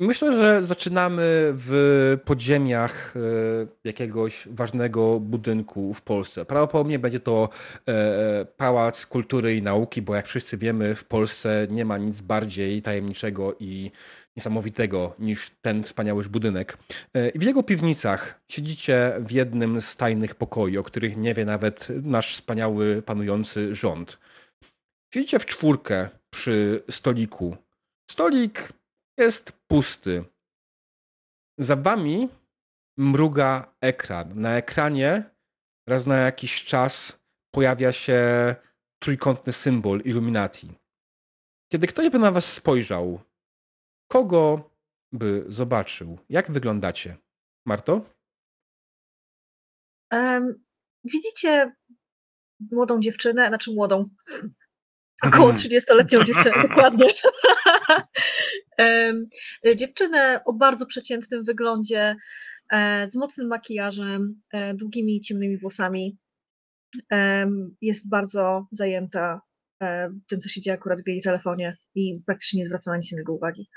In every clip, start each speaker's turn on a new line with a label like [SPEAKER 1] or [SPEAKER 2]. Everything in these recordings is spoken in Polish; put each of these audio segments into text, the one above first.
[SPEAKER 1] Myślę, że zaczynamy w podziemiach e, jakiegoś ważnego budynku w Polsce. Prawdopodobnie będzie to e, Pałac Kultury i Nauki, bo jak wszyscy wiemy, w Polsce nie ma nic bardziej tajemniczego i niesamowitego niż ten wspaniały budynek. E, I w jego piwnicach siedzicie w jednym z tajnych pokoi, o których nie wie nawet nasz wspaniały panujący rząd. Siedzicie w czwórkę przy stoliku. Stolik jest pusty. Za wami mruga ekran. Na ekranie raz na jakiś czas pojawia się trójkątny symbol Illuminati. Kiedy ktoś by na was spojrzał, kogo by zobaczył? Jak wyglądacie? Marto?
[SPEAKER 2] Em, widzicie młodą dziewczynę, znaczy młodą, około 30-letnią dziewczynę, dokładnie. Em, dziewczynę o bardzo przeciętnym wyglądzie, e, z mocnym makijażem, e, długimi ciemnymi włosami. Em, Jest bardzo zajęta e, tym, co się dzieje akurat w jej telefonie i praktycznie nie zwraca na nic innego uwagi.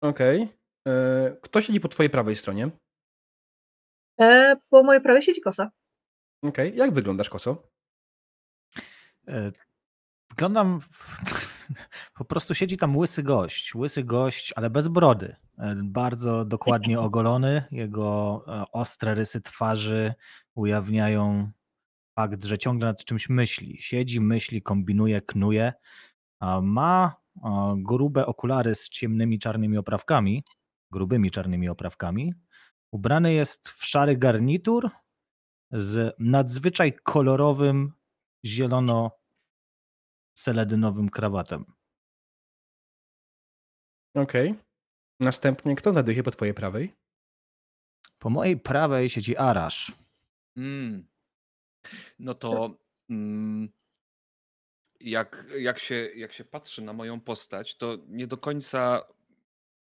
[SPEAKER 1] Okej. E, Kto siedzi po twojej prawej stronie?
[SPEAKER 2] E, Po mojej prawej siedzi kosa.
[SPEAKER 1] Okej. Jak wyglądasz, Koso?
[SPEAKER 3] E, Wyglądam. W... Po prostu siedzi tam łysy gość. Łysy gość, ale bez brody. E, Bardzo dokładnie ogolony. Jego e, ostre rysy twarzy ujawniają fakt, że ciągle nad czymś myśli. Siedzi, myśli, kombinuje, knuje. A Ma o, grube okulary z ciemnymi czarnymi oprawkami, grubymi czarnymi oprawkami. Ubrany jest w szary garnitur z nadzwyczaj kolorowym zielono seledynowym krawatem.
[SPEAKER 1] Okej. Następnie, kto znajduje się po twojej prawej?
[SPEAKER 3] Po mojej prawej siedzi Arasz.
[SPEAKER 4] Mm. No to mm, jak, jak, się, jak się patrzy na moją postać, to nie do końca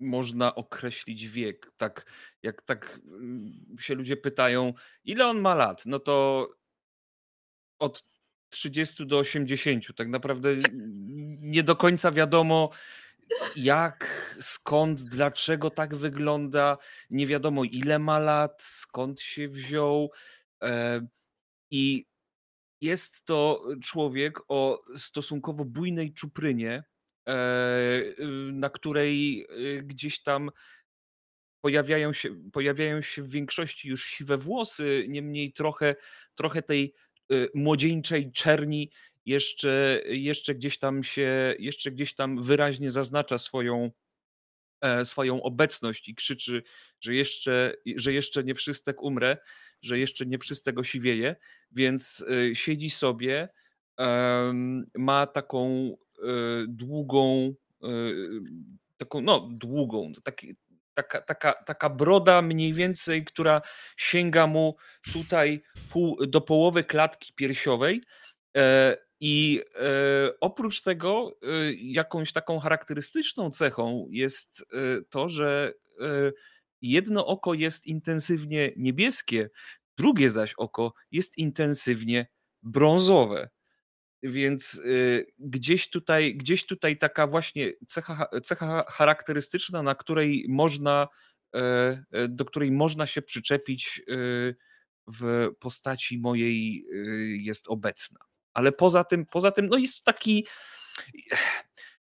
[SPEAKER 4] można określić wiek. Tak, jak tak mm, się ludzie pytają, ile on ma lat? No to od 30 do 80. Tak naprawdę n- nie do końca wiadomo, jak, skąd, dlaczego tak wygląda. Nie wiadomo, ile ma lat, skąd się wziął. E, I jest to człowiek o stosunkowo bujnej czuprynie, e, y, na której y, gdzieś tam pojawiają się, pojawiają się w większości już siwe włosy, niemniej trochę, trochę tej y, młodzieńczej czerni jeszcze, jeszcze gdzieś tam się, jeszcze gdzieś tam wyraźnie zaznacza swoją, e, swoją obecność i krzyczy, że jeszcze, że jeszcze nie wszystek umrę że jeszcze nie wszystkiego siwieje, więc y, siedzi sobie, em, ma taką y, długą, y, taką, no długą, to taki, taka, taka, taka broda mniej więcej, która sięga mu tutaj pół, do połowy klatki piersiowej. e, I e, oprócz tego e, jakąś taką charakterystyczną cechą jest e, to, że e, jedno oko jest intensywnie niebieskie, drugie zaś oko jest intensywnie brązowe. Więc y, gdzieś tutaj, gdzieś tutaj taka właśnie cecha, cecha charakterystyczna, na której można, e, e, do której można się przyczepić e, w postaci mojej e, jest obecna. Ale poza tym, poza tym, no jest to taki. e,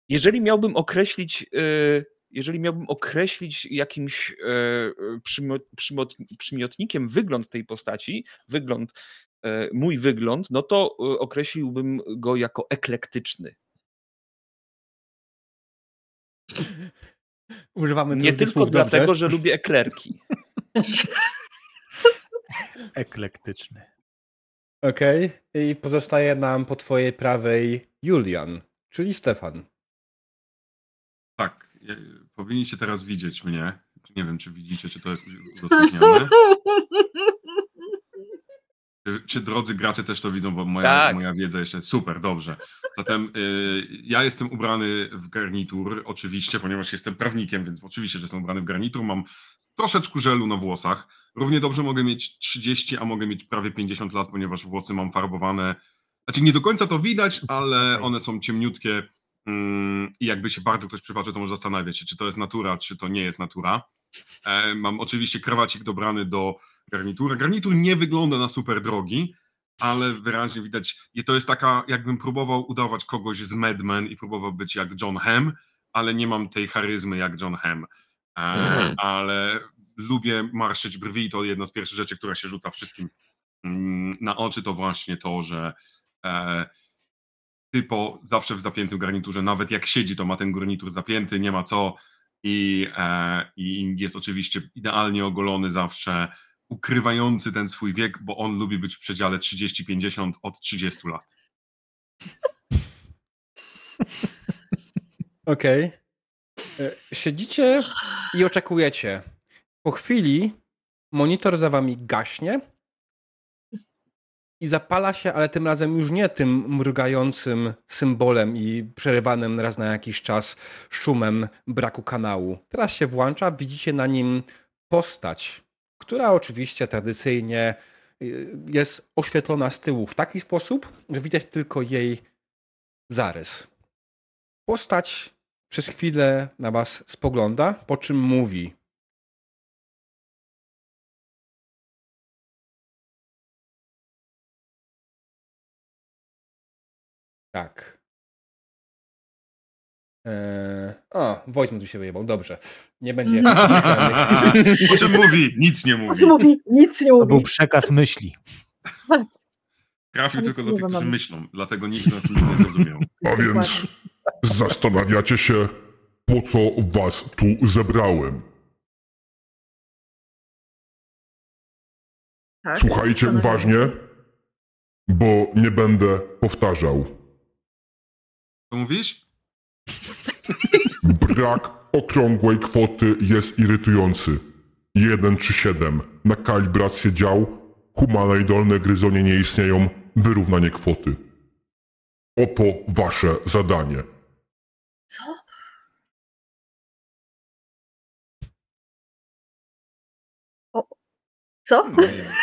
[SPEAKER 4] Jeżeli miałbym określić, e, jeżeli miałbym określić jakimś e, e, przymo- przymot, przymiotnikiem wygląd tej postaci, wygląd, e, mój wygląd, no to e, określiłbym go jako eklektyczny.
[SPEAKER 1] Używamy
[SPEAKER 4] Nie
[SPEAKER 1] trudnych
[SPEAKER 4] tylko
[SPEAKER 1] słów, dobrze?
[SPEAKER 4] dlatego, że lubię eklerki.
[SPEAKER 3] Eklektyczny.
[SPEAKER 1] Okej. I pozostaje nam po twojej prawej Julian, czyli Stefan.
[SPEAKER 5] Tak, e, powinniście teraz widzieć mnie. Nie wiem, czy widzicie, czy to jest udostępnione. Czy, czy drodzy gracze też to widzą, bo moja,
[SPEAKER 4] Tak.
[SPEAKER 5] moja wiedza jeszcze super, dobrze. Zatem y, ja jestem ubrany w garnitur, oczywiście, ponieważ jestem prawnikiem, więc oczywiście, że jestem ubrany w garnitur. Mam troszeczkę żelu na włosach. Równie dobrze mogę mieć 30, a mogę mieć prawie 50 lat, ponieważ włosy mam farbowane. Znaczy nie do końca to widać, ale one są ciemniutkie Mm, I jakby się bardzo ktoś przypatrzył, to może zastanawiać się, czy to jest natura, czy to nie jest natura. E, Mam oczywiście krawacik dobrany do garnitura. Garnitur nie wygląda na super drogi, ale wyraźnie widać, i to jest taka, jakbym próbował udawać kogoś z Mad Men i próbował być jak John Hamm, ale nie mam tej charyzmy jak John Hamm. E, Ale lubię marszyć brwi i to jedna z pierwszych rzeczy, która się rzuca wszystkim mm, na oczy, to właśnie to, że e, typo zawsze w zapiętym garniturze, nawet jak siedzi, to ma ten garnitur zapięty, nie ma co i, e, i jest oczywiście idealnie ogolony zawsze, ukrywający ten swój wiek, bo on lubi być w przedziale 30-50 od 30 lat.
[SPEAKER 1] Okej. E, Siedzicie i oczekujecie. Po chwili monitor za wami gaśnie i zapala się, ale tym razem już nie tym mrugającym symbolem i przerywanym raz na jakiś czas szumem braku kanału. Teraz się włącza, widzicie na nim postać, która oczywiście tradycyjnie y, jest oświetlona z tyłu w taki sposób, że widać tylko jej zarys. Postać przez chwilę na was spogląda, po czym mówi. Tak. Eee, o, Wojtman tu się wyjebał, dobrze. Nie będzie jakichś specjalnych-
[SPEAKER 5] o czym mówi? Nic nie
[SPEAKER 2] Nic
[SPEAKER 5] mówi.
[SPEAKER 2] nie mówi, nic nie
[SPEAKER 3] To był
[SPEAKER 2] mówi.
[SPEAKER 3] przekaz myśli.
[SPEAKER 5] Trafił
[SPEAKER 2] Nic
[SPEAKER 5] tylko do
[SPEAKER 2] nie
[SPEAKER 5] tych, którzy
[SPEAKER 2] mamy.
[SPEAKER 5] myślą, dlatego nikt z nas nic nie zrozumiał.
[SPEAKER 6] A więc zastanawiacie się, po co was tu zebrałem.
[SPEAKER 2] Tak,
[SPEAKER 6] Słuchajcie
[SPEAKER 2] zastanawiam się.
[SPEAKER 6] uważnie, bo nie będę powtarzał.
[SPEAKER 5] To mówisz?
[SPEAKER 6] Brak okrągłej kwoty jest irytujący. 1 czy 7 na kalibrację dział, humana i dolne gryzonie nie istnieją, wyrównanie kwoty. Oto wasze zadanie.
[SPEAKER 2] Co? O, co?
[SPEAKER 5] No, nie.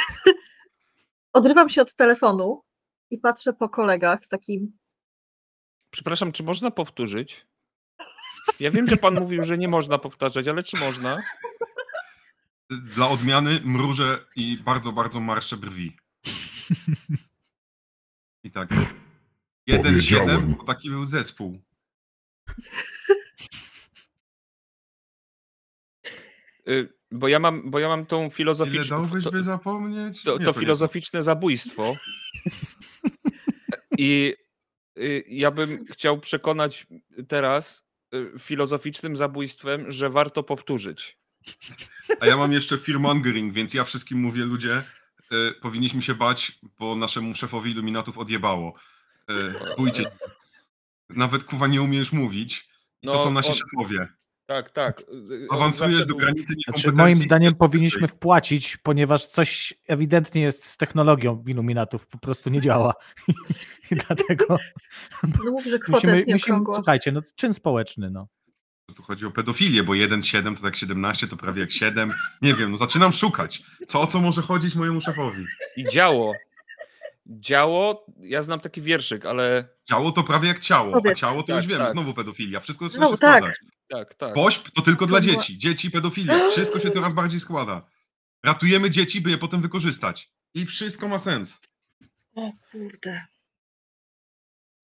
[SPEAKER 2] Odrywam się od telefonu i patrzę po kolegach z takim.
[SPEAKER 4] Przepraszam, czy można powtórzyć? Ja wiem, że pan mówił, że nie można powtarzać, ale czy można?
[SPEAKER 5] Dla odmiany mrużę i bardzo, bardzo marszczę brwi. I tak. Jeden
[SPEAKER 6] Powiedziałem.
[SPEAKER 5] siedem, bo taki był zespół.
[SPEAKER 4] Y, Bo ja mam, bo ja mam tą
[SPEAKER 5] Ile
[SPEAKER 4] filozoficzną.
[SPEAKER 5] dałbyś,
[SPEAKER 4] to-
[SPEAKER 5] by zapomnieć?
[SPEAKER 4] to,
[SPEAKER 5] Nie,
[SPEAKER 4] to
[SPEAKER 5] nie
[SPEAKER 4] filozoficzne zabójstwo. I y, ja bym chciał przekonać teraz y, filozoficznym zabójstwem, że warto powtórzyć.
[SPEAKER 5] to. A ja mam jeszcze firmongering, więc ja wszystkim mówię, ludzie, y, powinniśmy się bać, bo naszemu szefowi iluminatów odjebało. Y, bójcie. Nawet kuwa nie umiesz mówić. I to
[SPEAKER 4] No,
[SPEAKER 5] są nasi
[SPEAKER 4] on-
[SPEAKER 5] szefowie.
[SPEAKER 4] Tak, tak. y, on
[SPEAKER 5] Awansujesz
[SPEAKER 4] zawsze
[SPEAKER 5] do
[SPEAKER 4] był-
[SPEAKER 5] granicy niekompetencji.
[SPEAKER 3] Znaczy, moim zdaniem
[SPEAKER 5] i-
[SPEAKER 3] powinniśmy wpłacić, ponieważ coś ewidentnie jest z technologią Illuminatów, po prostu nie działa. I dlatego
[SPEAKER 2] No mów, że kwota
[SPEAKER 3] musimy,
[SPEAKER 2] jest
[SPEAKER 3] musimy,
[SPEAKER 2] nieokrągła.
[SPEAKER 3] słuchajcie, no czyn społeczny, no.
[SPEAKER 5] Tu chodzi o pedofilię, bo 1,7 to tak 17, to prawie jak 7. Nie wiem, no zaczynam szukać. Co o co może chodzić mojemu szefowi?
[SPEAKER 4] I działo. Działo, ja znam taki wierszyk, ale
[SPEAKER 5] Ciało to prawie jak ciało, a
[SPEAKER 2] Powiedz.
[SPEAKER 5] ciało to
[SPEAKER 4] Tak,
[SPEAKER 5] już wiem,
[SPEAKER 4] tak.
[SPEAKER 5] znowu pedofilia. Wszystko zaczyna
[SPEAKER 2] Znowu
[SPEAKER 5] się
[SPEAKER 2] tak.
[SPEAKER 5] składać.
[SPEAKER 4] tak, tak.
[SPEAKER 5] Pośp to tylko dla
[SPEAKER 2] To była-
[SPEAKER 5] dzieci. Dzieci, pedofilia. Wszystko się coraz bardziej składa. Ratujemy dzieci, by je potem wykorzystać. I wszystko ma sens.
[SPEAKER 2] O kurde.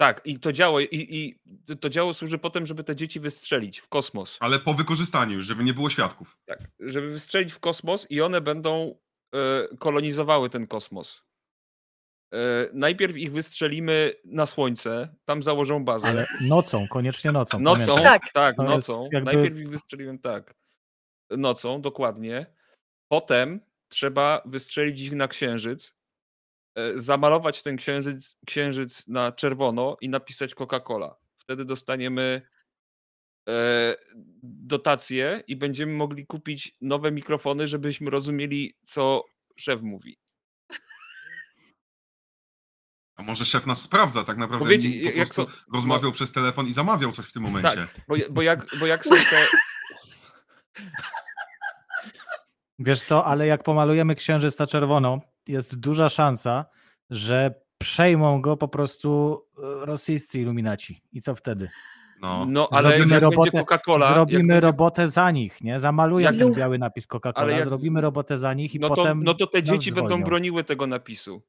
[SPEAKER 4] Tak, i to działo, i, i to działo służy potem, żeby te dzieci wystrzelić w kosmos.
[SPEAKER 5] Ale po wykorzystaniu, już, żeby nie było świadków.
[SPEAKER 4] Tak, żeby wystrzelić w kosmos i one będą e, kolonizowały ten kosmos. E, najpierw ich wystrzelimy na słońce, tam założą bazę.
[SPEAKER 3] Ale nocą, koniecznie nocą.
[SPEAKER 4] Nocą,
[SPEAKER 3] pamiętaj.
[SPEAKER 4] tak,
[SPEAKER 2] Tak.
[SPEAKER 4] tak
[SPEAKER 3] To jest
[SPEAKER 4] nocą.
[SPEAKER 3] jakby-
[SPEAKER 4] Najpierw ich wystrzeliłem tak. Nocą, dokładnie. Potem trzeba wystrzelić ich na księżyc, e, zamalować ten księżyc, księżyc na czerwono i napisać Coca-Cola. Wtedy dostaniemy e, dotacje i będziemy mogli kupić nowe mikrofony, żebyśmy rozumieli, co szef mówi.
[SPEAKER 5] A może szef nas sprawdza, tak naprawdę
[SPEAKER 4] Powiedz,
[SPEAKER 5] po
[SPEAKER 4] jak no.
[SPEAKER 5] prostu rozmawiał przez telefon i zamawiał coś w tym momencie.
[SPEAKER 4] Tak, bo, bo, jak, bo jak są te...
[SPEAKER 3] Wiesz co, ale jak pomalujemy księżyc na czerwono, jest duża szansa, że przejmą go po prostu e, rosyjscy iluminaci. I co wtedy?
[SPEAKER 5] No.
[SPEAKER 4] No, ale
[SPEAKER 3] Zrobimy
[SPEAKER 4] jak
[SPEAKER 3] robotę-
[SPEAKER 4] będzie Coca-Cola,
[SPEAKER 3] zrobimy
[SPEAKER 4] jak będzie,
[SPEAKER 3] robotę za nich, nie? Zamalują
[SPEAKER 4] Jak-
[SPEAKER 3] ten biały napis Coca-Cola,
[SPEAKER 4] Ale jak-
[SPEAKER 3] zrobimy robotę za nich i
[SPEAKER 4] no, to,
[SPEAKER 3] potem...
[SPEAKER 4] no to te
[SPEAKER 3] nas
[SPEAKER 4] dzieci będą
[SPEAKER 3] zwolnią.
[SPEAKER 4] broniły tego napisu.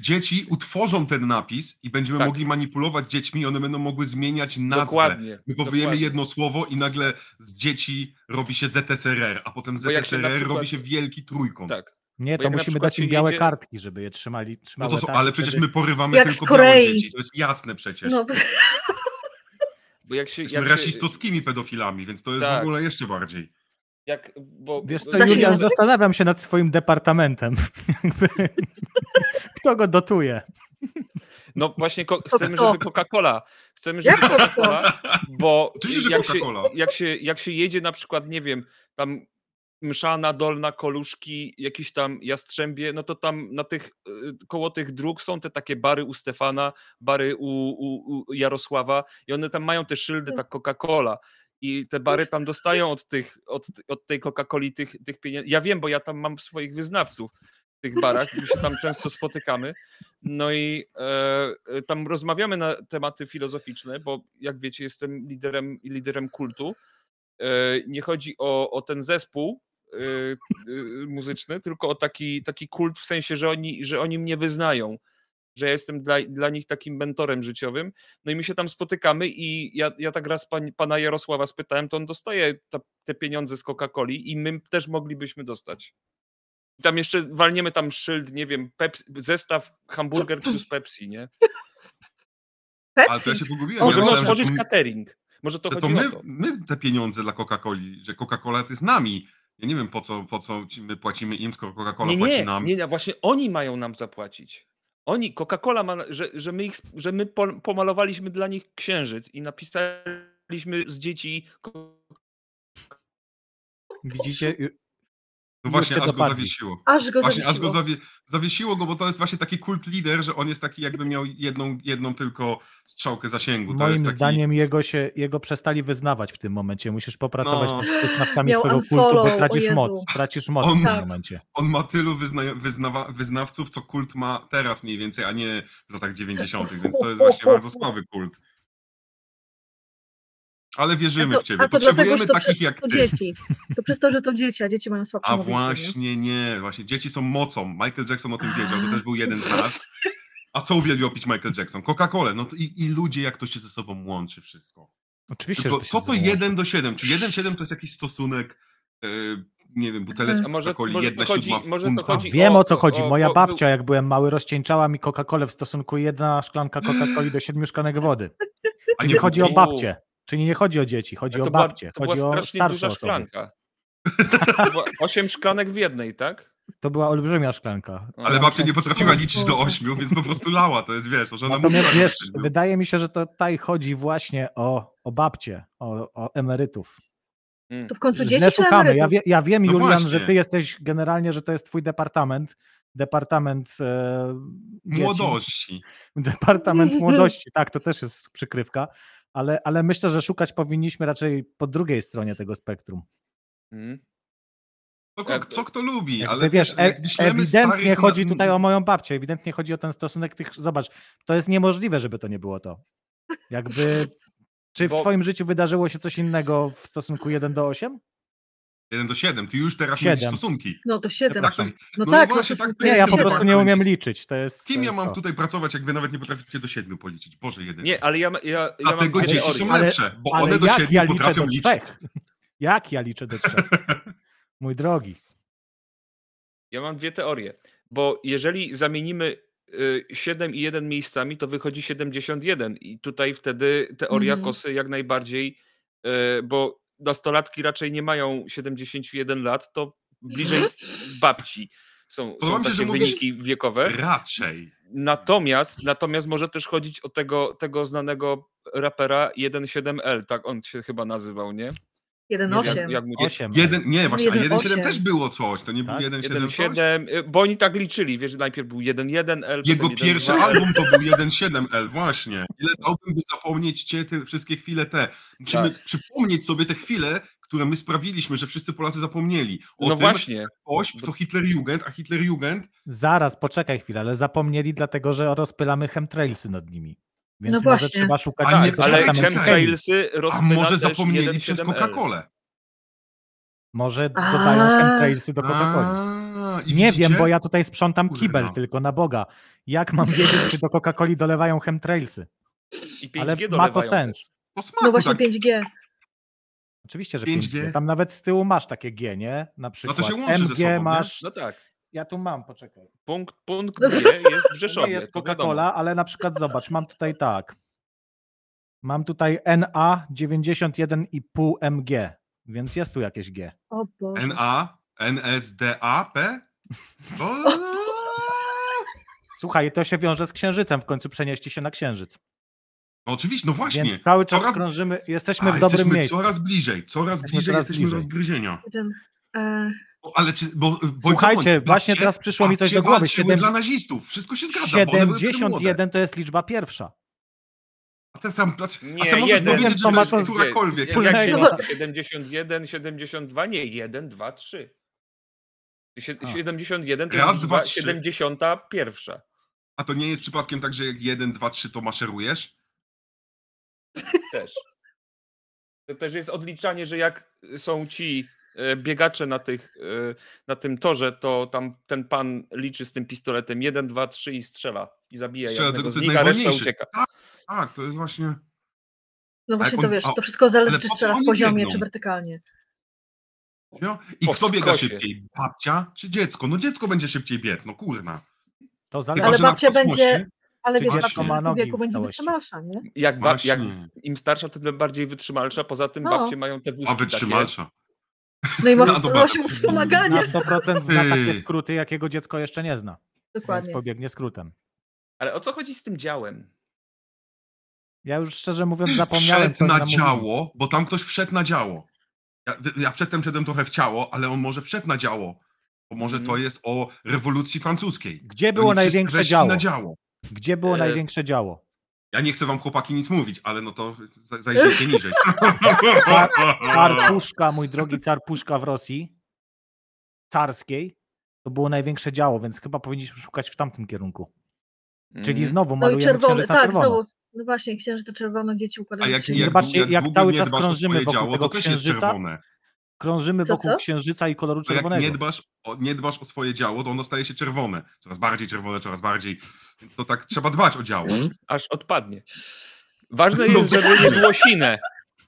[SPEAKER 5] Dzieci utworzą ten napis i będziemy
[SPEAKER 4] Tak.
[SPEAKER 5] mogli manipulować dziećmi i one będą mogły zmieniać nazwę.
[SPEAKER 4] Dokładnie.
[SPEAKER 5] My powiemy
[SPEAKER 4] dokładnie.
[SPEAKER 5] jedno słowo i nagle z dzieci robi się ZSRR, a potem
[SPEAKER 4] Bo jak się na
[SPEAKER 5] ZSRR
[SPEAKER 4] przykład-
[SPEAKER 5] robi się wielki trójkąt.
[SPEAKER 4] Tak.
[SPEAKER 3] Nie,
[SPEAKER 4] Bo
[SPEAKER 3] to
[SPEAKER 4] jak na
[SPEAKER 3] musimy
[SPEAKER 4] przykład
[SPEAKER 3] dać im
[SPEAKER 4] się
[SPEAKER 3] białe
[SPEAKER 4] jedzie-
[SPEAKER 3] kartki, żeby je trzymali.
[SPEAKER 5] No
[SPEAKER 3] trzymały
[SPEAKER 5] to są,
[SPEAKER 3] tak,
[SPEAKER 5] ale
[SPEAKER 3] i
[SPEAKER 5] przecież
[SPEAKER 3] wtedy-
[SPEAKER 5] my porywamy
[SPEAKER 2] Jak w
[SPEAKER 5] tylko białe
[SPEAKER 2] Korei.
[SPEAKER 5] dzieci, to jest jasne przecież.
[SPEAKER 2] No,
[SPEAKER 4] Bo jak się,
[SPEAKER 5] Jesteśmy
[SPEAKER 4] jak się,
[SPEAKER 5] rasistowskimi pedofilami, więc to jest
[SPEAKER 4] Tak.
[SPEAKER 5] w ogóle jeszcze bardziej.
[SPEAKER 4] jak, bo,
[SPEAKER 3] Wiesz
[SPEAKER 4] bo-
[SPEAKER 3] co,
[SPEAKER 2] Da się
[SPEAKER 3] Julian,
[SPEAKER 2] nazwać?
[SPEAKER 3] zastanawiam się nad twoim departamentem. Jakby- Kto go dotuje?
[SPEAKER 4] No właśnie ko-
[SPEAKER 2] To
[SPEAKER 4] chcemy,
[SPEAKER 2] kto?
[SPEAKER 4] żeby Coca-Cola. Chcemy, żeby
[SPEAKER 2] Jak to kto?
[SPEAKER 4] Coca-Cola, bo
[SPEAKER 5] Oczywiście, że
[SPEAKER 4] jak się,
[SPEAKER 5] Coca-Cola.
[SPEAKER 4] jak, się, jak się jedzie na przykład, nie wiem, tam Mszana, Dolna, Koluszki, jakieś tam Jastrzębie, no to tam na tych, y, koło tych dróg są te takie bary u Stefana, bary u, u, u Jarosława i one tam mają te szyldy, tak Coca-Cola. I te bary tam dostają od, tych, od, od tej Coca-Coli tych, tych pieniędzy. Ja wiem, bo ja tam mam swoich wyznawców w tych barach, my się tam często spotykamy. No i e, e, tam rozmawiamy na tematy filozoficzne, bo jak wiecie, jestem liderem, liderem kultu. E, nie chodzi o, o ten zespół e, e, muzyczny, tylko o taki, taki kult w sensie, że oni, że oni mnie wyznają. Że ja jestem dla, dla nich takim mentorem życiowym. No i my się tam spotykamy, i ja, ja tak raz pan, pana Jarosława spytałem, to on dostaje ta, te pieniądze z Coca-Coli i my też moglibyśmy dostać. I Tam jeszcze walniemy tam szyld, nie wiem, Pepsi, zestaw hamburger plus Pepsi, nie?
[SPEAKER 5] Ale to
[SPEAKER 2] Pepsi.
[SPEAKER 5] ja się pogubiłem.
[SPEAKER 4] Możemy
[SPEAKER 5] ja myślałem,
[SPEAKER 4] otworzyć
[SPEAKER 5] że to,
[SPEAKER 4] catering. Może to,
[SPEAKER 5] że to
[SPEAKER 4] chodzi
[SPEAKER 5] my,
[SPEAKER 4] tak, o to.
[SPEAKER 5] my te pieniądze dla Coca-Coli, że Coca-Cola to jest nami. Ja nie wiem, po co, po co ci- my płacimy im, skoro Coca-Cola
[SPEAKER 4] Nie,
[SPEAKER 5] płaci
[SPEAKER 4] nie,
[SPEAKER 5] nam.
[SPEAKER 4] nie, nie, właśnie oni mają nam zapłacić. Oni, Coca-Cola, ma, że, że my, ich, że my po- pomalowaliśmy dla nich księżyc i napisaliśmy z dzieci
[SPEAKER 3] Widzicie? Ju-
[SPEAKER 5] No właśnie,
[SPEAKER 3] Jeszcze
[SPEAKER 5] aż go
[SPEAKER 3] dopadli.
[SPEAKER 5] zawiesiło.
[SPEAKER 2] Aż go
[SPEAKER 5] Właśnie, aż go
[SPEAKER 2] zawiesiło.
[SPEAKER 5] zawie, zawiesiło go, bo to jest właśnie taki kult lider, że on jest taki, jakby miał jedną, jedną tylko strzałkę zasięgu. To jest
[SPEAKER 3] Moim
[SPEAKER 5] taki...
[SPEAKER 3] zdaniem jego, się, jego przestali wyznawać w tym momencie. Musisz popracować
[SPEAKER 5] No.
[SPEAKER 3] nad wyznawcami
[SPEAKER 2] Miał
[SPEAKER 3] swojego kultu,
[SPEAKER 2] unfollow,
[SPEAKER 3] bo
[SPEAKER 2] o
[SPEAKER 3] tracisz
[SPEAKER 2] Jezu.
[SPEAKER 3] moc. Tracisz moc
[SPEAKER 5] On-
[SPEAKER 3] w tym
[SPEAKER 2] Tak.
[SPEAKER 3] momencie.
[SPEAKER 5] On ma tylu wyzna, wyznawa, wyznawców, co kult ma teraz mniej więcej, a nie w latach 90., więc to jest właśnie bardzo słaby kult. Ale wierzymy
[SPEAKER 2] A No to-
[SPEAKER 5] w ciebie.
[SPEAKER 2] a to
[SPEAKER 5] Potrzebujemy
[SPEAKER 2] dlatego, że to
[SPEAKER 5] takich
[SPEAKER 2] przez-
[SPEAKER 5] jak
[SPEAKER 2] To
[SPEAKER 5] ty.
[SPEAKER 2] dzieci. To przez to, że to dzieci, a dzieci mają słabsze
[SPEAKER 5] A
[SPEAKER 2] mózgi, nie?
[SPEAKER 5] właśnie nie, właśnie dzieci są mocą. Michael Jackson o tym
[SPEAKER 2] A.
[SPEAKER 5] wiedział, to też był jeden z nas. A co uwielbiał pić Michael Jackson? Coca-Colę. No to i, i ludzie, jak to się ze sobą łączy wszystko.
[SPEAKER 3] Oczywiście,
[SPEAKER 5] Tylko,
[SPEAKER 3] że się
[SPEAKER 5] co to
[SPEAKER 3] złączy.
[SPEAKER 5] 1 do 7? Czy 1-7 to jest jakiś stosunek, e, nie wiem, buteleczka
[SPEAKER 4] A może-
[SPEAKER 5] Coca-Coli,
[SPEAKER 4] może to
[SPEAKER 5] jedna
[SPEAKER 4] chodzi-
[SPEAKER 5] siódma
[SPEAKER 4] może to
[SPEAKER 5] funta?
[SPEAKER 4] chodzi-
[SPEAKER 3] Wiem
[SPEAKER 4] o-
[SPEAKER 3] o co chodzi.
[SPEAKER 4] o-
[SPEAKER 3] Moja
[SPEAKER 4] o-
[SPEAKER 3] babcia, jak byłem mały, rozcieńczała mi Coca-Colę w stosunku jedna szklanka Coca-Coli do siedmiu szklanek wody.
[SPEAKER 5] A
[SPEAKER 3] Czyli chodzi o
[SPEAKER 4] wódki.
[SPEAKER 3] babcie. Czyli nie chodzi o dzieci, chodzi
[SPEAKER 4] to
[SPEAKER 3] o
[SPEAKER 4] była,
[SPEAKER 3] babcie.
[SPEAKER 4] to była
[SPEAKER 3] chodzi o
[SPEAKER 4] strasznie
[SPEAKER 3] starsze
[SPEAKER 4] duża
[SPEAKER 3] osoby.
[SPEAKER 4] szklanka. To była Osiem szklanek w jednej, tak?
[SPEAKER 3] To była olbrzymia szklanka.
[SPEAKER 5] Ale babcia nie
[SPEAKER 3] Szklanka-
[SPEAKER 5] potrafiła liczyć do 8, więc po prostu lała, to jest wiesz, to, że ona
[SPEAKER 3] Natomiast
[SPEAKER 5] musiała
[SPEAKER 3] wiesz,
[SPEAKER 5] liczyć, no.
[SPEAKER 3] wydaje mi się, że to tutaj chodzi właśnie o, o babcie, o, o emerytów.
[SPEAKER 4] Mm.
[SPEAKER 2] No To w końcu
[SPEAKER 3] Źle
[SPEAKER 2] dzieci czy
[SPEAKER 3] szukamy. Ja,
[SPEAKER 2] emerytów?
[SPEAKER 3] wie, ja wiem,
[SPEAKER 5] No
[SPEAKER 3] Julian,
[SPEAKER 5] właśnie.
[SPEAKER 3] że ty jesteś generalnie, że to jest twój departament. Departament e, dzieci.
[SPEAKER 5] Młodości.
[SPEAKER 3] Departament młodości, tak, to też jest przykrywka. Ale, ale myślę, że szukać powinniśmy raczej po drugiej stronie tego spektrum.
[SPEAKER 4] Mm.
[SPEAKER 5] Co, ko- co kto lubi,
[SPEAKER 3] Jakby,
[SPEAKER 5] ale
[SPEAKER 3] wiesz, e,
[SPEAKER 5] jak myślemy
[SPEAKER 3] ewidentnie
[SPEAKER 5] starych na-
[SPEAKER 3] chodzi tutaj o moją babcię, ewidentnie chodzi o ten stosunek tych. Zobacz, to jest niemożliwe, żeby to nie było to. Jakby. Czy w
[SPEAKER 4] Bo-
[SPEAKER 3] Twoim życiu wydarzyło się coś innego w stosunku 1 do 8?
[SPEAKER 5] 1 do 7, ty już teraz
[SPEAKER 3] Siedem.
[SPEAKER 5] mówisz stosunki.
[SPEAKER 2] No to siedem.
[SPEAKER 5] Tak, to,
[SPEAKER 2] No
[SPEAKER 5] no
[SPEAKER 2] tak, no
[SPEAKER 5] właśnie
[SPEAKER 2] to
[SPEAKER 5] tak
[SPEAKER 2] jest-
[SPEAKER 5] to
[SPEAKER 3] Nie,
[SPEAKER 5] jest
[SPEAKER 3] ja
[SPEAKER 5] i
[SPEAKER 3] po
[SPEAKER 5] nie
[SPEAKER 3] prostu
[SPEAKER 5] ma
[SPEAKER 3] nie
[SPEAKER 5] końca.
[SPEAKER 3] umiem liczyć. To jest.
[SPEAKER 5] Z kim
[SPEAKER 3] to
[SPEAKER 5] ja
[SPEAKER 3] jest
[SPEAKER 5] mam
[SPEAKER 3] to.
[SPEAKER 5] tutaj pracować, jak wy nawet nie potraficie do 7 policzyć? Boże, jeden.
[SPEAKER 4] Nie, ale ja, ma- ja, ja mam
[SPEAKER 5] Dlatego
[SPEAKER 4] dwie
[SPEAKER 5] dzieci
[SPEAKER 4] teorie.
[SPEAKER 5] są
[SPEAKER 3] Ale-
[SPEAKER 5] lepsze, bo
[SPEAKER 3] Ale
[SPEAKER 5] one do
[SPEAKER 3] jak
[SPEAKER 5] 7
[SPEAKER 3] ja liczę
[SPEAKER 5] potrafią
[SPEAKER 3] do
[SPEAKER 5] liczyć.
[SPEAKER 3] trzech? Jak ja liczę do trzech? Mój drogi.
[SPEAKER 4] Ja mam dwie teorie, bo jeżeli zamienimy y, 7 i 1 miejscami, to wychodzi 71 i tutaj wtedy teoria
[SPEAKER 2] Mhm.
[SPEAKER 4] kosy jak najbardziej, y, bo nastolatki raczej nie mają 71 lat, to bliżej babci są,
[SPEAKER 5] Podoba
[SPEAKER 4] są
[SPEAKER 5] mi się,
[SPEAKER 4] takie
[SPEAKER 5] że mówisz-
[SPEAKER 4] wyniki wiekowe.
[SPEAKER 5] Raczej.
[SPEAKER 4] Natomiast, natomiast może też chodzić o tego, tego znanego rapera 17L, tak on się chyba nazywał, nie?
[SPEAKER 2] Jeden
[SPEAKER 3] Jak-
[SPEAKER 2] osiem.
[SPEAKER 4] Jak, jak mu dzieci-
[SPEAKER 3] Osiem.
[SPEAKER 5] Jeden, nie, właśnie, a
[SPEAKER 2] Jeden
[SPEAKER 5] 1,7
[SPEAKER 2] osiem.
[SPEAKER 5] też było coś, to nie
[SPEAKER 3] Tak?
[SPEAKER 5] był 1,7 coś?
[SPEAKER 4] 1,7, y, bo oni tak liczyli, wiesz, najpierw był 1,1 L,
[SPEAKER 5] Jego
[SPEAKER 4] potem No
[SPEAKER 5] pierwszy
[SPEAKER 4] 1,2L.
[SPEAKER 5] album to był 1.7L, właśnie. Ile dałbym, by zapomnieć cię te wszystkie chwile te. Musimy przypomnieć sobie te chwile, które my sprawiliśmy, że wszyscy Polacy zapomnieli. O
[SPEAKER 4] No
[SPEAKER 5] tym
[SPEAKER 4] właśnie.
[SPEAKER 5] Ośp to Hitlerjugend, a Hitlerjugend
[SPEAKER 3] Zaraz, poczekaj chwilę, ale zapomnieli, dlatego że rozpylamy chemtrailsy nad nimi. Więc
[SPEAKER 2] No
[SPEAKER 3] może
[SPEAKER 2] właśnie.
[SPEAKER 3] trzeba szukać...
[SPEAKER 5] A nie,
[SPEAKER 3] czegoś
[SPEAKER 5] czekaj,
[SPEAKER 4] tak, Ale
[SPEAKER 3] tam
[SPEAKER 5] czekaj.
[SPEAKER 3] więcej.
[SPEAKER 4] chemtrailsy
[SPEAKER 5] A
[SPEAKER 4] rozpyla
[SPEAKER 5] może
[SPEAKER 4] też
[SPEAKER 5] zapomnieli
[SPEAKER 4] 1,7L.
[SPEAKER 5] przez Coca-Colę.
[SPEAKER 3] Może
[SPEAKER 2] A.
[SPEAKER 3] dodają chemtrailsy do Coca-Coli.
[SPEAKER 5] A, i
[SPEAKER 3] Nie
[SPEAKER 5] widzicie? no.
[SPEAKER 3] wiem, bo ja tutaj sprzątam
[SPEAKER 5] Kurwa.
[SPEAKER 3] kibel tylko na Boga. Jak mam wiedzieć, czy do Coca-Coli dolewają chemtrailsy?
[SPEAKER 4] I 5G
[SPEAKER 3] Ale ma
[SPEAKER 4] dolewają
[SPEAKER 3] to
[SPEAKER 4] też.
[SPEAKER 3] sens.
[SPEAKER 5] Po smaku,
[SPEAKER 2] No właśnie
[SPEAKER 5] tak.
[SPEAKER 2] 5G.
[SPEAKER 3] Oczywiście, że 5G.
[SPEAKER 5] 5G.
[SPEAKER 3] Tam nawet z tyłu masz takie G, nie? Na przykład
[SPEAKER 5] No się łączy ze
[SPEAKER 3] MG
[SPEAKER 5] sobą, nie?
[SPEAKER 3] masz.
[SPEAKER 4] No tak.
[SPEAKER 3] Ja tu mam, poczekaj.
[SPEAKER 4] Punkt, punkt G jest w
[SPEAKER 3] To
[SPEAKER 4] Rzeszowie.
[SPEAKER 3] jest
[SPEAKER 4] to wiadomo.
[SPEAKER 3] Coca-Cola, ale na przykład zobacz, mam tutaj tak. Mam tutaj NA 91,5 MG, więc jest tu jakieś G.
[SPEAKER 2] O Boże.
[SPEAKER 5] NA, NSDAP? To...
[SPEAKER 3] Słuchaj, to się wiąże z księżycem, w końcu przenieście się na księżyc.
[SPEAKER 5] No oczywiście, no właśnie.
[SPEAKER 3] Więc cały czas
[SPEAKER 5] Coraz-
[SPEAKER 3] krążymy,
[SPEAKER 5] A,
[SPEAKER 3] jesteśmy w dobrym
[SPEAKER 5] jesteśmy
[SPEAKER 3] miejscu.
[SPEAKER 5] coraz bliżej, coraz
[SPEAKER 3] Jesteśmy
[SPEAKER 5] bliżej
[SPEAKER 3] coraz
[SPEAKER 5] jesteśmy
[SPEAKER 3] bliżej.
[SPEAKER 5] rozgryzienia.
[SPEAKER 2] Ten, e,
[SPEAKER 5] O, Ale czy, bo, bo
[SPEAKER 3] Słuchajcie, właśnie teraz przyszło mi coś do głowy.
[SPEAKER 5] Siedem...
[SPEAKER 3] Siedem-
[SPEAKER 5] dla nazistów, wszystko się zgadza, bo one były wtedy młode.
[SPEAKER 3] 71 to jest liczba pierwsza.
[SPEAKER 5] A ten sam, a,
[SPEAKER 4] Nie,
[SPEAKER 5] a co możesz
[SPEAKER 4] jeden.
[SPEAKER 5] powiedzieć, że
[SPEAKER 3] To
[SPEAKER 5] to
[SPEAKER 3] ma
[SPEAKER 5] jest
[SPEAKER 3] to z-
[SPEAKER 5] którakolwiek?
[SPEAKER 4] Jak
[SPEAKER 3] Wspólnego.
[SPEAKER 4] się liczy? 71, 72, nie, 1, 2, 3.
[SPEAKER 3] A.
[SPEAKER 4] 71 to
[SPEAKER 5] Raz,
[SPEAKER 4] jest
[SPEAKER 5] dwa,
[SPEAKER 4] liczba
[SPEAKER 5] trzy.
[SPEAKER 4] 71.
[SPEAKER 5] A to nie jest przypadkiem tak, że jak 1, 2, 3 to maszerujesz?
[SPEAKER 4] Też. To też jest odliczanie, że jak y, są ci e, biegacze na, tych, e, na tym torze, to tam ten pan liczy z tym pistoletem 1, 2, 3 i strzela. I zabija
[SPEAKER 5] Strzela
[SPEAKER 4] jednego
[SPEAKER 5] tego,
[SPEAKER 4] z
[SPEAKER 5] co jest
[SPEAKER 4] nich, a reszta
[SPEAKER 5] najwolniejszy.
[SPEAKER 4] ucieka.
[SPEAKER 5] Tak, to jest właśnie...
[SPEAKER 2] no właśnie
[SPEAKER 5] jak
[SPEAKER 2] to
[SPEAKER 5] on-
[SPEAKER 2] wiesz,
[SPEAKER 5] a-
[SPEAKER 2] to wszystko zależy,
[SPEAKER 5] ale
[SPEAKER 2] czy
[SPEAKER 5] po co
[SPEAKER 2] strzela w
[SPEAKER 5] oni
[SPEAKER 2] poziomie,
[SPEAKER 5] biegną?
[SPEAKER 2] czy wertykalnie.
[SPEAKER 5] No, I
[SPEAKER 4] Po
[SPEAKER 5] kto biega
[SPEAKER 4] skosie.
[SPEAKER 5] szybciej? Babcia czy dziecko? No dziecko będzie szybciej biec, no kurna.
[SPEAKER 3] To
[SPEAKER 5] Chyba,
[SPEAKER 3] zależy.
[SPEAKER 2] Ale
[SPEAKER 5] że na
[SPEAKER 2] babcia będzie-
[SPEAKER 5] kosmosie.
[SPEAKER 2] Ale
[SPEAKER 3] Czy
[SPEAKER 2] wiesz,
[SPEAKER 5] dziecko
[SPEAKER 2] babcia
[SPEAKER 5] ma
[SPEAKER 2] w tym
[SPEAKER 3] nogi
[SPEAKER 2] wieku
[SPEAKER 3] w
[SPEAKER 2] będzie
[SPEAKER 3] całości?
[SPEAKER 2] wytrzymalsza, nie?
[SPEAKER 4] Jak, ba,
[SPEAKER 5] Właśnie.
[SPEAKER 4] jak im starsza, tym bardziej wytrzymalsza. Poza tym
[SPEAKER 2] No.
[SPEAKER 4] babcie mają te
[SPEAKER 5] A
[SPEAKER 4] wózki takie.
[SPEAKER 5] wytrzymalsza.
[SPEAKER 2] No i
[SPEAKER 5] No,
[SPEAKER 2] ma
[SPEAKER 5] dobra.
[SPEAKER 2] właśnie wspomaganie.
[SPEAKER 3] Na 100% zna takie
[SPEAKER 5] Ty.
[SPEAKER 3] skróty, jakiego dziecko jeszcze nie zna. Więc
[SPEAKER 2] Dokładnie.
[SPEAKER 3] pobiegnie skrótem.
[SPEAKER 4] Ale o co chodzi z tym działem?
[SPEAKER 3] Ja już szczerze mówiąc zapomniałem.
[SPEAKER 5] Wszedł
[SPEAKER 3] co
[SPEAKER 5] na
[SPEAKER 3] nam mówili.
[SPEAKER 5] działo, bo tam ktoś wszedł na działo. Ja, ja przedtem szedłem trochę w ciało, ale on może wszedł na działo. Bo może
[SPEAKER 4] Mhm.
[SPEAKER 5] to jest o rewolucji francuskiej.
[SPEAKER 3] Gdzie było
[SPEAKER 5] Oni wszyscy
[SPEAKER 3] największe
[SPEAKER 5] weszli
[SPEAKER 3] działo?
[SPEAKER 5] na działo.
[SPEAKER 3] Gdzie było
[SPEAKER 4] E,
[SPEAKER 3] największe działo?
[SPEAKER 5] Ja nie chcę wam chłopaki nic mówić, ale no to za- zajrzyjcie niżej. e,
[SPEAKER 3] Carpuszka, mój drogi carpuszka w Rosji, carskiej, to było największe działo, więc chyba powinniśmy szukać w tamtym kierunku. Czyli
[SPEAKER 4] Mhm.
[SPEAKER 3] znowu
[SPEAKER 2] No i
[SPEAKER 3] malujemy
[SPEAKER 2] czerwone,
[SPEAKER 3] księżyc na
[SPEAKER 2] tak,
[SPEAKER 3] czerwono.
[SPEAKER 2] znowu. No właśnie, księżyce czerwone, dzieci układają
[SPEAKER 5] jak,
[SPEAKER 2] się.
[SPEAKER 5] jak,
[SPEAKER 3] Zobaczcie,
[SPEAKER 5] jak,
[SPEAKER 3] jak
[SPEAKER 5] długo
[SPEAKER 3] cały
[SPEAKER 5] nie
[SPEAKER 3] czas
[SPEAKER 5] dbasz o
[SPEAKER 3] krążymy
[SPEAKER 5] swoje
[SPEAKER 3] wokół
[SPEAKER 5] działo,
[SPEAKER 3] tego
[SPEAKER 5] to też jest
[SPEAKER 3] księżyca.
[SPEAKER 5] czerwone.
[SPEAKER 3] Krążymy
[SPEAKER 2] Co,
[SPEAKER 3] wokół
[SPEAKER 2] co?
[SPEAKER 3] księżyca i koloru
[SPEAKER 5] To jak
[SPEAKER 3] czerwonego.
[SPEAKER 5] No tak, nie dbasz, o, nie dbasz o swoje działo, to ono staje się czerwone. Coraz bardziej czerwone, coraz bardziej. To tak trzeba dbać o działo.
[SPEAKER 4] Aż odpadnie. Ważne
[SPEAKER 5] No
[SPEAKER 4] jest, żeby nie było sine.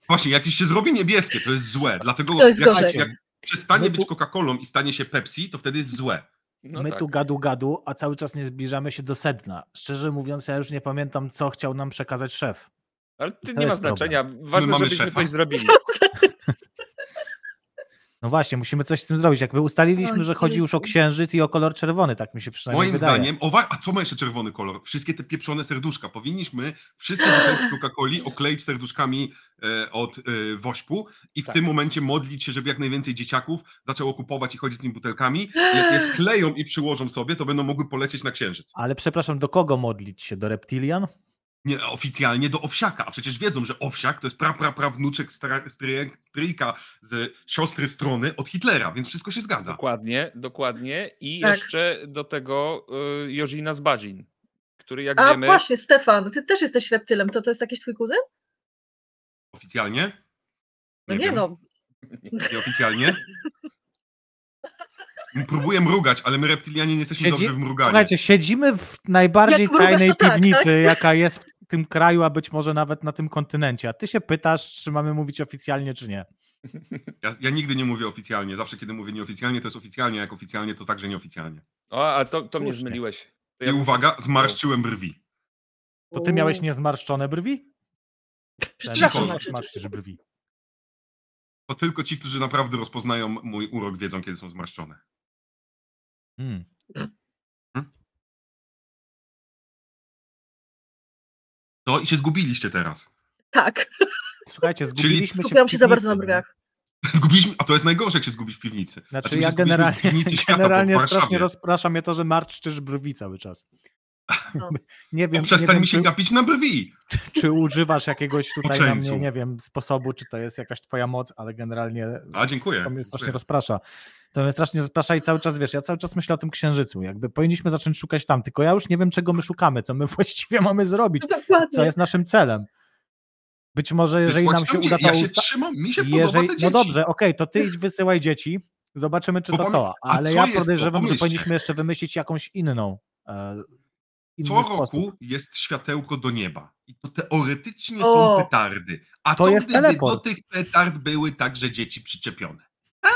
[SPEAKER 5] Właśnie, jakiś się zrobi niebieskie, to jest złe. Dlatego
[SPEAKER 2] To jest No
[SPEAKER 5] jak,
[SPEAKER 2] gorzej.
[SPEAKER 5] jak przestanie
[SPEAKER 3] My
[SPEAKER 5] być
[SPEAKER 3] tu-
[SPEAKER 5] Coca-Colą i stanie się Pepsi, to wtedy jest złe.
[SPEAKER 4] No
[SPEAKER 3] My
[SPEAKER 4] tak.
[SPEAKER 3] tu gadu gadu, a cały czas nie zbliżamy się do sedna. Szczerze mówiąc, ja już nie pamiętam, co chciał nam przekazać szef.
[SPEAKER 4] Ale to
[SPEAKER 3] to
[SPEAKER 4] nie ma
[SPEAKER 3] jest problem.
[SPEAKER 4] znaczenia. Ważne,
[SPEAKER 5] mamy
[SPEAKER 4] żebyśmy
[SPEAKER 5] szefa.
[SPEAKER 4] coś zrobili.
[SPEAKER 3] No właśnie, musimy coś z tym zrobić. Jakby ustaliliśmy,
[SPEAKER 2] Oj,
[SPEAKER 3] że chodzi już o
[SPEAKER 2] Jezu.
[SPEAKER 3] księżyc i o kolor czerwony, tak mi się przynajmniej
[SPEAKER 5] Moim
[SPEAKER 3] wydaje.
[SPEAKER 5] zdaniem, o, wa- a co ma jeszcze czerwony kolor? Wszystkie te pieprzone serduszka. Powinniśmy wszystkie butelki Coca-Coli okleić serduszkami e, od e, wośpu i w
[SPEAKER 4] Tak.
[SPEAKER 5] tym momencie modlić się, żeby jak najwięcej dzieciaków zaczęło kupować i chodzić z nimi butelkami. Jak je skleją i przyłożą sobie, to będą mogły polecieć na księżyc.
[SPEAKER 3] Ale przepraszam, do kogo modlić się? Do reptilian?
[SPEAKER 5] Nie, oficjalnie do owsiaka, a przecież wiedzą, że owsiak to jest pra, pra, pra wnuczek stra- stryjek- stryjka z siostry strony od Hitlera, więc wszystko się zgadza.
[SPEAKER 4] Dokładnie, dokładnie. I
[SPEAKER 2] Tak.
[SPEAKER 4] jeszcze do tego y, Jorzina Zbadzin, który jak
[SPEAKER 2] A
[SPEAKER 4] wiemy...
[SPEAKER 2] właśnie, Stefan, ty też jesteś reptylem. To to jest jakiś twój kuzyn?
[SPEAKER 5] Oficjalnie?
[SPEAKER 2] No nie
[SPEAKER 5] wiem.
[SPEAKER 2] no.
[SPEAKER 5] Nieoficjalnie? Próbuję mrugać, ale my reptilianie nie jesteśmy
[SPEAKER 3] Siedzi-
[SPEAKER 5] dobrzy w mruganiu.
[SPEAKER 3] Słuchajcie, siedzimy w najbardziej
[SPEAKER 2] Jak mrugasz,
[SPEAKER 3] tajnej
[SPEAKER 2] to tak,
[SPEAKER 3] piwnicy, jaka jest w tym kraju, a być może nawet na tym kontynencie. A ty się pytasz, czy mamy mówić oficjalnie, czy nie.
[SPEAKER 5] Ja, ja nigdy nie mówię oficjalnie. Zawsze, kiedy mówię nieoficjalnie, to jest oficjalnie, jak oficjalnie, to także nieoficjalnie.
[SPEAKER 4] O, a to, to mnie
[SPEAKER 3] Słusznie.
[SPEAKER 4] zmyliłeś. To
[SPEAKER 5] I
[SPEAKER 4] ja-
[SPEAKER 5] uwaga, zmarszczyłem brwi.
[SPEAKER 3] To ty miałeś niezmarszczone brwi?
[SPEAKER 2] Przepraszam,
[SPEAKER 3] Dlaczego
[SPEAKER 2] znaczy-
[SPEAKER 3] Zmarszczysz brwi.
[SPEAKER 5] To tylko ci, którzy naprawdę rozpoznają mój urok, wiedzą, kiedy są zmarszczone.
[SPEAKER 3] Hmm.
[SPEAKER 5] To i się zgubiliście teraz.
[SPEAKER 2] Tak,
[SPEAKER 3] Słuchajcie, zgubiliśmy się. w
[SPEAKER 2] skupiłam się za bardzo na
[SPEAKER 3] piwnicy, nie?
[SPEAKER 2] brwiach.
[SPEAKER 5] Zgubiliśmy, a to jest najgorsze, jak się zgubić w piwnicy.
[SPEAKER 3] Znaczy,
[SPEAKER 5] my się
[SPEAKER 3] ja
[SPEAKER 5] zgubiliśmy
[SPEAKER 3] generalnie,
[SPEAKER 5] w piwnicy świata, bo w
[SPEAKER 3] generalnie
[SPEAKER 5] Warszawie.
[SPEAKER 3] strasznie rozprasza mnie to, że marszczysz brwi cały czas.
[SPEAKER 2] No.
[SPEAKER 3] Nie wiem, nie
[SPEAKER 5] Przestań
[SPEAKER 3] wiem
[SPEAKER 5] mi się
[SPEAKER 3] czy,
[SPEAKER 5] gapić na brwi.
[SPEAKER 3] czy używasz jakiegoś tutaj na mnie,
[SPEAKER 5] Poczeńcu.
[SPEAKER 3] nie wiem, sposobu, czy to jest jakaś twoja moc, ale generalnie
[SPEAKER 5] A, dziękuję.
[SPEAKER 3] to mnie strasznie rozprasza. To mnie strasznie rozprasza i cały czas, wiesz, ja cały czas myślę o tym księżycu, jakby powinniśmy zacząć szukać tam, tylko ja już nie wiem, czego my szukamy, co my właściwie mamy zrobić, co
[SPEAKER 2] Dokładnie.
[SPEAKER 3] jest naszym celem. Być może, jeżeli
[SPEAKER 5] Wysłać
[SPEAKER 3] nam się
[SPEAKER 5] tam,
[SPEAKER 3] uda
[SPEAKER 5] no gdzie-
[SPEAKER 3] to
[SPEAKER 5] Ja się
[SPEAKER 3] usta-
[SPEAKER 5] trzymam, mi się
[SPEAKER 3] Jeżeli,
[SPEAKER 5] podoba te dzieci.
[SPEAKER 3] no dobrze, okej, to ty idź wysyłaj dzieci, zobaczymy, czy
[SPEAKER 5] Bo
[SPEAKER 3] to
[SPEAKER 5] pamię-
[SPEAKER 3] to,
[SPEAKER 5] a
[SPEAKER 3] ale
[SPEAKER 5] co
[SPEAKER 3] ja
[SPEAKER 5] jest to?
[SPEAKER 3] podejrzewam, że
[SPEAKER 5] Pomyślcie.
[SPEAKER 3] powinniśmy jeszcze wymyślić jakąś inną. E, inny
[SPEAKER 5] Co
[SPEAKER 3] sposób.
[SPEAKER 5] roku jest światełko do nieba. I to teoretycznie
[SPEAKER 2] O.
[SPEAKER 5] są petardy. A
[SPEAKER 3] To
[SPEAKER 5] co
[SPEAKER 3] jest
[SPEAKER 5] gdyby do
[SPEAKER 3] teleport.
[SPEAKER 5] tych petard były także dzieci przyczepione?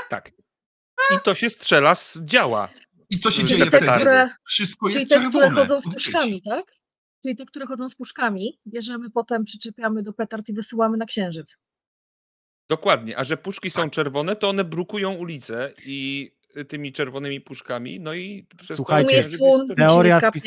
[SPEAKER 4] Tak. I to się strzela z działa.
[SPEAKER 5] I co się
[SPEAKER 4] Czyli
[SPEAKER 5] dzieje
[SPEAKER 4] te
[SPEAKER 5] wtedy?
[SPEAKER 4] petardy.
[SPEAKER 5] Wszystko
[SPEAKER 2] Czyli
[SPEAKER 5] jest
[SPEAKER 2] te, które
[SPEAKER 5] czerwone.
[SPEAKER 2] chodzą z
[SPEAKER 5] od dzieci.
[SPEAKER 2] puszkami, tak? Czyli te, które chodzą z puszkami, bierzemy potem, przyczepiamy do petard i wysyłamy na księżyc.
[SPEAKER 4] Dokładnie. A że puszki są czerwone, to one brukują ulicę i y, tymi czerwonymi puszkami, no i przez
[SPEAKER 3] Słuchajcie,
[SPEAKER 4] to
[SPEAKER 2] jest
[SPEAKER 4] księżyc
[SPEAKER 2] tłum,
[SPEAKER 4] czerwony.
[SPEAKER 3] Teoria
[SPEAKER 2] Teoria
[SPEAKER 3] spis-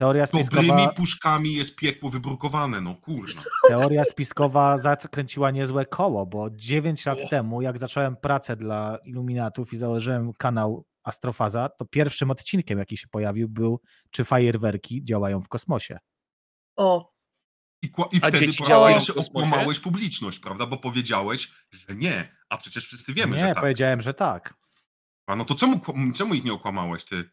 [SPEAKER 3] Teoria
[SPEAKER 5] Dobrymi
[SPEAKER 3] spiskowa,
[SPEAKER 5] puszkami jest piekło wybrukowane, no kurna.
[SPEAKER 3] teoria spiskowa zakręciła niezłe koło, bo 9 lat temu, jak zacząłem pracę dla iluminatów i założyłem kanał Astrofaza, to pierwszym odcinkiem, jaki się pojawił, był czy fajerwerki działają w kosmosie.
[SPEAKER 2] O,
[SPEAKER 5] I, kła- i
[SPEAKER 4] A
[SPEAKER 5] wtedy
[SPEAKER 4] dzieci
[SPEAKER 5] po raz
[SPEAKER 4] działają w
[SPEAKER 5] pierwszy
[SPEAKER 4] kosmosie?
[SPEAKER 5] okłamałeś publiczność, prawda? Bo powiedziałeś, że nie. A przecież wszyscy wiemy,
[SPEAKER 3] nie,
[SPEAKER 5] że tak.
[SPEAKER 3] powiedziałem, że tak.
[SPEAKER 5] A no to czemu, kłam- czemu ich nie okłamałeś, ty?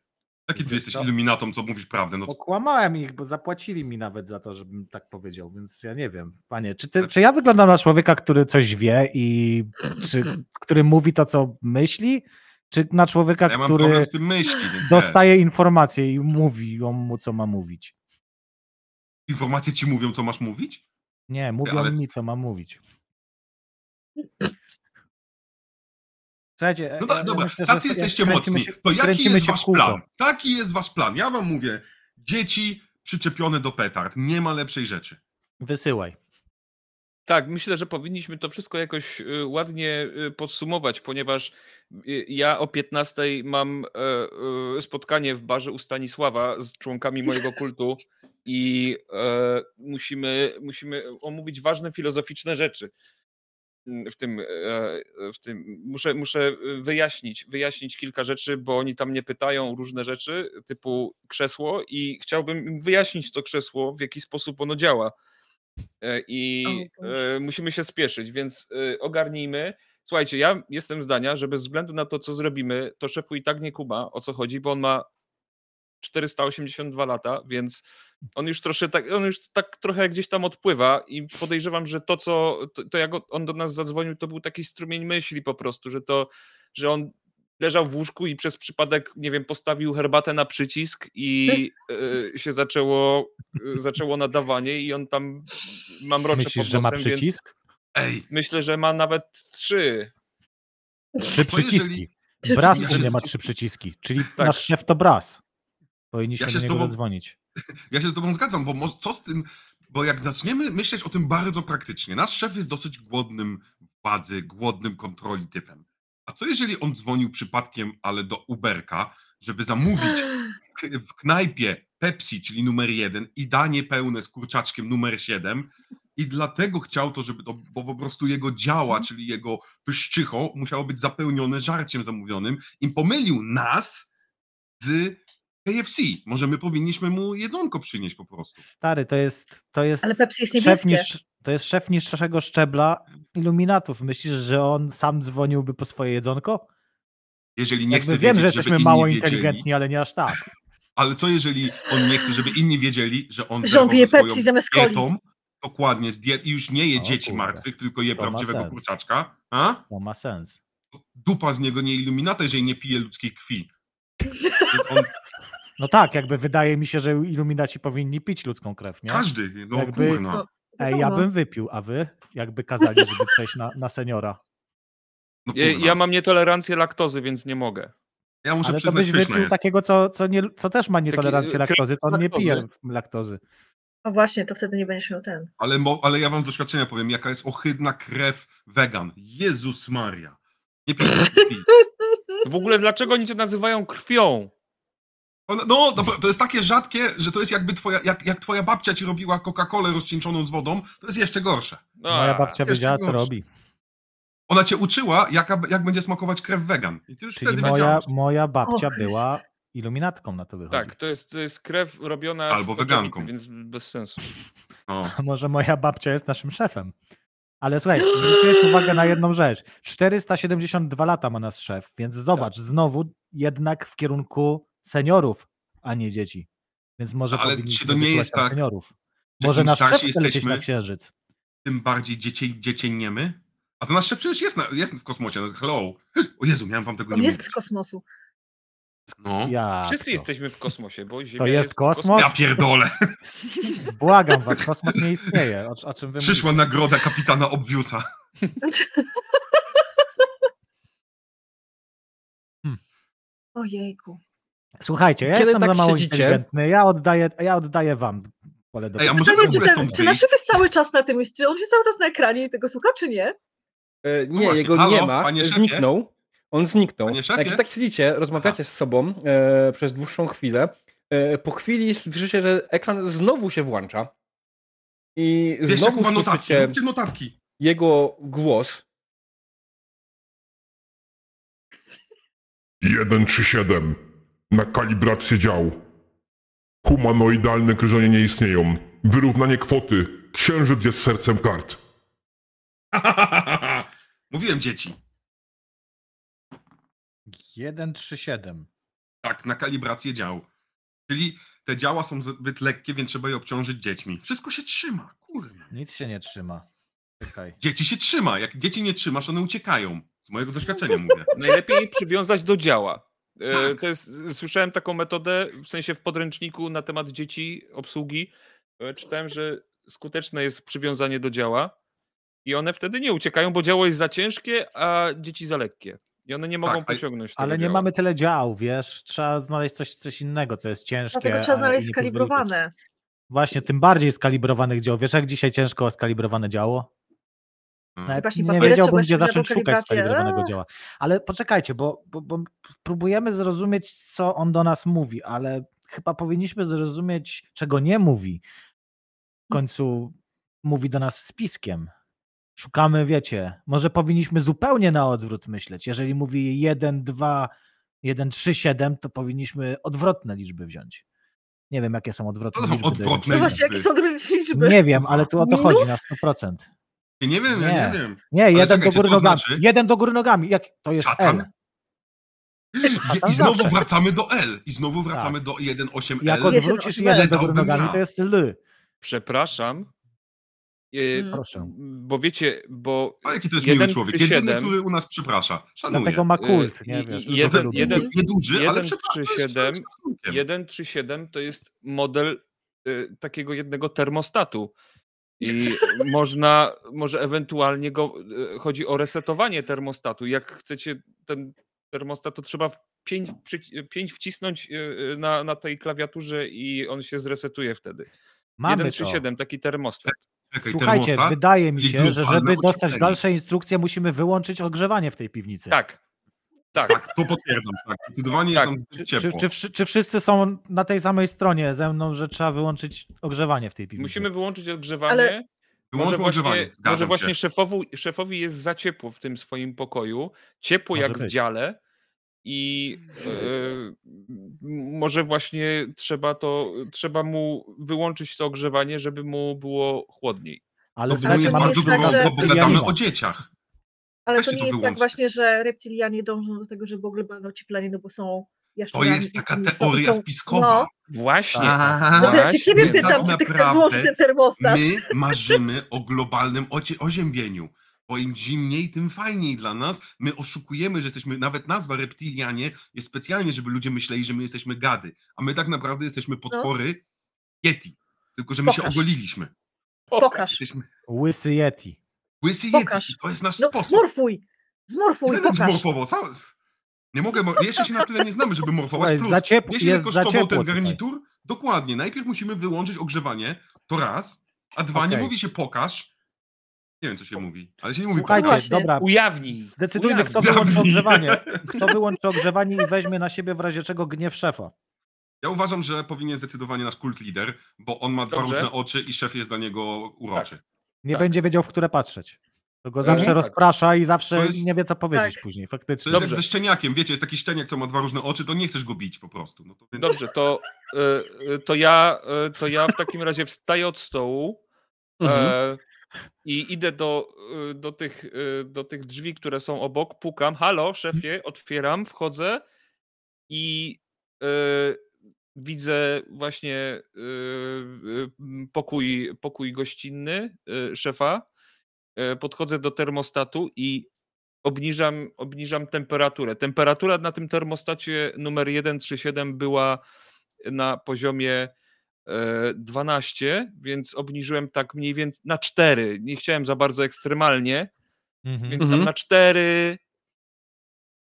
[SPEAKER 5] Jaki ty
[SPEAKER 3] Wiesz
[SPEAKER 5] jesteś
[SPEAKER 3] co?
[SPEAKER 5] iluminatą, co mówisz prawdę? No,
[SPEAKER 3] Okłamałem ich, bo zapłacili mi nawet za to, żebym tak powiedział, więc ja nie wiem. Panie, czy,
[SPEAKER 5] Tak.
[SPEAKER 3] ty, czy ja wyglądam na człowieka, który coś wie i
[SPEAKER 2] Mm,
[SPEAKER 3] czy, który mówi to, co myśli, czy na człowieka,
[SPEAKER 5] ja mam
[SPEAKER 3] który
[SPEAKER 5] problem z tym myśli, więc Dosta-
[SPEAKER 3] dostaje informacje i mówi ją mu, co ma mówić?
[SPEAKER 5] informacje ci mówią, co masz mówić?
[SPEAKER 3] Nie, mówią
[SPEAKER 5] ale-
[SPEAKER 3] mi, co ma mówić. Słuchajcie, e,
[SPEAKER 5] No da,
[SPEAKER 3] ja
[SPEAKER 5] dobra,
[SPEAKER 3] myślę, że
[SPEAKER 5] tacy
[SPEAKER 3] sobie
[SPEAKER 5] jesteście
[SPEAKER 3] kręcimy
[SPEAKER 5] mocni.
[SPEAKER 3] się-
[SPEAKER 5] to jaki
[SPEAKER 3] kręcimy
[SPEAKER 5] jest
[SPEAKER 3] się w
[SPEAKER 5] wasz
[SPEAKER 3] kółko.
[SPEAKER 5] plan? Taki jest wasz plan. Ja wam mówię, dzieci przyczepione do petard. Nie ma lepszej rzeczy.
[SPEAKER 3] Wysyłaj.
[SPEAKER 4] Tak, myślę, że powinniśmy to wszystko jakoś y, ładnie y, podsumować, ponieważ y, ja o 15 mam e, e, spotkanie w barze u Stanisława z członkami mojego kultu i e, musimy, musimy omówić ważne filozoficzne rzeczy. Mm, W tym, e, w tym muszę, muszę wyjaśnić, wyjaśnić kilka rzeczy, bo oni tam mnie pytają o różne rzeczy, typu krzesło, i chciałbym im wyjaśnić to krzesło, w jaki sposób ono działa. E, I
[SPEAKER 2] O Boże.
[SPEAKER 4] e, musimy się spieszyć, więc e, ogarnijmy. Słuchajcie, ja jestem zdania, że bez względu na to, co zrobimy, to szefu i tak nie kuma, o co chodzi, bo on ma 482 lata, więc on już trosze tak, on już tak trochę gdzieś tam odpływa i podejrzewam, że to, co to, to jak on do nas zadzwonił, to był taki strumień myśli po prostu, że to, że on leżał w łóżku i przez przypadek, nie wiem, postawił herbatę na przycisk i e, się zaczęło, e, zaczęło nadawanie i on tam ma mrocze
[SPEAKER 3] Myślisz,
[SPEAKER 4] pod
[SPEAKER 3] że ma
[SPEAKER 4] nosem, więc
[SPEAKER 3] przycisk?
[SPEAKER 5] Ej,
[SPEAKER 4] myślę, że ma nawet trzy.
[SPEAKER 3] Trzy
[SPEAKER 5] Co No jeżeli-
[SPEAKER 3] przyciski.
[SPEAKER 2] Trzy
[SPEAKER 3] Bras
[SPEAKER 5] przyciski.
[SPEAKER 3] u mnie ma trzy przyciski, czyli
[SPEAKER 4] Tak.
[SPEAKER 3] nasz szef to Bras. Powinniśmy
[SPEAKER 5] Ja się
[SPEAKER 3] do
[SPEAKER 5] z
[SPEAKER 3] niego
[SPEAKER 5] tobą-
[SPEAKER 3] zadzwonić.
[SPEAKER 5] ja się z tobą zgadzam, bo mo- co z tym... Bo jak zaczniemy myśleć o tym bardzo praktycznie, nasz szef jest dosyć głodnym władzy, głodnym kontroli typem. A co jeżeli on dzwonił przypadkiem, ale do Uberka, żeby zamówić k- w knajpie Pepsi, czyli numer jeden, i danie pełne z kurczaczkiem numer 7. I dlatego chciał to, żeby to, bo po prostu jego działa,
[SPEAKER 3] Mhm.
[SPEAKER 5] czyli jego pyszczycho musiało być zapełnione żarciem zamówionym. I pomylił nas z KFC. Może my powinniśmy mu jedzonko przynieść po prostu.
[SPEAKER 3] Stary, to jest, to jest,
[SPEAKER 2] Ale Pepsi jest
[SPEAKER 3] szef,
[SPEAKER 2] niebieskie.
[SPEAKER 3] niż, to jest szef niższego szczebla iluminatów. Myślisz, że on sam dzwoniłby po swoje jedzonko?
[SPEAKER 5] Jeżeli nie
[SPEAKER 3] Jakby
[SPEAKER 5] chce
[SPEAKER 3] wiem,
[SPEAKER 5] wiedzieć,
[SPEAKER 3] że
[SPEAKER 5] żeby
[SPEAKER 3] jesteśmy
[SPEAKER 5] inni
[SPEAKER 3] mało
[SPEAKER 5] wiedzieli,
[SPEAKER 3] inteligentni, ale nie aż tak.
[SPEAKER 5] Ale co jeżeli on nie chce, żeby inni wiedzieli, że on
[SPEAKER 2] Że on
[SPEAKER 5] zerwał
[SPEAKER 2] pije
[SPEAKER 5] ze swoją
[SPEAKER 2] Pepsi zamiast coli.
[SPEAKER 5] dietą, dokładnie, z diet, i już nie je
[SPEAKER 3] O
[SPEAKER 5] dzieci
[SPEAKER 3] kurde.
[SPEAKER 5] martwych, tylko je
[SPEAKER 3] To ma
[SPEAKER 5] prawdziwego
[SPEAKER 3] sens.
[SPEAKER 5] kurczaczka? A?
[SPEAKER 3] To ma sens.
[SPEAKER 5] dupa z niego nie iluminata, jeżeli nie pije ludzkiej krwi. Więc on,
[SPEAKER 3] No tak, jakby wydaje mi się, że iluminaci powinni pić ludzką krew, nie?
[SPEAKER 5] każdy, no
[SPEAKER 3] Jakby-
[SPEAKER 5] kurna.
[SPEAKER 3] Ej, ja
[SPEAKER 2] Wiadomo.
[SPEAKER 3] bym wypił, a wy? Jakby kazali, żeby przejść na, na seniora.
[SPEAKER 5] No,
[SPEAKER 4] Ja,
[SPEAKER 5] kurna.
[SPEAKER 4] ja mam nietolerancję laktozy, więc nie mogę.
[SPEAKER 5] ja muszę
[SPEAKER 3] Ale to
[SPEAKER 5] przyznać,
[SPEAKER 3] byś
[SPEAKER 5] pyszna
[SPEAKER 3] wypił
[SPEAKER 5] jest.
[SPEAKER 3] takiego, co, co, nie, co też ma nietolerancję
[SPEAKER 4] krew
[SPEAKER 3] laktozy, to on nie
[SPEAKER 4] e, laktozy.
[SPEAKER 3] pije laktozy.
[SPEAKER 2] No właśnie, to wtedy nie będziesz miał ten.
[SPEAKER 5] Ale, mo, ale ja wam z doświadczenia powiem, jaka jest ohydna krew wegan. Jezus Maria. Nie pij, nie pij.
[SPEAKER 4] W ogóle dlaczego oni to nazywają krwią?
[SPEAKER 5] Ona- No, dobra, to jest takie rzadkie, że to jest jakby twoja, jak, jak twoja babcia ci robiła Coca-Colę rozcieńczoną z wodą, to jest jeszcze gorsze.
[SPEAKER 3] Moja
[SPEAKER 4] A,
[SPEAKER 3] babcia
[SPEAKER 5] jeszcze
[SPEAKER 3] wiedziała, co
[SPEAKER 5] gorsze.
[SPEAKER 3] robi.
[SPEAKER 5] Ona cię uczyła, jaka, jak będzie smakować krew wegan. I ty już
[SPEAKER 3] Czyli
[SPEAKER 5] wtedy
[SPEAKER 3] moja,
[SPEAKER 5] wiedziałeś.
[SPEAKER 3] moja babcia
[SPEAKER 2] O Chryste.
[SPEAKER 3] była iluminatką na to wychodzi.
[SPEAKER 4] Tak, to jest, to jest krew robiona z
[SPEAKER 5] Albo
[SPEAKER 4] koczowicy,
[SPEAKER 5] weganką.
[SPEAKER 4] Więc bez sensu.
[SPEAKER 5] O,
[SPEAKER 3] A może moja babcia jest naszym szefem. Ale słuchaj, zwróciłeś uwagę na jedną rzecz. 472 lata ma nasz szef, więc zobacz,
[SPEAKER 5] Tak.
[SPEAKER 3] znowu jednak w kierunku seniorów, a nie dzieci. Więc może
[SPEAKER 5] Ale
[SPEAKER 3] powinniśmy
[SPEAKER 5] czy to nie
[SPEAKER 3] wysłać
[SPEAKER 5] jest
[SPEAKER 3] tam
[SPEAKER 5] tak,
[SPEAKER 3] seniorów.
[SPEAKER 5] że
[SPEAKER 3] Może
[SPEAKER 5] im
[SPEAKER 3] nasz szef
[SPEAKER 5] starsi
[SPEAKER 3] chce lecieć
[SPEAKER 5] jesteśmy-
[SPEAKER 3] na księżyc.
[SPEAKER 5] tym bardziej dziecię, dziecieniemy? A to nasz szef przecież jest, na, jest w kosmosie. No, hello. O Jezu, miałem wam tego
[SPEAKER 2] On
[SPEAKER 5] nie
[SPEAKER 2] jest
[SPEAKER 5] mówić.
[SPEAKER 2] z kosmosu.
[SPEAKER 5] No. Ja,
[SPEAKER 3] Ja.
[SPEAKER 4] Wszyscy jesteśmy w kosmosie, bo Ziemia
[SPEAKER 3] Tak, jest
[SPEAKER 4] w
[SPEAKER 3] kosmos?
[SPEAKER 4] kosmosie.
[SPEAKER 5] pierdolę.
[SPEAKER 3] Błagam was, kosmos nie istnieje. O, o czym wy
[SPEAKER 5] Przyszła nagroda kapitana Obwiusa.
[SPEAKER 2] Ojejku.
[SPEAKER 3] mówicie? Słuchajcie, ja
[SPEAKER 1] Kiedy
[SPEAKER 3] jestem
[SPEAKER 1] tak
[SPEAKER 3] za mało
[SPEAKER 1] siedzicie-
[SPEAKER 3] inteligentny. Ja oddaję, ja oddaję wam pole do
[SPEAKER 5] Ej, a
[SPEAKER 3] popisu.
[SPEAKER 5] możemy w
[SPEAKER 2] Czy,
[SPEAKER 5] ogóle
[SPEAKER 2] ten,
[SPEAKER 5] stąd
[SPEAKER 2] czy nasz
[SPEAKER 5] wyjść?
[SPEAKER 2] szef jest cały czas na tym? jest- Czy on się cały czas na ekranie i tego słucha, czy nie?
[SPEAKER 1] E, Nie,
[SPEAKER 5] No właśnie,
[SPEAKER 1] jego
[SPEAKER 5] halo,
[SPEAKER 1] nie ma,
[SPEAKER 5] panie szefie?
[SPEAKER 1] zniknął. On zniknął.
[SPEAKER 5] Panie szefie?
[SPEAKER 1] Jak tak siedzicie, rozmawiacie z sobą e, przez dłuższą chwilę, e, po chwili słyszycie, że ekran znowu się włącza i
[SPEAKER 5] Wieszcie,
[SPEAKER 1] znowu
[SPEAKER 5] kurwa, notatki.
[SPEAKER 1] słyszycie
[SPEAKER 5] Róbcie notatki.
[SPEAKER 1] jego głos.
[SPEAKER 6] 137. Na kalibrację dział. Humanoidalne gryzonie nie istnieją. Wyrównanie kwoty. Księżyc jest sercem kart.
[SPEAKER 5] Mówiłem dzieci.
[SPEAKER 3] 137.
[SPEAKER 5] Tak, na kalibrację dział. Czyli te działa są zbyt lekkie, więc trzeba je obciążyć dziećmi. Wszystko się trzyma, kurwa.
[SPEAKER 3] Nic się nie trzyma. Czekaj.
[SPEAKER 5] Dzieci się trzyma. Jak dzieci nie trzymasz, one uciekają. Z mojego doświadczenia mówię.
[SPEAKER 4] Najlepiej przywiązać do działa. E,
[SPEAKER 5] Tak.
[SPEAKER 4] To jest, słyszałem taką metodę, w sensie w podręczniku na temat dzieci, obsługi. e, Czytałem, że skuteczne jest przywiązanie do działa i one wtedy nie uciekają, bo działo jest za ciężkie, a dzieci za lekkie. I one nie mogą
[SPEAKER 5] Tak, a-
[SPEAKER 4] pociągnąć tego
[SPEAKER 3] Ale nie
[SPEAKER 4] działa.
[SPEAKER 3] mamy tyle dział, wiesz? Trzeba znaleźć coś, coś innego, co jest ciężkie.
[SPEAKER 2] Dlatego
[SPEAKER 3] a-
[SPEAKER 2] trzeba znaleźć
[SPEAKER 3] i nie pozwoli-
[SPEAKER 2] skalibrowane.
[SPEAKER 3] Właśnie, tym bardziej skalibrowanych dział. Wiesz, jak dzisiaj ciężko o skalibrowane działo?
[SPEAKER 5] No. Mhm.
[SPEAKER 3] Nawet
[SPEAKER 2] Właśnie
[SPEAKER 3] E, nie
[SPEAKER 2] papiery
[SPEAKER 3] wiedziałbym,
[SPEAKER 2] trzeba
[SPEAKER 3] gdzie
[SPEAKER 2] jeszcze
[SPEAKER 3] zacząć
[SPEAKER 2] lewą
[SPEAKER 3] szukać
[SPEAKER 2] kalibrację.
[SPEAKER 3] skalibrowanego
[SPEAKER 2] Eee.
[SPEAKER 3] działa. Ale poczekajcie, bo, bo, bo próbujemy zrozumieć, co on do nas mówi, ale chyba powinniśmy zrozumieć, czego nie mówi. W
[SPEAKER 2] Mm.
[SPEAKER 3] końcu mówi do nas spiskiem. Szukamy, wiecie, może powinniśmy zupełnie na odwrót myśleć. Jeżeli mówi 1, 2, 1, 3, 7, to powinniśmy odwrotne liczby wziąć. Nie wiem, jakie są odwrotne
[SPEAKER 5] To są
[SPEAKER 3] liczby. do jeden,
[SPEAKER 5] odwrotne
[SPEAKER 3] trzy,
[SPEAKER 2] No
[SPEAKER 5] liczby.
[SPEAKER 3] siedem.
[SPEAKER 2] właśnie, jakie są drugie liczby?
[SPEAKER 3] Nie wiem, ale tu o to chodzi na 100%.
[SPEAKER 5] Ja nie wiem, ja
[SPEAKER 3] Nie.
[SPEAKER 5] nie wiem.
[SPEAKER 3] Nie, jeden
[SPEAKER 5] czekaj,
[SPEAKER 3] do
[SPEAKER 5] czy to
[SPEAKER 3] góry nogami.
[SPEAKER 5] znaczy-
[SPEAKER 3] Jeden do góry nogami. Jak, to jest
[SPEAKER 5] Szatan?
[SPEAKER 3] L.
[SPEAKER 5] I,
[SPEAKER 3] tam
[SPEAKER 5] i znowu
[SPEAKER 3] zawsze. Tak.
[SPEAKER 5] wracamy do L. I znowu wracamy do 1.8L.
[SPEAKER 3] Jak
[SPEAKER 2] Jeden,
[SPEAKER 3] odwrócisz
[SPEAKER 2] osiem,
[SPEAKER 3] jeden,
[SPEAKER 5] L.
[SPEAKER 3] do góry
[SPEAKER 5] Dałbym
[SPEAKER 3] nogami,
[SPEAKER 5] na.
[SPEAKER 3] to jest L.
[SPEAKER 4] Przepraszam. E,
[SPEAKER 2] Mm.
[SPEAKER 3] Proszę.
[SPEAKER 4] Bo wiecie, bo.
[SPEAKER 5] A jaki to jest
[SPEAKER 4] jeden
[SPEAKER 5] miły człowiek?
[SPEAKER 4] przy
[SPEAKER 5] Jedyny,
[SPEAKER 4] siedem-
[SPEAKER 5] który u nas przeprasza. Szanuję.
[SPEAKER 3] Dlatego ma kult.
[SPEAKER 4] Y,
[SPEAKER 3] Nie
[SPEAKER 4] i-
[SPEAKER 3] wiesz,
[SPEAKER 4] i-
[SPEAKER 3] ludzie
[SPEAKER 4] jeden-
[SPEAKER 3] lubią.
[SPEAKER 4] jeden-
[SPEAKER 5] Nie, nieduży, ale
[SPEAKER 4] jeden,
[SPEAKER 5] przepraszam.
[SPEAKER 4] trzy,
[SPEAKER 5] to jest
[SPEAKER 4] siedem,
[SPEAKER 5] szacunkiem.
[SPEAKER 4] 137 to jest model y, takiego jednego termostatu. I można, może ewentualnie go, y, chodzi o resetowanie termostatu. Jak chcecie ten termostat, to trzeba 5, wcisnąć y, y, na, na tej klawiaturze i on się zresetuje wtedy.
[SPEAKER 3] Mamy to.
[SPEAKER 4] 137, taki termostat.
[SPEAKER 5] Czekaj,
[SPEAKER 3] Słuchajcie,
[SPEAKER 5] termostat.
[SPEAKER 3] wydaje mi
[SPEAKER 5] i
[SPEAKER 3] się,
[SPEAKER 5] grupalne
[SPEAKER 3] że żeby dostać
[SPEAKER 5] ocieplenie.
[SPEAKER 3] dalsze instrukcje, musimy wyłączyć ogrzewanie w tej piwnicy.
[SPEAKER 4] Tak, tak.
[SPEAKER 5] Tak, to potwierdzam. Tak, zdecydowanie
[SPEAKER 4] Tak,
[SPEAKER 5] jest tam
[SPEAKER 3] Czy,
[SPEAKER 5] zbyt
[SPEAKER 3] czy,
[SPEAKER 5] ciepło.
[SPEAKER 3] czy, wszy- czy wszyscy są na tej samej stronie ze mną, że trzeba wyłączyć ogrzewanie w tej piwnicy?
[SPEAKER 4] Musimy wyłączyć odgrzewanie.
[SPEAKER 2] Ale-
[SPEAKER 5] Wyłączmy ogrzewanie.
[SPEAKER 4] właśnie, może
[SPEAKER 5] Zgadzam
[SPEAKER 4] właśnie
[SPEAKER 5] się.
[SPEAKER 4] szefowu, szefowi jest za ciepło w tym swoim pokoju, ciepło
[SPEAKER 3] Może
[SPEAKER 4] jak w
[SPEAKER 3] być.
[SPEAKER 4] dziale i e, może właśnie trzeba to, trzeba mu wyłączyć to ogrzewanie, żeby mu było chłodniej.
[SPEAKER 3] Ale
[SPEAKER 5] To w ogóle
[SPEAKER 3] słuchajcie,
[SPEAKER 5] jest
[SPEAKER 2] mamy
[SPEAKER 5] bardzo
[SPEAKER 2] myślę, że-
[SPEAKER 5] gorąco, bo gadamy
[SPEAKER 3] reptilianina.
[SPEAKER 5] o dzieciach.
[SPEAKER 2] Ale
[SPEAKER 5] Weź
[SPEAKER 2] to
[SPEAKER 5] się
[SPEAKER 2] nie
[SPEAKER 5] tu
[SPEAKER 2] jest tak
[SPEAKER 5] wyłącz.
[SPEAKER 2] właśnie, że reptilianie dążą do tego, żeby w ogóle będą ociepleni, no bo są
[SPEAKER 5] To
[SPEAKER 2] jaszczurami.
[SPEAKER 5] jest taka
[SPEAKER 2] i są-
[SPEAKER 5] teoria
[SPEAKER 2] są-
[SPEAKER 5] spiskowa.
[SPEAKER 3] Tak.
[SPEAKER 4] Właśnie.
[SPEAKER 5] Aha.
[SPEAKER 2] No, no to ja się
[SPEAKER 4] Właśnie.
[SPEAKER 2] ciebie
[SPEAKER 5] My
[SPEAKER 2] pytam,
[SPEAKER 5] tak
[SPEAKER 2] czy ty chcesz
[SPEAKER 5] naprawdę-
[SPEAKER 2] włączyć ten termostat?
[SPEAKER 5] My marzymy o globalnym ocie- oziębieniu. Bo im zimniej, tym fajniej dla nas. My oszukujemy, że jesteśmy, nawet nazwa reptilianie jest specjalnie, żeby ludzie myśleli, że my jesteśmy gady. A my tak naprawdę jesteśmy potwory Yeti. Tylko, że my się
[SPEAKER 2] No. Pokaż.
[SPEAKER 5] ogoliliśmy.
[SPEAKER 2] Pokaż.
[SPEAKER 5] Jesteśmy
[SPEAKER 3] Łysy Yeti.
[SPEAKER 5] łysy
[SPEAKER 2] Pokaż.
[SPEAKER 5] Yeti. To jest nasz
[SPEAKER 2] No,
[SPEAKER 5] sposób.
[SPEAKER 2] zmorfuj! Zmorfuj,
[SPEAKER 5] Będę
[SPEAKER 2] pokaż!
[SPEAKER 5] morfował. Sam... Nie mogę, mor- jeszcze się na tyle nie znamy, żeby morfować.
[SPEAKER 3] Słuchaj, znaczy
[SPEAKER 5] Plus,
[SPEAKER 3] za ciepło-
[SPEAKER 5] jeśli
[SPEAKER 3] jest za
[SPEAKER 5] kosztował
[SPEAKER 3] ciepło
[SPEAKER 5] ten
[SPEAKER 3] tutaj.
[SPEAKER 5] garnitur, dokładnie. Najpierw musimy wyłączyć ogrzewanie, to raz, a dwa, nie
[SPEAKER 3] Okej.
[SPEAKER 5] mówi się pokaż. Nie wiem, co się mówi, ale się nie mówi
[SPEAKER 3] Słuchajcie,
[SPEAKER 5] pokaż.
[SPEAKER 2] Właśnie.
[SPEAKER 3] dobra,
[SPEAKER 4] Ujawnij.
[SPEAKER 3] Zdecydujmy, kto
[SPEAKER 5] Ujawni.
[SPEAKER 3] wyłączy ogrzewanie. Kto wyłączy ogrzewanie i weźmie na siebie w razie czego gniew szefa.
[SPEAKER 5] Ja uważam, że powinien zdecydowanie nasz kult lider, bo on ma dwa
[SPEAKER 4] Dobrze.
[SPEAKER 5] różne oczy i szef jest dla niego uroczy.
[SPEAKER 3] Nie
[SPEAKER 4] Tak.
[SPEAKER 3] będzie wiedział, w które patrzeć. To go zawsze rozprasza i zawsze
[SPEAKER 5] To jest-
[SPEAKER 3] nie wie, co powiedzieć
[SPEAKER 2] Tak.
[SPEAKER 3] później,
[SPEAKER 5] To
[SPEAKER 3] faktycznie.
[SPEAKER 5] jest jak ze szczeniakiem, wiecie, jest taki szczeniak, co ma dwa różne oczy, to nie chcesz go bić po prostu. No to,
[SPEAKER 4] Dobrze, to, y, y, to, ja, y, to ja w takim razie wstaję od stołu
[SPEAKER 1] Mhm.
[SPEAKER 4] e, i idę do, y, do, tych, y, do tych drzwi, które są obok, pukam, halo szefie, otwieram, wchodzę i y, widzę właśnie y, y, m, pokój, pokój gościnny y, szefa, Y, podchodzę do termostatu i obniżam, obniżam temperaturę. Temperatura na tym termostacie numer 137 była na poziomie e, 12, więc obniżyłem tak mniej więcej na 4. Nie chciałem za bardzo ekstremalnie,
[SPEAKER 3] Mhm.
[SPEAKER 4] więc
[SPEAKER 1] Mhm.
[SPEAKER 4] tam na 4,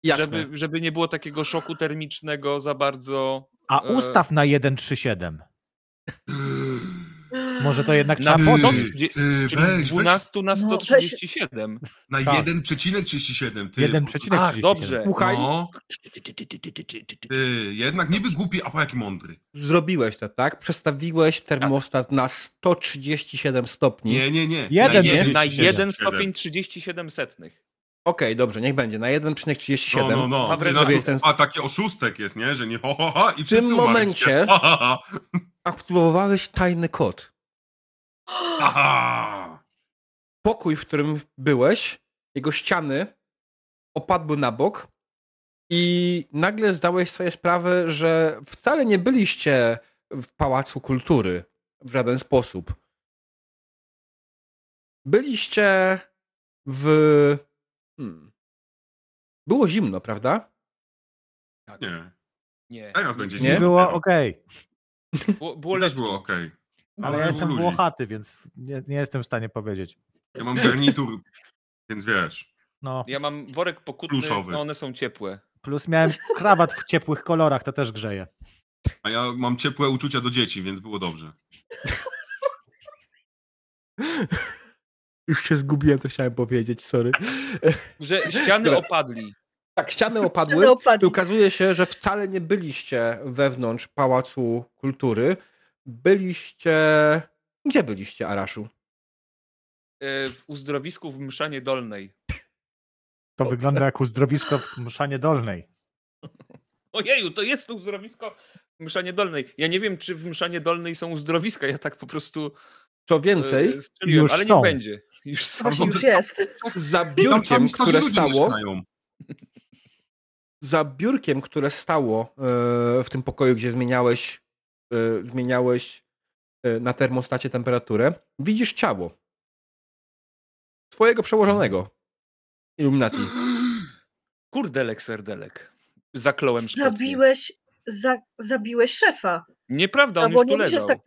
[SPEAKER 1] Jasne.
[SPEAKER 4] żeby, żeby nie było takiego szoku termicznego za bardzo.
[SPEAKER 3] A
[SPEAKER 4] e,
[SPEAKER 3] ustaw na 1,37. Może to jednak
[SPEAKER 4] Na
[SPEAKER 3] trzeba
[SPEAKER 4] sto-
[SPEAKER 3] podnieść.
[SPEAKER 4] gdzie-
[SPEAKER 5] ty,
[SPEAKER 4] Czyli z 12 na
[SPEAKER 2] weź-
[SPEAKER 4] 137.
[SPEAKER 5] na
[SPEAKER 3] tak.
[SPEAKER 5] 1,37. Ty,
[SPEAKER 4] A,
[SPEAKER 3] 1,37.
[SPEAKER 4] Tak, dobrze.
[SPEAKER 1] Słuchaj,
[SPEAKER 5] No, ty, jednak niby głupi, a po jak mądry.
[SPEAKER 1] zrobiłeś to, tak? Przestawiłeś termostat na 137 stopni.
[SPEAKER 5] Nie, nie, nie.
[SPEAKER 3] Jeden
[SPEAKER 5] Na
[SPEAKER 4] Nie,
[SPEAKER 5] jeden-
[SPEAKER 4] na
[SPEAKER 3] 37.
[SPEAKER 4] 1 stopień 37 setnych.
[SPEAKER 1] Okej, dobrze, niech będzie. Na 1,37.
[SPEAKER 5] No, no, no.
[SPEAKER 4] Fabryka.
[SPEAKER 5] Ty,
[SPEAKER 1] Ten-
[SPEAKER 5] nas- A taki oszustek jest, nie? Że nie ho, ho, ho i
[SPEAKER 1] W
[SPEAKER 5] wszyscy
[SPEAKER 1] tym
[SPEAKER 5] umarliście.
[SPEAKER 1] momencie-
[SPEAKER 5] Ha, ha, ha.
[SPEAKER 1] Aktywowałeś tajny kod.
[SPEAKER 5] Ha, ha.
[SPEAKER 1] Pokój, w którym byłeś, jego ściany opadły na bok i nagle zdałeś sobie sprawę, że wcale nie byliście w Pałacu Kultury w żaden sposób. Byliście w... Hmm. Było zimno, prawda?
[SPEAKER 5] Nie.
[SPEAKER 4] Nie.
[SPEAKER 5] Teraz będzie
[SPEAKER 1] Nie?
[SPEAKER 5] zimno.
[SPEAKER 3] Było okej,
[SPEAKER 4] Było, było
[SPEAKER 5] Było też
[SPEAKER 4] lepiej.
[SPEAKER 5] było okej.
[SPEAKER 3] ale
[SPEAKER 5] Ale
[SPEAKER 3] ja jestem
[SPEAKER 5] ludzi.
[SPEAKER 3] włochaty, więc nie, nie jestem w stanie powiedzieć.
[SPEAKER 5] Ja mam garnitur, więc wiesz.
[SPEAKER 3] No,
[SPEAKER 4] Ja mam worek pokutny,
[SPEAKER 5] Pluszowy.
[SPEAKER 4] no one są ciepłe.
[SPEAKER 3] plus miałem krawat w ciepłych kolorach, to też grzeje.
[SPEAKER 5] A ja mam ciepłe uczucia do dzieci, więc było dobrze.
[SPEAKER 1] Już się zgubiłem, co chciałem powiedzieć, sorry.
[SPEAKER 4] Że ściany
[SPEAKER 1] Dobra.
[SPEAKER 4] opadli.
[SPEAKER 1] Tak, ściany
[SPEAKER 2] Ściany
[SPEAKER 1] opadły. I
[SPEAKER 2] opadły.
[SPEAKER 1] okazuje się, że wcale nie byliście wewnątrz Pałacu Kultury. Byliście. Gdzie byliście, Araszu?
[SPEAKER 4] e, W uzdrowisku w Mszanie Dolnej.
[SPEAKER 3] To wygląda jak uzdrowisko w Mszanie Dolnej.
[SPEAKER 4] Ojeju, to jest to uzdrowisko w Mszanie Dolnej. Ja nie wiem, czy w Mszanie Dolnej są uzdrowiska. Ja tak po prostu
[SPEAKER 1] Co
[SPEAKER 4] e,
[SPEAKER 1] więcej,
[SPEAKER 4] strzeliłem,
[SPEAKER 3] Już
[SPEAKER 4] ale
[SPEAKER 3] są.
[SPEAKER 4] nie będzie. Już są.
[SPEAKER 2] Właśnie już jest.
[SPEAKER 1] za
[SPEAKER 5] Tam, tam
[SPEAKER 1] biurkiem,
[SPEAKER 5] starzy
[SPEAKER 1] które
[SPEAKER 5] ludzie
[SPEAKER 1] stało,
[SPEAKER 5] mieszkają.
[SPEAKER 1] za biurkiem, które stało e, w tym pokoju, gdzie zmieniałeś, e, zmieniałeś e, na termostacie temperaturę, widzisz ciało. Twojego przełożonego. Illuminati.
[SPEAKER 4] Kurdelek, serdelek. Zakląłem Szkocję.
[SPEAKER 2] Zabiłeś, za, zabiłeś szefa.
[SPEAKER 4] Nieprawda, on
[SPEAKER 2] Albo
[SPEAKER 4] już
[SPEAKER 2] nie
[SPEAKER 4] tu
[SPEAKER 2] musisz
[SPEAKER 4] leżał.
[SPEAKER 2] tak.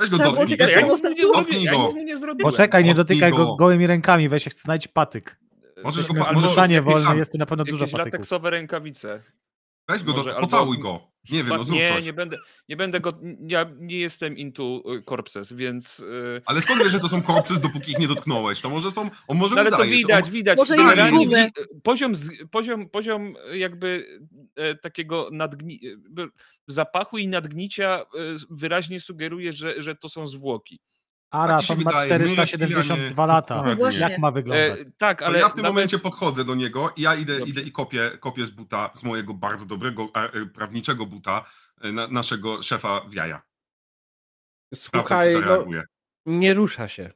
[SPEAKER 5] Weź go
[SPEAKER 2] Trzeba było
[SPEAKER 5] dotknij.
[SPEAKER 2] czekać,
[SPEAKER 5] weź
[SPEAKER 4] Ja
[SPEAKER 5] go.
[SPEAKER 2] jak
[SPEAKER 4] nic mu nie zrobiłem.
[SPEAKER 5] Zamknij
[SPEAKER 4] Ja
[SPEAKER 5] go.
[SPEAKER 4] nic mu nie zrobiłem.
[SPEAKER 3] Poczekaj, nie
[SPEAKER 5] Odbij
[SPEAKER 3] dotykaj go
[SPEAKER 5] go.
[SPEAKER 3] gołymi rękami, weź znajdź patyk.
[SPEAKER 5] Możesz go
[SPEAKER 4] Albo
[SPEAKER 5] pa-
[SPEAKER 3] Albo
[SPEAKER 5] możesz-
[SPEAKER 3] Mszanie
[SPEAKER 5] jakiś
[SPEAKER 3] wolne
[SPEAKER 5] tam-
[SPEAKER 3] jest tu na pewno dużo
[SPEAKER 4] Jakieś
[SPEAKER 3] patyków.
[SPEAKER 4] lateksowe rękawice.
[SPEAKER 5] Weź go,
[SPEAKER 4] Może
[SPEAKER 5] do...
[SPEAKER 4] albo-
[SPEAKER 5] pocałuj go. Nie wiem, no zrób
[SPEAKER 4] nie,
[SPEAKER 5] coś.
[SPEAKER 4] nie będę, nie będę go. Ja nie jestem into y, corpses, więc. y,
[SPEAKER 5] Ale skąd wiesz, że to są korpsy, dopóki ich nie dotknąłeś? To może są, on może no,
[SPEAKER 4] no ale to
[SPEAKER 5] udajesz, on
[SPEAKER 4] widać,
[SPEAKER 5] mo-
[SPEAKER 4] widać.
[SPEAKER 2] Może
[SPEAKER 5] jest
[SPEAKER 4] generalnie
[SPEAKER 5] gumy.
[SPEAKER 4] widzi- poziom, z- poziom, poziom jakby e, takiego nadgni, e, zapachu i nadgnicia e, wyraźnie sugeruje, że, że to są zwłoki.
[SPEAKER 5] Tak
[SPEAKER 3] Ara,
[SPEAKER 5] ci się
[SPEAKER 3] on ma
[SPEAKER 5] wydaje, No my reptilianie-
[SPEAKER 3] 472 lata.
[SPEAKER 5] Dokładnie.
[SPEAKER 2] Właśnie.
[SPEAKER 3] Jak ma
[SPEAKER 4] E,
[SPEAKER 3] wyglądać?
[SPEAKER 4] tak,
[SPEAKER 5] Ale
[SPEAKER 4] ale
[SPEAKER 5] ja w tym
[SPEAKER 4] nawet-
[SPEAKER 5] momencie podchodzę do niego i ja idę,
[SPEAKER 4] Dobrze.
[SPEAKER 5] idę i kopię, kopię z buta, z mojego bardzo dobrego a, y, prawniczego buta, y, na, naszego szefa w jaja. Sprawdzę,
[SPEAKER 1] Słuchaj,
[SPEAKER 5] czy
[SPEAKER 1] no,
[SPEAKER 5] zareaguje.
[SPEAKER 1] nie rusza się.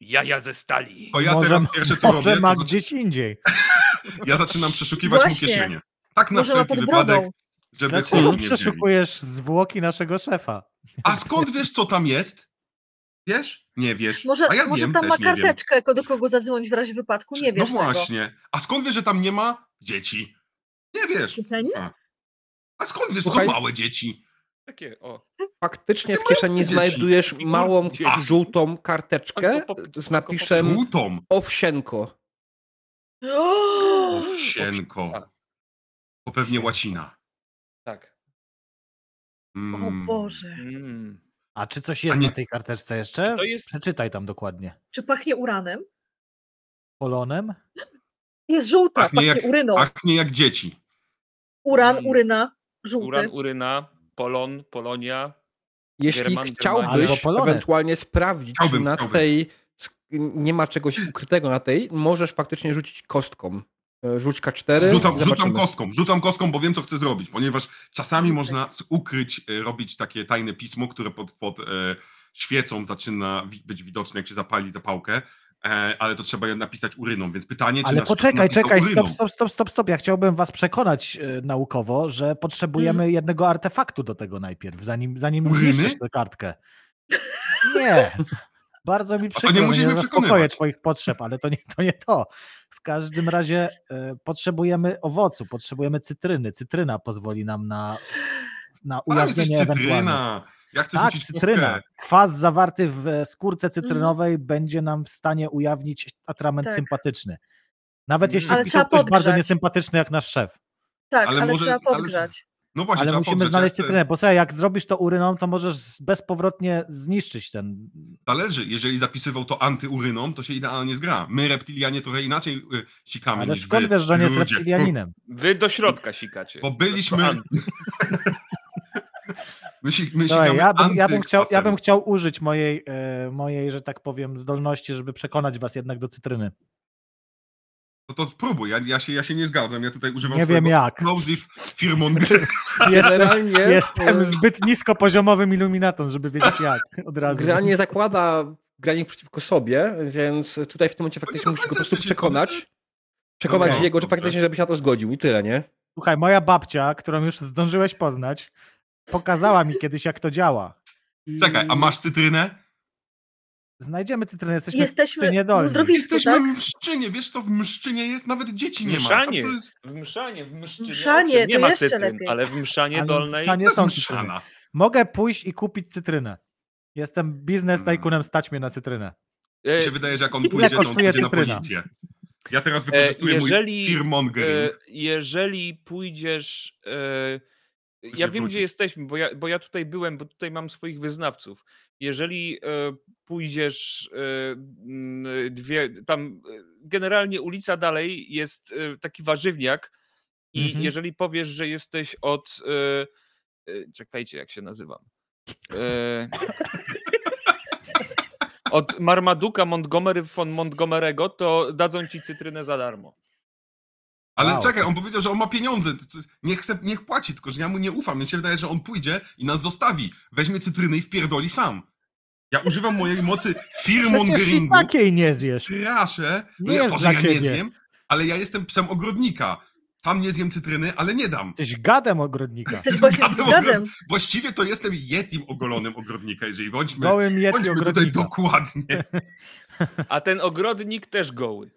[SPEAKER 4] jaja ze stali.
[SPEAKER 5] To ja
[SPEAKER 3] Może-
[SPEAKER 5] teraz pierwsze co
[SPEAKER 3] Może
[SPEAKER 5] robię,
[SPEAKER 3] ma
[SPEAKER 5] to zaczy-
[SPEAKER 3] gdzieś indziej.
[SPEAKER 5] ja zaczynam przeszukiwać
[SPEAKER 2] Właśnie.
[SPEAKER 5] mu kieszenie. Tak na
[SPEAKER 2] Może ma
[SPEAKER 5] wszelki
[SPEAKER 2] pod
[SPEAKER 5] wypadek,
[SPEAKER 2] brodą. Znaczy, no,
[SPEAKER 5] żeby
[SPEAKER 3] Dlaczego
[SPEAKER 5] chłop nie wzięli.
[SPEAKER 3] Znaczy, przeszukujesz zwłoki naszego szefa?
[SPEAKER 5] A skąd wiesz, co tam jest? Wiesz? Nie wiesz.
[SPEAKER 2] Może,
[SPEAKER 5] A ja
[SPEAKER 2] może
[SPEAKER 5] wiem,
[SPEAKER 2] tam
[SPEAKER 5] też
[SPEAKER 2] ma
[SPEAKER 5] nie wiem.
[SPEAKER 2] karteczkę, ko- do kogo zadzwonić w razie wypadku. Nie
[SPEAKER 5] No
[SPEAKER 2] wiesz tego.
[SPEAKER 5] właśnie. A skąd wiesz, że tam nie ma dzieci? Nie wiesz. Tak.
[SPEAKER 2] Kieszenie?
[SPEAKER 5] A skąd wiesz,
[SPEAKER 1] Słuchaj.
[SPEAKER 5] są małe dzieci?
[SPEAKER 4] Takie, o.
[SPEAKER 1] Faktycznie w
[SPEAKER 5] Jakie
[SPEAKER 1] kieszeni
[SPEAKER 5] małe
[SPEAKER 1] znajdujesz
[SPEAKER 5] dzieci.
[SPEAKER 1] małą
[SPEAKER 5] Dzieci.
[SPEAKER 1] żółtą karteczkę
[SPEAKER 4] Tylko pop-
[SPEAKER 1] z
[SPEAKER 4] tylko pop-
[SPEAKER 1] napisem
[SPEAKER 5] Żółtą.
[SPEAKER 1] Owsienko.
[SPEAKER 2] O!
[SPEAKER 5] Owsienko. To pewnie łacina.
[SPEAKER 4] Tak.
[SPEAKER 5] Mm.
[SPEAKER 2] O Boże.
[SPEAKER 4] Mm.
[SPEAKER 3] A czy coś jest
[SPEAKER 5] nie-
[SPEAKER 3] na tej karteczce jeszcze?
[SPEAKER 4] To jest
[SPEAKER 3] Przeczytaj tam dokładnie.
[SPEAKER 2] Czy pachnie uranem?
[SPEAKER 3] Polonem?
[SPEAKER 2] Jest żółta,
[SPEAKER 5] Pachnie
[SPEAKER 2] pachnie,
[SPEAKER 5] jak- hmm.
[SPEAKER 2] uryną.
[SPEAKER 5] Pachnie Tak jak dzieci.
[SPEAKER 2] Uran,
[SPEAKER 4] Mm.
[SPEAKER 2] uryna, żółty.
[SPEAKER 4] uran, uryna, polon, polonia.
[SPEAKER 1] Jeśli
[SPEAKER 4] German,
[SPEAKER 1] chciałbyś
[SPEAKER 4] Germania.
[SPEAKER 3] Albo Polonez.
[SPEAKER 1] ewentualnie sprawdzić,
[SPEAKER 5] Chciałbym,
[SPEAKER 1] czy na
[SPEAKER 5] chciałbym.
[SPEAKER 1] tej nie ma czegoś ukrytego na tej, możesz faktycznie rzucić kostką. E, Rzuć K4.
[SPEAKER 5] Rzucam, rzucam
[SPEAKER 1] zobaczymy.
[SPEAKER 5] kostką, rzucam kostką, bo wiem, co chcę zrobić, ponieważ czasami
[SPEAKER 2] Okej.
[SPEAKER 5] można z- ukryć, e, robić takie tajne pismo, które pod, pod e, świecą zaczyna wi- być widoczne, jak się zapali zapałkę, e, ale to trzeba je napisać uryną, więc pytanie, czy
[SPEAKER 3] Ale
[SPEAKER 5] nasz
[SPEAKER 3] poczekaj,
[SPEAKER 5] napisał
[SPEAKER 3] czekaj,
[SPEAKER 5] uryną.
[SPEAKER 3] stop, stop, stop, stop, stop. Ja chciałbym was przekonać e, naukowo, że potrzebujemy jednego artefaktu do tego najpierw, zanim, zanim
[SPEAKER 5] Uryny?
[SPEAKER 3] zniszczysz tę kartkę. Nie. Bardzo mi przykro,
[SPEAKER 5] nie
[SPEAKER 3] nie
[SPEAKER 5] musisz
[SPEAKER 3] że nie
[SPEAKER 5] mnie
[SPEAKER 3] zaspokoję
[SPEAKER 5] przekonywać.
[SPEAKER 3] twoich potrzeb, ale to nie, to nie to. W każdym razie e, potrzebujemy owocu, potrzebujemy cytryny. Cytryna pozwoli nam na, na
[SPEAKER 5] Tam jesteś
[SPEAKER 3] ujawnienie ewentualnych.
[SPEAKER 5] cytryna. Ja chcę
[SPEAKER 3] Tak,
[SPEAKER 5] rzucić
[SPEAKER 3] cytryna.
[SPEAKER 5] kostkę.
[SPEAKER 3] Kwas zawarty w e,
[SPEAKER 2] Mm.
[SPEAKER 3] skórce cytrynowej będzie nam w stanie ujawnić atrament
[SPEAKER 2] Tak.
[SPEAKER 3] sympatyczny.
[SPEAKER 5] Mm.
[SPEAKER 3] Nawet
[SPEAKER 4] Mhm.
[SPEAKER 3] jeśli
[SPEAKER 4] Ale
[SPEAKER 3] pisał
[SPEAKER 2] trzeba
[SPEAKER 3] ktoś bardzo
[SPEAKER 2] podgrzać.
[SPEAKER 3] niesympatyczny jak nasz szef.
[SPEAKER 2] Tak,
[SPEAKER 5] Ale
[SPEAKER 2] ale,
[SPEAKER 5] może-
[SPEAKER 2] trzeba
[SPEAKER 5] ale-
[SPEAKER 2] podgrzać.
[SPEAKER 5] No właśnie,
[SPEAKER 3] ale
[SPEAKER 5] trzeba
[SPEAKER 3] musimy
[SPEAKER 5] podrzeć,
[SPEAKER 3] znaleźć
[SPEAKER 5] ja chcę-
[SPEAKER 3] cytrynę, bo słuchaj, jak zrobisz to uryną, to możesz z- bezpowrotnie zniszczyć ten...
[SPEAKER 5] Zależy, jeżeli zapisywał to antyuryną, to się idealnie zgra. My, reptilianie, trochę inaczej y, sikamy
[SPEAKER 3] Ale
[SPEAKER 5] niż
[SPEAKER 3] skąd
[SPEAKER 5] wy,
[SPEAKER 3] wiesz, że on jest
[SPEAKER 5] ludzie.
[SPEAKER 3] reptilianinem?
[SPEAKER 4] Wy do środka sikacie.
[SPEAKER 5] Bo
[SPEAKER 4] To- to
[SPEAKER 5] byliśmy-
[SPEAKER 4] an-
[SPEAKER 5] My, si-
[SPEAKER 3] Słuchaj,
[SPEAKER 5] my sikamy
[SPEAKER 3] ja, bym, ja, bym chciał, ja
[SPEAKER 5] antykwasem.
[SPEAKER 3] bym chciał użyć mojej, e, mojej, że tak powiem, zdolności, żeby przekonać was jednak do cytryny.
[SPEAKER 5] No to spróbuj, ja, ja, się, ja się nie zgadzam, ja tutaj używam
[SPEAKER 3] Nie wiem
[SPEAKER 5] swojego
[SPEAKER 3] jak. Znaczy-
[SPEAKER 5] explosive firmong.
[SPEAKER 3] Jestem,
[SPEAKER 1] Generalnie
[SPEAKER 3] jestem
[SPEAKER 1] e,
[SPEAKER 3] zbyt niskopoziomowym iluminatą, żeby wiedzieć jak od razu.
[SPEAKER 1] gra nie zakłada granic przeciwko sobie, więc tutaj w tym momencie
[SPEAKER 5] nie
[SPEAKER 1] faktycznie
[SPEAKER 5] do
[SPEAKER 1] musisz go po
[SPEAKER 5] końca
[SPEAKER 1] prostu
[SPEAKER 5] jesteście
[SPEAKER 1] przekonać. Przekonać
[SPEAKER 5] Dobra,
[SPEAKER 1] jego, że
[SPEAKER 5] dobrze.
[SPEAKER 1] faktycznie, żeby się na to zgodził i tyle, nie?
[SPEAKER 3] Słuchaj, moja babcia, którą już zdążyłeś poznać, pokazała mi kiedyś, jak to działa. I
[SPEAKER 5] Czekaj, a masz cytrynę?
[SPEAKER 3] Znajdziemy cytrynę, jesteśmy...
[SPEAKER 2] Jesteśmy
[SPEAKER 3] niedolni.
[SPEAKER 2] w zdrowisku,
[SPEAKER 5] Jesteśmy
[SPEAKER 2] tak?
[SPEAKER 5] w mszczynie, wiesz co w mszczynie jest? Nawet dzieci nie ma.
[SPEAKER 4] Mszanie.
[SPEAKER 5] To jest,
[SPEAKER 4] W mszanie, w mszczynie.
[SPEAKER 2] Mszanie,
[SPEAKER 4] owszem, nie
[SPEAKER 2] to
[SPEAKER 4] ma
[SPEAKER 2] jeszcze
[SPEAKER 4] cytryn,
[SPEAKER 2] lepiej.
[SPEAKER 4] ale w mszanie
[SPEAKER 3] Ale w
[SPEAKER 4] dolnej.
[SPEAKER 5] to
[SPEAKER 3] Mszanie- Nie
[SPEAKER 5] jest
[SPEAKER 3] są
[SPEAKER 5] mszana.
[SPEAKER 3] Mogę pójść i kupić cytrynę. Jestem biznes
[SPEAKER 5] Mm.
[SPEAKER 3] tajkunem, stać mnie na cytrynę.
[SPEAKER 5] Mi
[SPEAKER 4] e,
[SPEAKER 5] się wydaje, że jak on
[SPEAKER 3] Ile
[SPEAKER 5] pójdzie, to on
[SPEAKER 3] kosztuje
[SPEAKER 5] pójdzie na
[SPEAKER 3] cytryna?
[SPEAKER 5] policję. Ja teraz wykorzystuję
[SPEAKER 4] e, jeżeli,
[SPEAKER 5] mój firmongering.
[SPEAKER 4] E, jeżeli pójdziesz. E, ja
[SPEAKER 5] nie
[SPEAKER 4] wiem,
[SPEAKER 5] wrócisz.
[SPEAKER 4] gdzie jesteśmy, bo ja, bo ja tutaj byłem, bo tutaj mam swoich wyznawców. Jeżeli e, pójdziesz e, m, dwie. Tam e, generalnie ulica dalej jest e, taki warzywniak, i
[SPEAKER 3] Mhm.
[SPEAKER 4] jeżeli powiesz, że jesteś od. E, e, czekajcie, jak się nazywam. E, od Marmaduka Montgomery von Montgomerego, to dadzą ci cytrynę za darmo.
[SPEAKER 5] Ale
[SPEAKER 3] Wow.
[SPEAKER 5] czekaj, on powiedział, że on ma pieniądze. To co- Niech, chce, niech płaci, tylko że ja mu nie ufam. Mnie się wydaje, że on pójdzie i nas zostawi. Weźmie cytryny i wpierdoli sam. Ja używam mojej mocy
[SPEAKER 3] Przecież i
[SPEAKER 5] firmongeringu.
[SPEAKER 3] takiej nie zjesz.
[SPEAKER 5] Straszę. No
[SPEAKER 3] Nie
[SPEAKER 5] ja
[SPEAKER 3] jest
[SPEAKER 5] to, że
[SPEAKER 3] dla
[SPEAKER 5] ja nie
[SPEAKER 3] ciebie.
[SPEAKER 5] zjem, ale ja jestem psem ogrodnika. Sam nie zjem cytryny, ale nie dam.
[SPEAKER 3] Jesteś gadem ogrodnika.
[SPEAKER 2] Jesteś właśnie
[SPEAKER 5] Gadem,
[SPEAKER 2] gadem.
[SPEAKER 5] Właściwie to jestem yetim ogolonym ogrodnika, jeżeli bądźmy,
[SPEAKER 3] Gołym jeti
[SPEAKER 5] bądźmy tutaj
[SPEAKER 3] ogrodnika.
[SPEAKER 5] dokładnie.
[SPEAKER 4] A ten ogrodnik też goły.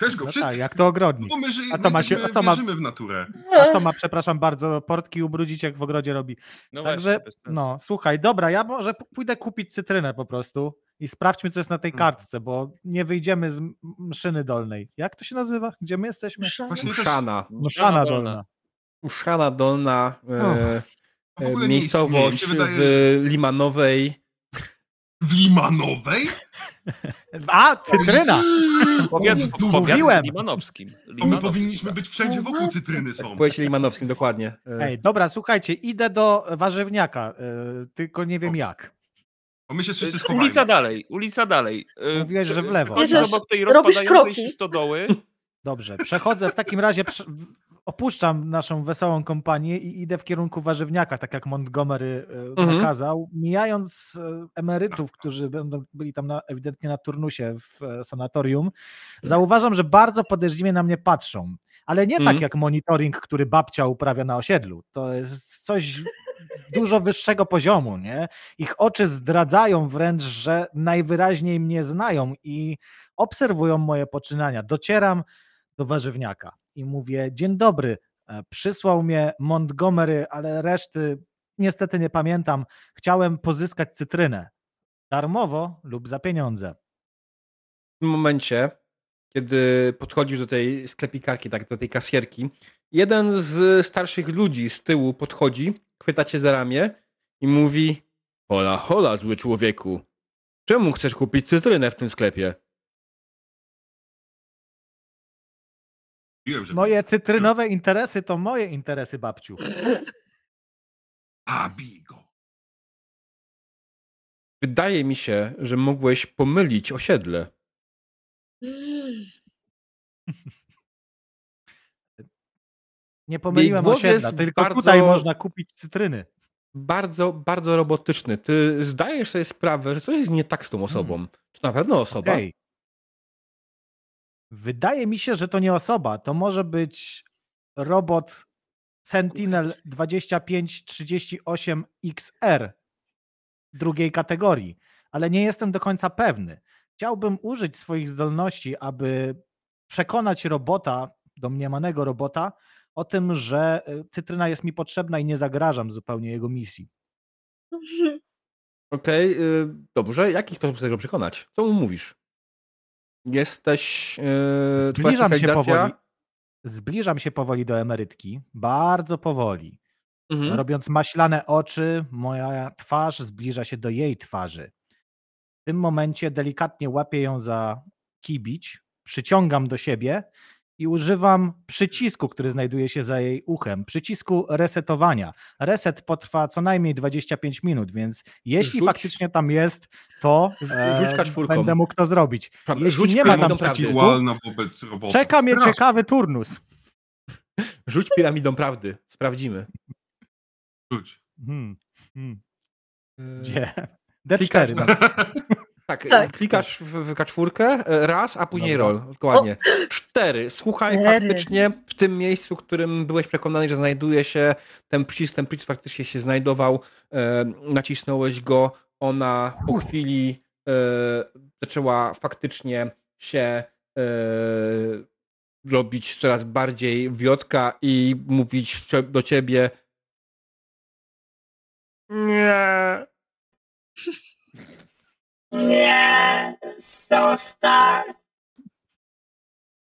[SPEAKER 5] Też go
[SPEAKER 3] No
[SPEAKER 5] wszyscy...
[SPEAKER 3] tak, jak to ogrodnik.
[SPEAKER 5] Bo my, ży...
[SPEAKER 3] A co
[SPEAKER 5] my
[SPEAKER 3] ma się-
[SPEAKER 5] jesteśmy-
[SPEAKER 3] a co ma-
[SPEAKER 5] wierzymy w naturę.
[SPEAKER 3] A co ma, przepraszam bardzo, portki ubrudzić jak w ogrodzie robi.
[SPEAKER 4] No
[SPEAKER 3] Także,
[SPEAKER 4] właśnie, bez sensu.
[SPEAKER 3] no, słuchaj, dobra, ja może p- pójdę kupić cytrynę po prostu i sprawdźmy, co jest na tej
[SPEAKER 5] Mhm.
[SPEAKER 3] kartce, bo nie wyjdziemy z m- mszyny dolnej. Jak to się nazywa? Gdzie my jesteśmy?
[SPEAKER 2] Szan-
[SPEAKER 5] Właśnie też
[SPEAKER 1] Uszana.
[SPEAKER 3] Mszana
[SPEAKER 4] dolna.
[SPEAKER 3] no dolna.
[SPEAKER 1] Uszana dolna e,
[SPEAKER 5] w ogóle
[SPEAKER 1] e,
[SPEAKER 5] nie
[SPEAKER 1] miejscowość
[SPEAKER 5] istnieje. Mi się wydaje,
[SPEAKER 1] w Limanowej.
[SPEAKER 5] W Limanowej?
[SPEAKER 3] A, cytryna!
[SPEAKER 4] Powiat,
[SPEAKER 5] Mówię,
[SPEAKER 4] powiat
[SPEAKER 3] mówiłem.
[SPEAKER 4] limanowskim.
[SPEAKER 5] To my
[SPEAKER 4] Limanowski,
[SPEAKER 5] powinniśmy
[SPEAKER 4] tak.
[SPEAKER 5] być wszędzie wokół cytryny są.
[SPEAKER 1] W powiecie limanowskim, dokładnie. E,
[SPEAKER 3] Ej, dobra, słuchajcie, idę do warzywniaka, y, tylko nie wiem
[SPEAKER 5] Dobrze.
[SPEAKER 3] jak.
[SPEAKER 5] Bo my się wszyscy
[SPEAKER 4] Y,
[SPEAKER 5] schowajmy.
[SPEAKER 4] Ulica dalej, ulica dalej. Y,
[SPEAKER 3] Mówiłeś,
[SPEAKER 4] prze-
[SPEAKER 3] że w lewo.
[SPEAKER 4] przechodzisz
[SPEAKER 2] Jedziesz,
[SPEAKER 4] obok tej
[SPEAKER 2] robisz
[SPEAKER 4] rozpadającej
[SPEAKER 2] kroki.
[SPEAKER 4] się stodoły.
[SPEAKER 3] Dobrze, przechodzę w takim razie, prze- w- opuszczam naszą wesołą kompanię i idę w kierunku warzywniaka, tak jak Montgomery e,
[SPEAKER 1] Mhm.
[SPEAKER 3] nakazał, mijając e, emerytów, którzy będą byli tam na, ewidentnie na turnusie w e, sanatorium. Mhm. Zauważam, że bardzo podejrzliwie na mnie patrzą, ale nie tak
[SPEAKER 1] Mhm.
[SPEAKER 3] jak monitoring, który babcia uprawia na osiedlu. To jest coś dużo wyższego poziomu, nie? Ich oczy zdradzają wręcz, że najwyraźniej mnie znają i obserwują moje poczynania. Docieram do warzywniaka i mówię: Dzień dobry, e, przysłał mnie Montgomery, ale reszty niestety nie pamiętam. Chciałem pozyskać cytrynę darmowo lub za pieniądze.
[SPEAKER 1] w tym momencie, kiedy podchodzisz do tej sklepikarki, tak, do tej kasjerki, jeden z starszych ludzi z tyłu podchodzi, chwyta cię za ramię i mówi: Hola, hola, zły człowieku. Czemu chcesz kupić cytrynę w tym sklepie?
[SPEAKER 5] Mówiłem, że-
[SPEAKER 3] Moje cytrynowe interesy to moje interesy, babciu.
[SPEAKER 5] A, bigo.
[SPEAKER 1] Wydaje mi się, że mogłeś pomylić osiedle.
[SPEAKER 2] Mm,
[SPEAKER 3] Nie pomyliłem
[SPEAKER 1] głowie
[SPEAKER 3] osiedla,
[SPEAKER 1] jest
[SPEAKER 3] tylko
[SPEAKER 1] bardzo-
[SPEAKER 3] tutaj można kupić cytryny.
[SPEAKER 1] Bardzo, bardzo robotyczny. Ty zdajesz sobie sprawę, że coś jest nie tak z tą osobą. Czy to na pewno osoba?
[SPEAKER 3] Okej. Wydaje mi się, że to nie osoba. To może być robot Sentinel 2538XR drugiej kategorii, ale nie jestem do końca pewny. Chciałbym użyć swoich zdolności, aby przekonać robota, domniemanego robota, o tym, że y, cytryna jest mi potrzebna i nie zagrażam zupełnie jego misji.
[SPEAKER 1] Okej, y, dobrze. Jaki sposób chce go przekonać? Co mu mówisz? Jesteś. Yy,
[SPEAKER 3] Zbliżam się powoli. Zbliżam się powoli do emerytki, bardzo powoli.
[SPEAKER 1] Mhm.
[SPEAKER 3] Robiąc maślane oczy, moja twarz zbliża się do jej twarzy. W tym momencie delikatnie łapię ją za kibić, przyciągam do siebie i używam przycisku, który znajduje się za jej uchem, przycisku resetowania. Reset potrwa co najmniej 25 minut, więc jeśli
[SPEAKER 1] Rzuć.
[SPEAKER 3] faktycznie tam jest, to e,
[SPEAKER 1] Rzuć kaczwórką.
[SPEAKER 3] będę mógł to zrobić.
[SPEAKER 1] Przepraszam,
[SPEAKER 3] jeśli
[SPEAKER 1] Rzuć
[SPEAKER 3] nie ma
[SPEAKER 1] piramidą
[SPEAKER 3] tam
[SPEAKER 1] prawdy.
[SPEAKER 3] przycisku.
[SPEAKER 5] Aktualna wobec robotów.
[SPEAKER 3] Czeka mnie
[SPEAKER 5] Strasznie.
[SPEAKER 3] ciekawy turnus.
[SPEAKER 1] Rzuć piramidą prawdy. Sprawdzimy.
[SPEAKER 5] Rzuć.
[SPEAKER 3] Hmm. Hmm.
[SPEAKER 1] Y,
[SPEAKER 3] Gdzie? No,
[SPEAKER 1] Klikasz
[SPEAKER 3] D4.
[SPEAKER 1] na- Tak,
[SPEAKER 2] Tak.
[SPEAKER 1] klikasz w, w kaczwórkę e, raz, a później
[SPEAKER 3] Dobra.
[SPEAKER 1] roll. Dokładnie. Cztery. Słuchaj,
[SPEAKER 2] Cztery.
[SPEAKER 1] faktycznie w tym miejscu, w którym byłeś przekonany, że znajduje się ten przycisk, ten przycisk faktycznie się znajdował, e, nacisnąłeś go, ona po chwili e, zaczęła faktycznie się e, robić coraz bardziej wiotka i mówić cie- do ciebie nie,
[SPEAKER 7] Nie, zostaw.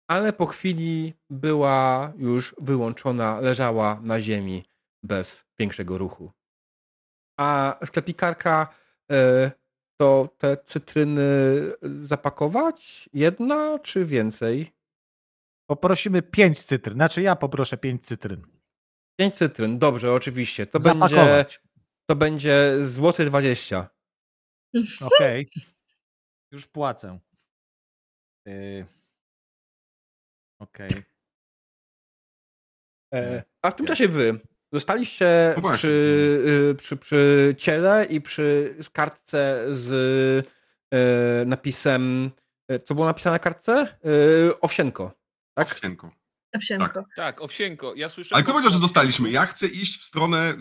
[SPEAKER 1] ale po chwili była już wyłączona, leżała na ziemi bez większego ruchu. A sklepikarka e, to te cytryny zapakować? Jedna czy więcej?
[SPEAKER 3] Poprosimy 5 cytryn. Znaczy ja poproszę 5 cytryn.
[SPEAKER 1] Pięć cytryn, dobrze, oczywiście. To będzie,
[SPEAKER 3] Zapakować.
[SPEAKER 1] to będzie złoty 20.
[SPEAKER 3] Okej. Już płacę. Yy. Okej.
[SPEAKER 1] E, A w tym czasie wy zostaliście
[SPEAKER 5] No właśnie.
[SPEAKER 1] przy, y, przy, przy ciele i przy kartce z y, napisem, y, co było napisane na kartce? Y, Owsienko. Tak?
[SPEAKER 5] Cienko.
[SPEAKER 2] Owsienko.
[SPEAKER 4] Tak, owsienko. Ja słyszę.
[SPEAKER 5] Ale kto powiedział, że zostaliśmy? Ja chcę iść w stronę y,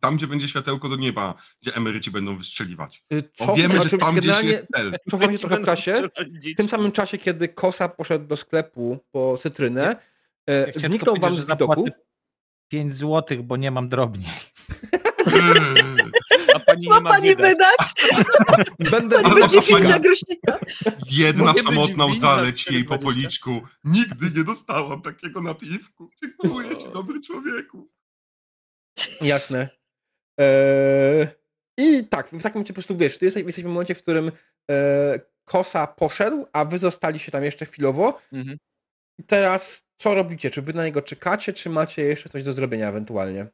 [SPEAKER 5] tam, gdzie będzie światełko do nieba, gdzie emeryci będą wystrzeliwać.
[SPEAKER 1] Y,
[SPEAKER 5] Bo wiemy, że
[SPEAKER 1] znaczy,
[SPEAKER 5] tam gdzieś
[SPEAKER 1] generalnie
[SPEAKER 5] jest cel.
[SPEAKER 1] Cofam się trochę w czasie. W tym samym czasie, kiedy Kosa poszedł do sklepu po cytrynę, y,
[SPEAKER 3] Ja chciałem
[SPEAKER 1] zniknął
[SPEAKER 3] tylko
[SPEAKER 1] wam
[SPEAKER 3] powiedzieć,
[SPEAKER 1] z
[SPEAKER 3] że
[SPEAKER 1] widoku.
[SPEAKER 3] zapłacę 5 złotych, bo nie mam drobni.
[SPEAKER 5] Eee,
[SPEAKER 4] A pani nie
[SPEAKER 2] Ma No
[SPEAKER 4] ma
[SPEAKER 2] pani
[SPEAKER 4] widać.
[SPEAKER 2] wydać?
[SPEAKER 1] Będę
[SPEAKER 2] Pani
[SPEAKER 5] Ale
[SPEAKER 2] będzie
[SPEAKER 5] to pani-
[SPEAKER 2] winna groźnika.
[SPEAKER 5] Jedna
[SPEAKER 4] Mogę być winna
[SPEAKER 5] samotna łza leci jej po
[SPEAKER 4] 4,20.
[SPEAKER 5] policzku. Nigdy nie dostałam takiego napiwku. Dziękuję ci, dobry człowieku.
[SPEAKER 1] Jasne. Eee, I tak, w takim momencie po prostu wiesz, ty jesteś, jesteś w momencie, w którym e, kosa poszedł, a wy zostaliście tam jeszcze chwilowo.
[SPEAKER 4] Mhm.
[SPEAKER 1] I teraz co robicie? Czy wy na niego czekacie, czy macie jeszcze coś do zrobienia ewentualnie?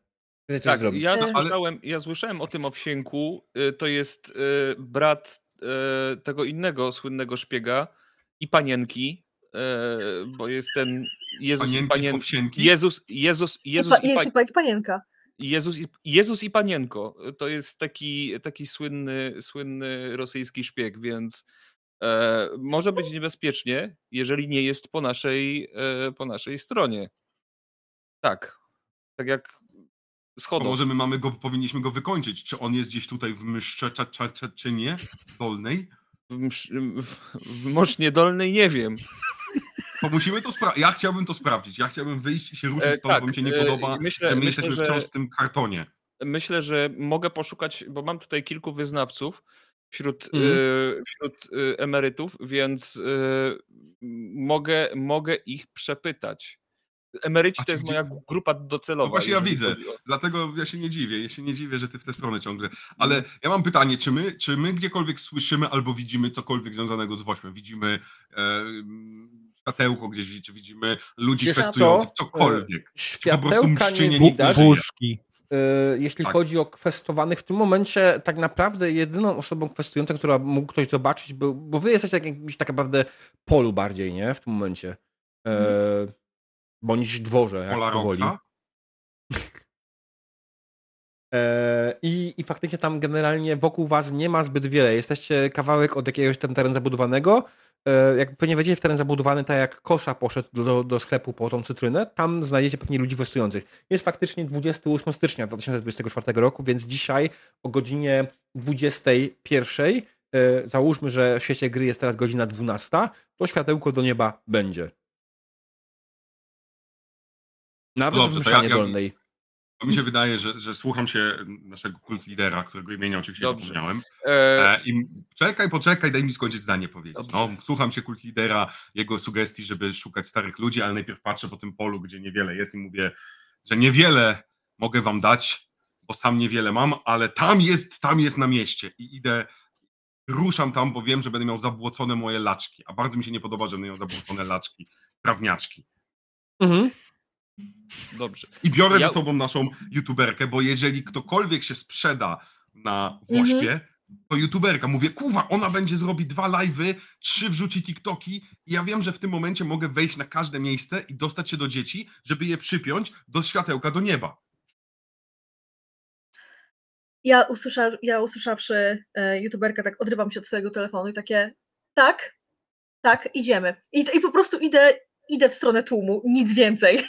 [SPEAKER 1] Chcecie coś
[SPEAKER 4] Tak,
[SPEAKER 1] zrobić?
[SPEAKER 4] ja,
[SPEAKER 2] No, ale-
[SPEAKER 4] słyszałem, ja słyszałem o tym owsienku. y, To jest y, brat y, tego innego słynnego szpiega i panienki, y, bo jest ten Jezus i
[SPEAKER 5] Panienki z
[SPEAKER 4] panienki.
[SPEAKER 5] owsienki.
[SPEAKER 4] Jezus, Jezus,
[SPEAKER 2] Jest,
[SPEAKER 4] Jezus
[SPEAKER 2] pa,
[SPEAKER 4] i
[SPEAKER 2] jest
[SPEAKER 4] pani.
[SPEAKER 2] i pani panienka.
[SPEAKER 4] Jezus i, Jezus i Panienko. To jest taki, taki słynny, słynny rosyjski szpieg, więc e, może być niebezpiecznie, jeżeli nie jest po naszej, e, po naszej stronie. Tak. Tak jak
[SPEAKER 5] To
[SPEAKER 4] schodą.
[SPEAKER 5] może my mamy go, powinniśmy go wykończyć. Czy on jest gdzieś tutaj w mszcze, cza, cza, cza, czy nie? Dolnej?
[SPEAKER 4] W, msz- w, w Mosznie Dolnej nie wiem.
[SPEAKER 5] Bo musimy to sprawdzić. Ja chciałbym to sprawdzić. Ja chciałbym wyjść i się ruszyć
[SPEAKER 4] E,
[SPEAKER 5] stąd, bo mi się nie
[SPEAKER 4] e,
[SPEAKER 5] podoba,
[SPEAKER 4] Myślę,
[SPEAKER 5] że my
[SPEAKER 4] myślę,
[SPEAKER 5] jesteśmy
[SPEAKER 4] że,
[SPEAKER 5] wciąż w tym kartonie.
[SPEAKER 4] myślę, że mogę poszukać, bo mam tutaj kilku wyznawców wśród,
[SPEAKER 1] Mhm.
[SPEAKER 4] e, wśród e, emerytów, więc e, m- mogę, mogę ich przepytać. Emeryci
[SPEAKER 5] A
[SPEAKER 4] to
[SPEAKER 5] czy
[SPEAKER 4] jest
[SPEAKER 5] gdzie-
[SPEAKER 4] moja g- grupa docelowa.
[SPEAKER 5] No właśnie ja
[SPEAKER 4] jeżeli
[SPEAKER 5] widzę.
[SPEAKER 4] chodzi o-
[SPEAKER 5] Dlatego ja się nie dziwię, ja się nie dziwię, że ty w tę stronę ciągle. Ale ja mam pytanie, czy my, czy my gdziekolwiek słyszymy albo widzimy cokolwiek związanego z Wośmem? Widzimy e, światełko gdzieś, czy widzimy ludzi
[SPEAKER 1] Wiesz co? E,
[SPEAKER 5] festujących, cokolwiek. Czy po prostu
[SPEAKER 1] Światełka
[SPEAKER 5] mszczy
[SPEAKER 1] nie
[SPEAKER 5] nie
[SPEAKER 1] widać.
[SPEAKER 5] widać?
[SPEAKER 3] Puszki.
[SPEAKER 1] E, Jeśli
[SPEAKER 5] Tak.
[SPEAKER 1] chodzi o kwestowanych, w tym momencie tak naprawdę jedyną osobą kwestującą, która mógł ktoś zobaczyć, był, bo wy jesteście tak, jakimś tak naprawdę polu bardziej, nie? W tym momencie. E, Bądź dworze, jak
[SPEAKER 5] Mhm. Pola
[SPEAKER 1] to woli.
[SPEAKER 5] Roxa.
[SPEAKER 1] E, I, I faktycznie tam generalnie wokół was nie ma zbyt wiele. Jesteście kawałek od jakiegoś tam teren zabudowanego. E, Jak pewnie wejdziecie w teren zabudowany, tak jak Kosa poszedł do- do, do sklepu po tą cytrynę, tam znajdziecie pewnie ludzi westujących. Jest faktycznie 28 stycznia 2024 roku, więc dzisiaj o godzinie 21, e, załóżmy, że w świecie gry jest teraz godzina 12, to światełko do nieba będzie. Nawet
[SPEAKER 5] Dobrze,
[SPEAKER 1] w
[SPEAKER 5] to ja-
[SPEAKER 1] mszanie
[SPEAKER 5] ja-
[SPEAKER 1] dolnej.
[SPEAKER 5] To mi się wydaje, że, że słucham się naszego kult lidera, którego imienia oczywiście
[SPEAKER 4] Dobrze.
[SPEAKER 5] zapomniałem.
[SPEAKER 4] E,
[SPEAKER 5] E, I czekaj, poczekaj, daj mi skończyć zdanie powiedzieć.
[SPEAKER 4] Dobrze.
[SPEAKER 5] No, słucham się kult lidera, jego sugestii, żeby szukać starych ludzi, ale najpierw patrzę po tym polu, gdzie niewiele jest i mówię, że niewiele mogę wam dać, bo sam niewiele mam, ale tam jest, tam jest na mieście i idę, ruszam tam, bo wiem, że będę miał zabłocone moje laczki, a bardzo mi się nie podoba, że będę miał zabłocone laczki, prawniaczki.
[SPEAKER 1] Mhm.
[SPEAKER 4] Dobrze.
[SPEAKER 5] I biorę
[SPEAKER 4] Ja-
[SPEAKER 5] ze sobą naszą youtuberkę, bo jeżeli ktokolwiek się sprzeda na Wośpie, to youtuberka. Mówię, kuwa, ona będzie zrobić dwa live'y, trzy wrzuci TikToki i ja wiem, że w tym momencie mogę wejść na każde miejsce i dostać się do dzieci, żeby je przypiąć do światełka, do nieba.
[SPEAKER 2] Ja, usłysza, ja usłyszawszy e, youtuberkę, tak odrywam się od swojego telefonu i takie tak, tak, idziemy. I, I po prostu idę, idę w stronę tłumu, nic więcej.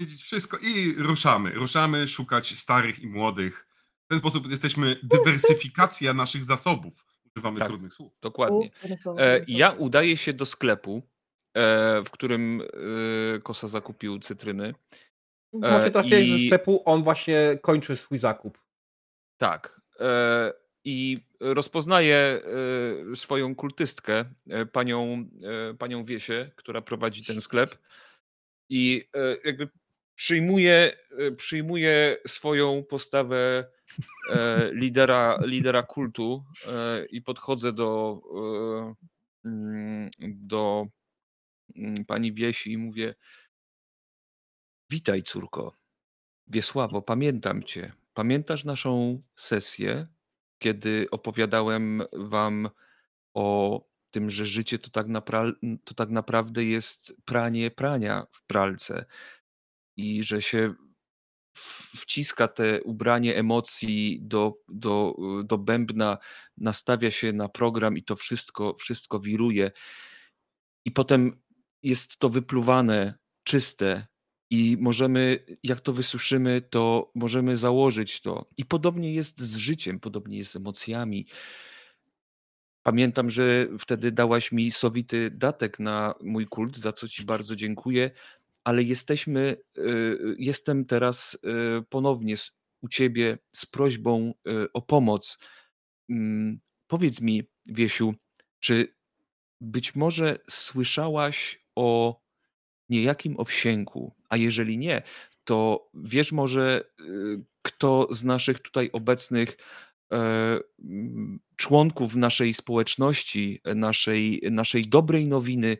[SPEAKER 5] Wiedzieć Wszystko i ruszamy. Ruszamy szukać starych i młodych. W ten sposób jesteśmy dywersyfikacja naszych zasobów. Używamy
[SPEAKER 4] Tak.
[SPEAKER 5] trudnych słów.
[SPEAKER 4] Dokładnie. E, Ja udaję się do sklepu, e, w którym e, Kosa zakupił cytryny.
[SPEAKER 1] Właśnie
[SPEAKER 4] E,
[SPEAKER 1] trafiłeś do
[SPEAKER 4] i-
[SPEAKER 1] sklepu, on właśnie kończy swój zakup.
[SPEAKER 4] Tak. e, I rozpoznaję e, swoją kultystkę, e, panią, e, panią Wiesię, która prowadzi ten sklep. I e, jakby przyjmuję, e, przyjmuję swoją postawę e, lidera, lidera kultu e, i podchodzę do, e, mm, do mm, pani Wiesi i mówię: Witaj, córko. Wiesławo, pamiętam cię. Pamiętasz naszą sesję, kiedy opowiadałem wam o tym, że życie to tak, napra- to tak naprawdę jest pranie prania w pralce i że się w- wciska te ubranie emocji do, do, y, do bębna, nastawia się na program i to wszystko, wszystko wiruje. I potem jest to wypluwane, czyste, i możemy, jak to wysuszymy, to możemy założyć to. I podobnie jest z życiem, podobnie jest z emocjami. Pamiętam, że wtedy dałaś mi sowity datek na mój kult, za co ci bardzo dziękuję, ale jesteśmy, y, jestem teraz y, ponownie z, u ciebie z prośbą y, o pomoc. Mm, Powiedz mi, Wiesiu, czy być może słyszałaś o niejakim owsięku, a jeżeli nie, to wiesz może, y, kto z naszych tutaj obecnych e, m, członków naszej społeczności, naszej, naszej dobrej nowiny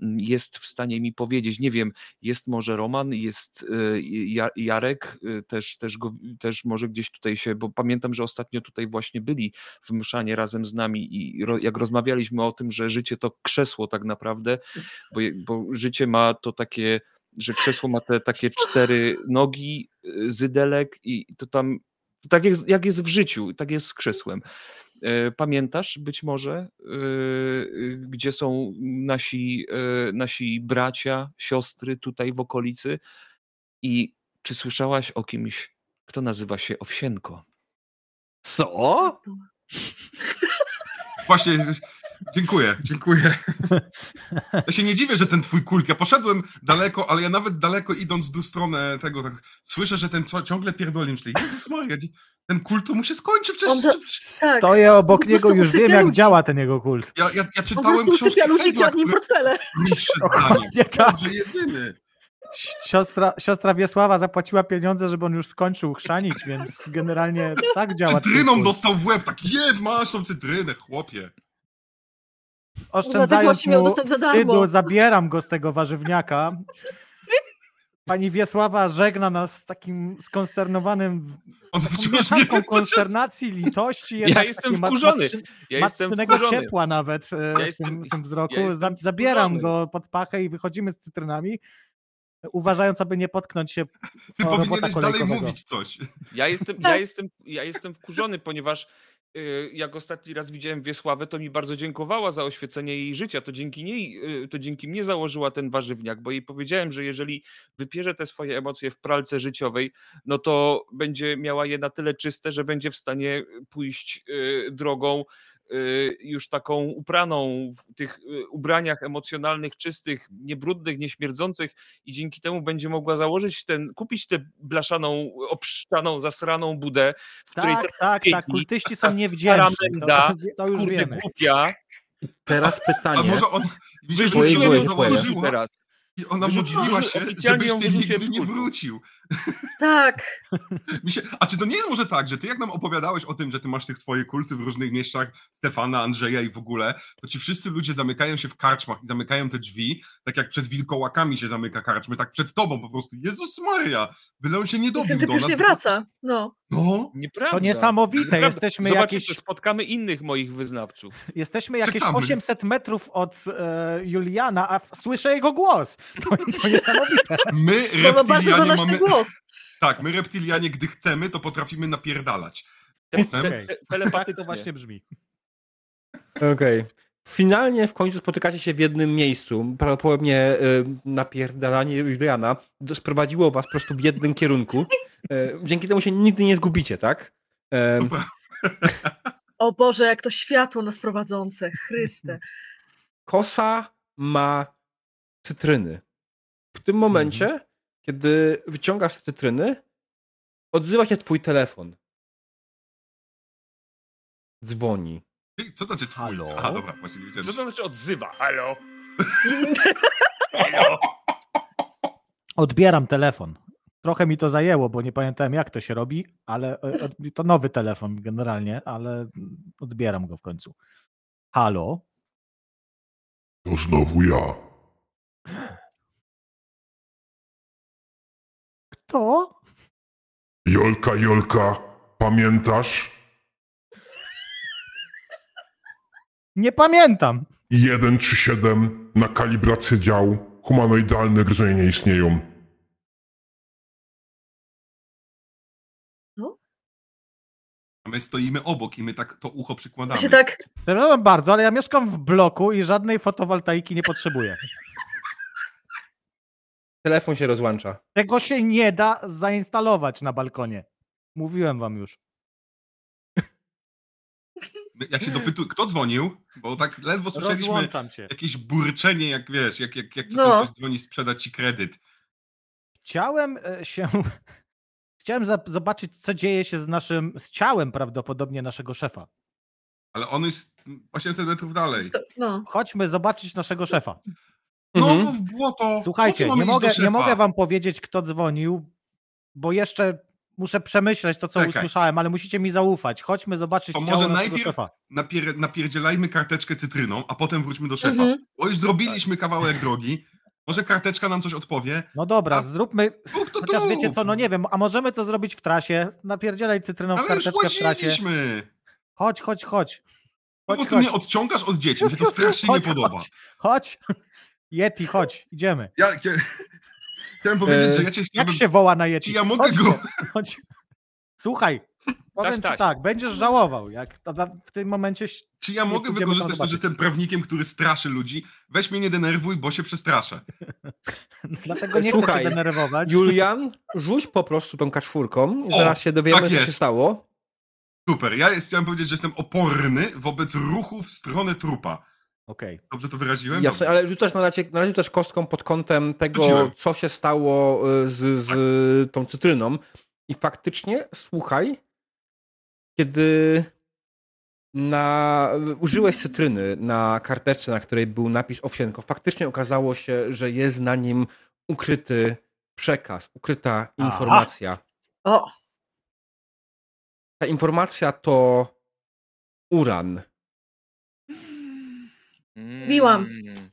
[SPEAKER 4] m, jest w stanie mi powiedzieć. Nie wiem, jest może Roman, jest y, Ja- Jarek, y, też, też, go, też może gdzieś tutaj się, bo pamiętam, że ostatnio tutaj właśnie byli w Mszanie razem z nami i ro, jak rozmawialiśmy o tym, że życie to krzesło tak naprawdę, bo, je- bo życie ma to takie, że krzesło ma te takie cztery nogi, y, zydelek i to tam, tak jak, jak jest w życiu, tak jest z krzesłem. E, Pamiętasz być może, y, y, gdzie są nasi, y, nasi bracia, siostry tutaj w okolicy i czy słyszałaś o kimś, kto nazywa się Owsienko?
[SPEAKER 1] Co?
[SPEAKER 5] Właśnie, dziękuję, dziękuję. Ja się nie dziwię, że ten twój kult, ja poszedłem daleko, ale ja nawet daleko idąc w dół stronę tego, tak, słyszę, że ten co, ciągle pierdolę, czyli Jezus Maria, dzi- ten kult to mu się skończy wcześniej.
[SPEAKER 2] On za- Tak.
[SPEAKER 3] Stoję
[SPEAKER 2] Po
[SPEAKER 3] obok
[SPEAKER 2] prostu
[SPEAKER 3] niego, już wiem
[SPEAKER 2] usypia
[SPEAKER 3] jak
[SPEAKER 2] ludzi.
[SPEAKER 3] działa ten jego kult.
[SPEAKER 5] Ja, ja, ja
[SPEAKER 2] Po
[SPEAKER 5] czytałem
[SPEAKER 2] prostu
[SPEAKER 5] książkę
[SPEAKER 2] usypia ludzi,
[SPEAKER 5] Heidla,
[SPEAKER 2] kładnie
[SPEAKER 5] który
[SPEAKER 2] portfele.
[SPEAKER 5] niższe zdanie.
[SPEAKER 3] Nie, tak.
[SPEAKER 5] Boże, jedyny.
[SPEAKER 3] Siostra, siostra Wiesława zapłaciła pieniądze, żeby on już skończył chrzanić, więc generalnie tak działa. ten
[SPEAKER 5] Cytryną
[SPEAKER 3] kult.
[SPEAKER 5] dostał w łeb, tak, jed, masz tą cytrynę, chłopie.
[SPEAKER 2] Dlatego
[SPEAKER 3] Oszczędzając
[SPEAKER 2] właśnie miał
[SPEAKER 3] mu
[SPEAKER 2] dostęp za darmo.
[SPEAKER 3] wstydu, zabieram go z tego warzywniaka. Pani Wiesława żegna nas z takim skonsternowanym,
[SPEAKER 5] On
[SPEAKER 3] taką
[SPEAKER 5] wciąż nie
[SPEAKER 3] mieszanką
[SPEAKER 5] wie, co się
[SPEAKER 3] konsternacji, litości.
[SPEAKER 4] Ja
[SPEAKER 3] jednak
[SPEAKER 4] jestem
[SPEAKER 3] takiej mat-
[SPEAKER 4] wkurzony.
[SPEAKER 3] matczy-
[SPEAKER 4] Ja jestem
[SPEAKER 3] matczynego
[SPEAKER 4] wkurzony.
[SPEAKER 3] ciepła nawet e, w tym,
[SPEAKER 4] jestem-
[SPEAKER 3] w tym wzroku.
[SPEAKER 4] jestem
[SPEAKER 3] Za- Zabieram
[SPEAKER 4] wkurzony.
[SPEAKER 3] go pod pachę i wychodzimy z cytrynami, uważając, aby nie potknąć się
[SPEAKER 5] Ty
[SPEAKER 3] o no, robota
[SPEAKER 5] powinieneś dalej
[SPEAKER 3] kolejkowego.
[SPEAKER 5] mówić coś.
[SPEAKER 4] Ja jestem, ja jestem, ja jestem wkurzony, ponieważ y, jak ostatni raz widziałem Wiesławę, to mi bardzo dziękowała za oświecenie jej życia. To dzięki niej, y, to dzięki mnie założyła ten warzywniak, bo jej powiedziałem, że jeżeli wypierze te swoje emocje w pralce życiowej, no to będzie miała je na tyle czyste, że będzie w stanie pójść y, drogą y, już taką upraną w tych y, ubraniach emocjonalnych, czystych, niebrudnych, nieśmierdzących i dzięki temu będzie mogła założyć ten, kupić tę blaszaną, obszczaną, zasraną budę, w której
[SPEAKER 3] Tak, tak, tak.
[SPEAKER 4] piękni,
[SPEAKER 3] Kultyści są
[SPEAKER 4] teraz
[SPEAKER 3] niewdzięczni. To,
[SPEAKER 4] Aramenda,
[SPEAKER 3] to
[SPEAKER 4] ta
[SPEAKER 3] już
[SPEAKER 4] kurde
[SPEAKER 3] wiemy.
[SPEAKER 4] głupia
[SPEAKER 1] Teraz
[SPEAKER 5] A
[SPEAKER 1] pytanie.
[SPEAKER 5] może on... Mi się
[SPEAKER 1] Wyrzuciłem
[SPEAKER 5] rzuciło,
[SPEAKER 1] ją
[SPEAKER 5] że
[SPEAKER 1] z koła.
[SPEAKER 5] założyła
[SPEAKER 4] teraz.
[SPEAKER 5] I ona
[SPEAKER 4] Wyrzuciłem-
[SPEAKER 5] modliła się,
[SPEAKER 4] oficjalnie ją
[SPEAKER 5] żebyś ty
[SPEAKER 4] wyrzuciłem
[SPEAKER 5] nigdy
[SPEAKER 4] z
[SPEAKER 5] nie
[SPEAKER 4] kursu.
[SPEAKER 5] wrócił.
[SPEAKER 2] Tak,
[SPEAKER 5] Mi się, a czy to nie jest może tak, że ty jak nam opowiadałeś o tym, że ty masz tych swoje kulty w różnych miejscach, Stefana, Andrzeja i w ogóle, to ci wszyscy ludzie zamykają się w karczmach i zamykają te drzwi, tak jak przed wilkołakami się zamyka karczmy, tak przed tobą po prostu. Jezus Maria, byle on się nie dobił
[SPEAKER 2] ten
[SPEAKER 5] do
[SPEAKER 2] typ już
[SPEAKER 5] nas,
[SPEAKER 2] nie
[SPEAKER 5] bo-
[SPEAKER 2] wraca. No.
[SPEAKER 5] No,
[SPEAKER 4] Nieprawda.
[SPEAKER 3] To niesamowite.
[SPEAKER 4] Nieprawda.
[SPEAKER 3] Jesteśmy
[SPEAKER 4] Zobaczycie,
[SPEAKER 3] jakieś
[SPEAKER 4] spotkamy innych moich wyznawców.
[SPEAKER 3] Jesteśmy jakieś
[SPEAKER 5] Czekamy.
[SPEAKER 3] 800 metrów od e, Juliana, a w- słyszę jego głos. To, to niesamowite.
[SPEAKER 5] my
[SPEAKER 4] Eee,
[SPEAKER 2] To ma bardzo
[SPEAKER 5] reptilianie
[SPEAKER 2] donośny
[SPEAKER 5] mamy...
[SPEAKER 2] głos.
[SPEAKER 5] Tak, my reptilianie, gdy chcemy, to potrafimy napierdalać.
[SPEAKER 4] Te,
[SPEAKER 5] Potem?
[SPEAKER 4] te, te,
[SPEAKER 3] Tak
[SPEAKER 4] telepatycznie.
[SPEAKER 3] to właśnie brzmi.
[SPEAKER 1] Okej. Finalnie w końcu spotykacie się w jednym miejscu. Prawdopodobnie y, napierdalanie Juliana do- sprowadziło was po prostu w jednym kierunku. E, dzięki temu się nigdy nie zgubicie, tak? E,
[SPEAKER 5] To pra-
[SPEAKER 2] O Boże, jak to światło nas prowadzące. Chryste.
[SPEAKER 1] kosa ma cytryny. W tym momencie, kiedy wyciągasz te cytryny, odzywa się twój telefon. Dzwoni.
[SPEAKER 5] Ty- Co to znaczy twój?
[SPEAKER 3] Halo?
[SPEAKER 5] Aha, dobra, właśnie nie wiedziałem.
[SPEAKER 4] Co to znaczy odzywa? Halo?
[SPEAKER 3] Odbieram telefon. Trochę mi to zajęło, bo nie pamiętałem jak to się robi, ale e, od- to nowy telefon generalnie, ale odbieram go w końcu. Halo?
[SPEAKER 6] To znowu ja.
[SPEAKER 3] Kto?
[SPEAKER 6] Jolka, Jolka, pamiętasz?
[SPEAKER 3] Nie pamiętam.
[SPEAKER 6] 1 czy 7 na kalibrację dział. Humanoidalne gryzonie nie istnieją.
[SPEAKER 5] A my stoimy obok i my tak to ucho
[SPEAKER 2] Ja
[SPEAKER 5] przykładamy.
[SPEAKER 2] się tak,
[SPEAKER 3] Przepraszam bardzo, ale ja mieszkam w bloku i żadnej fotowoltaiki nie potrzebuję.
[SPEAKER 1] Telefon się rozłącza.
[SPEAKER 3] Tego się nie da zainstalować na balkonie. Mówiłem wam już.
[SPEAKER 5] My- Jak się dopytuję, kto dzwonił? Bo tak ledwo słyszeliśmy
[SPEAKER 3] Rozłączam się.
[SPEAKER 5] jakieś burczenie, jak wiesz, jak, jak, jak
[SPEAKER 2] No.
[SPEAKER 5] czasem ktoś dzwoni sprzedać ci kredyt.
[SPEAKER 3] Chciałem e, się. Chciałem za- zobaczyć, co dzieje się z naszym. z ciałem prawdopodobnie naszego szefa.
[SPEAKER 5] Ale on jest 800 metrów dalej.
[SPEAKER 2] sto- no.
[SPEAKER 3] Chodźmy zobaczyć naszego szefa.
[SPEAKER 5] Znowu
[SPEAKER 1] Mhm.
[SPEAKER 5] w błoto!
[SPEAKER 3] Słuchajcie,
[SPEAKER 5] Po co
[SPEAKER 3] nie
[SPEAKER 5] mamy iść do
[SPEAKER 3] mogę, nie
[SPEAKER 5] szefa?
[SPEAKER 3] mogę wam powiedzieć, kto dzwonił, bo jeszcze muszę przemyśleć to, co
[SPEAKER 5] Czekaj.
[SPEAKER 3] usłyszałem, ale musicie mi zaufać. Chodźmy zobaczyć
[SPEAKER 5] To
[SPEAKER 3] ciało
[SPEAKER 5] może
[SPEAKER 3] naszego
[SPEAKER 5] najpierw-
[SPEAKER 3] szefa.
[SPEAKER 5] Napier, napierdzielajmy karteczkę cytryną, a potem wróćmy do szefa.
[SPEAKER 2] Mhm.
[SPEAKER 5] Bo już zrobiliśmy kawałek drogi. Może karteczka nam coś odpowie?
[SPEAKER 3] No dobra,
[SPEAKER 5] A-
[SPEAKER 3] zróbmy.
[SPEAKER 5] Rób to
[SPEAKER 3] Chociaż
[SPEAKER 5] tu!
[SPEAKER 3] wiecie co, no nie wiem, a możemy to zrobić w trasie. Napierdzielaj cytryną w
[SPEAKER 5] Ale już
[SPEAKER 3] karteczkę w trasie.
[SPEAKER 5] łaziliśmy!
[SPEAKER 3] Chodź, chodź, chodź.
[SPEAKER 5] Po
[SPEAKER 3] Chodź,
[SPEAKER 5] prostu mnie odciągasz od dzieci, mi się to strasznie nie podoba.
[SPEAKER 3] Chodź, chodź. Yeti, chodź, idziemy.
[SPEAKER 5] Ja chcia... chciałem powiedzieć,
[SPEAKER 1] E,
[SPEAKER 5] że ja cię
[SPEAKER 3] Eee, Jak
[SPEAKER 5] chciałbym...
[SPEAKER 3] się woła na Yeti?
[SPEAKER 5] Czy ja mogę
[SPEAKER 3] Chodź,
[SPEAKER 5] go-
[SPEAKER 3] Chodź. Słuchaj, powiem
[SPEAKER 4] taś.
[SPEAKER 3] ci tak, będziesz żałował, jak ta- ta- w tym momencie ś-
[SPEAKER 5] Czy ja
[SPEAKER 3] Nie
[SPEAKER 5] mogę
[SPEAKER 3] pójdziemy tam
[SPEAKER 5] wykorzystać to, że
[SPEAKER 3] zobaczyć.
[SPEAKER 5] jestem prawnikiem, który straszy ludzi? Weź mnie nie denerwuj, bo się przestraszę.
[SPEAKER 3] dlatego nie chcę
[SPEAKER 1] Słuchaj,
[SPEAKER 3] cię denerwować.
[SPEAKER 1] Julian, rzuć po prostu tą kaczwórką.
[SPEAKER 5] O,
[SPEAKER 1] Zaraz się dowiemy,
[SPEAKER 5] tak
[SPEAKER 1] co się
[SPEAKER 5] jest.
[SPEAKER 1] stało.
[SPEAKER 5] Super, ja jest, chciałem powiedzieć, że jestem oporny wobec ruchu w stronę trupa.
[SPEAKER 3] Okej.
[SPEAKER 5] Dobrze to wyraziłem?
[SPEAKER 1] Jasne, ale rzucasz na razie, na razie rzucasz kostką pod kątem tego,
[SPEAKER 5] Rzuciłem. Tak.
[SPEAKER 1] co się stało y, z, z tą cytryną. I faktycznie, słuchaj, kiedy na, użyłeś cytryny na karteczce, na której był napis Owsienko, faktycznie okazało się, że jest na nim ukryty przekaz, ukryta
[SPEAKER 3] Aha.
[SPEAKER 1] informacja.
[SPEAKER 2] O,
[SPEAKER 1] Ta informacja to uran.
[SPEAKER 2] Mówiłam.
[SPEAKER 4] Mm.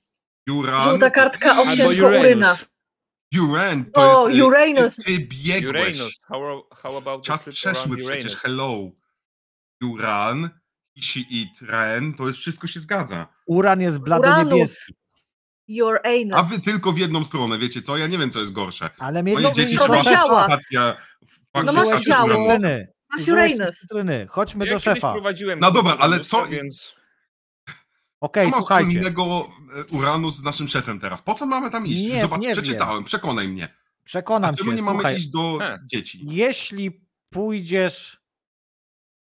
[SPEAKER 5] Juran,
[SPEAKER 2] żółta kartka,
[SPEAKER 1] Albo
[SPEAKER 2] owsienko,
[SPEAKER 1] Uranus.
[SPEAKER 2] uryna.
[SPEAKER 5] Uran to
[SPEAKER 2] O,
[SPEAKER 5] jest... y,
[SPEAKER 2] Uranus.
[SPEAKER 5] Ty, ty biegłeś.
[SPEAKER 4] Uranus, how, how about the
[SPEAKER 5] Czas
[SPEAKER 4] trip
[SPEAKER 5] przeszły
[SPEAKER 4] around
[SPEAKER 5] przecież,
[SPEAKER 4] Uranus?
[SPEAKER 5] hello. Uran, Ishi i Tren, to jest wszystko się zgadza.
[SPEAKER 3] Uran jest blado niebieski,
[SPEAKER 2] Uranus. Your anus.
[SPEAKER 5] A wy tylko w jedną stronę, wiecie co? Ja nie wiem, co jest gorsze.
[SPEAKER 3] ale
[SPEAKER 5] Moje
[SPEAKER 3] mieli
[SPEAKER 5] dzieci tak
[SPEAKER 2] to
[SPEAKER 5] czy
[SPEAKER 2] ciała.
[SPEAKER 5] fakcja,
[SPEAKER 2] No masz
[SPEAKER 5] fakcja
[SPEAKER 2] ciało.
[SPEAKER 5] uranu?
[SPEAKER 2] Masz Uranus.
[SPEAKER 3] Chodźmy
[SPEAKER 4] Ja
[SPEAKER 3] do
[SPEAKER 4] kiedyś
[SPEAKER 3] szefa.
[SPEAKER 4] prowadziłem
[SPEAKER 5] No dobra, ale
[SPEAKER 4] Uranusa,
[SPEAKER 5] co-
[SPEAKER 4] Więc...
[SPEAKER 3] Okej,
[SPEAKER 5] Co ma
[SPEAKER 3] słuchajcie.
[SPEAKER 5] wspólnego e, Uranu z naszym szefem teraz? Po co mamy tam iść?
[SPEAKER 3] Nie,
[SPEAKER 5] Zobacz,
[SPEAKER 3] nie wiem.
[SPEAKER 5] przeczytałem, przekonaj mnie. A
[SPEAKER 3] Przekonam
[SPEAKER 5] czemu
[SPEAKER 3] cię,
[SPEAKER 5] nie mamy
[SPEAKER 3] słuchaj,
[SPEAKER 5] iść do
[SPEAKER 4] E.
[SPEAKER 5] dzieci?
[SPEAKER 3] jeśli pójdziesz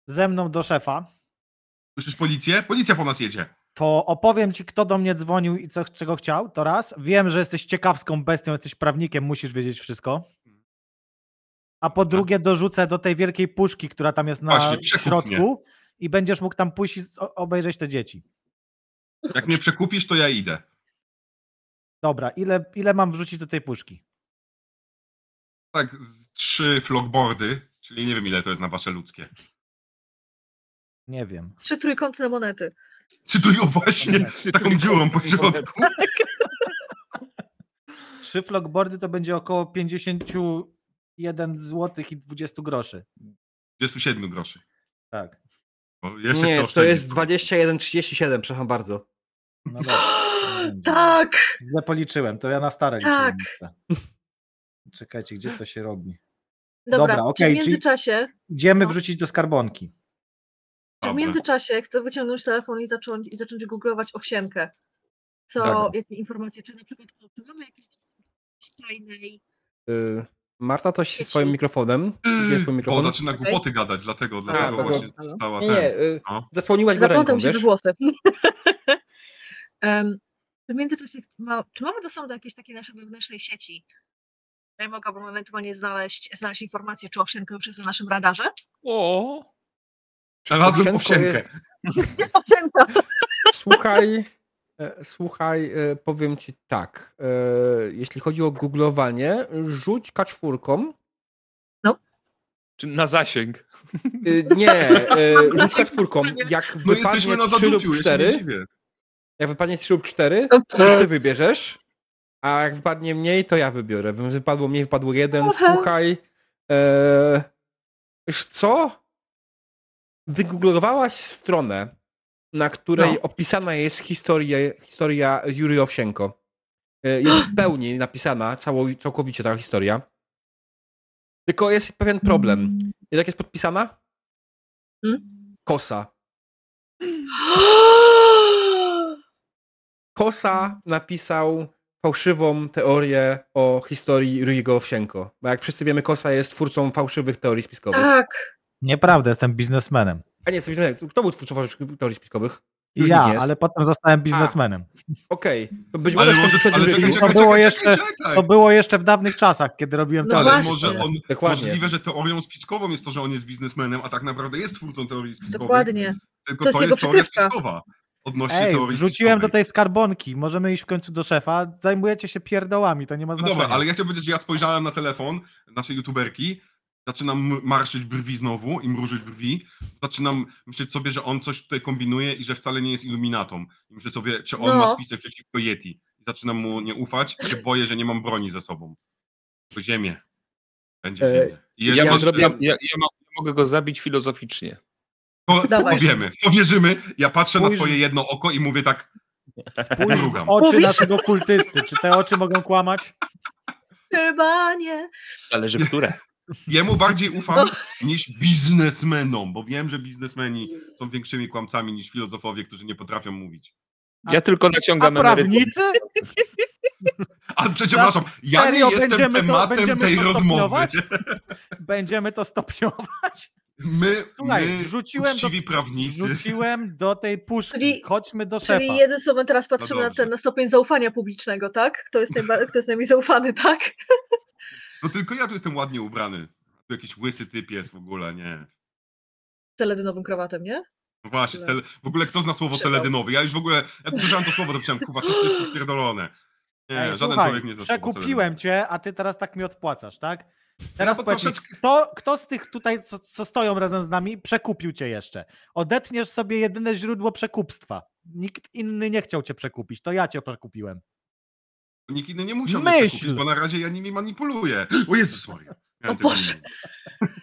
[SPEAKER 3] ze mną do szefa,
[SPEAKER 5] Słyszysz policję? Policja po nas jedzie.
[SPEAKER 3] to opowiem ci, kto do mnie dzwonił i co, czego chciał, to raz. Wiem, że jesteś ciekawską bestią, jesteś prawnikiem, musisz wiedzieć wszystko. A po drugie dorzucę do tej wielkiej puszki, która tam jest na
[SPEAKER 5] Tak. Właśnie, przekup
[SPEAKER 3] środku
[SPEAKER 5] mnie.
[SPEAKER 3] i będziesz mógł tam pójść i z- o- obejrzeć te dzieci.
[SPEAKER 5] Jak mnie przekupisz, to ja idę.
[SPEAKER 3] Dobra, ile, ile mam wrzucić do tej puszki?
[SPEAKER 5] Tak, z trzy flogboardy, czyli nie wiem ile to jest na wasze ludzkie.
[SPEAKER 3] Nie wiem.
[SPEAKER 2] Trzy trójkątne monety.
[SPEAKER 5] Czy tu ją właśnie z taką dziurą po środku?
[SPEAKER 3] Trzy flogboardy to będzie około 51 zł i 20 groszy.
[SPEAKER 5] 27 groszy.
[SPEAKER 3] Tak.
[SPEAKER 5] Bo jeszcze chcę
[SPEAKER 1] Nie, to
[SPEAKER 5] oszczędzić.
[SPEAKER 1] jest 21,37, przepraszam bardzo.
[SPEAKER 3] No dobra.
[SPEAKER 2] tak!
[SPEAKER 3] Źle policzyłem, to ja na stare
[SPEAKER 2] Tak.
[SPEAKER 3] liczyłem. jeszcze. Czekajcie, gdzie to się robi?
[SPEAKER 2] Dobra,
[SPEAKER 3] Dobra,
[SPEAKER 2] czy
[SPEAKER 3] okej,
[SPEAKER 2] w
[SPEAKER 3] czyli-
[SPEAKER 2] międzyczasie,
[SPEAKER 3] Idziemy
[SPEAKER 2] No.
[SPEAKER 3] wrzucić do skarbonki.
[SPEAKER 2] czy w
[SPEAKER 5] Dobrze.
[SPEAKER 2] międzyczasie chcę wyciągnąć telefon i zacząć, i zacząć googlować owsiankę. Co,
[SPEAKER 1] Dobra.
[SPEAKER 2] jakie informacje, czy na przykład czy mamy jakiś dostęp do tajnej...
[SPEAKER 1] Y, Marta coś
[SPEAKER 2] Dzieci.
[SPEAKER 1] swoim mikrofonem. Gdzie swój
[SPEAKER 5] Bo
[SPEAKER 1] mikrofon?
[SPEAKER 5] zaczyna głupoty gadać, dlatego, dlatego
[SPEAKER 1] to
[SPEAKER 2] tak,
[SPEAKER 1] go-
[SPEAKER 5] właśnie została
[SPEAKER 1] Nie,
[SPEAKER 5] ten.
[SPEAKER 1] nie, y,
[SPEAKER 5] No.
[SPEAKER 1] zasłoniłaś go ręką,
[SPEAKER 2] Zapłątam się we
[SPEAKER 1] wiesz?
[SPEAKER 2] włosy. Em, w międzyczasie, ma, czy mamy dostęp do jakiejś takiej naszej wewnętrznej sieci? Ja mogłabym ewentualnie znaleźć, znaleźć informację, czy owsianka już jest na naszym radarze.
[SPEAKER 4] O,
[SPEAKER 5] Znalazłem
[SPEAKER 1] Owsianko
[SPEAKER 5] owsiankę.
[SPEAKER 2] Gdzie owsianka?
[SPEAKER 1] Słuchaj, e, słuchaj, e, powiem ci tak. e, Jeśli chodzi o googlowanie, rzuć kaczwórką.
[SPEAKER 4] czy na zasięg.
[SPEAKER 1] Y, Nie, e, rzuć kaczwórką. Jak
[SPEAKER 5] No jesteśmy na
[SPEAKER 1] wypadnie 3 lub
[SPEAKER 5] zadupiu, ja się nie
[SPEAKER 1] 4,
[SPEAKER 5] dziwię.
[SPEAKER 1] jak wypadnie 3 lub 4, to ty wybierzesz, a jak wypadnie mniej, to ja wybiorę. Więc Wypadło mniej, wypadło jeden.
[SPEAKER 2] Okej.
[SPEAKER 1] Słuchaj, e, wiesz co? Wygooglowałaś stronę, na której opisana jest historia, historia Jury Owsienko. E, Jest w pełni napisana cało, całkowicie ta historia. Tylko jest pewien problem. Wiesz, Jak jest podpisana?
[SPEAKER 2] Hmm?
[SPEAKER 1] Kosa. Kosa napisał fałszywą teorię o historii Ruiego Owsienko. Bo jak wszyscy wiemy, Kosa jest twórcą fałszywych teorii spiskowych.
[SPEAKER 2] Tak.
[SPEAKER 3] Nieprawda, jestem biznesmenem.
[SPEAKER 1] A nie, co widzimy, kto był twórcą fałszywych teorii spiskowych? Już
[SPEAKER 3] ja,
[SPEAKER 1] nikt nie jest.
[SPEAKER 3] ale potem zostałem biznesmenem.
[SPEAKER 1] Okej, to być
[SPEAKER 5] Ale
[SPEAKER 1] może
[SPEAKER 5] może,
[SPEAKER 1] ktoś przed
[SPEAKER 5] ale
[SPEAKER 1] Ruiego-
[SPEAKER 5] czekaj, czekaj,
[SPEAKER 3] To było
[SPEAKER 5] czekaj,
[SPEAKER 3] jeszcze-
[SPEAKER 5] czekaj, czekaj.
[SPEAKER 3] To było jeszcze w dawnych czasach, kiedy robiłem
[SPEAKER 2] Tak. No
[SPEAKER 3] to.
[SPEAKER 5] Ale
[SPEAKER 2] właśnie.
[SPEAKER 5] może on,
[SPEAKER 1] Dokładnie.
[SPEAKER 5] możliwe, że teorią spiskową jest to, że on jest biznesmenem, a tak naprawdę jest twórcą teorii spiskowej.
[SPEAKER 2] Dokładnie.
[SPEAKER 5] Tylko
[SPEAKER 2] To
[SPEAKER 5] to
[SPEAKER 2] jest
[SPEAKER 5] jest,
[SPEAKER 2] jego
[SPEAKER 5] teoria
[SPEAKER 2] przykrywka.
[SPEAKER 5] spiskowa. Odnośnie
[SPEAKER 3] Ej,
[SPEAKER 5] teorii
[SPEAKER 3] rzuciłem do
[SPEAKER 5] spiskowej.
[SPEAKER 3] tej skarbonki. Możemy iść w końcu do szefa. Zajmujecie się pierdołami, to nie ma
[SPEAKER 5] No
[SPEAKER 3] znaczenia.
[SPEAKER 5] dobra, ale ja chciałbym powiedzieć, że ja spojrzałem na telefon naszej youtuberki, zaczynam m- marszyć brwi znowu i mrużyć brwi, zaczynam myśleć sobie, że on coś tutaj kombinuje i że wcale nie jest iluminatą. I myślę sobie, czy on
[SPEAKER 2] No.
[SPEAKER 5] ma spisek przeciwko Yeti. I zaczynam mu nie ufać i się boję, że nie mam broni ze sobą. To ziemię. Będzie
[SPEAKER 1] E,
[SPEAKER 5] ziemię. I jest
[SPEAKER 1] ja
[SPEAKER 5] jeszcze-
[SPEAKER 1] zrobię-
[SPEAKER 4] Ja, ja, ja mo- mogę go zabić filozoficznie.
[SPEAKER 5] To, to
[SPEAKER 2] Dawaj.
[SPEAKER 5] powiemy, to wierzymy. Ja patrzę na
[SPEAKER 3] Spójrz-
[SPEAKER 5] twoje jedno oko i mówię tak,
[SPEAKER 3] Spójrz w
[SPEAKER 5] Mrugam.
[SPEAKER 3] oczy
[SPEAKER 2] Mówisz?
[SPEAKER 3] naszego kultysty. Czy te oczy mogą kłamać?
[SPEAKER 2] Chyba nie.
[SPEAKER 4] Ale że które?
[SPEAKER 5] jemu bardziej
[SPEAKER 3] No.
[SPEAKER 5] ufam niż biznesmenom, bo wiem, że biznesmeni są większymi kłamcami niż filozofowie, którzy nie potrafią mówić.
[SPEAKER 4] Ja tylko
[SPEAKER 3] A
[SPEAKER 4] naciągam emeryturę.
[SPEAKER 3] prawnicy?
[SPEAKER 5] A przepraszam, ja nie
[SPEAKER 3] Serio,
[SPEAKER 5] jestem
[SPEAKER 3] będziemy to-
[SPEAKER 5] tematem
[SPEAKER 3] będziemy
[SPEAKER 5] tej
[SPEAKER 3] to
[SPEAKER 5] rozmowy.
[SPEAKER 3] stopniować? Będziemy to stopniować.
[SPEAKER 5] My,
[SPEAKER 3] Słuchaj,
[SPEAKER 5] my
[SPEAKER 3] rzuciłem do,
[SPEAKER 5] uczciwi prawnicy,
[SPEAKER 3] rzuciłem do tej puszki.
[SPEAKER 2] Czyli-
[SPEAKER 3] Chodźmy do szefa.
[SPEAKER 2] Czyli jeden sobie teraz
[SPEAKER 3] No
[SPEAKER 2] patrzymy na
[SPEAKER 5] dobrze.
[SPEAKER 2] ten na stopień zaufania publicznego, tak? Kto jest, najba- kto jest najmniej zaufany, tak?
[SPEAKER 5] no tylko ja tu jestem ładnie ubrany. Tu jakiś łysy typ jest w ogóle, nie.
[SPEAKER 2] Celedynowym krawatem, nie?
[SPEAKER 5] No właśnie,
[SPEAKER 2] Dobra.
[SPEAKER 5] sele... w ogóle kto zna słowo
[SPEAKER 2] Przepraszam.
[SPEAKER 5] seledynowy? Ja już w ogóle, jak usłyszałem to słowo, to myślałem, kuwa, coś to jest popierdolone. Nie,
[SPEAKER 3] Ej,
[SPEAKER 5] żaden
[SPEAKER 3] słuchaj,
[SPEAKER 5] człowiek nie zna słowa
[SPEAKER 3] Przekupiłem cię, a ty teraz tak mi odpłacasz, tak? Teraz
[SPEAKER 5] bo
[SPEAKER 3] powiedz mi,
[SPEAKER 5] troszeczkę-
[SPEAKER 3] kto, kto z tych tutaj, co, co stoją razem z nami, przekupił cię jeszcze? Odetniesz sobie jedyne źródło przekupstwa. Nikt inny nie chciał cię przekupić, to ja cię przekupiłem.
[SPEAKER 5] Nikt inny nie musiał
[SPEAKER 3] Myśl!
[SPEAKER 5] mi kupić, bo na razie ja nimi manipuluję. O Jezus Maria. Ja,
[SPEAKER 2] O
[SPEAKER 5] tego
[SPEAKER 2] Boże.
[SPEAKER 5] nie wiem.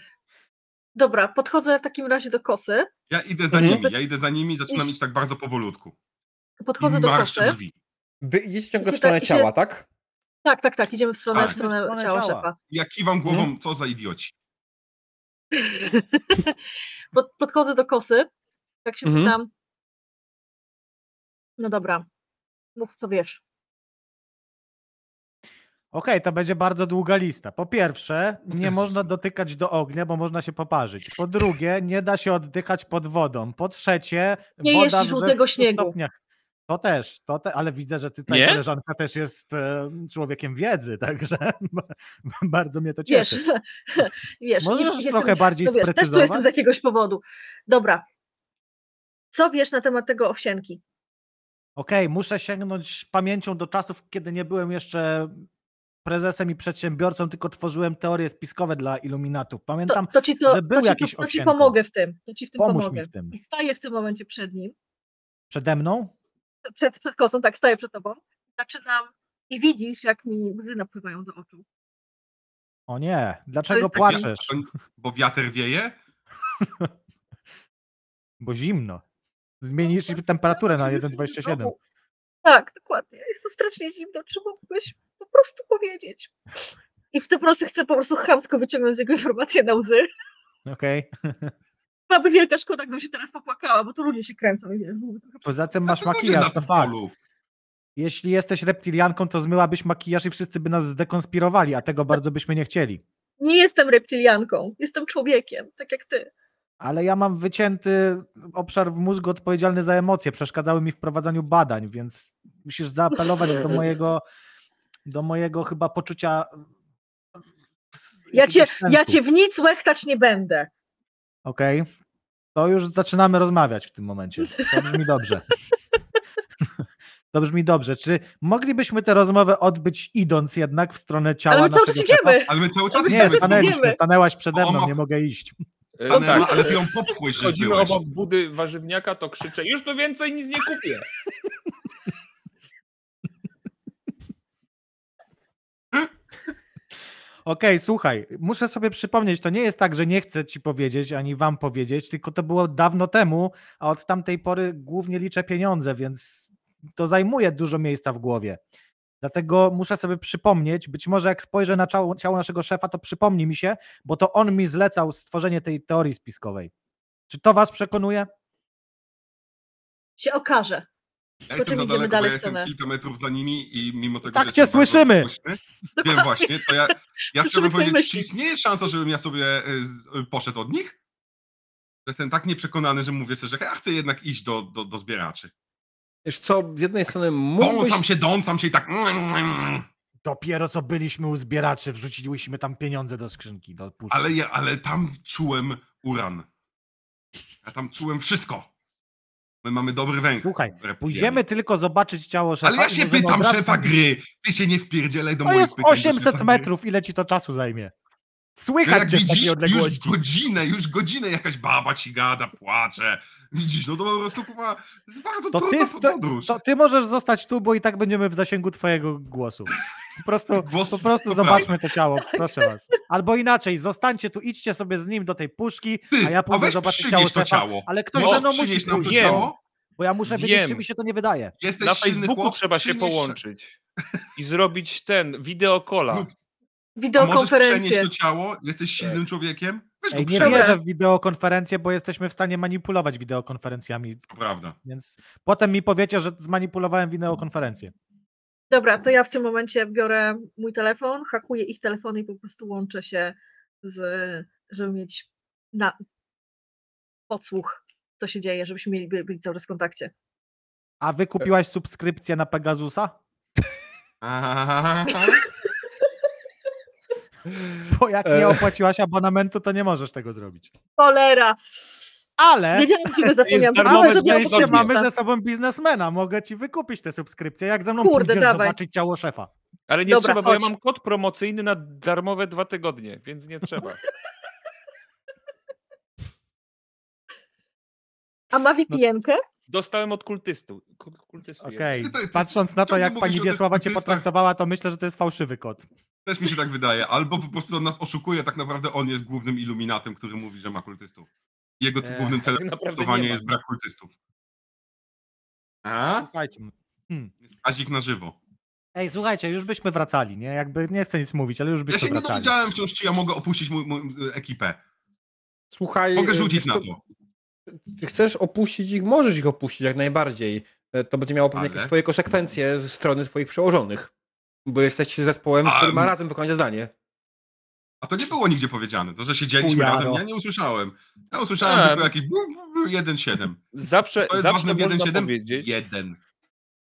[SPEAKER 2] Dobra, podchodzę w takim razie do kosy.
[SPEAKER 5] ja idę za
[SPEAKER 1] Mhm.
[SPEAKER 5] nimi, ja idę za nimi i zaczynam
[SPEAKER 2] Iść-
[SPEAKER 5] iść tak bardzo powolutku.
[SPEAKER 2] Podchodzę
[SPEAKER 5] I
[SPEAKER 2] do
[SPEAKER 5] marszczę
[SPEAKER 2] kosy.
[SPEAKER 5] drzwi.
[SPEAKER 1] Wy idziecie ciągle w
[SPEAKER 2] Się
[SPEAKER 1] stronę
[SPEAKER 2] tak-
[SPEAKER 1] ciała,
[SPEAKER 2] się-
[SPEAKER 1] tak?
[SPEAKER 2] Tak, tak, tak, idziemy w stronę,
[SPEAKER 5] Tak.
[SPEAKER 2] w stronę
[SPEAKER 3] Idziemy w
[SPEAKER 2] ciała
[SPEAKER 3] stronę ciała.
[SPEAKER 2] szefa.
[SPEAKER 5] Ja kiwam głową, co za idioci.
[SPEAKER 2] Pod, podchodzę do kosy, tak się
[SPEAKER 1] Mhm.
[SPEAKER 2] pytam. No dobra, mów co wiesz.
[SPEAKER 3] Okej, to będzie bardzo długa lista. Po pierwsze, nie
[SPEAKER 5] Jezus.
[SPEAKER 3] można dotykać do ognia, bo można się poparzyć. Po drugie, nie da się oddychać pod wodą. Po trzecie,
[SPEAKER 2] Nie
[SPEAKER 3] woda
[SPEAKER 2] jeść
[SPEAKER 3] wrze w
[SPEAKER 2] żółtego
[SPEAKER 3] 100
[SPEAKER 2] śniegu.
[SPEAKER 3] Stopniach. To też, to te, ale widzę, że ty, ta
[SPEAKER 4] Nie?
[SPEAKER 3] koleżanka też jest e, człowiekiem wiedzy, także bardzo mnie to
[SPEAKER 2] Wiesz,
[SPEAKER 3] cieszy.
[SPEAKER 2] wiesz.
[SPEAKER 3] Możesz
[SPEAKER 2] jestem-
[SPEAKER 3] trochę bardziej
[SPEAKER 2] no wiesz, też tu jestem
[SPEAKER 3] sprecyzować?
[SPEAKER 2] z jakiegoś powodu. Dobra. Co wiesz na temat tego owsianki?
[SPEAKER 3] Okej, muszę sięgnąć pamięcią do czasów, kiedy nie byłem jeszcze prezesem i przedsiębiorcą, tylko tworzyłem teorie spiskowe dla iluminatów.
[SPEAKER 2] To,
[SPEAKER 3] Pamiętam,
[SPEAKER 2] to, ci, to,
[SPEAKER 3] że był
[SPEAKER 2] to, ci,
[SPEAKER 3] jakiś
[SPEAKER 2] to, to ci
[SPEAKER 3] owsianko.
[SPEAKER 2] pomogę w tym. To ci w tym
[SPEAKER 3] pomóż
[SPEAKER 2] pomogę.
[SPEAKER 3] mi w tym.
[SPEAKER 2] I staję w tym momencie przed nim,
[SPEAKER 3] Przede mną?
[SPEAKER 2] przed, przed kosą, tak, staję przed tobą. Zaczynam i widzisz, jak mi łzy napływają do oczu.
[SPEAKER 3] O nie, dlaczego
[SPEAKER 2] taki-
[SPEAKER 3] płaczesz?
[SPEAKER 5] Ja, to- Tak bo wiatr wieje?
[SPEAKER 3] Bo zimno. Zmienisz
[SPEAKER 5] No,
[SPEAKER 3] temperaturę na 1,27.
[SPEAKER 2] Tak, dokładnie. Jest to strasznie zimno. Czy mógłbyś po prostu powiedzieć? I w tym prostu chcę po prostu chamsko wyciągnąć z jego informację na łzy.
[SPEAKER 3] Okej.
[SPEAKER 2] Byłaby wielka szkoda, gdybym się teraz popłakała, bo tu ludzie się kręcą i wiesz, byłoby trochę
[SPEAKER 3] Poza tym
[SPEAKER 5] A
[SPEAKER 3] masz
[SPEAKER 5] No to ludzie Znaczy, na
[SPEAKER 3] makijaż, to
[SPEAKER 5] tym
[SPEAKER 3] fakt.
[SPEAKER 5] polu.
[SPEAKER 3] Jeśli jesteś reptilianką, to zmyłabyś makijaż i wszyscy by nas zdekonspirowali, a tego bardzo byśmy nie chcieli.
[SPEAKER 2] Nie jestem reptilianką, jestem człowiekiem, tak jak ty.
[SPEAKER 3] Ale ja mam wycięty obszar w mózgu odpowiedzialny za emocje. Przeszkadzały mi w prowadzeniu badań, więc musisz zaapelować do mojego, do mojego chyba poczucia.
[SPEAKER 2] Ja cię,
[SPEAKER 3] jakiegoś
[SPEAKER 2] ja
[SPEAKER 3] sensu.
[SPEAKER 2] cię w nic łechtać nie będę.
[SPEAKER 3] Okej. To już zaczynamy rozmawiać w tym momencie. To brzmi dobrze. To brzmi dobrze. Czy moglibyśmy tę rozmowę odbyć idąc jednak w stronę ciała
[SPEAKER 2] Ale my cały
[SPEAKER 3] naszego
[SPEAKER 2] czas
[SPEAKER 3] szefa?
[SPEAKER 2] idziemy.
[SPEAKER 5] Ale my cały czas
[SPEAKER 2] Nie,
[SPEAKER 3] Nie,
[SPEAKER 5] idziemy.
[SPEAKER 2] stanęli-
[SPEAKER 5] Stanęliśmy.
[SPEAKER 3] stanęliśmy, stanęłaś przede
[SPEAKER 5] O,
[SPEAKER 3] mną,
[SPEAKER 5] ma-
[SPEAKER 3] nie mogę iść.
[SPEAKER 4] E,
[SPEAKER 2] No
[SPEAKER 5] Stanęła,
[SPEAKER 4] tak,
[SPEAKER 5] ale ty ją popchłeś, że
[SPEAKER 4] chodzimy
[SPEAKER 5] byłeś.
[SPEAKER 4] obok budy warzywniaka, to krzyczę, już tu więcej nic nie kupię.
[SPEAKER 3] Okej, słuchaj, muszę sobie przypomnieć, to nie jest tak, że nie chcę ci powiedzieć ani wam powiedzieć, tylko to było dawno temu, a od tamtej pory głównie liczę pieniądze, więc to zajmuje dużo miejsca w głowie. Dlatego muszę sobie przypomnieć, być może jak spojrzę na ciało, ciało naszego szefa, to przypomni mi się, bo to on mi zlecał stworzenie tej teorii spiskowej. Czy to was przekonuje?
[SPEAKER 2] Się okaże.
[SPEAKER 5] Ja
[SPEAKER 2] czym
[SPEAKER 5] jestem za
[SPEAKER 2] idziemy
[SPEAKER 5] daleko, bo
[SPEAKER 2] dalej
[SPEAKER 5] ja jestem
[SPEAKER 2] cenę?
[SPEAKER 5] kilka metrów za nimi i mimo tego,
[SPEAKER 3] Tak
[SPEAKER 5] że
[SPEAKER 3] cię
[SPEAKER 5] jestem bardzo
[SPEAKER 3] słyszymy!
[SPEAKER 5] Głośny, wiem
[SPEAKER 2] Dokładnie.
[SPEAKER 5] właśnie, to ja, ja
[SPEAKER 2] Słyszymy twoje
[SPEAKER 5] chciałbym powiedzieć, czy
[SPEAKER 2] myśli.
[SPEAKER 5] istnieje szansa, żebym ja sobie y, z- y, poszedł od nich? Jestem tak nieprzekonany, że mówię sobie, że ja chcę jednak iść do, do, do zbieraczy.
[SPEAKER 1] Wiesz co, z jednej strony mógłbyś...
[SPEAKER 5] Dąsam się, dąsam się i tak... mm, mm, mm.
[SPEAKER 3] Dopiero co byliśmy u zbieraczy, wrzuciliśmy tam pieniądze do skrzynki, do puszki.
[SPEAKER 5] Ale, ja, ale tam czułem uran. Ja tam czułem wszystko. My mamy dobry węch.
[SPEAKER 3] Słuchaj,
[SPEAKER 5] reptilianie.
[SPEAKER 3] Pójdziemy tylko zobaczyć ciało szefa.
[SPEAKER 5] Ale ja
[SPEAKER 3] i
[SPEAKER 5] się
[SPEAKER 3] możemy
[SPEAKER 5] pytam
[SPEAKER 3] od razu-
[SPEAKER 5] szefa gry. Ty się nie wpierdzielaj do
[SPEAKER 3] To
[SPEAKER 5] moich
[SPEAKER 3] jest
[SPEAKER 5] pytań do szefa
[SPEAKER 3] 800
[SPEAKER 5] gry.
[SPEAKER 3] metrów, ile ci to czasu zajmie?
[SPEAKER 5] No
[SPEAKER 3] Słychać
[SPEAKER 5] jak
[SPEAKER 3] cię w
[SPEAKER 5] widzisz,
[SPEAKER 3] takiej
[SPEAKER 5] już
[SPEAKER 3] odległości.
[SPEAKER 5] godzinę, już godzinę jakaś baba ci gada, płacze. Widzisz, no to po prostu kupa, jest bardzo
[SPEAKER 3] To ty
[SPEAKER 5] trudna
[SPEAKER 3] sto-
[SPEAKER 5] podróż.
[SPEAKER 3] To ty możesz zostać tu, bo i tak będziemy w zasięgu twojego głosu. Po prostu,
[SPEAKER 5] Głos-
[SPEAKER 3] po prostu
[SPEAKER 5] to prawda.
[SPEAKER 3] zobaczmy to ciało, proszę was. Albo inaczej, zostańcie tu, idźcie sobie z nim do tej puszki,
[SPEAKER 5] Ty,
[SPEAKER 3] a ja pójdę
[SPEAKER 5] weź
[SPEAKER 3] zobaczyć ciało
[SPEAKER 5] przynieś to
[SPEAKER 3] szefa.
[SPEAKER 5] ciało.
[SPEAKER 3] Ale ktoś ze
[SPEAKER 5] Możesz
[SPEAKER 3] mną
[SPEAKER 5] przynieść
[SPEAKER 3] musi
[SPEAKER 5] nam to
[SPEAKER 3] pójść,
[SPEAKER 4] Wiem.
[SPEAKER 5] ciało?
[SPEAKER 3] bo ja muszę
[SPEAKER 4] Wiem.
[SPEAKER 3] wiedzieć, czy mi się to nie wydaje.
[SPEAKER 5] Jesteś
[SPEAKER 4] Na
[SPEAKER 5] silny
[SPEAKER 4] Facebooku
[SPEAKER 5] chłop,
[SPEAKER 4] trzeba się
[SPEAKER 5] przynieś-
[SPEAKER 4] połączyć i zrobić ten, wideokola.
[SPEAKER 5] Lub- A Możesz przenieść
[SPEAKER 2] Wideokonferencję.
[SPEAKER 5] to ciało? Jesteś silnym człowiekiem? Weź go
[SPEAKER 3] Ej, nie
[SPEAKER 5] przenieść,
[SPEAKER 3] wierzę w wideokonferencje, bo jesteśmy w stanie manipulować wideokonferencjami,
[SPEAKER 5] to prawda.
[SPEAKER 3] więc potem mi powiecie, że zmanipulowałem wideokonferencję.
[SPEAKER 2] Dobra, to ja w tym momencie biorę mój telefon, hakuję ich telefony i po prostu łączę się z, żeby mieć na podsłuch, co się dzieje, żebyśmy mieli by- byli cały czas w kontakcie.
[SPEAKER 3] A wy kupiłaś subskrypcję na Pegasusa? Bo jak
[SPEAKER 1] E.
[SPEAKER 3] nie opłaciłaś abonamentu, to nie możesz tego zrobić.
[SPEAKER 2] Cholera!
[SPEAKER 3] Ale,
[SPEAKER 2] Wiedziałam, że go zapomniałam.
[SPEAKER 4] darmowe
[SPEAKER 2] Proszę,
[SPEAKER 3] ale
[SPEAKER 2] żeby
[SPEAKER 4] zdjęcie
[SPEAKER 3] szczęście
[SPEAKER 2] obok-
[SPEAKER 3] mamy ze sobą biznesmena. Mogę ci wykupić tę subskrypcję, jak ze mną
[SPEAKER 2] Kurde,
[SPEAKER 3] pójdziesz
[SPEAKER 2] dawaj.
[SPEAKER 3] zobaczyć ciało szefa.
[SPEAKER 4] Ale nie
[SPEAKER 2] Dobra,
[SPEAKER 4] trzeba, bo ja
[SPEAKER 2] chodź.
[SPEAKER 4] mam kod promocyjny na darmowe dwa tygodnie, więc nie trzeba.
[SPEAKER 2] A ma VPN-kę?
[SPEAKER 4] Dostałem od kultystu. Kul- kultystu
[SPEAKER 3] Okej,
[SPEAKER 5] Ty- ty- ty-
[SPEAKER 3] patrząc na to,
[SPEAKER 5] ciągle
[SPEAKER 3] jak
[SPEAKER 5] mówisz
[SPEAKER 3] pani
[SPEAKER 5] o tych
[SPEAKER 3] Wiesława cię
[SPEAKER 5] kultystach.
[SPEAKER 3] potraktowała, to myślę, że to jest fałszywy kot.
[SPEAKER 5] Też mi się tak wydaje. Albo po prostu on nas oszukuje, tak naprawdę on jest głównym iluminatem, który mówi, że ma kultystów. Jego
[SPEAKER 3] Eee,
[SPEAKER 5] głównym celem
[SPEAKER 4] tak naprawdę nie
[SPEAKER 5] testowania
[SPEAKER 4] ma.
[SPEAKER 5] jest brak kultystów. A?
[SPEAKER 3] Słuchajcie. Hmm.
[SPEAKER 5] Azik na żywo.
[SPEAKER 3] Ej, słuchajcie, już byśmy wracali, nie? Jakby nie chcę nic mówić, ale już
[SPEAKER 5] Ja
[SPEAKER 3] byśmy
[SPEAKER 5] się nie
[SPEAKER 3] wracali.
[SPEAKER 5] dowiedziałem wciąż, czy ja mogę opuścić mój, mój, y, ekipę.
[SPEAKER 1] Słuchaj.
[SPEAKER 5] Mogę
[SPEAKER 1] e,
[SPEAKER 5] rzucić
[SPEAKER 1] wiesz
[SPEAKER 5] na
[SPEAKER 1] co,
[SPEAKER 5] to.
[SPEAKER 1] ty Chcesz opuścić ich, możesz ich opuścić jak najbardziej. E, To będzie miało pewne jakieś
[SPEAKER 5] Ale?
[SPEAKER 1] swoje konsekwencje ze strony twoich przełożonych. Bo jesteście zespołem,
[SPEAKER 5] A,
[SPEAKER 1] który ma
[SPEAKER 5] m-
[SPEAKER 1] razem wykonać zadanie.
[SPEAKER 5] A to nie było nigdzie powiedziane. To, że siedzieliśmy
[SPEAKER 3] Fujaro.
[SPEAKER 5] razem, ja nie usłyszałem. Ja usłyszałem
[SPEAKER 4] A.
[SPEAKER 5] tylko jakiś bum, bum, bum, 1-7.
[SPEAKER 4] Zawsze,
[SPEAKER 5] To jest
[SPEAKER 4] zawsze
[SPEAKER 5] ważne w
[SPEAKER 4] można
[SPEAKER 5] 1-7?
[SPEAKER 4] powiedzieć.
[SPEAKER 5] Jeden.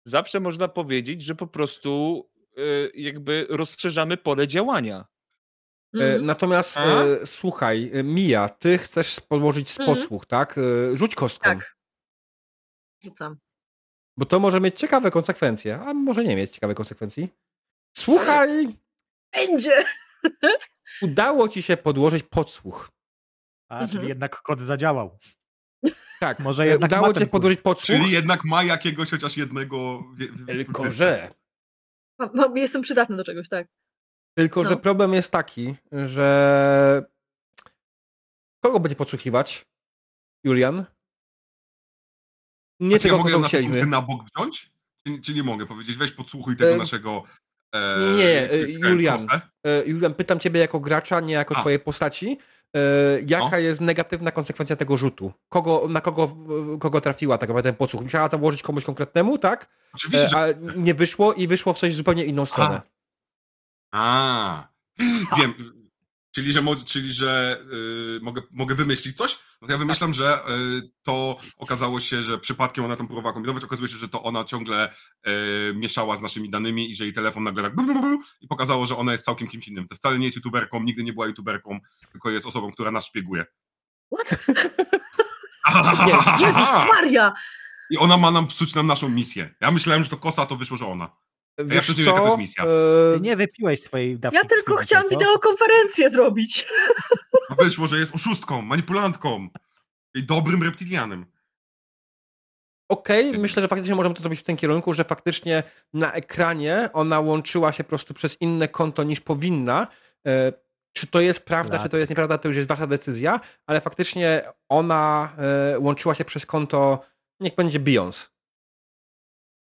[SPEAKER 4] zawsze można powiedzieć, że po prostu y, jakby rozszerzamy pole działania.
[SPEAKER 3] No.
[SPEAKER 1] E,
[SPEAKER 2] Mhm.
[SPEAKER 1] Natomiast
[SPEAKER 5] A?
[SPEAKER 1] e, słuchaj, e, Mija, ty chcesz położyć z
[SPEAKER 2] Mhm.
[SPEAKER 1] posłuch, tak? E, Rzuć kostką,
[SPEAKER 2] Tak. Rzucam.
[SPEAKER 1] bo to może mieć ciekawe konsekwencje, a może nie mieć ciekawych konsekwencji. Słuchaj,
[SPEAKER 2] Będzie!
[SPEAKER 1] udało ci się podłożyć podsłuch.
[SPEAKER 3] A, czyli
[SPEAKER 2] Mhm.
[SPEAKER 3] jednak kot zadziałał.
[SPEAKER 1] Tak,
[SPEAKER 3] Może
[SPEAKER 1] e,
[SPEAKER 3] jednak ma
[SPEAKER 1] udało ci
[SPEAKER 3] ten
[SPEAKER 1] się podłożyć podsłuch,
[SPEAKER 5] Czyli jednak ma jakiegoś chociaż jednego. wie- wie-
[SPEAKER 1] tylko
[SPEAKER 5] kultystę.
[SPEAKER 1] że...
[SPEAKER 2] Mam- mam- Jestem przydatny do czegoś, tak.
[SPEAKER 1] Tylko,
[SPEAKER 2] No.
[SPEAKER 1] że problem jest taki, że kogo będzie podsłuchiwać? Julian? Nie
[SPEAKER 5] Nie, czy Znaczy, ja
[SPEAKER 1] tego,
[SPEAKER 5] mogę
[SPEAKER 1] kogo
[SPEAKER 5] ją na
[SPEAKER 1] chcieliśmy.
[SPEAKER 5] sekundę na bok wziąć? Czy, czy nie mogę powiedzieć, weź podsłuchuj tego
[SPEAKER 1] E,
[SPEAKER 5] naszego. E,
[SPEAKER 1] nie, e,
[SPEAKER 5] e,
[SPEAKER 1] Julian.
[SPEAKER 5] kosę?
[SPEAKER 1] E, Julian, pytam ciebie jako gracza, nie jako
[SPEAKER 5] A.
[SPEAKER 1] twojej postaci. E, jaka
[SPEAKER 5] No.
[SPEAKER 1] jest negatywna konsekwencja tego rzutu? Kogo, na kogo, w- kogo trafiła tak naprawdę ten podsłuch? Musiała założyć komuś konkretnemu, tak?
[SPEAKER 5] Oczywiście,
[SPEAKER 1] E,
[SPEAKER 5] że.
[SPEAKER 1] a nie wyszło i wyszło w coś zupełnie inną stronę.
[SPEAKER 5] A. Wiem. Czyli, że, mo- czyli, że y, mogę, mogę wymyślić coś? No to ja wymyślam, że y, to okazało się, że przypadkiem ona tam próbowała kombinować. Okazuje się, że to ona ciągle y, mieszała z naszymi danymi i że jej telefon nagle tak. bru, bru, bru, I pokazało, że ona jest całkiem kimś innym. To wcale nie jest youtuberką, nigdy nie była youtuberką, tylko jest osobą, która nas szpieguje.
[SPEAKER 2] What?
[SPEAKER 5] Aha!
[SPEAKER 2] Jezus Maria!
[SPEAKER 5] I ona ma nam psuć nam naszą misję. Ja myślałem, że to kosa, to wyszło, że ona.
[SPEAKER 1] Wiesz
[SPEAKER 5] przecież nie wiem, jaka to jest misja.
[SPEAKER 1] E,
[SPEAKER 3] Ty nie wypiłeś swojej dawki.
[SPEAKER 2] Ja tylko
[SPEAKER 3] krwi,
[SPEAKER 2] chciałam
[SPEAKER 3] co? E,
[SPEAKER 2] wideokonferencję zrobić.
[SPEAKER 5] A wyszło, że jest oszustką, manipulantką i dobrym reptilianem.
[SPEAKER 1] Okej, myślę, że faktycznie możemy to zrobić w tym kierunku, że faktycznie na ekranie ona łączyła się po prostu przez inne konto niż powinna. E, Czy to jest prawda,
[SPEAKER 3] Tak.
[SPEAKER 1] czy to jest nieprawda, to już jest wasza decyzja, ale faktycznie ona e, łączyła się przez konto, niech będzie Beyoncé.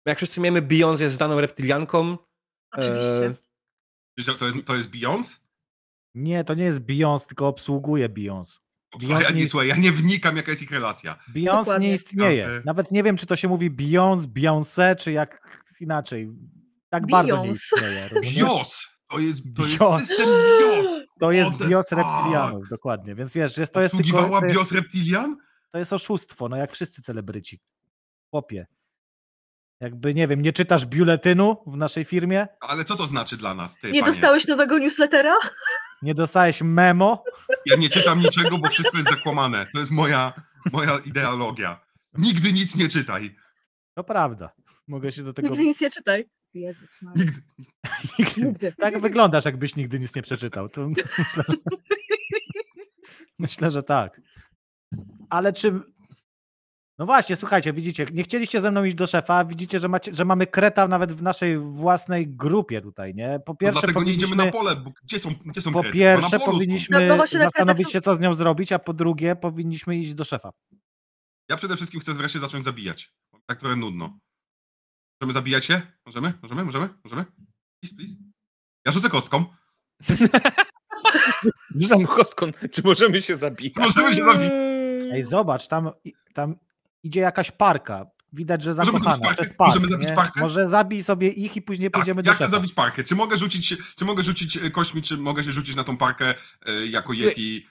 [SPEAKER 1] Jak wszyscy wiemy, Beyoncé jest znaną reptylianką.
[SPEAKER 2] Oczywiście.
[SPEAKER 1] E,
[SPEAKER 5] Wiesz, jak To jest, to jest Beyoncé?
[SPEAKER 3] Nie, to nie jest Beyoncé, tylko obsługuje Beyoncé.
[SPEAKER 5] A
[SPEAKER 3] Beyoncé
[SPEAKER 5] Ja
[SPEAKER 3] nie-
[SPEAKER 5] nie, słuchaj, ja nie wnikam, jaka jest ich relacja.
[SPEAKER 3] Beyoncé
[SPEAKER 2] Dokładnie.
[SPEAKER 3] nie istnieje.
[SPEAKER 5] Okej.
[SPEAKER 3] Nawet nie wiem, czy to się mówi Beyoncé, Beyoncé, czy jak inaczej. Tak bardzo nie
[SPEAKER 2] Beyoncé.
[SPEAKER 3] istnieje. rozumiesz?
[SPEAKER 5] Bios! To jest, to jest
[SPEAKER 3] Bios.
[SPEAKER 5] system Bios!
[SPEAKER 3] To jest
[SPEAKER 5] What the
[SPEAKER 3] bios
[SPEAKER 5] fuck?
[SPEAKER 3] reptilianów, dokładnie. Więc wiesz, jest, to, jest tylko,
[SPEAKER 5] Obsługiwała
[SPEAKER 3] to, jest,
[SPEAKER 5] Bios reptilian?
[SPEAKER 3] to jest oszustwo, no jak wszyscy celebryci. Chłopie. Jakby, nie wiem, nie czytasz biuletynu w naszej firmie,
[SPEAKER 5] Ale co to znaczy dla nas, ty,
[SPEAKER 2] Nie
[SPEAKER 5] panie?
[SPEAKER 2] dostałeś nowego newslettera?
[SPEAKER 3] nie dostałeś memo,
[SPEAKER 5] Ja nie czytam niczego, bo wszystko jest zakłamane. To jest moja, moja ideologia. Nigdy nic nie czytaj.
[SPEAKER 3] to prawda. Mogę się do tego...
[SPEAKER 2] Nigdy nic nie czytaj. Jezus Maria.
[SPEAKER 5] Nigdy.
[SPEAKER 3] Nigdy...
[SPEAKER 2] Nigdy.
[SPEAKER 3] Tak wyglądasz, jakbyś nigdy nic nie przeczytał. To myślę, że... myślę, że tak. Ale czy... No właśnie, słuchajcie, widzicie, nie chcieliście ze mną iść do szefa, widzicie, że, macie, że mamy kreta nawet w naszej włanej grupie tutaj, nie? Po
[SPEAKER 5] No
[SPEAKER 3] pierwsze
[SPEAKER 5] dlatego nie idziemy
[SPEAKER 3] powinniśmy-
[SPEAKER 5] na pole, bo gdzie są, gdzie są
[SPEAKER 3] Po
[SPEAKER 5] kredy? Bo na
[SPEAKER 3] pierwsze
[SPEAKER 5] polu są.
[SPEAKER 3] powinniśmy
[SPEAKER 2] No właśnie, tak-
[SPEAKER 3] zastanowić
[SPEAKER 2] tak-
[SPEAKER 3] się, co z nią zrobić, a po drugie powinniśmy iść do szefa.
[SPEAKER 5] Ja przede wszystkim chcę wreszcie zacząć zabijać. Tak trochę nudno. Możemy zabijać się? Możemy? Możemy? Możemy? Możemy? Please, please. Ja rzucę kostką.
[SPEAKER 3] Tak,
[SPEAKER 4] Rzucam kostką, czy możemy się zabić?
[SPEAKER 5] Możemy się zabijać.
[SPEAKER 3] Ej, zobacz, tam, i- tam idzie jakaś parka. Widać, że
[SPEAKER 5] Możemy
[SPEAKER 3] zakochana
[SPEAKER 5] zabić parkę?
[SPEAKER 3] przez park.
[SPEAKER 5] Możemy zabić
[SPEAKER 3] nie?
[SPEAKER 5] parkę?
[SPEAKER 3] Może zabij sobie ich i później
[SPEAKER 5] Tak,
[SPEAKER 3] pójdziemy do
[SPEAKER 5] ja chcę
[SPEAKER 3] szefa.
[SPEAKER 5] zabić parkę. Czy mogę rzucić, czy mogę rzucić e, kośćmi, czy mogę się rzucić na tą parkę e, jako Yeti?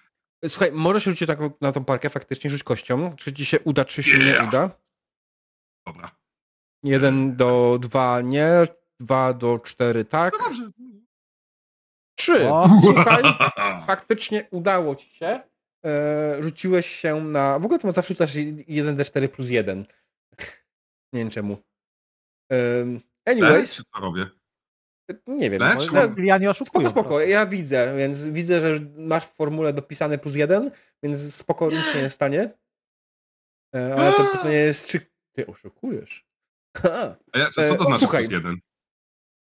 [SPEAKER 1] Słuchaj, możesz rzucić tak na tą parkę, faktycznie rzuć kością. Czy ci się uda, czy się
[SPEAKER 5] Yeah.
[SPEAKER 1] nie uda.
[SPEAKER 5] Dobra.
[SPEAKER 1] Jeden do dwa nie, dwa do cztery tak.
[SPEAKER 5] No dobrze.
[SPEAKER 1] Trzy.
[SPEAKER 3] O.
[SPEAKER 1] Słuchaj, faktycznie udało ci się. E, rzuciłeś się na. W ogóle to zawsze rzucasz 1D4 plus 1. Nie wiem czemu. Em,
[SPEAKER 5] Lecz,
[SPEAKER 1] anyways,
[SPEAKER 5] czy co robię?
[SPEAKER 1] nie wiem.
[SPEAKER 5] Lecz?
[SPEAKER 1] może- no,
[SPEAKER 5] Mam-
[SPEAKER 3] Reptilianie oszukują.
[SPEAKER 1] Spoko,
[SPEAKER 3] po
[SPEAKER 1] spoko,
[SPEAKER 3] prostu.
[SPEAKER 1] ja widzę, więc widzę, że masz w formule dopisane plus jeden, więc spoko, nic się nie stanie. E, Ale to pytanie jest, czy Ty oszukujesz. Ha.
[SPEAKER 5] A ja, co, co to
[SPEAKER 1] E, o,
[SPEAKER 5] znaczy
[SPEAKER 1] słuchaj.
[SPEAKER 5] plus jeden?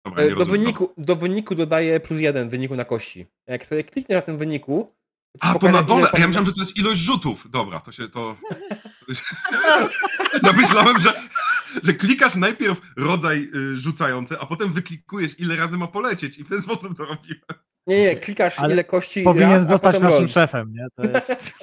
[SPEAKER 5] Dobra,
[SPEAKER 1] E,
[SPEAKER 5] nie
[SPEAKER 1] Do
[SPEAKER 5] rozumiem. no.
[SPEAKER 1] wyniku, do wyniku dodaję plus jeden wyniku na kości. Jak sobie kliknę na tym wyniku...
[SPEAKER 5] A, to
[SPEAKER 1] pokaże
[SPEAKER 5] na
[SPEAKER 1] ci,
[SPEAKER 5] dole.
[SPEAKER 1] ile
[SPEAKER 5] A ja
[SPEAKER 1] powinno-
[SPEAKER 5] myślałem, że to jest ilość rzutów. Dobra, to się to... ja myślałem, że, że klikasz najpierw rodzaj y, rzucający, a potem wyklikujesz, ile razy ma polecieć i w ten sposób to robiłem.
[SPEAKER 1] Nie, nie, klikasz
[SPEAKER 3] Ale
[SPEAKER 1] ile kości
[SPEAKER 3] Powinien
[SPEAKER 1] raz, a
[SPEAKER 3] zostać
[SPEAKER 1] potem
[SPEAKER 3] naszym
[SPEAKER 1] roll.
[SPEAKER 3] szefem, nie? To jest...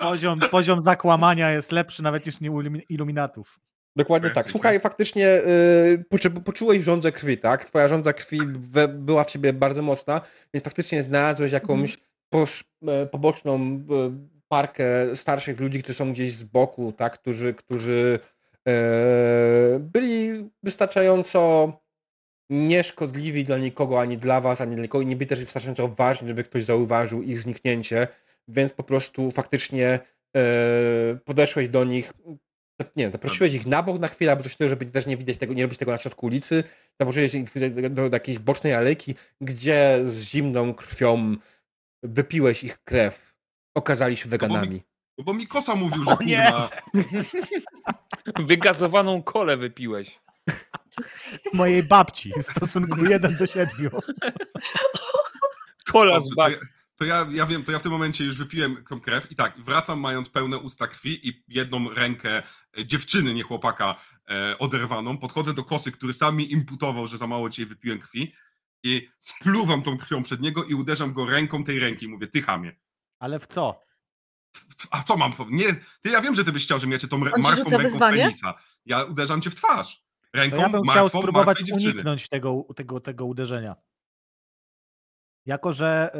[SPEAKER 3] poziom, poziom zakłamania jest lepszy nawet niż nie u ilumi- iluminatów.
[SPEAKER 1] Dokładnie tak. Słuchaj, faktycznie y, poczu- poczułeś żądzę krwi, tak? Twoja żądza krwi we, była w ciebie bardzo mocna, więc faktycznie znalazłeś jakąś
[SPEAKER 3] Mhm.
[SPEAKER 1] posz, e, poboczną e, parkę starszych ludzi, którzy są gdzieś z boku, tak? Którzy, którzy e, byli wystarczająco nieszkodliwi dla nikogo, ani dla was, ani dla nikogo. i Nie byli też wystarczająco ważni, żeby ktoś zauważył ich zniknięcie, więc po prostu faktycznie e, podeszłeś do nich, nie wiem, zaprosiłeś ich na bok na chwilę, albo coś takiego, żeby też nie widać tego, nie robić tego na środku ulicy. Zaprosiłeś ich do, do jakiejś bocznej alejki, gdzie z zimną krwią wypiłeś ich krew. Okazali się weganami.
[SPEAKER 5] No bo mi Kosa mówił, że
[SPEAKER 3] O nie.
[SPEAKER 5] kurwa...
[SPEAKER 4] Wygazowaną kolę wypiłeś.
[SPEAKER 3] Mojej babci w stosunku 1 do 7.
[SPEAKER 4] Kola
[SPEAKER 5] Dobrze,
[SPEAKER 4] z
[SPEAKER 5] to
[SPEAKER 4] bak.
[SPEAKER 5] ja, to ja, ja wiem, to ja w tym momencie już wypiłem tą krew i tak, wracam mając pełne usta krwi i jedną rękę e, dziewczyny, nie chłopaka, e, oderwaną. Podchodzę do kosy, który sam mi imputował, że za mało dzisiaj wypiłem krwi i spluwam tą krwią przed niego i uderzam go ręką tej ręki i mówię, ty chamie.
[SPEAKER 3] Ale w co?
[SPEAKER 5] A co mam? po- Nie, ty, ja wiem, że ty byś chciał, żebym ja cię tą
[SPEAKER 2] ci
[SPEAKER 5] rę- martwą
[SPEAKER 2] rzuca
[SPEAKER 5] ręką
[SPEAKER 2] wyzwanie?
[SPEAKER 5] w penisa. Ja uderzam cię w twarz.
[SPEAKER 3] To
[SPEAKER 5] Ręką,
[SPEAKER 3] ja bym chciał
[SPEAKER 5] martwą,
[SPEAKER 3] spróbować
[SPEAKER 5] martwej dziewczyny.
[SPEAKER 3] uniknąć tego, tego, tego uderzenia. Jako, że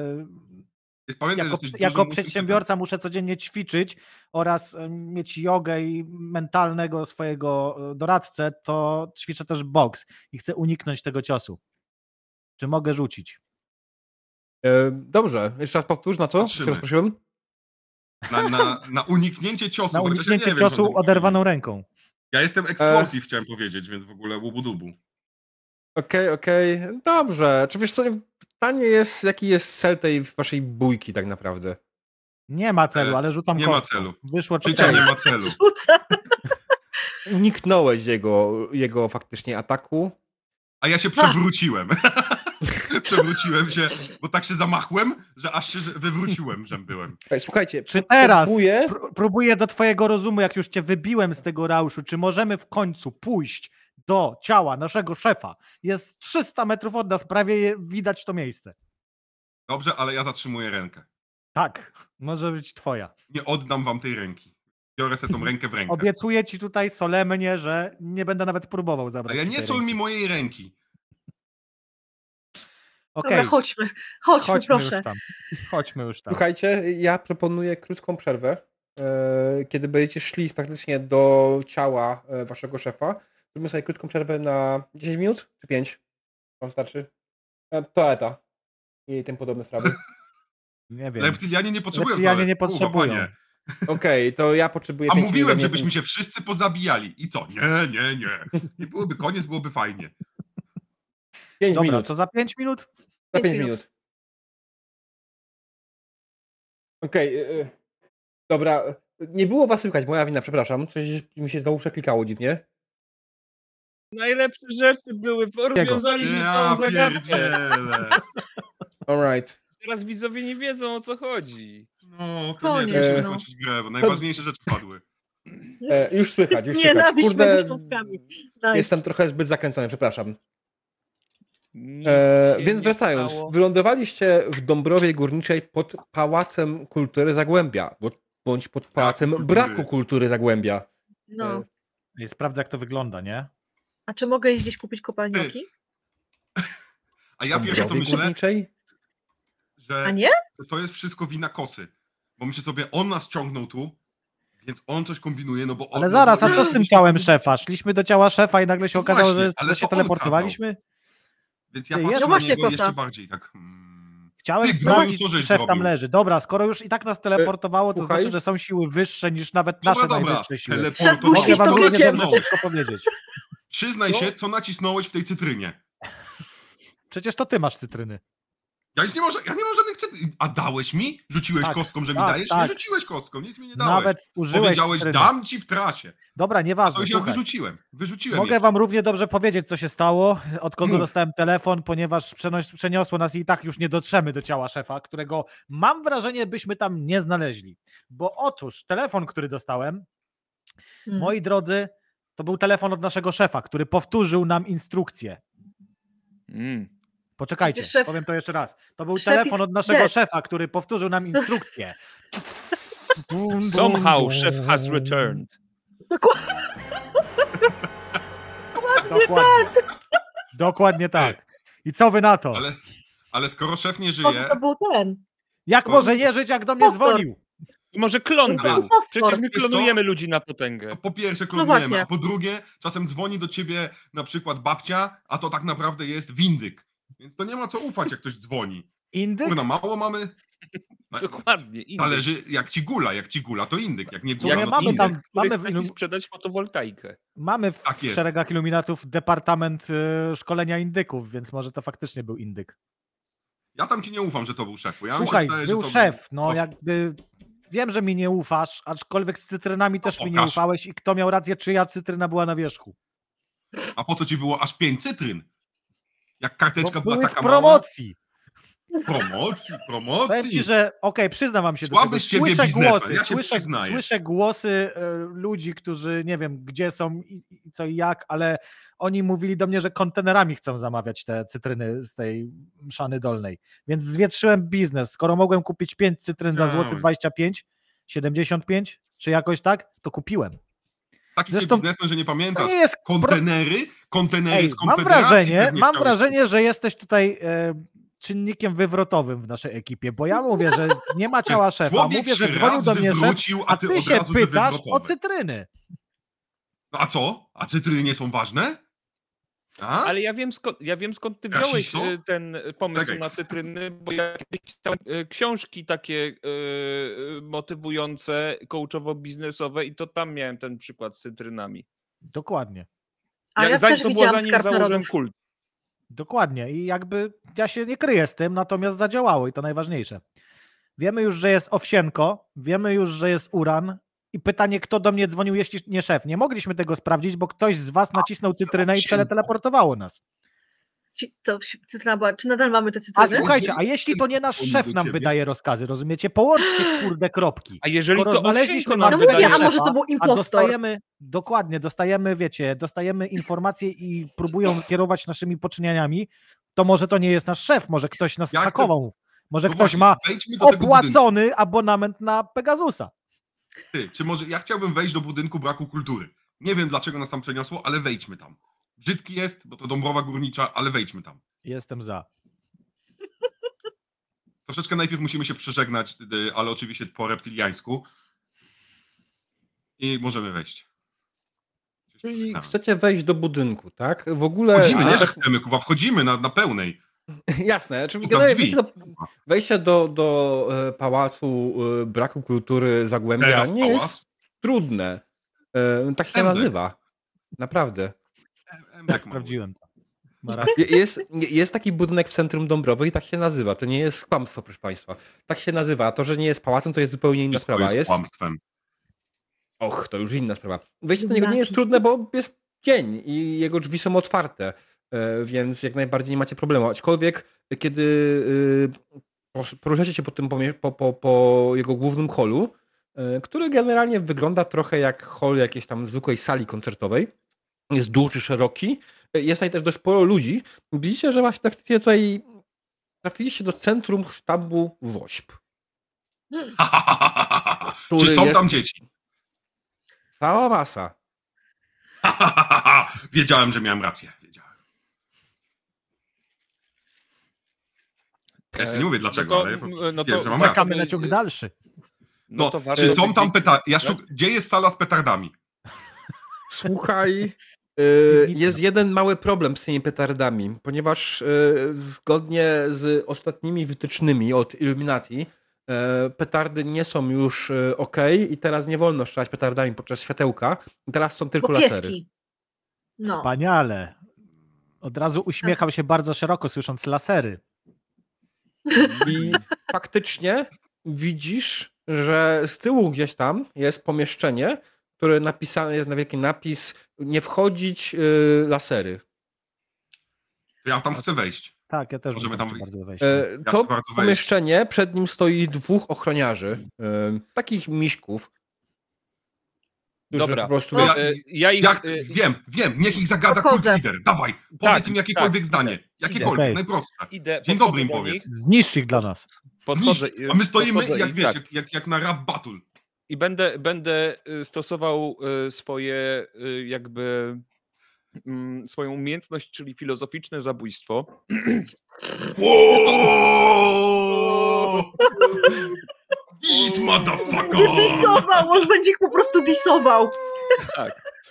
[SPEAKER 3] y,
[SPEAKER 5] Pamiętaj, że
[SPEAKER 3] jako,
[SPEAKER 5] jesteś
[SPEAKER 3] jako
[SPEAKER 5] dużym
[SPEAKER 3] przedsiębiorca muszę codziennie ćwiczyć oraz em, mieć jogę i mentalnego swojego e, doradcę, to ćwiczę też boks i chcę uniknąć tego ciosu. Czy mogę rzucić?
[SPEAKER 1] E, dobrze, jeszcze raz powtórz, na co?
[SPEAKER 5] Patrzymy.
[SPEAKER 1] Się rozprosiłem?
[SPEAKER 5] Na, na, na uniknięcie ciosu.
[SPEAKER 3] Na
[SPEAKER 5] chociaż ja nie
[SPEAKER 3] uniknięcie
[SPEAKER 5] wiem, czy on
[SPEAKER 3] ciosu
[SPEAKER 5] uniknie.
[SPEAKER 3] oderwaną ręką.
[SPEAKER 5] Ja jestem
[SPEAKER 3] E,
[SPEAKER 5] eksplozji, chciałem powiedzieć, więc w ogóle łubudubu.
[SPEAKER 1] Okej, okej, dobrze. Czy wiesz co, pytanie jest, jaki jest cel tej waszej bójki tak naprawdę?
[SPEAKER 3] Nie ma celu,
[SPEAKER 5] E,
[SPEAKER 3] ale rzucam
[SPEAKER 5] nie ma
[SPEAKER 3] kostką.
[SPEAKER 5] celu.
[SPEAKER 3] Wyszło
[SPEAKER 5] Życia
[SPEAKER 1] Okej.
[SPEAKER 5] nie
[SPEAKER 3] cztery.
[SPEAKER 5] ma celu.
[SPEAKER 2] Rzuca.
[SPEAKER 1] Uniknąłeś jego, jego faktycznie ataku.
[SPEAKER 5] A ja się
[SPEAKER 3] Tak.
[SPEAKER 5] przewróciłem. przewróciłem się, bo tak się zamachłem, że aż się wywróciłem, że byłem.
[SPEAKER 1] Ej, Słuchajcie,
[SPEAKER 3] Czy teraz
[SPEAKER 1] Próbuję.
[SPEAKER 3] pró- próbuję do twojego rozumu, jak już cię wybiłem z tego rauszu, czy możemy w końcu pójść do ciała naszego szefa? Jest 300 metrów od nas, prawie je- widać to miejsce.
[SPEAKER 5] Dobrze, ale ja zatrzymuję rękę.
[SPEAKER 3] Tak, może być twoja.
[SPEAKER 5] Nie oddam wam tej ręki. Biorę sobie tą rękę w rękę.
[SPEAKER 3] Obiecuję ci tutaj solemnie, że nie będę nawet próbował
[SPEAKER 5] A
[SPEAKER 3] zabrać.
[SPEAKER 5] ja
[SPEAKER 3] ci
[SPEAKER 5] nie
[SPEAKER 3] tej
[SPEAKER 5] sol
[SPEAKER 3] ręki.
[SPEAKER 5] mi mojej ręki.
[SPEAKER 3] Okej,
[SPEAKER 2] Dobra, chodźmy, chodźmy,
[SPEAKER 3] chodźmy
[SPEAKER 2] proszę.
[SPEAKER 3] już tam. Chodźmy już
[SPEAKER 1] Tak.
[SPEAKER 3] tam.
[SPEAKER 1] Słuchajcie, ja proponuję krótką przerwę. e, Kiedy będziecie szli praktycznie do ciała e, waszego szefa, zrobimy sobie krótką przerwę na 10 minut czy 5? Wam starczy? E, Toaleta i tym podobne sprawy.
[SPEAKER 3] Nie wiem.
[SPEAKER 5] Reptilianie nie potrzebują.
[SPEAKER 3] Reptilianie
[SPEAKER 5] toalet.
[SPEAKER 3] nie
[SPEAKER 5] Kurwa,
[SPEAKER 3] potrzebują.
[SPEAKER 5] panie.
[SPEAKER 1] Okej, to ja potrzebuję...
[SPEAKER 5] A
[SPEAKER 1] pięć
[SPEAKER 5] mówiłem,
[SPEAKER 1] minut, nie
[SPEAKER 5] żebyśmy się wszyscy pozabijali. I co? Nie, nie, nie. Nie byłoby koniec, byłoby fajnie.
[SPEAKER 1] Pięć
[SPEAKER 3] Dobra,
[SPEAKER 1] minut.
[SPEAKER 3] to za 5 minut?
[SPEAKER 1] Na
[SPEAKER 2] Pięć
[SPEAKER 1] 5
[SPEAKER 2] minut.
[SPEAKER 1] minut. Okej. y, y, Dobra. y, Nie było was słychać, moja wina, przepraszam. Coś mi się znowu przeklikało dziwnie.
[SPEAKER 8] Najlepsze rzeczy były, rozwiązaliśmy całą
[SPEAKER 5] Ja
[SPEAKER 8] zagadkę.
[SPEAKER 5] pierdzielę.
[SPEAKER 1] Alright.
[SPEAKER 4] Teraz widzowie nie wiedzą o co chodzi.
[SPEAKER 5] No, to
[SPEAKER 2] Koniec,
[SPEAKER 5] nie, to
[SPEAKER 1] no.
[SPEAKER 5] musimy skończyć grę, bo najważniejsze rzeczy padły.
[SPEAKER 1] E, już słychać, już słychać.
[SPEAKER 2] Nienawiść
[SPEAKER 1] Kurde,
[SPEAKER 2] między śląskami. Nice.
[SPEAKER 1] jestem trochę zbyt zakręcony, przepraszam.
[SPEAKER 4] Nic
[SPEAKER 1] E,
[SPEAKER 4] się
[SPEAKER 1] więc
[SPEAKER 4] nie
[SPEAKER 1] wracając,
[SPEAKER 4] stało.
[SPEAKER 1] wylądowaliście w Dąbrowie Górniczej pod Pałacem Kultury Zagłębia, bo- bądź pod Pałacem
[SPEAKER 5] Tak, kultury.
[SPEAKER 1] Braku Kultury Zagłębia. E, y-
[SPEAKER 2] No.
[SPEAKER 3] Ej, Sprawdzę, jak to wygląda, nie?
[SPEAKER 2] A czy mogę iść gdzieś kupić kopalnioki?
[SPEAKER 5] A ja pierwsze co
[SPEAKER 1] Dąbrowie
[SPEAKER 5] myślę,
[SPEAKER 1] Górniczej?
[SPEAKER 2] A
[SPEAKER 5] że
[SPEAKER 2] nie?
[SPEAKER 5] to jest wszystko wina kosy. Bo myślę sobie, on nas ciągnął tu, więc on coś kombinuje, no bo on...
[SPEAKER 3] Ale zaraz, a co z tym
[SPEAKER 5] Więc-
[SPEAKER 3] ciałem szefa? Szliśmy do ciała szefa i nagle się
[SPEAKER 5] No
[SPEAKER 3] okazało,
[SPEAKER 5] właśnie,
[SPEAKER 3] że,
[SPEAKER 5] ale
[SPEAKER 3] że
[SPEAKER 5] to
[SPEAKER 3] się
[SPEAKER 5] on
[SPEAKER 3] teleportowaliśmy?
[SPEAKER 5] Więc ja
[SPEAKER 3] Ty,
[SPEAKER 5] patrzę
[SPEAKER 3] ja-
[SPEAKER 5] no
[SPEAKER 2] No właśnie,
[SPEAKER 5] właśnie, na niego
[SPEAKER 2] kosa.
[SPEAKER 5] jeszcze bardziej, tak... Hmm.
[SPEAKER 3] Chciałem
[SPEAKER 5] Ty,
[SPEAKER 3] sprawdzić,
[SPEAKER 5] Gnoju, co
[SPEAKER 3] czy
[SPEAKER 5] żeś
[SPEAKER 3] szef tam
[SPEAKER 5] zrobił?
[SPEAKER 3] leży. Dobra, skoro już i tak nas teleportowało, to
[SPEAKER 1] słuchaj.
[SPEAKER 3] znaczy, że są siły wyższe niż nawet
[SPEAKER 5] Dobra,
[SPEAKER 3] nasze
[SPEAKER 5] dobra,
[SPEAKER 3] najwyższe siły.
[SPEAKER 2] Puścisz
[SPEAKER 3] Mogę
[SPEAKER 5] teleportowałeś
[SPEAKER 2] to
[SPEAKER 3] wam
[SPEAKER 5] to,
[SPEAKER 2] kociem.
[SPEAKER 5] co
[SPEAKER 3] nie
[SPEAKER 2] kociem.
[SPEAKER 5] nacisnąłeś.
[SPEAKER 3] wszystko powiedzieć.
[SPEAKER 5] Przyznaj się, co nacisnąłeś w tej cytrynie.
[SPEAKER 3] Przecież to ty masz cytryny.
[SPEAKER 5] Ja już nie może, ja nie mam żadnych cen. A dałeś mi? Rzuciłeś
[SPEAKER 3] Tak,
[SPEAKER 5] kostką, że mi
[SPEAKER 3] tak,
[SPEAKER 5] dajesz?
[SPEAKER 3] tak.
[SPEAKER 5] Nie rzuciłeś kostką, nic mi nie dałeś.
[SPEAKER 3] Nawet użyłeś
[SPEAKER 5] Powiedziałeś,
[SPEAKER 3] cytryny.
[SPEAKER 5] dam ci w trasie.
[SPEAKER 3] Dobra, nieważne.
[SPEAKER 5] To się
[SPEAKER 3] słuchaj.
[SPEAKER 5] wyrzuciłem. Wyrzuciłem
[SPEAKER 3] Tak, Mogę
[SPEAKER 5] je.
[SPEAKER 3] wam równie dobrze powiedzieć, co się stało, od kogo
[SPEAKER 5] Mów.
[SPEAKER 3] dostałem telefon, ponieważ przenoś, przeniosło nas i tak już nie dotrzemy do ciała szefa, którego mam wrażenie, byśmy tam nie znaleźli. Bo otóż telefon, który dostałem,
[SPEAKER 2] Mm.
[SPEAKER 3] moi drodzy, to był telefon od naszego szefa, który powtórzył nam instrukcję.
[SPEAKER 4] Mm.
[SPEAKER 3] Poczekajcie,
[SPEAKER 2] Przecież szef-
[SPEAKER 3] powiem to jeszcze raz. To był
[SPEAKER 2] Szef
[SPEAKER 3] telefon
[SPEAKER 2] is
[SPEAKER 3] od naszego
[SPEAKER 2] dead.
[SPEAKER 3] szefa, który powtórzył nam instrukcję. Dum, dum,
[SPEAKER 4] Somehow
[SPEAKER 3] dum.
[SPEAKER 4] chef has returned.
[SPEAKER 2] Dokładnie.
[SPEAKER 3] Dokładnie tak. Dokładnie tak. I co wy na to?
[SPEAKER 5] Ale, ale skoro szef nie
[SPEAKER 2] Może
[SPEAKER 5] żyje,
[SPEAKER 2] to był ten.
[SPEAKER 3] Jak
[SPEAKER 5] To-
[SPEAKER 3] może nie żyć, jak do mnie
[SPEAKER 2] Powtór.
[SPEAKER 3] dzwonił?
[SPEAKER 4] I może klon
[SPEAKER 5] Dobra.
[SPEAKER 4] był.
[SPEAKER 2] Powtór.
[SPEAKER 4] Przecież my
[SPEAKER 5] Wiesz co?
[SPEAKER 4] klonujemy ludzi na potęgę.
[SPEAKER 5] to po pierwsze
[SPEAKER 3] No
[SPEAKER 2] właśnie.
[SPEAKER 5] klonujemy, a po drugie czasem dzwoni do ciebie na przykład babcia, a to tak naprawdę jest windyk. Więc to nie ma co ufać, jak ktoś dzwoni.
[SPEAKER 3] Indyk?
[SPEAKER 5] Kurna, mało mamy. Na-
[SPEAKER 4] Dokładnie. I
[SPEAKER 5] Zależy, jak ci gula, jak ci gula, to indyk. Jak nie
[SPEAKER 4] W
[SPEAKER 5] gula,
[SPEAKER 4] sumie
[SPEAKER 5] no to
[SPEAKER 3] mamy
[SPEAKER 5] indyk.
[SPEAKER 3] tam-
[SPEAKER 4] Mamy
[SPEAKER 3] mamy w ilu-
[SPEAKER 4] sprzedać fotowoltaikę.
[SPEAKER 3] Mamy w
[SPEAKER 5] Tak jest.
[SPEAKER 3] szeregach iluminatów departament y, szkolenia indyków, więc może to faktycznie był indyk.
[SPEAKER 5] Ja tam ci nie ufam, że to był szef. Ja mi się
[SPEAKER 3] Słuchaj,
[SPEAKER 5] wydaje, że
[SPEAKER 3] był
[SPEAKER 5] to
[SPEAKER 3] szef, no
[SPEAKER 5] to-
[SPEAKER 3] jakby... Wiem, że mi nie ufasz, aczkolwiek z cytrynami też mi nie
[SPEAKER 5] No, pokaż.
[SPEAKER 3] ufałeś i kto miał rację, czyja cytryna była na wierzchu.
[SPEAKER 5] A po co ci było aż pięć cytryn? Jak karteczka
[SPEAKER 3] Bo
[SPEAKER 5] była
[SPEAKER 3] były No, w
[SPEAKER 5] taka
[SPEAKER 3] promocji.
[SPEAKER 5] mała. Promocji,
[SPEAKER 3] Powiem
[SPEAKER 5] promocji.
[SPEAKER 3] ci, że okej, przyznam wam się
[SPEAKER 5] Słaby
[SPEAKER 3] do tego.
[SPEAKER 5] z ciebie
[SPEAKER 3] słyszę
[SPEAKER 5] biznesmen,
[SPEAKER 3] głosy,
[SPEAKER 5] ja się
[SPEAKER 3] słyszę,
[SPEAKER 5] przyznaję.
[SPEAKER 3] słyszę głosy e, ludzi, którzy nie wiem gdzie są i, i co i jak, ale oni mówili do mnie, że kontenerami chcą zamawiać te cytryny z tej szany dolnej. Więc zwietrzyłem biznes. Skoro mogłem kupić 5 cytryn za złoty
[SPEAKER 5] Dałem.
[SPEAKER 3] 25, 75 czy jakoś tak, to kupiłem.
[SPEAKER 5] Taki
[SPEAKER 3] zresztą-
[SPEAKER 5] zresztą... biznesmen, że nie
[SPEAKER 3] To
[SPEAKER 5] pamiętasz.
[SPEAKER 3] nie jest pro-
[SPEAKER 5] Kontenery, kontenery
[SPEAKER 3] Ej,
[SPEAKER 5] z
[SPEAKER 3] mam
[SPEAKER 5] konfederacji.
[SPEAKER 3] wrażenie,
[SPEAKER 5] pewnie
[SPEAKER 3] mam
[SPEAKER 5] chciałeś-
[SPEAKER 3] wrażenie, że jesteś tutaj e, czynnikiem wywrotowym w naszej ekipie, bo ja mówię, że nie ma ciała szefa,
[SPEAKER 5] Człowiek
[SPEAKER 3] mówię, że
[SPEAKER 5] się
[SPEAKER 3] dzwonił
[SPEAKER 5] raz
[SPEAKER 3] do mnie szef,
[SPEAKER 5] wywrócił,
[SPEAKER 3] a ty
[SPEAKER 5] od
[SPEAKER 3] się
[SPEAKER 5] razu, że
[SPEAKER 3] pytasz o
[SPEAKER 5] wywrotowy.
[SPEAKER 3] cytryny.
[SPEAKER 5] No a co? A cytryny nie są ważne? A?
[SPEAKER 4] Ale ja wiem, skąd, ja wiem skąd ty wziąłeś
[SPEAKER 5] Rasisto?
[SPEAKER 4] y, ten y, pomysł
[SPEAKER 5] Czekaj.
[SPEAKER 4] na cytryny, bo ja kiedyś czytałem y, książki takie y, y, motywujące, coachowo-biznesowe i to tam miałem ten przykład z cytrynami.
[SPEAKER 3] Dokładnie,
[SPEAKER 2] A ja,
[SPEAKER 4] zanim-
[SPEAKER 2] też
[SPEAKER 4] to było
[SPEAKER 2] widziałam
[SPEAKER 4] zanim
[SPEAKER 2] skarb
[SPEAKER 4] założyłem
[SPEAKER 2] narodów.
[SPEAKER 4] kult.
[SPEAKER 3] dokładnie i jakby ja się nie kryję z tym, natomiast zadziałało i to najważniejsze. Wiemy już, że jest Owsienko, wiemy już, że jest Uran i pytanie, kto do mnie dzwonił, jeśli nie szef. Nie mogliśmy tego sprawdzić, bo ktoś z was nacisnął cytrynę i
[SPEAKER 5] Owsienko.
[SPEAKER 3] teleteleportowało nas.
[SPEAKER 2] Ci- To się- cytryna była. Czy nadal mamy te
[SPEAKER 3] A
[SPEAKER 2] cytryny?
[SPEAKER 5] słuchaj-
[SPEAKER 3] słuchajcie, a jeśli to nie nasz
[SPEAKER 5] dzwoni
[SPEAKER 3] szef
[SPEAKER 5] do
[SPEAKER 3] nam
[SPEAKER 5] ciebie.
[SPEAKER 3] wydaje rozkazy, rozumiecie? Połączcie kurde kropki.
[SPEAKER 4] A jeżeli
[SPEAKER 3] Skoro
[SPEAKER 4] to
[SPEAKER 3] znaleźliśmy
[SPEAKER 4] Osienko
[SPEAKER 3] wam
[SPEAKER 4] nam
[SPEAKER 2] No
[SPEAKER 3] wydaje
[SPEAKER 2] mówię,
[SPEAKER 4] wydaje,
[SPEAKER 2] a
[SPEAKER 3] szefa,
[SPEAKER 2] może to był
[SPEAKER 3] A
[SPEAKER 2] impostor?
[SPEAKER 3] dostajemy, dokładnie, dostajemy, wiecie, dostajemy informacje i próbują kierować naszymi poczynieniami, to może to nie jest nasz szef, może ktoś nas
[SPEAKER 5] Ja chcę-
[SPEAKER 3] hakował, może
[SPEAKER 5] No
[SPEAKER 3] ktoś
[SPEAKER 5] właśnie,
[SPEAKER 3] ma
[SPEAKER 5] wejdźmy do tego budynku.
[SPEAKER 3] opłacony abonament na Pegasusa.
[SPEAKER 5] Ty, czy może ja chciałbym wejść do budynku braku kultury? Nie wiem dlaczego nas tam przeniosło, ale wejdźmy tam. Brzydki jest, bo to Dąbrowa Górnicza, ale wejdźmy tam.
[SPEAKER 3] Jestem za.
[SPEAKER 5] Troszeczkę najpierw musimy się przeżegnać, y, ale oczywiście po reptiliańsku. I możemy wejść.
[SPEAKER 1] Czyli
[SPEAKER 5] Tak.
[SPEAKER 1] chcecie wejść do budynku, tak? W ogóle.
[SPEAKER 5] Wchodzimy, nie,
[SPEAKER 1] ale
[SPEAKER 5] że
[SPEAKER 1] tak-
[SPEAKER 5] chcemy, kuwa, wchodzimy na, na pełnej.
[SPEAKER 1] Jasne, czyli
[SPEAKER 5] Pukam
[SPEAKER 1] generalnie
[SPEAKER 5] drzwi.
[SPEAKER 1] wejście do, wejście do, do e, pałacu e, braku kultury Zagłębia
[SPEAKER 5] Teraz
[SPEAKER 1] nie
[SPEAKER 5] pałac.
[SPEAKER 1] jest trudne. E, Tak się
[SPEAKER 5] Będę.
[SPEAKER 1] nazywa. Naprawdę.
[SPEAKER 5] Em,
[SPEAKER 3] Tak,
[SPEAKER 5] tak mało.
[SPEAKER 3] sprawdziłem to. Ma rację.
[SPEAKER 1] Je- Jest, jest taki budynek w centrum Dąbrowy i tak się nazywa. To nie jest kłamstwo, proszę Państwa. Tak się nazywa. A to, że nie jest pałacem, to jest zupełnie inna
[SPEAKER 5] Wszystko
[SPEAKER 1] sprawa.
[SPEAKER 5] jest,
[SPEAKER 1] Jest,
[SPEAKER 5] kłamstwem.
[SPEAKER 1] Och, to już inna sprawa. Wejście do niego nie jest
[SPEAKER 2] Znaki.
[SPEAKER 1] trudne, bo jest dzień i jego drzwi są otwarte, e, więc jak najbardziej nie macie problemu. Aczkolwiek, kiedy y, posz- poruszacie się po, tym, pomie- po, po, po jego głównym holu, e, który generalnie wygląda trochę jak hol jakiejś tam zwykłej sali koncertowej, jest duży, szeroki, e, jest tutaj też dość sporo ludzi. Widzicie, że właśnie tak tutaj trafiliście do centrum sztabu WOŚP.
[SPEAKER 5] Czy
[SPEAKER 1] który
[SPEAKER 5] są
[SPEAKER 1] jest-
[SPEAKER 5] tam dzieci?
[SPEAKER 1] Cała masa.
[SPEAKER 5] Wiedziałem, że miałem rację. Wiedziałem. Ja się nie mówię dlaczego,
[SPEAKER 4] no to,
[SPEAKER 5] ale ja po prostu
[SPEAKER 4] m, no
[SPEAKER 5] wiem,
[SPEAKER 4] to
[SPEAKER 5] że mam rację.
[SPEAKER 3] Czekamy na
[SPEAKER 2] y,
[SPEAKER 3] ciąg dalszy.
[SPEAKER 5] No,
[SPEAKER 4] No to warto no.
[SPEAKER 5] czy są tam
[SPEAKER 4] wiedzieć.
[SPEAKER 5] petardy? Ja szuk... Gdzie jest sala z petardami?
[SPEAKER 1] Słuchaj, y,
[SPEAKER 3] Piwnica.
[SPEAKER 1] jest jeden mały problem z tymi petardami, ponieważ y, zgodnie z ostatnimi wytycznymi od Illuminati, y, petardy nie są już ok i teraz nie wolno strzelać petardami podczas światełka. Teraz są tylko
[SPEAKER 2] Bo
[SPEAKER 1] lasery.
[SPEAKER 2] pieski. No.
[SPEAKER 3] Wspaniale. Od razu uśmiechał się bardzo szeroko, słysząc lasery.
[SPEAKER 1] I faktycznie widzisz, że z tyłu gdzieś tam jest pomieszczenie, które napisane jest na wielki napis nie wchodzić y, lasery.
[SPEAKER 5] To ja tam chcę wejść.
[SPEAKER 3] Tak, ja też
[SPEAKER 5] Możemy
[SPEAKER 3] bym tam
[SPEAKER 5] tam
[SPEAKER 3] chciał bardzo wejść.
[SPEAKER 1] E,
[SPEAKER 5] Ja
[SPEAKER 1] to
[SPEAKER 5] chcę bardzo wejść.
[SPEAKER 1] pomieszczenie, przed nim stoi dwóch ochroniarzy, y, takich miśków. którzy
[SPEAKER 4] Dobra.
[SPEAKER 1] Po prostu,
[SPEAKER 5] To
[SPEAKER 1] wiesz,
[SPEAKER 5] ja-
[SPEAKER 4] E, Ja ich...
[SPEAKER 5] Ja chcę,
[SPEAKER 4] e,
[SPEAKER 5] wiem, wiem, niech ich zagada kult
[SPEAKER 2] Podchodzę.
[SPEAKER 5] lider. Dawaj, powiedz im jakiekolwiek
[SPEAKER 4] tak,
[SPEAKER 5] zdanie.
[SPEAKER 4] idę,
[SPEAKER 5] Jakiekolwiek,
[SPEAKER 3] Okej.
[SPEAKER 5] najprostsze.
[SPEAKER 4] Idę,
[SPEAKER 5] Dzień
[SPEAKER 4] podchodzę
[SPEAKER 5] dobry im
[SPEAKER 4] do
[SPEAKER 5] powiedz.
[SPEAKER 4] nich,
[SPEAKER 3] Zniszcz ich dla nas.
[SPEAKER 4] Podchodzę,
[SPEAKER 5] Zniszcz. A my stoimy,
[SPEAKER 4] podchodzę
[SPEAKER 5] jak
[SPEAKER 4] i-
[SPEAKER 5] wiesz,
[SPEAKER 4] tak.
[SPEAKER 5] jak, jak, jak na rap battle.
[SPEAKER 4] I będę, będę y, stosował y, swoje y, jakby mm, swoją umiejętność, czyli filozoficzne zabójstwo.
[SPEAKER 5] Wow! This motherfucker!
[SPEAKER 2] Disował, on będzie ich po prostu disował.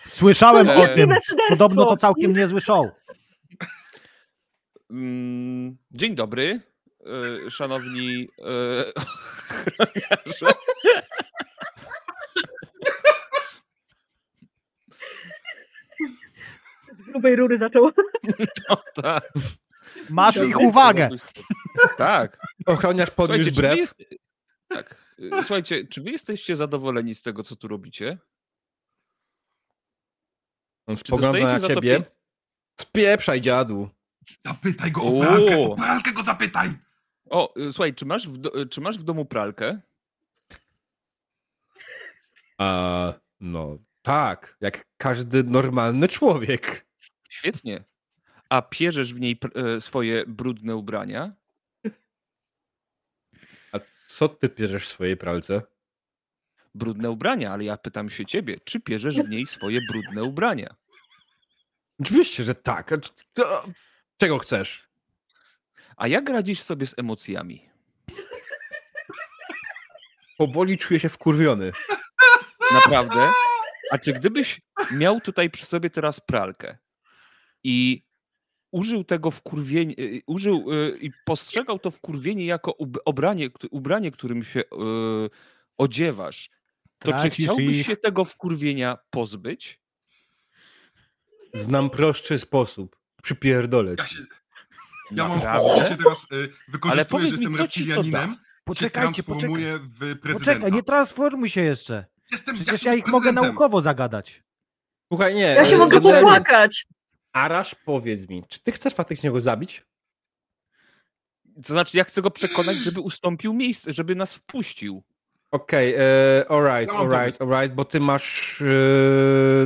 [SPEAKER 3] Słyszałem
[SPEAKER 4] E,
[SPEAKER 3] o tym.
[SPEAKER 2] Nienaczyderstwo.
[SPEAKER 3] Podobno to całkiem niezły show.
[SPEAKER 4] Mm, Dzień dobry, y, szanowni y, ochroniarze.
[SPEAKER 2] Z grubej rury zaczęło.
[SPEAKER 4] O, tak.
[SPEAKER 3] Masz ich
[SPEAKER 4] Filozoficzne
[SPEAKER 3] uwagę.
[SPEAKER 4] zabójstwo. Tak.
[SPEAKER 1] ochroniarz podniósł
[SPEAKER 4] Słuchajcie, czy wy
[SPEAKER 1] brew.
[SPEAKER 4] jest... tak. Y, Słuchajcie, czy wy jesteście zadowoleni z tego, co tu robicie?
[SPEAKER 1] On
[SPEAKER 4] Czy
[SPEAKER 1] spogląda
[SPEAKER 4] dostajecie
[SPEAKER 1] na
[SPEAKER 4] za to
[SPEAKER 1] ciebie.
[SPEAKER 4] pi-
[SPEAKER 1] Spieprzaj dziadu.
[SPEAKER 5] Zapytaj go o
[SPEAKER 4] Uuu.
[SPEAKER 5] pralkę, o pralkę go zapytaj!
[SPEAKER 4] O, y, słuchaj, czy masz w, do... y, czy masz w domu pralkę?
[SPEAKER 1] A, no tak, jak każdy normalny człowiek.
[SPEAKER 4] Świetnie. A pierzesz w niej pr- e, swoje brudne ubrania?
[SPEAKER 1] A co ty pierzesz w swojej pralce?
[SPEAKER 4] Brudne ubrania, ale ja pytam się ciebie, czy pierzesz w niej swoje brudne ubrania?
[SPEAKER 1] Oczywiście, że tak. A c- to- Czego chcesz?
[SPEAKER 4] A jak radzisz sobie z emocjami?
[SPEAKER 1] Powoli czuję się wkurwiony.
[SPEAKER 4] Naprawdę? A czy gdybyś miał tutaj przy sobie teraz pralkę i użył tego wkurwienia, y, użył y, i postrzegał to wkurwienie jako ub- obranie, kt- ubranie, którym się y, odziewasz, to czy
[SPEAKER 3] Tracisz
[SPEAKER 4] chciałbyś
[SPEAKER 3] ich.
[SPEAKER 4] się tego wkurwienia pozbyć?
[SPEAKER 1] Znam prostszy sposób. Przypierdolę.
[SPEAKER 5] Ja się... Ja mam
[SPEAKER 4] Naprawdę?
[SPEAKER 5] ja się teraz y,
[SPEAKER 4] Ale
[SPEAKER 5] wykorzystuję, że
[SPEAKER 4] powiedz mi,
[SPEAKER 5] jestem
[SPEAKER 4] co ci to da?
[SPEAKER 5] reptilianinem i się
[SPEAKER 3] Poczekajcie, poczekaj.
[SPEAKER 5] transformuję w prezydenta.
[SPEAKER 3] Poczekaj, nie transformuj się jeszcze.
[SPEAKER 5] Jestem
[SPEAKER 3] Przecież
[SPEAKER 5] jestem
[SPEAKER 3] ja ich mogę
[SPEAKER 5] prezydentem.
[SPEAKER 3] naukowo zagadać.
[SPEAKER 1] Słuchaj, nie.
[SPEAKER 2] Ja się
[SPEAKER 1] e,
[SPEAKER 2] mogę
[SPEAKER 1] generalnie-
[SPEAKER 2] popłakać.
[SPEAKER 1] Arasz, powiedz mi, czy ty chcesz faktycznie go zabić?
[SPEAKER 4] To znaczy, ja chcę go przekonać, żeby ustąpił miejsce, żeby nas wpuścił.
[SPEAKER 1] Okej, e, alright,
[SPEAKER 5] Ja mam
[SPEAKER 1] alright, alright, bo ty masz e,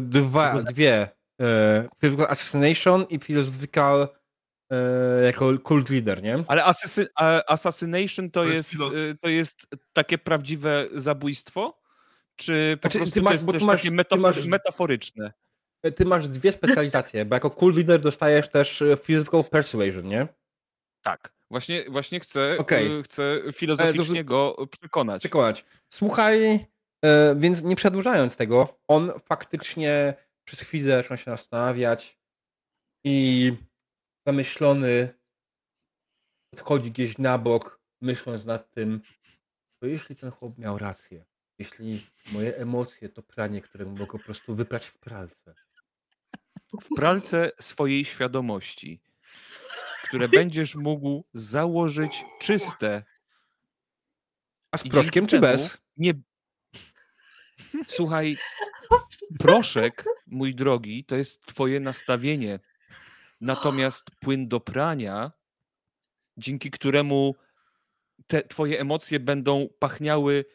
[SPEAKER 1] dwa,
[SPEAKER 3] Tylko za-
[SPEAKER 1] dwie. E, Philosophical Assassination i Philosophical e, jako cult leader, nie?
[SPEAKER 4] Ale asasy, a- assassination to,
[SPEAKER 5] To jest
[SPEAKER 4] jest,
[SPEAKER 5] filo-
[SPEAKER 4] y, to jest takie prawdziwe zabójstwo? Czy po
[SPEAKER 1] Znaczy,
[SPEAKER 4] prostu
[SPEAKER 1] ty
[SPEAKER 4] to
[SPEAKER 1] masz-
[SPEAKER 4] jest
[SPEAKER 1] bo
[SPEAKER 4] też
[SPEAKER 1] ty masz-
[SPEAKER 4] takie
[SPEAKER 1] ty
[SPEAKER 4] metafor-
[SPEAKER 1] masz-
[SPEAKER 4] metaforyczne?
[SPEAKER 1] E, Ty masz dwie specjalizacje, bo jako cult leader dostajesz też e, Physical Persuasion, nie?
[SPEAKER 4] Tak. Właśnie, właśnie chcę,
[SPEAKER 1] Okej. No,
[SPEAKER 4] y, chcę filozoficznie go przekonać.
[SPEAKER 1] przekonać. Słuchaj, e, więc nie przedłużając tego, on faktycznie przez chwilę zaczął się zastanawiać i zamyślony odchodzi gdzieś na bok, myśląc nad tym, to jeśli ten chłop miał rację, jeśli moje emocje to pranie, które mogę po prostu wyprać w pralce.
[SPEAKER 4] W pralce swojej świadomości, które będziesz mógł założyć czyste.
[SPEAKER 1] A z
[SPEAKER 4] I dzięki
[SPEAKER 1] proszkiem czy
[SPEAKER 4] temu
[SPEAKER 1] bez?
[SPEAKER 4] Nie. Słuchaj, proszek, mój drogi, to jest twoje nastawienie. Natomiast płyn do prania, dzięki któremu te twoje emocje będą pachniały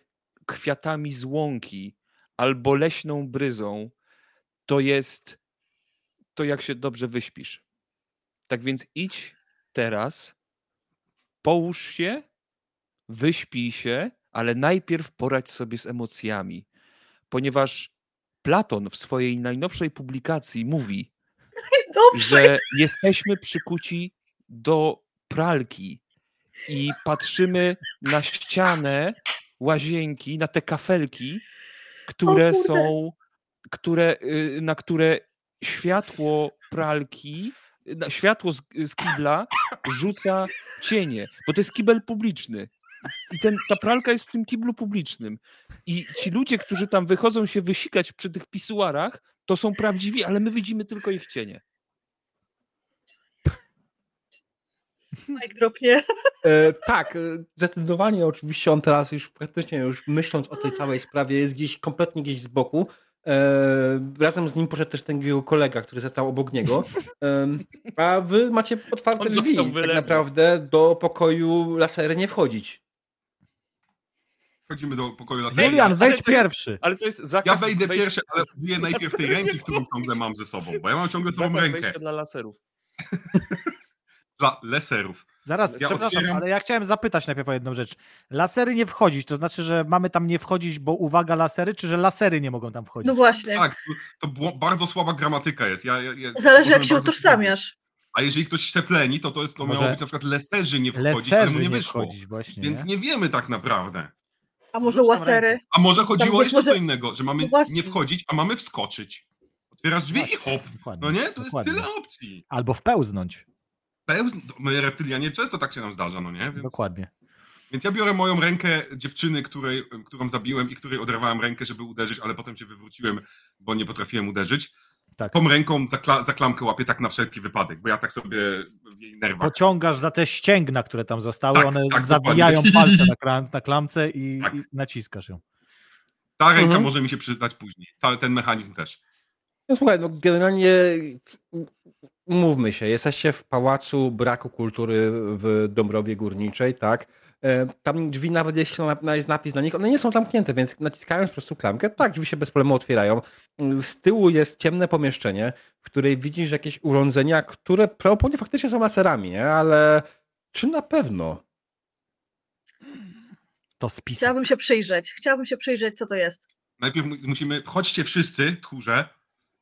[SPEAKER 4] kwiatami z łąki albo leśną bryzą, to jest to, jak się dobrze wyśpisz. Tak więc idź teraz, połóż się, wyśpij się, ale najpierw poradź sobie z emocjami, ponieważ Platon w swojej najnowszej publikacji mówi,
[SPEAKER 2] Dobrze.
[SPEAKER 4] że jesteśmy przykuci do pralki i patrzymy na ścianę łazienki, na te kafelki, które
[SPEAKER 2] kurde.
[SPEAKER 4] są, które, y, na które światło pralki, na światło z, z kibla rzuca cienie, bo to jest kibel publiczny. I ten, ta pralka jest w tym kiblu publicznym. I ci ludzie, którzy tam wychodzą się wysikać przy tych pisuarach, to są prawdziwi, ale my widzimy tylko ich cienie.
[SPEAKER 2] Mike dropnie.
[SPEAKER 1] E, tak, e, zdecydowanie oczywiście on teraz już praktycznie już myśląc o tej całej sprawie jest gdzieś kompletnie gdzieś z boku. E, razem z nim poszedł też ten jego kolega, który został obok niego. Em, a wy macie otwarte
[SPEAKER 4] On
[SPEAKER 1] drzwi
[SPEAKER 4] został
[SPEAKER 1] tak
[SPEAKER 4] wylewny.
[SPEAKER 1] naprawdę do pokoju lasery nie wchodzić.
[SPEAKER 5] Chodzimy do pokoju laserów.
[SPEAKER 3] Julian,
[SPEAKER 4] ale
[SPEAKER 3] wejdź
[SPEAKER 4] to jest-
[SPEAKER 3] pierwszy.
[SPEAKER 4] Ale to jest zakaz.
[SPEAKER 5] Ja wejdę
[SPEAKER 4] wejścia-
[SPEAKER 5] pierwszy, ale użyję najpierw tej ręki, którą ciągle mam ze sobą, bo ja mam ciągle ze
[SPEAKER 4] zakaz
[SPEAKER 5] sobą rękę
[SPEAKER 4] wejścia dla laserów.
[SPEAKER 5] dla leserów.
[SPEAKER 3] Zaraz,
[SPEAKER 5] Ja
[SPEAKER 3] przepraszam,
[SPEAKER 5] otwieram-
[SPEAKER 3] ale ja chciałem zapytać najpierw o jedną rzecz. Lasery nie wchodzić, to znaczy, że mamy tam nie wchodzić, bo uwaga lasery, czy że lasery nie mogą tam wchodzić?
[SPEAKER 2] No właśnie.
[SPEAKER 5] Tak, to, to było- bardzo słaba gramatyka jest. Ja, ja, ja,
[SPEAKER 2] Zależy jak
[SPEAKER 5] możemy
[SPEAKER 2] się
[SPEAKER 5] bardzo-
[SPEAKER 2] utożsamiasz.
[SPEAKER 5] A jeżeli ktoś się pleni, to to, jest, to miało
[SPEAKER 3] Może
[SPEAKER 5] być na przykład leserzy nie wchodzić, ale mu
[SPEAKER 3] Lasery
[SPEAKER 5] nie
[SPEAKER 3] nie
[SPEAKER 5] wyszło.
[SPEAKER 3] wchodzić właśnie.
[SPEAKER 5] Więc
[SPEAKER 3] nie?
[SPEAKER 5] nie wiemy tak naprawdę.
[SPEAKER 2] A może
[SPEAKER 3] Rzuć tam
[SPEAKER 2] łasery?
[SPEAKER 3] rękę.
[SPEAKER 5] A może chodziło
[SPEAKER 2] być
[SPEAKER 5] jeszcze o co
[SPEAKER 2] może-
[SPEAKER 5] innego, że mamy
[SPEAKER 2] No właśnie.
[SPEAKER 5] nie wchodzić, a mamy wskoczyć. Otwierasz drzwi i hop.
[SPEAKER 3] Dokładnie,
[SPEAKER 5] No nie? To jest
[SPEAKER 3] dokładnie.
[SPEAKER 5] tyle opcji.
[SPEAKER 3] Albo wpełznąć.
[SPEAKER 5] Pełz... no, My reptylianie często tak się nam zdarza, no nie? Więc,
[SPEAKER 3] Dokładnie.
[SPEAKER 5] więc ja biorę moją rękę dziewczyny, której, którą zabiłem i której oderwałem rękę, żeby uderzyć, ale potem się wywróciłem, bo nie potrafiłem uderzyć.
[SPEAKER 3] Tak.
[SPEAKER 5] Tą ręką za, kla... za klamkę łapię tak na wszelki wypadek, bo ja tak sobie w jej nerwach.
[SPEAKER 3] Pociągasz za te ścięgna, które tam zostały,
[SPEAKER 5] Tak,
[SPEAKER 3] one
[SPEAKER 5] tak,
[SPEAKER 3] zawijają
[SPEAKER 5] dokładnie.
[SPEAKER 3] palce na, klam, na klamce i,
[SPEAKER 5] Tak.
[SPEAKER 3] i naciskasz ją.
[SPEAKER 5] Ta ręka
[SPEAKER 1] Mhm.
[SPEAKER 5] może mi się przydać później. Ta, ten mechanizm też.
[SPEAKER 1] No słuchaj, no generalnie mówmy się, jesteście w pałacu braku kultury w Dąbrowie Górniczej, tak? E, Tam drzwi nawet jeśli są na- jest napis na nich, one nie są zamknięte, więc naciskając po prostu klamkę, tak, drzwi się bez problemu otwierają. Z tyłu jest ciemne pomieszczenie, w której widzisz jakieś urządzenia, które prawdopodobnie faktycznie są laserami, nie? ale czy na pewno?
[SPEAKER 3] To spis.
[SPEAKER 2] Chciałabym się przyjrzeć. Chciałabym się przyjrzeć, co to jest.
[SPEAKER 5] Najpierw mu- musimy, chodźcie wszyscy, tchórze,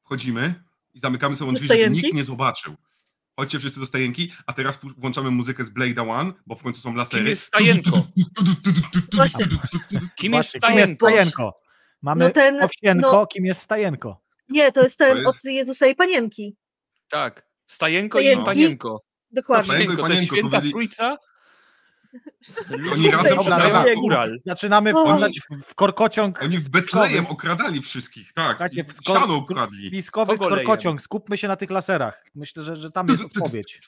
[SPEAKER 5] wchodzimy i zamykamy sobie
[SPEAKER 2] Do
[SPEAKER 5] drzwi, żeby
[SPEAKER 2] stajenki?
[SPEAKER 5] nikt nie zobaczył. Chodźcie wszyscy do stajenki, a teraz pu- włączamy muzykę z Blade'a One, bo w końcu są
[SPEAKER 4] Kim
[SPEAKER 5] lasery.
[SPEAKER 4] jest stajenko?
[SPEAKER 2] Właśnie,
[SPEAKER 4] Kim jest
[SPEAKER 3] Właśnie, kim jest
[SPEAKER 4] stajenko?
[SPEAKER 3] stajenko? Mhm. Mamy
[SPEAKER 2] No ten-
[SPEAKER 3] owsienko,
[SPEAKER 2] no-
[SPEAKER 3] kim jest stajenko?
[SPEAKER 2] nie, to jest
[SPEAKER 5] To
[SPEAKER 2] ten
[SPEAKER 5] jest-
[SPEAKER 2] od Jezusa i Panienki.
[SPEAKER 4] Tak. Stajenko
[SPEAKER 2] Stajenki.
[SPEAKER 4] i panienko.
[SPEAKER 2] Dokładnie.
[SPEAKER 5] Panienko i
[SPEAKER 4] Stajenko, to jest
[SPEAKER 5] panienko, to
[SPEAKER 4] święta
[SPEAKER 5] byli-
[SPEAKER 4] trójca.
[SPEAKER 5] Oni razem
[SPEAKER 3] Dobra,
[SPEAKER 5] okradali,
[SPEAKER 2] dobra.
[SPEAKER 4] Ural.
[SPEAKER 3] Zaczynamy
[SPEAKER 2] Oni-
[SPEAKER 3] wpadać w korkociąg
[SPEAKER 5] oni z Betlejem okradali wszystkich, tak.
[SPEAKER 3] Słuchajcie,
[SPEAKER 5] I
[SPEAKER 3] w sko-
[SPEAKER 5] Ścianę
[SPEAKER 3] skru-
[SPEAKER 5] okradli.
[SPEAKER 3] spiskowy
[SPEAKER 4] Kogo lejem?
[SPEAKER 3] korkociąg. Skupmy się na tych laserach. Myślę, że, że tam
[SPEAKER 5] Ty,
[SPEAKER 3] jest
[SPEAKER 5] ty, ty, ty.
[SPEAKER 3] odpowiedź.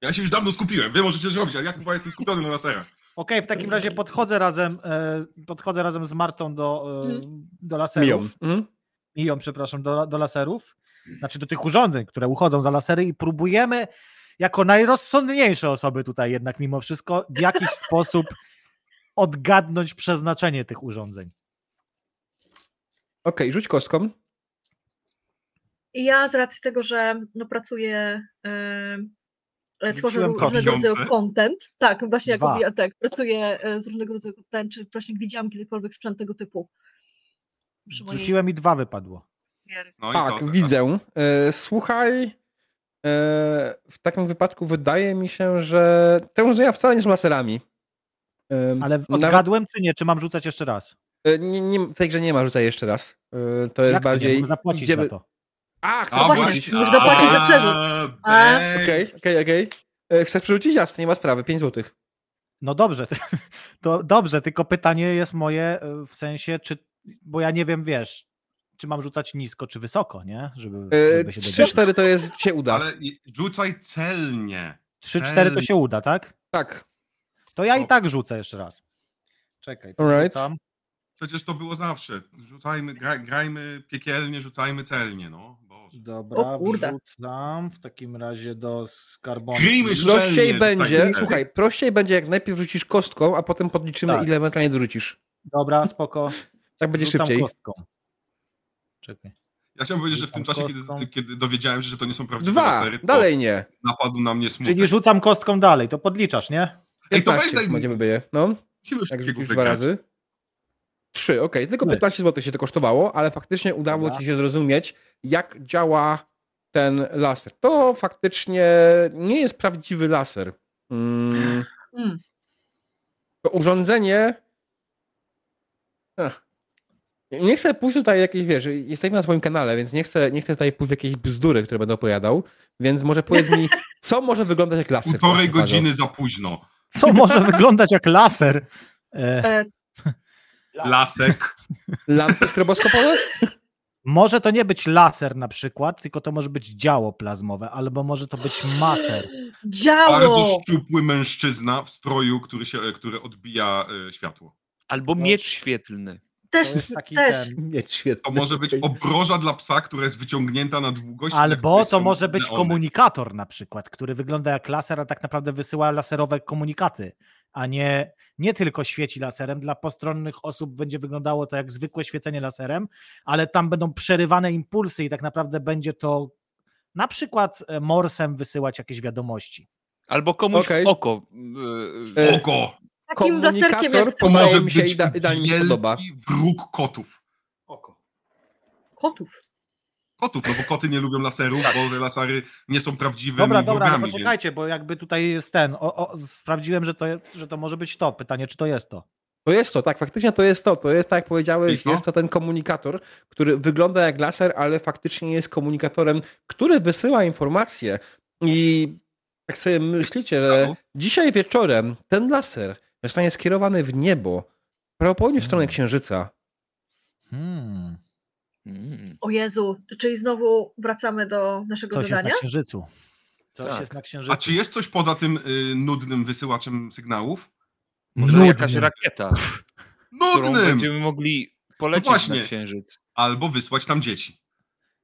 [SPEAKER 5] Ja się już dawno skupiłem, wy możecie zrobić, ale ja chyba jestem skupiony na laserach.
[SPEAKER 3] Okej, w takim razie podchodzę razem, e, podchodzę razem z Martą do, e, do
[SPEAKER 1] Miją.
[SPEAKER 3] laserów.
[SPEAKER 1] Mhm.
[SPEAKER 3] Miją, przepraszam, do, do laserów.
[SPEAKER 1] Hmm.
[SPEAKER 3] Znaczy do tych urządzeń, które uchodzą za lasery i próbujemy jako najrozsądniejsze osoby tutaj jednak mimo wszystko w jakiś sposób odgadnąć przeznaczenie tych urządzeń.
[SPEAKER 1] Okej, rzuć kostką.
[SPEAKER 2] I ja z racji tego, że no, pracuję, e, e, tworzę
[SPEAKER 3] Rzuciłem
[SPEAKER 2] ró- różnego
[SPEAKER 5] kopiące.
[SPEAKER 2] rodzaju content. Tak, właśnie jak
[SPEAKER 3] Dwa.
[SPEAKER 2] mówię, tak, pracuję e, z różnego rodzaju content, czy właśnie widziałam kiedykolwiek sprzęt tego typu. Przy mojej
[SPEAKER 3] Rzuciłem i dwa wypadło.
[SPEAKER 2] karierze.
[SPEAKER 5] No i co?
[SPEAKER 1] Tak,
[SPEAKER 5] teraz?
[SPEAKER 1] widzę. E, Słuchaj, e, w takim wypadku wydaje mi się, że te urządzenia wcale nie są laserami. E,
[SPEAKER 3] Ale
[SPEAKER 1] nawet,
[SPEAKER 3] odgadłem czy nie? Czy mam rzucać jeszcze raz?
[SPEAKER 1] e, nie, nie, w tej grze nie ma rzucaj jeszcze raz. E, To jest
[SPEAKER 3] Jak to nie?
[SPEAKER 1] bardziej.
[SPEAKER 3] Mam zapłacić
[SPEAKER 1] idziemy-
[SPEAKER 3] za to.
[SPEAKER 1] A,
[SPEAKER 5] A,
[SPEAKER 1] chcesz
[SPEAKER 2] właśnie,
[SPEAKER 1] rzucić.
[SPEAKER 2] musisz zapłacić za przerzut.
[SPEAKER 5] A,
[SPEAKER 2] A.
[SPEAKER 5] bej.
[SPEAKER 1] Okej, okej, okej. E, Chcesz przerzucić? Jasne, nie ma sprawy. 5 złotych.
[SPEAKER 3] No dobrze, to dobrze, tylko pytanie jest moje y, w sensie, czy, bo ja nie wiem, wiesz, czy mam rzucać nisko, czy wysoko, nie? Żeby, żeby się dowiedzieć.
[SPEAKER 1] 3-4 E, to jest, się uda.
[SPEAKER 5] Ale i- rzucaj celnie.
[SPEAKER 3] 3-4 to się uda, tak?
[SPEAKER 1] Tak.
[SPEAKER 3] To ja
[SPEAKER 5] O.
[SPEAKER 3] i tak rzucę jeszcze raz. Czekaj, to
[SPEAKER 1] Alright.
[SPEAKER 3] rzucam.
[SPEAKER 5] Przecież to było zawsze. Rzucajmy, gra, grajmy piekielnie, rzucajmy celnie, no. Boże.
[SPEAKER 3] Dobra,
[SPEAKER 2] O kurde.
[SPEAKER 3] wrzucam w takim razie do skarbonki.
[SPEAKER 5] Kryjmy
[SPEAKER 1] Prościej
[SPEAKER 5] szczelnie.
[SPEAKER 1] będzie,
[SPEAKER 5] tak.
[SPEAKER 1] słuchaj, prościej będzie jak najpierw rzucisz kostką, a potem podliczymy
[SPEAKER 3] Tak.
[SPEAKER 1] ile ewentualnie dorzucisz.
[SPEAKER 3] Dobra, spoko.
[SPEAKER 1] Tak będzie
[SPEAKER 3] Rzucam
[SPEAKER 1] szybciej.
[SPEAKER 3] kostką. Czekaj.
[SPEAKER 5] Ja chciałem powiedzieć, że w tym
[SPEAKER 3] Rzucam
[SPEAKER 5] czasie, kiedy,
[SPEAKER 3] kostką.
[SPEAKER 5] kiedy dowiedziałem się, że to nie są prawdziwe
[SPEAKER 1] Dwa,
[SPEAKER 5] lasery, to
[SPEAKER 1] dalej nie.
[SPEAKER 5] napadł na mnie
[SPEAKER 3] Czyli
[SPEAKER 1] tak.
[SPEAKER 5] smutek.
[SPEAKER 3] rzucam kostką dalej, to podliczasz, nie?
[SPEAKER 5] Ej, to
[SPEAKER 1] 15
[SPEAKER 5] weź daj mi,
[SPEAKER 1] będziemy byje. No,
[SPEAKER 5] musimy już
[SPEAKER 1] jak
[SPEAKER 5] takiego
[SPEAKER 1] rzucisz dwa
[SPEAKER 5] wygrać.
[SPEAKER 1] razy. Trzy, okej. Tylko
[SPEAKER 3] Trzy.
[SPEAKER 1] 15 zł się to kosztowało, ale faktycznie udało
[SPEAKER 3] Dobra.
[SPEAKER 1] ci się zrozumieć, jak działa ten laser. To faktycznie nie jest prawdziwy laser. Mm,
[SPEAKER 2] Mm.
[SPEAKER 1] to urządzenie... Ach. Nie chcę pójść tutaj jakieś, wiesz, jesteśmy na twoim kanale, więc nie chcę, nie chcę tutaj pójść w jakieś bzdury, które będę opowiadał, więc może powiedz mi, co może wyglądać jak laser?
[SPEAKER 5] Półtorej
[SPEAKER 1] proszę bardzo?
[SPEAKER 5] godziny za późno.
[SPEAKER 3] Co może wyglądać jak laser? E,
[SPEAKER 2] E,
[SPEAKER 5] Lasek.
[SPEAKER 1] Lampy stroboskopowe?
[SPEAKER 3] Może to nie być laser na przykład, tylko to może być działo plazmowe, albo może to być maser.
[SPEAKER 5] Bardzo
[SPEAKER 2] Działo!
[SPEAKER 5] szczupły mężczyzna w stroju, który, się, który odbija e, światło.
[SPEAKER 4] Albo miecz świetlny.
[SPEAKER 2] Też,
[SPEAKER 3] To jest taki
[SPEAKER 2] też.
[SPEAKER 3] ten.
[SPEAKER 1] Mieć świetny.
[SPEAKER 5] To może być
[SPEAKER 1] Okej.
[SPEAKER 5] obroża dla psa, która jest wyciągnięta na długość.
[SPEAKER 3] Albo
[SPEAKER 5] jakby
[SPEAKER 3] to
[SPEAKER 5] są
[SPEAKER 3] może być
[SPEAKER 5] neony.
[SPEAKER 3] komunikator na przykład, który wygląda jak laser, a tak naprawdę wysyła laserowe komunikaty, a nie, nie tylko świeci laserem. Dla postronnych osób będzie wyglądało to jak zwykłe świecenie laserem, ale tam będą przerywane impulsy i tak naprawdę będzie to na przykład e, morsem wysyłać jakieś wiadomości.
[SPEAKER 4] Albo komuś
[SPEAKER 1] Okej.
[SPEAKER 4] w oko. y, y,
[SPEAKER 1] E,
[SPEAKER 5] Oko!
[SPEAKER 2] Takim laserkiem
[SPEAKER 1] Komunikator
[SPEAKER 2] jak
[SPEAKER 5] To
[SPEAKER 1] to
[SPEAKER 2] to.
[SPEAKER 5] może
[SPEAKER 1] może mi się
[SPEAKER 5] być
[SPEAKER 1] ide- idealnie mi się
[SPEAKER 5] wielki
[SPEAKER 1] podoba.
[SPEAKER 5] wróg kotów. Oko.
[SPEAKER 2] Kotów.
[SPEAKER 5] Kotów, no bo koty nie lubią laserów,
[SPEAKER 4] Tak.
[SPEAKER 5] bo te lasery nie są prawdziwymi
[SPEAKER 3] Dobra, dobra, ale
[SPEAKER 5] wrogami. więc-
[SPEAKER 3] poczekajcie, bo jakby tutaj jest ten. O, o, sprawdziłem, że to, że to może być to. Pytanie, czy to jest to?
[SPEAKER 1] To jest to, tak, faktycznie to jest to. To jest, tak jak
[SPEAKER 5] I
[SPEAKER 1] powiedziałeś,
[SPEAKER 5] to?
[SPEAKER 1] jest to ten komunikator, który wygląda jak laser, ale faktycznie jest komunikatorem, który wysyła informacje. I tak sobie myślicie, że
[SPEAKER 5] Halo?
[SPEAKER 1] dzisiaj wieczorem ten laser zostanie skierowany w niebo, prawdopodobnie w stronę
[SPEAKER 3] Mm.
[SPEAKER 1] Księżyca.
[SPEAKER 3] Hmm,
[SPEAKER 4] mm.
[SPEAKER 2] O Jezu, czyli znowu wracamy do naszego
[SPEAKER 3] coś jest
[SPEAKER 2] zadania?
[SPEAKER 3] na księżycu. Coś
[SPEAKER 4] Tak.
[SPEAKER 3] jest na księżycu.
[SPEAKER 5] A czy jest coś poza tym y, nudnym wysyłaczem sygnałów?
[SPEAKER 4] Może
[SPEAKER 3] Nudny.
[SPEAKER 4] jakaś rakieta, którą
[SPEAKER 5] Nudnym!
[SPEAKER 4] będziemy mogli polecieć
[SPEAKER 5] No właśnie.
[SPEAKER 4] na księżyc.
[SPEAKER 5] Albo wysłać tam dzieci.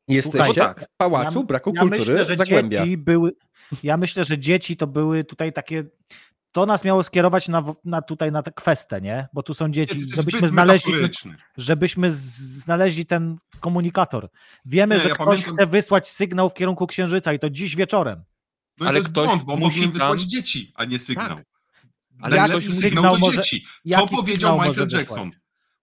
[SPEAKER 1] Jesteście
[SPEAKER 4] Słuchajcie,
[SPEAKER 5] no tak.
[SPEAKER 1] w pałacu
[SPEAKER 3] ja-
[SPEAKER 1] braku
[SPEAKER 3] ja
[SPEAKER 1] kultury
[SPEAKER 3] myślę, że
[SPEAKER 1] Zagłębia.
[SPEAKER 3] Dzieci były, ja myślę, że dzieci to były tutaj takie. To nas miało skierować na, w- na tutaj na tę kwestię, nie? Bo tu są dzieci,
[SPEAKER 5] Jest
[SPEAKER 3] żebyśmy
[SPEAKER 5] zbyt
[SPEAKER 3] znaleźli,
[SPEAKER 5] metaforyczny.
[SPEAKER 3] żebyśmy z- znaleźli ten komunikator. Wiemy,
[SPEAKER 5] Nie,
[SPEAKER 3] że
[SPEAKER 5] ja
[SPEAKER 3] ktoś
[SPEAKER 5] pamiętam-
[SPEAKER 3] chce wysłać sygnał w kierunku księżyca i to dziś wieczorem.
[SPEAKER 5] No i
[SPEAKER 4] Ale
[SPEAKER 5] to jest
[SPEAKER 4] ktoś
[SPEAKER 5] błąd, bo
[SPEAKER 4] musi
[SPEAKER 5] mogłem wysłać
[SPEAKER 4] tam-
[SPEAKER 5] dzieci, a nie sygnał.
[SPEAKER 4] Tak.
[SPEAKER 5] Ale
[SPEAKER 4] Ale
[SPEAKER 5] Najlepszy
[SPEAKER 4] ktoś
[SPEAKER 5] sygnał,
[SPEAKER 4] musi-
[SPEAKER 5] do
[SPEAKER 3] sygnał może-
[SPEAKER 5] dzieci. Co
[SPEAKER 3] jaki
[SPEAKER 5] powiedział
[SPEAKER 3] sygnał
[SPEAKER 5] Michael
[SPEAKER 3] może
[SPEAKER 5] Jackson?
[SPEAKER 3] wysłać?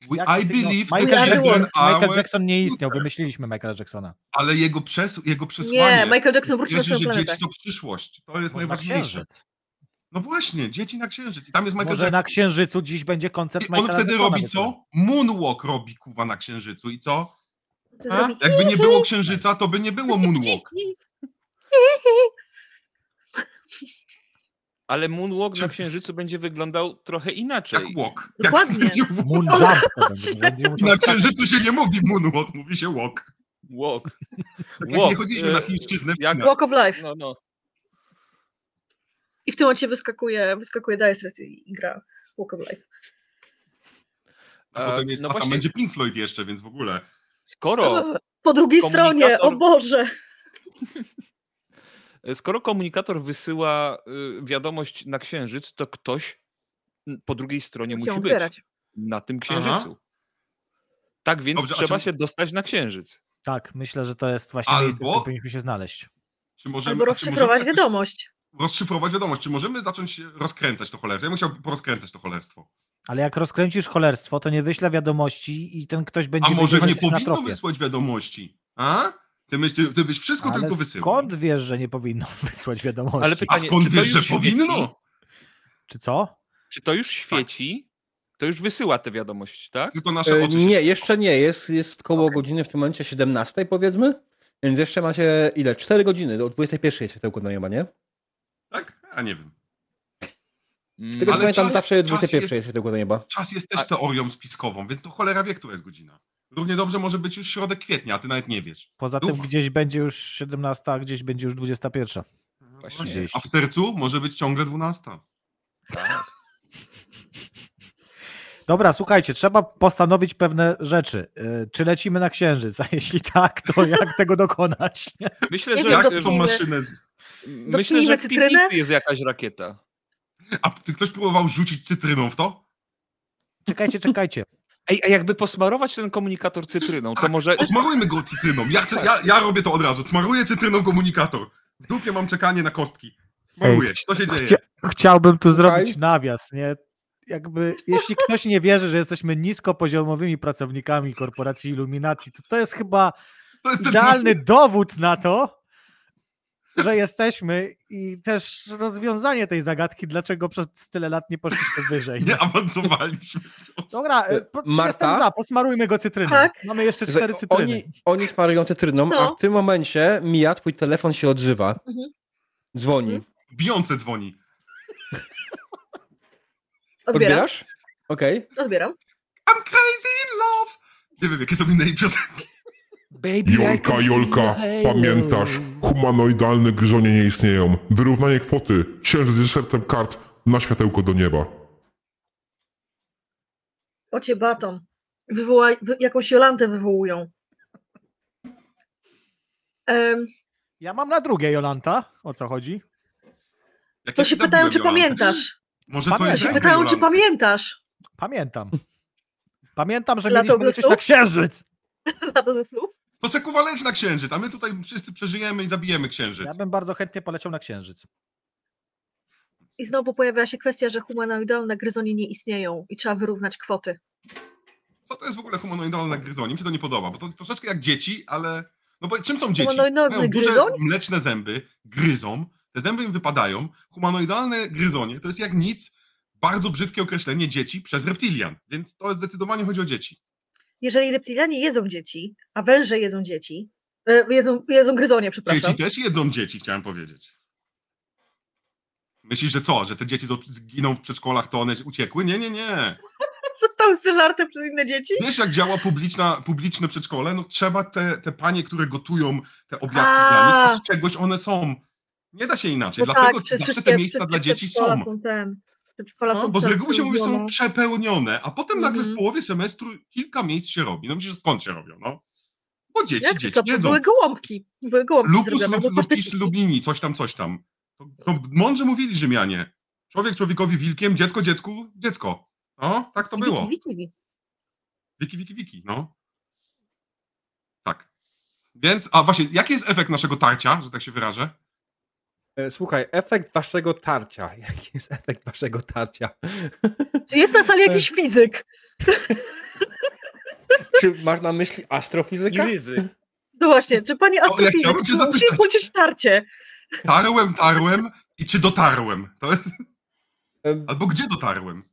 [SPEAKER 5] We,
[SPEAKER 3] Jaki
[SPEAKER 5] I
[SPEAKER 3] sygnał?
[SPEAKER 5] believe
[SPEAKER 3] Michael
[SPEAKER 5] that
[SPEAKER 2] Jackson-
[SPEAKER 5] children are...
[SPEAKER 3] Michael Jackson nie istniał, wymyśliliśmy Michaela Jacksona.
[SPEAKER 5] Ale jego, przes... jego przesłanie...
[SPEAKER 2] Nie, Michael Jackson wrócił na
[SPEAKER 5] wierzy,
[SPEAKER 2] swoją
[SPEAKER 5] że
[SPEAKER 2] planetę.
[SPEAKER 5] dzieci to przyszłość. To jest
[SPEAKER 3] Może na
[SPEAKER 5] najważniejsze.
[SPEAKER 3] księżyc.
[SPEAKER 5] No właśnie, dzieci na księżyc. I tam jest Michael
[SPEAKER 3] Może na
[SPEAKER 5] Jackson.
[SPEAKER 3] księżycu dziś będzie koncert
[SPEAKER 5] I on
[SPEAKER 3] Michaela
[SPEAKER 5] wtedy
[SPEAKER 3] Jacksona
[SPEAKER 5] robi
[SPEAKER 3] wieczorem.
[SPEAKER 5] co? Moonwalk robi kuwa na księżycu. I co?
[SPEAKER 2] To
[SPEAKER 5] A?
[SPEAKER 2] zrobi-
[SPEAKER 5] Jakby nie było księżyca, to by nie było moonwalk.
[SPEAKER 4] Ale moonwalk na księżycu będzie wyglądał trochę inaczej.
[SPEAKER 5] Jak Tak, walk. Jak
[SPEAKER 2] Dokładnie.
[SPEAKER 3] Moon jump to będzie. będzie musiał
[SPEAKER 5] Na księżycu się nie mówi moonwalk, mówi się walk. Tak
[SPEAKER 4] Walk. y,
[SPEAKER 5] Jak nie chodziliśmy na chińszczyznę.
[SPEAKER 4] jak-
[SPEAKER 5] Jak...
[SPEAKER 2] Walk of life.
[SPEAKER 4] No, no.
[SPEAKER 2] I w tym momencie wyskakuje, wyskakuje Dice Red i gra Walk of Life.
[SPEAKER 5] A potem jest,
[SPEAKER 4] no
[SPEAKER 5] a tam
[SPEAKER 4] właśnie,
[SPEAKER 5] będzie Pink Floyd jeszcze, więc w ogóle.
[SPEAKER 4] skoro,
[SPEAKER 2] Po drugiej stronie, o
[SPEAKER 4] Komunikator-
[SPEAKER 2] Boże!
[SPEAKER 4] E, skoro komunikator wysyła y, wiadomość na księżyc, to ktoś po drugiej stronie
[SPEAKER 2] Chciał
[SPEAKER 4] musi być.
[SPEAKER 2] ubierać.
[SPEAKER 4] na tym
[SPEAKER 5] Aha.
[SPEAKER 4] księżycu. Tak więc
[SPEAKER 5] Dobrze, a
[SPEAKER 4] trzeba
[SPEAKER 5] czy-
[SPEAKER 4] się dostać na księżyc.
[SPEAKER 3] Tak, myślę, że to jest właśnie
[SPEAKER 5] Albo-
[SPEAKER 3] miejsce, w którym powinniśmy się znaleźć.
[SPEAKER 5] Czy możemy,
[SPEAKER 2] Albo
[SPEAKER 5] a czy możemy
[SPEAKER 2] rozszyfrować
[SPEAKER 5] jakoś
[SPEAKER 2] wiadomość.
[SPEAKER 5] Rozszyfrować wiadomość. Czy możemy zacząć się rozkręcać to cholerstwo? Ja bym chciał porozkręcać to cholerstwo.
[SPEAKER 3] Ale jak rozkręcisz cholerstwo, to nie wyśle wiadomości i ten ktoś
[SPEAKER 5] A
[SPEAKER 3] będzie
[SPEAKER 5] może
[SPEAKER 3] wiedział,
[SPEAKER 5] nie
[SPEAKER 3] że jesteś na
[SPEAKER 5] powinno
[SPEAKER 3] tropie.
[SPEAKER 5] wysłać wiadomości? A? Ty, myśl, ty, ty byś wszystko
[SPEAKER 3] Ale
[SPEAKER 5] tylko wysyłał.
[SPEAKER 3] skąd wiesz, że nie powinno wysłać wiadomości?
[SPEAKER 4] Ale
[SPEAKER 5] A
[SPEAKER 4] pytanie,
[SPEAKER 5] skąd
[SPEAKER 4] czy to
[SPEAKER 5] wiesz, że
[SPEAKER 4] już świeci?
[SPEAKER 5] powinno?
[SPEAKER 3] Czy co?
[SPEAKER 4] Czy to już świeci? Tak. To już wysyła tę wiadomość, tak?
[SPEAKER 5] Tylko nasze
[SPEAKER 1] E,
[SPEAKER 5] oczy
[SPEAKER 1] Nie,
[SPEAKER 5] się...
[SPEAKER 1] jeszcze nie. Jest, jest koło godziny w tym momencie 17 powiedzmy. Więc jeszcze macie ile? 4 godziny. Do 21 jest światełko na nieba, nie?
[SPEAKER 5] Tak? A nie wiem.
[SPEAKER 4] Mm.
[SPEAKER 1] Z tego co
[SPEAKER 5] Ale
[SPEAKER 4] tak.
[SPEAKER 1] pamiętam
[SPEAKER 5] czas-
[SPEAKER 1] zawsze
[SPEAKER 5] czas
[SPEAKER 1] 21
[SPEAKER 5] jest-
[SPEAKER 1] jest światełko do nieba.
[SPEAKER 5] Czas jest też
[SPEAKER 4] A-
[SPEAKER 5] teorią spiskową, więc to cholera wie, która jest godzina. Równie dobrze może być już środek kwietnia, a ty nawet nie wiesz.
[SPEAKER 3] Poza tym
[SPEAKER 5] Dupa.
[SPEAKER 3] gdzieś będzie już 17, a gdzieś będzie już 21.
[SPEAKER 4] No Właśnie.
[SPEAKER 5] A w sercu może być ciągle 12.
[SPEAKER 4] Tak.
[SPEAKER 3] Dobra, słuchajcie, trzeba postanowić pewne rzeczy. Yy, Czy lecimy na księżyc? A jeśli tak, to jak tego dokonać?
[SPEAKER 4] Myślę,
[SPEAKER 2] Nie
[SPEAKER 4] że,
[SPEAKER 2] wiem,
[SPEAKER 5] Jak
[SPEAKER 2] dotknijmy.
[SPEAKER 5] tą maszynę... z-
[SPEAKER 4] myślę, że w
[SPEAKER 2] cytrynę?
[SPEAKER 4] piwnicy jest jakaś rakieta.
[SPEAKER 5] A ty ktoś próbował rzucić cytryną w to?
[SPEAKER 3] Czekajcie, czekajcie.
[SPEAKER 4] Ej, a jakby posmarować ten komunikator cytryną, to
[SPEAKER 5] Tak,
[SPEAKER 4] może...
[SPEAKER 5] Osmarujmy go cytryną. Ja, chcę, ja, ja robię to od razu. Smaruję cytryną komunikator. W dupie mam czekanie na kostki. Smaruję. Co się dzieje?
[SPEAKER 3] Chcia- chciałbym tu zrobić
[SPEAKER 1] Tutaj?
[SPEAKER 3] nawias, nie? Jakby, jeśli ktoś nie wierzy, że jesteśmy niskopoziomowymi pracownikami korporacji Illuminati, to to jest chyba
[SPEAKER 5] To jest ten
[SPEAKER 3] idealny dowód na to, że jesteśmy i też rozwiązanie tej zagadki, dlaczego przez tyle lat nie poszliśmy wyżej.
[SPEAKER 5] Nie awansowaliśmy.
[SPEAKER 3] Dobra,
[SPEAKER 1] E,
[SPEAKER 3] po-
[SPEAKER 1] Marta?
[SPEAKER 3] jestem za, posmarujmy go cytryną.
[SPEAKER 2] Tak.
[SPEAKER 3] Mamy jeszcze cztery cytryny.
[SPEAKER 1] Oni, oni smarują cytryną,
[SPEAKER 2] No.
[SPEAKER 1] a w tym momencie mija, twój telefon się odżywa.
[SPEAKER 2] Mhm.
[SPEAKER 1] Dzwoni.
[SPEAKER 5] Bijące dzwoni.
[SPEAKER 2] Odbieram.
[SPEAKER 1] Odbierasz? Okej.
[SPEAKER 2] Odbieram.
[SPEAKER 5] I'm crazy in love. Nie wiem, jakie są inne jej piosenki.
[SPEAKER 1] Baby,
[SPEAKER 6] Jolka, Jolka, pamiętasz, humanoidalne gryzonie nie istnieją. Wyrównanie kwoty, księżyc z desertem kart, na światełko do nieba.
[SPEAKER 2] Ocie batą. Wywołaj, wy, jakąś Jolantę wywołują. Em,
[SPEAKER 3] Ja mam na drugie Jolanta. O co chodzi?
[SPEAKER 5] Jak
[SPEAKER 2] to
[SPEAKER 5] ja
[SPEAKER 2] się
[SPEAKER 5] zabiłem
[SPEAKER 2] pytają, czy
[SPEAKER 5] Jolantę.
[SPEAKER 2] pamiętasz.
[SPEAKER 5] Może to
[SPEAKER 3] Pamiętam.
[SPEAKER 5] jest
[SPEAKER 2] Się
[SPEAKER 3] Tak,
[SPEAKER 5] ręka
[SPEAKER 2] pytają, czy
[SPEAKER 5] Jolanty.
[SPEAKER 2] pamiętasz.
[SPEAKER 3] Pamiętam. Pamiętam, że
[SPEAKER 2] Lato
[SPEAKER 3] mieliśmy lecieć
[SPEAKER 2] wiosną?
[SPEAKER 3] na księżyc.
[SPEAKER 2] Lata ze snów.
[SPEAKER 5] To se kuwa leć na księżyc, a my tutaj wszyscy przeżyjemy i zabijemy księżyc.
[SPEAKER 3] Ja bym bardzo chętnie poleciał na księżyc.
[SPEAKER 2] I znowu pojawia się kwestia, że humanoidalne gryzonie nie istnieją i trzeba wyrównać kwoty.
[SPEAKER 5] Co to jest w ogóle humanoidalne
[SPEAKER 3] Tak.
[SPEAKER 5] gryzonie? Mi się to nie podoba, bo to troszeczkę jak dzieci, ale... No bo czym są dzieci?
[SPEAKER 2] Humanoidalny
[SPEAKER 5] Mają duże,
[SPEAKER 2] gryzoń?
[SPEAKER 5] mleczne zęby, gryzą, te zęby im wypadają. Humanoidalne gryzonie to jest jak nic, bardzo brzydkie określenie dzieci przez reptilian, więc to zdecydowanie chodzi o dzieci.
[SPEAKER 2] Jeżeli reptilianie jedzą dzieci, a węże jedzą dzieci, e, jedzą, jedzą gryzonie, przepraszam.
[SPEAKER 5] Dzieci też jedzą dzieci, chciałem powiedzieć. Myślisz, że co? Że te dzieci zo- zginą w przedszkolach, to one uciekły? Nie, nie, nie.
[SPEAKER 2] Zostały zeżarte przez inne dzieci?
[SPEAKER 5] Wiesz, jak działa publiczna, publiczne przedszkole? No trzeba te, te panie, które gotują te obiadki
[SPEAKER 2] A.
[SPEAKER 5] dla nich, z czegoś one są. Nie da się inaczej,
[SPEAKER 2] Bo
[SPEAKER 5] dlatego
[SPEAKER 2] No tak, przez
[SPEAKER 5] zawsze
[SPEAKER 2] wszystkie-
[SPEAKER 5] te miejsca
[SPEAKER 2] przez
[SPEAKER 5] dla
[SPEAKER 2] wszystkie
[SPEAKER 5] dzieci
[SPEAKER 2] przedszkola
[SPEAKER 5] są.
[SPEAKER 2] ten, przedszkola
[SPEAKER 5] No,
[SPEAKER 2] są
[SPEAKER 5] bo z
[SPEAKER 2] tak
[SPEAKER 5] reguły się mówi, że są
[SPEAKER 2] zrobione.
[SPEAKER 5] przepełnione, a potem nagle
[SPEAKER 2] Mhm.
[SPEAKER 5] w połowie semestru kilka miejsc się robi. No myślisz, że skąd się robią? No? Bo dzieci,
[SPEAKER 2] Jak
[SPEAKER 5] dzieci
[SPEAKER 2] to?
[SPEAKER 5] jedzą.
[SPEAKER 2] Były gołąbki. Były gołąbki
[SPEAKER 5] Lupus
[SPEAKER 2] zrobione,
[SPEAKER 5] lub,
[SPEAKER 2] bo
[SPEAKER 5] lupis
[SPEAKER 2] patyki.
[SPEAKER 5] lubini, coś tam, coś tam. To, to mądrze mówili Rzymianie. Człowiek człowiekowi wilkiem, dziecko dziecku, dziecko. No, tak to
[SPEAKER 2] I
[SPEAKER 5] było.
[SPEAKER 2] Wiki, wiki.
[SPEAKER 5] Wiki, wiki, wiki, no. Tak. Więc, a właśnie, jaki jest efekt naszego tarcia, że tak się wyrażę?
[SPEAKER 1] E, Słuchaj, efekt waszego tarcia. Jaki jest efekt waszego tarcia?
[SPEAKER 2] Czy jest na sali jakiś fizyk?
[SPEAKER 1] Czy masz na myśli astrofizyka?
[SPEAKER 4] Gryzy.
[SPEAKER 2] No właśnie, czy pani
[SPEAKER 5] chciałbym
[SPEAKER 2] astrofizyk
[SPEAKER 5] cię
[SPEAKER 2] musi
[SPEAKER 5] zapytać.
[SPEAKER 2] kończyć tarcie?
[SPEAKER 5] Tarłem, tarłem i czy dotarłem? To jest...
[SPEAKER 1] Em.
[SPEAKER 5] Albo gdzie dotarłem?
[SPEAKER 1] E,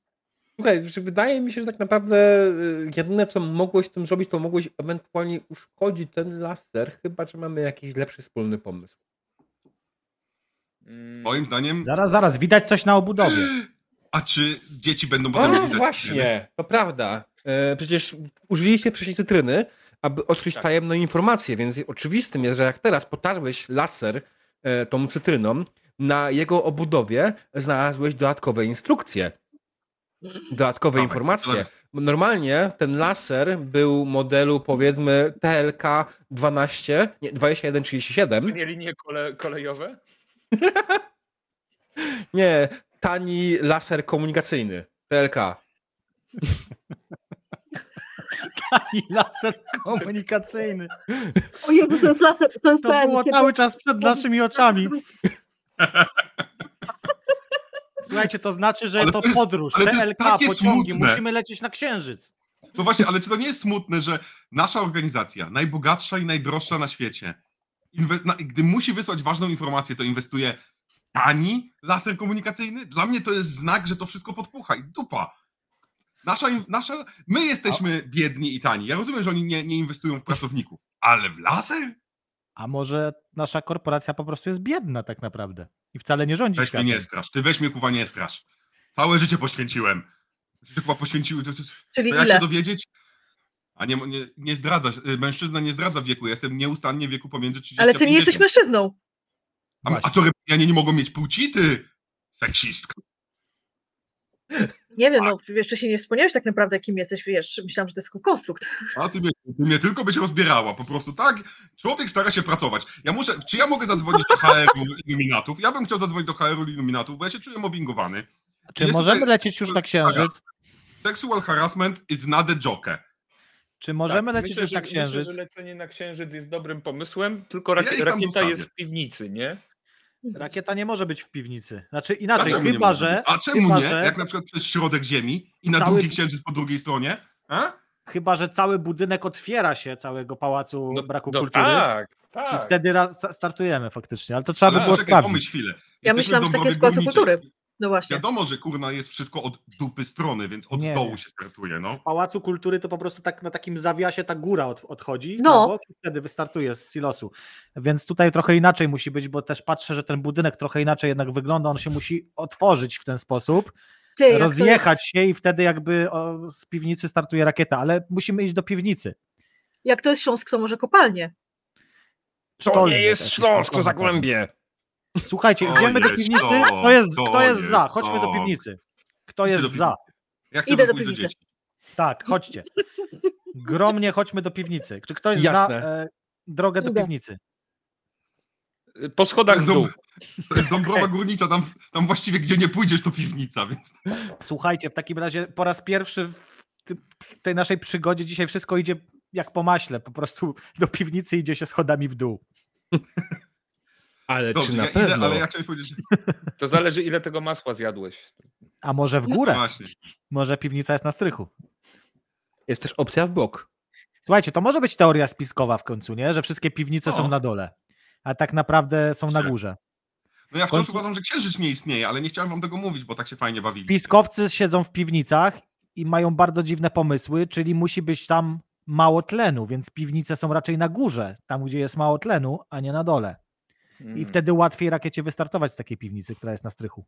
[SPEAKER 1] Słuchaj, że wydaje mi się, że tak naprawdę y, jedyne, co mogłeś z tym zrobić, to mogłeś ewentualnie uszkodzić ten laser, chyba że mamy jakiś lepszy wspólny pomysł.
[SPEAKER 4] Mm,
[SPEAKER 5] Moim zdaniem...
[SPEAKER 3] Zaraz, zaraz, widać coś na obudowie.
[SPEAKER 5] A czy dzieci będą potem
[SPEAKER 1] A,
[SPEAKER 5] mieli zaćmienie?
[SPEAKER 1] właśnie, to prawda. E, przecież użyliście wcześniej cytryny, aby odkryć
[SPEAKER 4] Tak.
[SPEAKER 1] tajemną informację, więc oczywistym jest, że jak teraz potarłeś laser e, tą cytryną, na jego obudowie znalazłeś dodatkowe instrukcje. Dodatkowe
[SPEAKER 5] Dawaj,
[SPEAKER 1] informacje.
[SPEAKER 5] zaraz.
[SPEAKER 1] Normalnie ten laser był modelu powiedzmy TLK 12, nie, 2137.
[SPEAKER 4] Nie linie kole, kolejowe?
[SPEAKER 1] Nie, tani laser komunikacyjny. TLK.
[SPEAKER 3] I laser komunikacyjny.
[SPEAKER 2] O Jezu, to jest laser, to jest
[SPEAKER 3] To
[SPEAKER 2] ten.
[SPEAKER 3] było
[SPEAKER 2] kiedy-
[SPEAKER 3] cały czas przed naszymi oczami. Słuchajcie, to znaczy, że
[SPEAKER 5] Ale
[SPEAKER 3] to
[SPEAKER 5] to jest-
[SPEAKER 3] podróż,
[SPEAKER 5] ale to jest
[SPEAKER 3] TLK,
[SPEAKER 5] takie
[SPEAKER 3] pociągi,
[SPEAKER 5] smutne.
[SPEAKER 3] musimy lecieć na księżyc.
[SPEAKER 5] No właśnie, ale czy to nie jest smutne, że nasza organizacja, najbogatsza i najdroższa na świecie, inwe- na, gdy musi wysłać ważną informację, to inwestuje w tani laser komunikacyjny? Dla mnie to jest znak, że to wszystko podpucha i dupa. Nasza, in- nasza, my jesteśmy biedni i tani. Ja rozumiem, że oni nie, nie inwestują w pracowników, ale w laser?
[SPEAKER 3] A może nasza korporacja po prostu jest biedna tak naprawdę i wcale nie rządzi
[SPEAKER 5] Weź mnie
[SPEAKER 3] światem.
[SPEAKER 5] nie strasz, ty weź mnie kuwa nie strasz. Całe życie poświęciłem. Życie chyba poświęciły. To, to,
[SPEAKER 2] Czyli
[SPEAKER 5] To jak
[SPEAKER 2] ile?
[SPEAKER 5] się dowiedzieć? A nie, nie, nie zdradza, się- y, mężczyzna nie zdradza wieku, ja jestem nieustannie w wieku pomiędzy 30
[SPEAKER 2] Ale
[SPEAKER 5] a
[SPEAKER 2] ty nie
[SPEAKER 5] 50.
[SPEAKER 2] jesteś mężczyzną.
[SPEAKER 5] A, a co, reptilianie nie mogą mieć płci, ty? Seksistka.
[SPEAKER 2] Nie wiem, no jeszcze się nie wspomniałeś tak naprawdę, kim jesteś, wiesz, myślałam, że to jest tylko konstrukt.
[SPEAKER 5] A ty mnie, ty mnie tylko byś rozbierała, po prostu tak? Człowiek stara się pracować. Ja muszę, czy ja mogę zadzwonić do HR-u Illuminatów? Ja bym chciał zadzwonić do HR-u Illuminatów, bo ja się czuję mobbingowany.
[SPEAKER 3] Czy
[SPEAKER 5] Jest
[SPEAKER 3] możemy
[SPEAKER 5] tutaj-
[SPEAKER 3] lecieć już na księżyc?
[SPEAKER 5] Sexual harassment is not a joke.
[SPEAKER 3] Czy możemy
[SPEAKER 4] Tak,
[SPEAKER 3] lecieć
[SPEAKER 4] myślę,
[SPEAKER 3] już
[SPEAKER 4] że-
[SPEAKER 3] na księżyc?
[SPEAKER 4] Myślę, że lecenie na księżyc jest dobrym pomysłem, tylko
[SPEAKER 5] Ja
[SPEAKER 4] rak-
[SPEAKER 5] ich tam
[SPEAKER 4] rakieta
[SPEAKER 5] zostawię.
[SPEAKER 4] jest w piwnicy, nie?
[SPEAKER 3] Rakieta nie może być w piwnicy. Znaczy inaczej,
[SPEAKER 5] Dlaczego nie
[SPEAKER 3] chyba
[SPEAKER 5] może
[SPEAKER 3] że,
[SPEAKER 5] być? A czemu
[SPEAKER 3] chyba,
[SPEAKER 5] nie?
[SPEAKER 3] że-
[SPEAKER 5] Jak na przykład przez środek ziemi i na
[SPEAKER 3] Cały-
[SPEAKER 5] drugi księżyc po drugiej stronie? A?
[SPEAKER 3] chyba, że cały budynek otwiera się, całego pałacu
[SPEAKER 4] No-
[SPEAKER 3] braku
[SPEAKER 4] no
[SPEAKER 3] kultury.
[SPEAKER 4] Tak,
[SPEAKER 3] I
[SPEAKER 4] tak.
[SPEAKER 3] wtedy raz sta- startujemy faktycznie, ale to trzeba by
[SPEAKER 5] Ale
[SPEAKER 3] było
[SPEAKER 5] poczekaj,
[SPEAKER 3] sprawdzić.
[SPEAKER 5] pomyśl chwilę.
[SPEAKER 2] Ja
[SPEAKER 5] Jesteśmy
[SPEAKER 2] myślałam,
[SPEAKER 5] w
[SPEAKER 2] że tak
[SPEAKER 5] Dąbrowie
[SPEAKER 2] jest Pałacu
[SPEAKER 5] Górniczej.
[SPEAKER 2] Kultury. No właśnie.
[SPEAKER 5] Wiadomo, że kurna jest wszystko od dupy strony, więc od
[SPEAKER 3] Nie,
[SPEAKER 5] dołu
[SPEAKER 3] nie.
[SPEAKER 5] się startuje, no.
[SPEAKER 3] W Pałacu Kultury to po prostu tak na takim zawiasie ta góra od, odchodzi
[SPEAKER 2] No.
[SPEAKER 3] na bok i wtedy wystartuje z silosu. Więc tutaj trochę inaczej musi być, bo też patrzę, że ten budynek trochę inaczej jednak wygląda, on się musi otworzyć w ten sposób,
[SPEAKER 2] Ty, jak to
[SPEAKER 3] rozjechać
[SPEAKER 2] jest-
[SPEAKER 3] się i wtedy jakby o, z piwnicy startuje rakieta, ale musimy iść do piwnicy.
[SPEAKER 2] Jak to jest Śląsk, to może kopalnie.
[SPEAKER 1] To nie jest
[SPEAKER 3] taki
[SPEAKER 1] Śląsk, to
[SPEAKER 3] spokojny.
[SPEAKER 1] Zagłębie.
[SPEAKER 3] Słuchajcie,
[SPEAKER 5] To
[SPEAKER 3] idziemy do
[SPEAKER 5] jest
[SPEAKER 3] piwnicy.
[SPEAKER 5] to,
[SPEAKER 3] Kto jest,
[SPEAKER 5] to
[SPEAKER 3] kto jest
[SPEAKER 5] jest
[SPEAKER 3] za?
[SPEAKER 5] to.
[SPEAKER 3] Chodźmy do piwnicy. Kto jest
[SPEAKER 5] do
[SPEAKER 3] za?
[SPEAKER 5] Ja chcę
[SPEAKER 2] Idę do
[SPEAKER 5] pójść do
[SPEAKER 2] piwnicy.
[SPEAKER 5] dzieci.
[SPEAKER 3] Tak, chodźcie. Gromnie chodźmy do piwnicy. Czy ktoś
[SPEAKER 1] Jasne.
[SPEAKER 3] zna e, drogę do
[SPEAKER 2] Idę.
[SPEAKER 3] piwnicy?
[SPEAKER 4] Y, Po schodach w
[SPEAKER 5] To
[SPEAKER 4] dół.
[SPEAKER 5] jest To jest Dąbrowa Górnicza, tam, tam właściwie gdzie nie pójdziesz to piwnica, więc
[SPEAKER 3] Słuchajcie, w takim razie po raz pierwszy w ty- w tej naszej przygodzie dzisiaj wszystko idzie jak po maśle. Po prostu do piwnicy idzie się schodami w dół.
[SPEAKER 1] Ale
[SPEAKER 5] dobrze,
[SPEAKER 1] czy na
[SPEAKER 5] ja
[SPEAKER 1] pewno?
[SPEAKER 5] idę, ale ja chciałem powiedzieć, że
[SPEAKER 4] To zależy, ile tego masła zjadłeś.
[SPEAKER 3] A może w górę?
[SPEAKER 5] No właśnie.
[SPEAKER 3] Może piwnica jest na strychu.
[SPEAKER 1] Jest też opcja w bok.
[SPEAKER 3] Słuchajcie, to może być teoria spiskowa w końcu, nie? Że wszystkie piwnice są
[SPEAKER 5] O.
[SPEAKER 3] na dole, a tak naprawdę są na
[SPEAKER 5] Tak.
[SPEAKER 3] górze.
[SPEAKER 5] No ja wciąż
[SPEAKER 3] końcu-
[SPEAKER 5] uważam, że księżyc nie istnieje, ale nie chciałem wam tego mówić, bo tak się fajnie bawili.
[SPEAKER 3] Spiskowcy siedzą w piwnicach i mają bardzo dziwne pomysły, czyli musi być tam mało tlenu, więc piwnice są raczej na górze, tam gdzie jest mało tlenu, a nie na dole.
[SPEAKER 5] Mm.
[SPEAKER 4] Mm.
[SPEAKER 3] I wtedy łatwiej rakiecie wystartować z takiej piwnicy, która jest na strychu.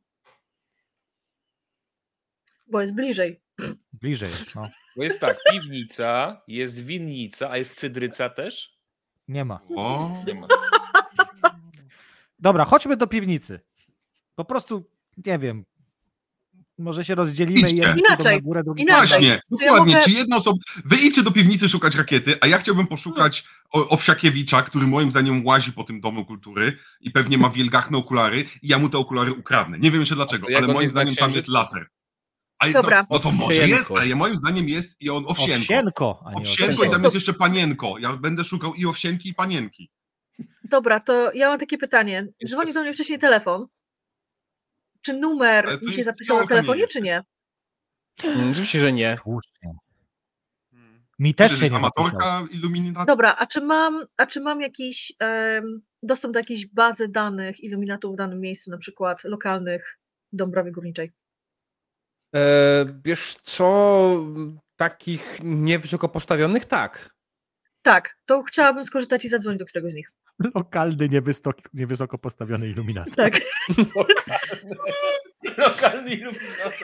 [SPEAKER 2] Bo jest bliżej.
[SPEAKER 3] Bliżej jest, no.
[SPEAKER 4] Bo jest tak, piwnica, jest winnica, a jest cydryca też?
[SPEAKER 3] Nie ma.
[SPEAKER 5] O,
[SPEAKER 4] Nie ma.
[SPEAKER 3] Dobra, chodźmy do piwnicy. Po prostu, nie wiem, może się rozdzielimy
[SPEAKER 5] Idźcie.
[SPEAKER 3] i jedni pójdą na
[SPEAKER 2] Inaczej,
[SPEAKER 3] górę, drugi
[SPEAKER 2] inaczej.
[SPEAKER 5] właśnie,
[SPEAKER 2] To ja
[SPEAKER 5] dokładnie.
[SPEAKER 2] mogę-
[SPEAKER 5] Czy jedna osoba... Wy idźcie do piwnicy szukać rakiety, a ja chciałbym poszukać o- Owsiakiewicza, który moim zdaniem łazi po tym domu kultury i pewnie ma wielgachne okulary i ja mu te okulary ukradnę. Nie wiem jeszcze dlaczego,
[SPEAKER 4] to jak
[SPEAKER 5] ale
[SPEAKER 4] on
[SPEAKER 5] moim
[SPEAKER 4] jest na
[SPEAKER 5] zdaniem tam
[SPEAKER 4] księżycu?
[SPEAKER 5] jest laser. A
[SPEAKER 2] Dobra.
[SPEAKER 5] No, no to może
[SPEAKER 1] Owsienko.
[SPEAKER 5] jest, ale ja moim zdaniem jest i on owsienko.
[SPEAKER 3] Owsienko, a nie
[SPEAKER 5] Owsienko i
[SPEAKER 1] Owsienko.
[SPEAKER 5] tam jest jeszcze panienko. Ja będę szukał i owsienki i panienki.
[SPEAKER 2] Dobra, to ja mam takie pytanie.
[SPEAKER 4] Jeszcze
[SPEAKER 2] Dzwoni
[SPEAKER 4] s-
[SPEAKER 2] do mnie wcześniej telefon. Czy
[SPEAKER 5] Ale
[SPEAKER 2] numer
[SPEAKER 5] to
[SPEAKER 2] mi się
[SPEAKER 5] jest
[SPEAKER 2] zapisał na
[SPEAKER 5] działka, nie
[SPEAKER 2] telefonie,
[SPEAKER 5] jest.
[SPEAKER 2] czy nie?
[SPEAKER 1] Mm, Oczywiście, że nie.
[SPEAKER 3] Słusznie. Mi też się nie zapisał.
[SPEAKER 5] Amatorka, iluminator.
[SPEAKER 2] Dobra, a czy mam, a czy mam jakiś em, dostęp do jakiejś bazy danych iluminatów w danym miejscu, na przykład lokalnych Dąbrowy Górniczej?
[SPEAKER 1] E, wiesz co, takich niewysoko postawionych tak.
[SPEAKER 2] Tak, to chciałabym skorzystać i zadzwonić do któregoś z nich.
[SPEAKER 3] Lokalny, niewystok- niewysoko postawiony iluminat.
[SPEAKER 2] Tak.
[SPEAKER 4] Lokalny iluminator.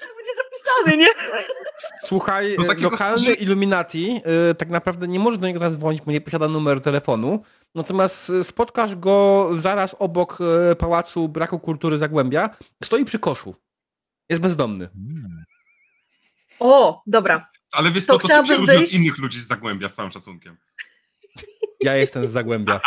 [SPEAKER 2] Tak będzie zapisany, nie?
[SPEAKER 1] Słuchaj,
[SPEAKER 5] Do
[SPEAKER 1] e,
[SPEAKER 5] No takiego
[SPEAKER 1] lokalny
[SPEAKER 5] strzy-
[SPEAKER 1] Illuminati e, tak naprawdę nie może do niego zadzwonić, bo nie posiada numeru telefonu. Natomiast e, spotkasz go zaraz obok e, Pałacu Braku Kultury Zagłębia. Stoi przy koszu. Jest bezdomny.
[SPEAKER 3] Mm.
[SPEAKER 2] O, dobra.
[SPEAKER 5] Ale wiesz
[SPEAKER 2] To
[SPEAKER 5] co, to czym się
[SPEAKER 2] chciałabym
[SPEAKER 5] różni od
[SPEAKER 2] wyjść-
[SPEAKER 5] innych ludzi z Zagłębia, z całym szacunkiem.
[SPEAKER 1] Ja jestem z Zagłębia.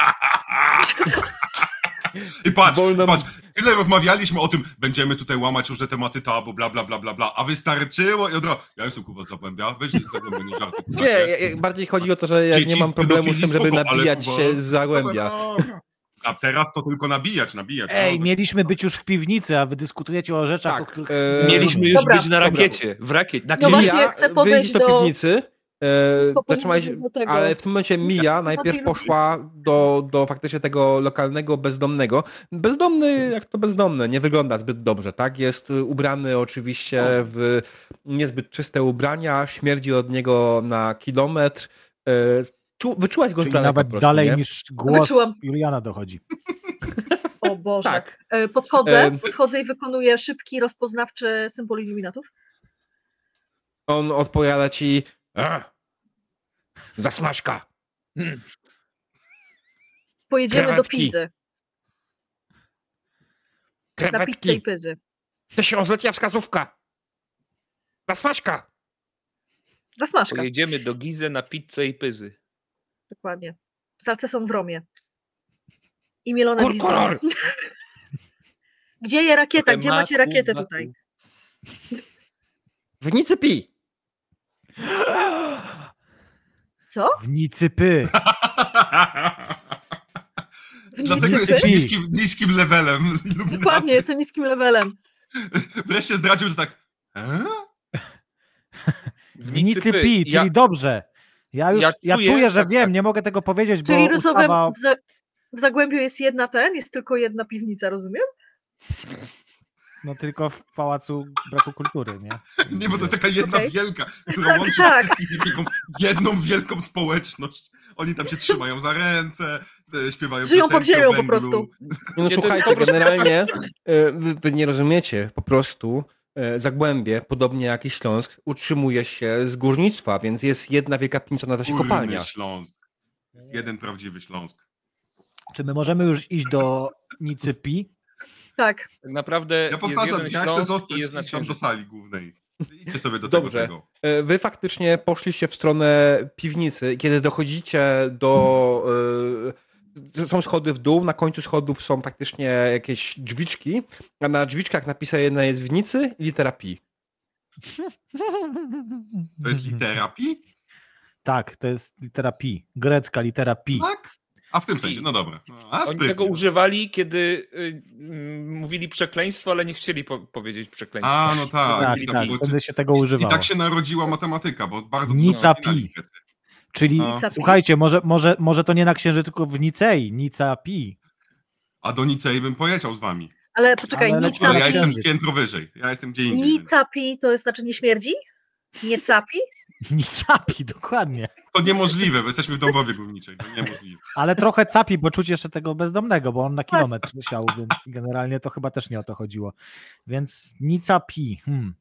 [SPEAKER 5] I patrz,
[SPEAKER 1] Wolno-
[SPEAKER 5] patrz, tyle rozmawialiśmy o tym, będziemy tutaj łamać różne tematy tabu, bla, bla, bla, bla, bla, a wystarczyło i od razu, ja jestem kurwa z Zagłębia, weź z Zagłębia, nie żartuj.
[SPEAKER 1] Nie, ja- ja- bardziej chodzi o to, że ja
[SPEAKER 5] Dzieci
[SPEAKER 1] nie
[SPEAKER 5] z
[SPEAKER 1] mam problemu z
[SPEAKER 5] pedofilii
[SPEAKER 1] tym, żeby
[SPEAKER 5] spoko, ale
[SPEAKER 1] nabijać
[SPEAKER 5] kurwa,
[SPEAKER 1] się z Zagłębia.
[SPEAKER 5] A teraz to tylko nabijać, nabijać.
[SPEAKER 3] Ej,
[SPEAKER 5] no,
[SPEAKER 3] mieliśmy być już w piwnicy, a wy dyskutujecie o rzeczach, o
[SPEAKER 1] Tak.
[SPEAKER 3] których...
[SPEAKER 1] e,
[SPEAKER 4] Mieliśmy już
[SPEAKER 2] Dobra.
[SPEAKER 4] być na rakiecie. W rakiecie. Na
[SPEAKER 2] No
[SPEAKER 4] klinie.
[SPEAKER 2] właśnie, chcę
[SPEAKER 1] wyjść
[SPEAKER 2] podejść
[SPEAKER 1] do
[SPEAKER 2] do-
[SPEAKER 1] piwnicy. E,
[SPEAKER 2] Po-
[SPEAKER 1] zatrzymałeś,
[SPEAKER 2] do tego.
[SPEAKER 1] ale w tym momencie Mija najpierw
[SPEAKER 2] papieru.
[SPEAKER 1] poszła do, do faktycznie tego lokalnego bezdomnego. Bezdomny, jak to bezdomny, nie wygląda zbyt dobrze, tak? Jest y, ubrany oczywiście w niezbyt czyste ubrania, śmierdzi od niego na kilometr. E, czu, wyczułaś go z
[SPEAKER 3] Czyli
[SPEAKER 1] daleka
[SPEAKER 3] nawet
[SPEAKER 1] tak po prostu,
[SPEAKER 3] dalej
[SPEAKER 1] nie?
[SPEAKER 3] niż głos
[SPEAKER 2] Wyczułam.
[SPEAKER 3] Juliana dochodzi.
[SPEAKER 2] O Boże.
[SPEAKER 1] Tak.
[SPEAKER 2] E, Podchodzę,
[SPEAKER 1] Em.
[SPEAKER 2] podchodzę i wykonuję szybki, rozpoznawczy symbol iluminatów.
[SPEAKER 1] On odpowiada ci "A, zasmażka.
[SPEAKER 2] Pojedziemy do
[SPEAKER 1] Krawatki.
[SPEAKER 2] Pizy. Na pizzę i
[SPEAKER 1] Krewetki.
[SPEAKER 2] pyzy.
[SPEAKER 1] Tysiąclecia wskazówka. Zasmażka.
[SPEAKER 2] Za smażka,
[SPEAKER 4] Pojedziemy do Gizy na pizzę i pyzy.
[SPEAKER 2] dokładnie. Salce są w Romie. I mielone
[SPEAKER 1] Kur-
[SPEAKER 2] gwizdki.
[SPEAKER 1] kolor.
[SPEAKER 2] Gdzie je rakieta?
[SPEAKER 4] Trochę
[SPEAKER 2] Gdzie
[SPEAKER 4] maku,
[SPEAKER 2] macie rakietę
[SPEAKER 4] maku.
[SPEAKER 2] tutaj?
[SPEAKER 1] W nicy pij.
[SPEAKER 2] Co?
[SPEAKER 3] W Nicypy.
[SPEAKER 2] W
[SPEAKER 5] Dlatego
[SPEAKER 2] Nicy?
[SPEAKER 5] jesteś niskim, niskim levelem.
[SPEAKER 2] Dokładnie, jestem niskim levelem.
[SPEAKER 5] Wreszcie zdradził, że tak, e?
[SPEAKER 3] W Nicypy, czyli
[SPEAKER 4] Ja,
[SPEAKER 3] dobrze. Ja już
[SPEAKER 4] ja
[SPEAKER 3] ja czuję,
[SPEAKER 4] czuję,
[SPEAKER 3] że
[SPEAKER 4] tak,
[SPEAKER 3] wiem,
[SPEAKER 4] tak.
[SPEAKER 3] nie mogę tego powiedzieć, bo
[SPEAKER 2] Czyli rozumiem,
[SPEAKER 3] ustawa...
[SPEAKER 2] w, za, w Zagłębiu jest jedna ten, jest tylko jedna piwnica, rozumiem?
[SPEAKER 3] No tylko w Pałacu Braku Kultury, nie?
[SPEAKER 5] Nie, bo to jest taka jedna
[SPEAKER 2] Okej.
[SPEAKER 5] wielka, która
[SPEAKER 2] Tak,
[SPEAKER 5] łączy
[SPEAKER 2] tak.
[SPEAKER 5] wszystkich taką jedną wielką społeczność. Oni tam się trzymają za ręce, e, śpiewają
[SPEAKER 2] Żyją pod
[SPEAKER 5] piosenki o
[SPEAKER 2] ziemią po
[SPEAKER 5] węglu.
[SPEAKER 2] prostu.
[SPEAKER 1] Nie, No
[SPEAKER 4] Nie, to jest
[SPEAKER 1] słuchajcie, e,
[SPEAKER 4] po prostu-
[SPEAKER 1] generalnie y, wy, wy nie rozumiecie, po prostu e, Zagłębie, podobnie jak i Śląsk, utrzymuje się z górnictwa, więc jest jedna wielka piwnica, nazywa się
[SPEAKER 5] Kurny
[SPEAKER 1] kopalnia.
[SPEAKER 5] Śląsk. Jest jeden prawdziwy
[SPEAKER 4] E,
[SPEAKER 5] Śląsk.
[SPEAKER 3] Czy my możemy już iść do Nicypi?
[SPEAKER 2] Tak,
[SPEAKER 4] Tak naprawdę
[SPEAKER 5] Ja
[SPEAKER 4] jest
[SPEAKER 5] powtarzam,
[SPEAKER 4] jeden
[SPEAKER 5] ja chcę
[SPEAKER 4] Śląsk i
[SPEAKER 5] zostać
[SPEAKER 4] jest na
[SPEAKER 5] gdzieś tam do
[SPEAKER 4] Księżycu.
[SPEAKER 5] sali głównej. Idźcie sobie do
[SPEAKER 1] Dobrze.
[SPEAKER 5] tego tego.
[SPEAKER 1] E, Wy faktycznie poszliście w stronę piwnicy. i Kiedy dochodzicie do. e, Są schody w dół, na końcu schodów są praktycznie jakieś drzwiczki, a na drzwiczkach napisane jest w nicy i litera pi.
[SPEAKER 5] To jest litera pi?
[SPEAKER 3] Tak, to jest litera pi. Grecka litera pi.
[SPEAKER 5] Tak? A w tym
[SPEAKER 4] Pi.
[SPEAKER 5] sensie, no dobra. No, a
[SPEAKER 4] Oni
[SPEAKER 5] sprytnie.
[SPEAKER 4] tego używali, kiedy y, mm, mówili przekleństwo, ale nie chcieli po powiedzieć przekleństwa.
[SPEAKER 5] A, no tak.
[SPEAKER 3] Tak,
[SPEAKER 5] I
[SPEAKER 3] tak.
[SPEAKER 5] było-
[SPEAKER 3] Wtedy się tego
[SPEAKER 5] i-
[SPEAKER 3] używało.
[SPEAKER 5] I tak się narodziła matematyka, bo bardzo
[SPEAKER 3] Nica
[SPEAKER 5] dużo
[SPEAKER 3] pi. Czyli
[SPEAKER 5] No.
[SPEAKER 2] Nica Pi.
[SPEAKER 3] słuchajcie, może, może, może to nie na księżycu, tylko w Nicei. Nica pi.
[SPEAKER 5] A do Nicei bym pojechał z wami.
[SPEAKER 2] ale poczekaj,
[SPEAKER 3] Ale
[SPEAKER 2] nie
[SPEAKER 3] lecimy
[SPEAKER 5] Ale ja
[SPEAKER 3] na
[SPEAKER 2] capi,
[SPEAKER 5] jestem
[SPEAKER 3] Księżyc.
[SPEAKER 5] piętro wyżej. Ja jestem gdzie indziej.
[SPEAKER 2] nie
[SPEAKER 5] więc-
[SPEAKER 2] capi to jest znaczy nie śmierdzi? Nie capi?
[SPEAKER 3] Nica pi, dokładnie.
[SPEAKER 5] To niemożliwe, bo jesteśmy w Dąbrowie Górniczej. To niemożliwe.
[SPEAKER 3] Ale trochę capi, bo czuć jeszcze tego bezdomnego, bo on na kilometr siał, więc generalnie to chyba też nie o to chodziło. Więc Nica pi. Hmm.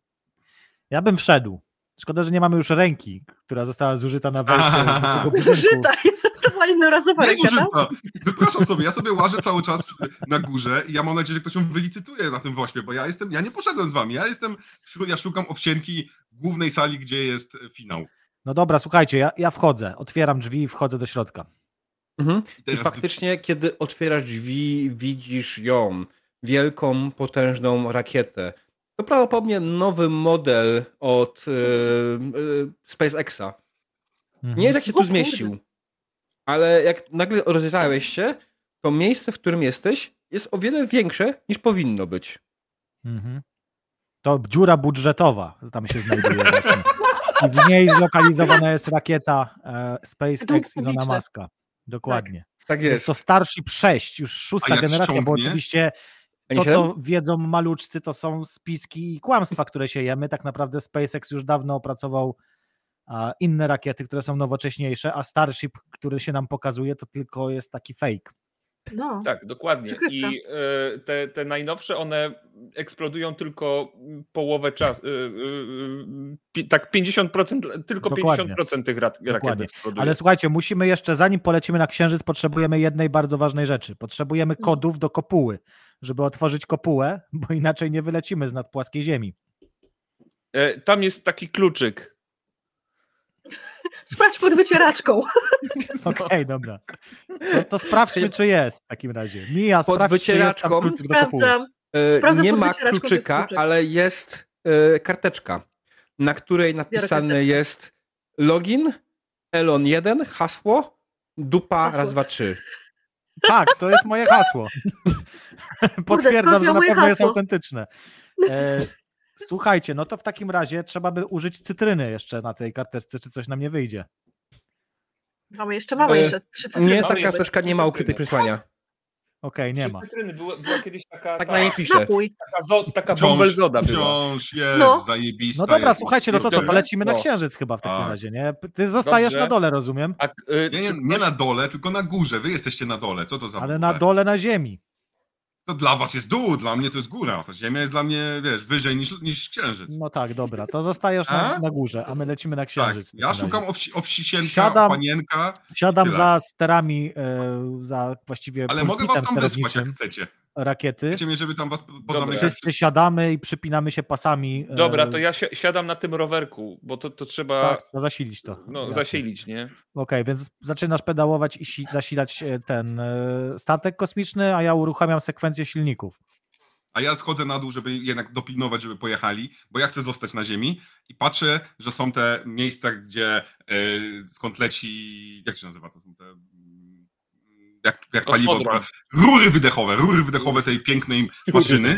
[SPEAKER 3] Ja bym wszedł. Szkoda, że nie mamy już ręki, która została zużyta na wejście do tego budynku.
[SPEAKER 2] Zużyta! To była jednorazowa
[SPEAKER 5] Nie
[SPEAKER 2] ręka, tak?
[SPEAKER 5] zużyta. Wypraszam sobie, ja sobie łażę cały czas na górze i ja mam nadzieję, że ktoś ją wylicytuje na tym wośpie, bo ja jestem, ja nie poszedłem z wami, ja jestem, wśród, ja szukam owsianki w głównej sali, gdzie jest finał.
[SPEAKER 3] No dobra, słuchajcie, ja, ja wchodzę. Otwieram drzwi i wchodzę do środka.
[SPEAKER 1] Mhm.
[SPEAKER 5] I
[SPEAKER 1] I
[SPEAKER 5] teraz
[SPEAKER 1] faktycznie, kiedy otwierasz drzwi, widzisz ją. Wielką, potężną rakietę. To prawdopodobnie nowy model od e, e, SpaceXa.
[SPEAKER 3] Mhm.
[SPEAKER 1] Nie wiem, jak się
[SPEAKER 2] O
[SPEAKER 1] tu
[SPEAKER 2] kurde.
[SPEAKER 1] zmieścił. Ale jak nagle rozejrzałeś się, to miejsce, w którym jesteś, jest o wiele większe niż powinno być.
[SPEAKER 3] Mhm. To dziura budżetowa tam się znajduje. właśnie. I w niej zlokalizowana jest rakieta e, SpaceX
[SPEAKER 2] Dom
[SPEAKER 3] Ilona
[SPEAKER 2] publiczny.
[SPEAKER 3] Maska. Dokładnie.
[SPEAKER 1] Tak
[SPEAKER 3] Jest
[SPEAKER 1] jest.
[SPEAKER 3] to Starship 6, już szósta
[SPEAKER 5] jak
[SPEAKER 3] generacja, bo
[SPEAKER 5] ściągnie?
[SPEAKER 3] oczywiście
[SPEAKER 1] Ani
[SPEAKER 3] to,
[SPEAKER 1] siedem?
[SPEAKER 3] co wiedzą maluczcy, to są spiski i kłamstwa, które siejemy. Tak naprawdę SpaceX już dawno opracował a, inne rakiety, które są nowocześniejsze, a Starship, który się nam pokazuje, to tylko jest taki fake.
[SPEAKER 2] No.
[SPEAKER 4] Tak, dokładnie.
[SPEAKER 2] Przykrywka.
[SPEAKER 4] I e, te, te najnowsze, one eksplodują tylko połowę czasu. y, Tak, 50%, tylko
[SPEAKER 3] Dokładnie.
[SPEAKER 4] 50% tych rak- rakiet
[SPEAKER 3] Dokładnie.
[SPEAKER 4] eksploduje.
[SPEAKER 3] Ale słuchajcie, musimy jeszcze, zanim polecimy na Księżyc, potrzebujemy jednej bardzo ważnej rzeczy. Potrzebujemy kodów do kopuły, żeby otworzyć kopułę, bo inaczej nie wylecimy z nad płaskiej ziemi.
[SPEAKER 4] E, Tam jest taki kluczyk.
[SPEAKER 2] Sprawdź pod wycieraczką.
[SPEAKER 3] Okej, dobra. No to sprawdźmy, czy jest w takim razie. Mija,
[SPEAKER 1] Pod
[SPEAKER 3] sprawdź, czy jest tam
[SPEAKER 1] wycieraczką
[SPEAKER 3] kluczyk do kopuły.
[SPEAKER 2] Sprawdzam.
[SPEAKER 1] E,
[SPEAKER 2] Sprawdzę
[SPEAKER 1] nie
[SPEAKER 2] pod
[SPEAKER 1] ma
[SPEAKER 2] wycieraczką, czy jest
[SPEAKER 1] kluczyka,
[SPEAKER 2] kluczyk.
[SPEAKER 1] ale jest e, karteczka, na której napisane
[SPEAKER 2] karteczkę.
[SPEAKER 1] jest login, Elon 1, hasło, dupa
[SPEAKER 2] Hasło.
[SPEAKER 1] raz, dwa, trzy.
[SPEAKER 3] Tak, to jest moje hasło.
[SPEAKER 2] skąd
[SPEAKER 3] Potwierdzam,
[SPEAKER 2] miał
[SPEAKER 3] że na
[SPEAKER 2] moje
[SPEAKER 3] pewno jest
[SPEAKER 2] hasło?
[SPEAKER 3] autentyczne. E, słuchajcie, no to w takim razie trzeba by użyć cytryny jeszcze na tej karteczce, czy coś nam nie wyjdzie.
[SPEAKER 2] Mamy jeszcze, mamy
[SPEAKER 1] E,
[SPEAKER 2] jeszcze trzy cytryny.
[SPEAKER 1] Nie, ta
[SPEAKER 4] Mamy
[SPEAKER 1] karteczka
[SPEAKER 4] jeden
[SPEAKER 1] nie ma
[SPEAKER 4] kluczyk.
[SPEAKER 2] no.
[SPEAKER 1] ukrytych przesłania.
[SPEAKER 3] Okej, nie
[SPEAKER 4] Czy
[SPEAKER 3] ma. No
[SPEAKER 4] cytryny Była, była kiedyś taka,
[SPEAKER 1] Tak
[SPEAKER 4] ta,
[SPEAKER 1] na niej pisze.
[SPEAKER 2] Napój.
[SPEAKER 4] taka, zo, taka bąbelzoda była.
[SPEAKER 5] Wciąż jest,
[SPEAKER 2] No.
[SPEAKER 5] zajebista.
[SPEAKER 3] No dobra,
[SPEAKER 5] jest,
[SPEAKER 3] słuchajcie, no co to, to
[SPEAKER 4] Dobra.
[SPEAKER 3] lecimy na
[SPEAKER 4] No.
[SPEAKER 3] księżyc chyba w takim
[SPEAKER 5] Tak.
[SPEAKER 3] razie, nie? Ty zostajesz
[SPEAKER 4] Dobrze.
[SPEAKER 3] na dole, rozumiem,
[SPEAKER 4] A, e,
[SPEAKER 5] Nie, nie,
[SPEAKER 4] czy-
[SPEAKER 5] nie na dole, tylko na górze. Wy jesteście na dole. Co to za
[SPEAKER 3] ale
[SPEAKER 5] w
[SPEAKER 3] na
[SPEAKER 5] ogóle?
[SPEAKER 3] dole na ziemi.
[SPEAKER 5] To dla was jest dół, dla mnie to jest góra. To ziemia jest dla mnie, wiesz, wyżej niż, niż księżyc.
[SPEAKER 3] No tak, dobra, to zostajesz na,
[SPEAKER 5] A?
[SPEAKER 3] na górze, a my lecimy na
[SPEAKER 5] tak,
[SPEAKER 3] księżyc. w
[SPEAKER 5] ja
[SPEAKER 3] takim razie.
[SPEAKER 5] szukam owsi, owsisienka,
[SPEAKER 3] Siadam.
[SPEAKER 5] panienka,
[SPEAKER 3] Siadam
[SPEAKER 5] tyle.
[SPEAKER 3] za sterami, e, za właściwie
[SPEAKER 5] ale mogę was
[SPEAKER 3] pulpitem
[SPEAKER 5] tam wysłać, jak
[SPEAKER 3] sterowniczym
[SPEAKER 5] chcecie.
[SPEAKER 3] rakiety.
[SPEAKER 5] Chcecie mnie, żeby tam was po-
[SPEAKER 4] Dobra.
[SPEAKER 5] pozamykać.
[SPEAKER 3] Wszyscy siadamy i przypinamy się pasami. e,
[SPEAKER 4] Dobra, to ja si siadam na tym rowerku, bo to, to trzeba
[SPEAKER 3] Tak, to zasilić to.
[SPEAKER 4] no,
[SPEAKER 3] jasne.
[SPEAKER 4] zasilić, nie?
[SPEAKER 3] Okej, więc zaczynasz pedałować i si- zasilać e, ten e, statek kosmiczny, a ja uruchamiam sekwencję silników.
[SPEAKER 5] A ja schodzę na dół, żeby jednak dopilnować, żeby pojechali, bo ja chcę zostać na ziemi i patrzę, że są te miejsca, gdzie yy, skąd leci, jak się nazywa, to są te mm, jak, jak paliwo,
[SPEAKER 4] Kosmodrom.
[SPEAKER 5] rury wydechowe, rury wydechowe tej pięknej maszyny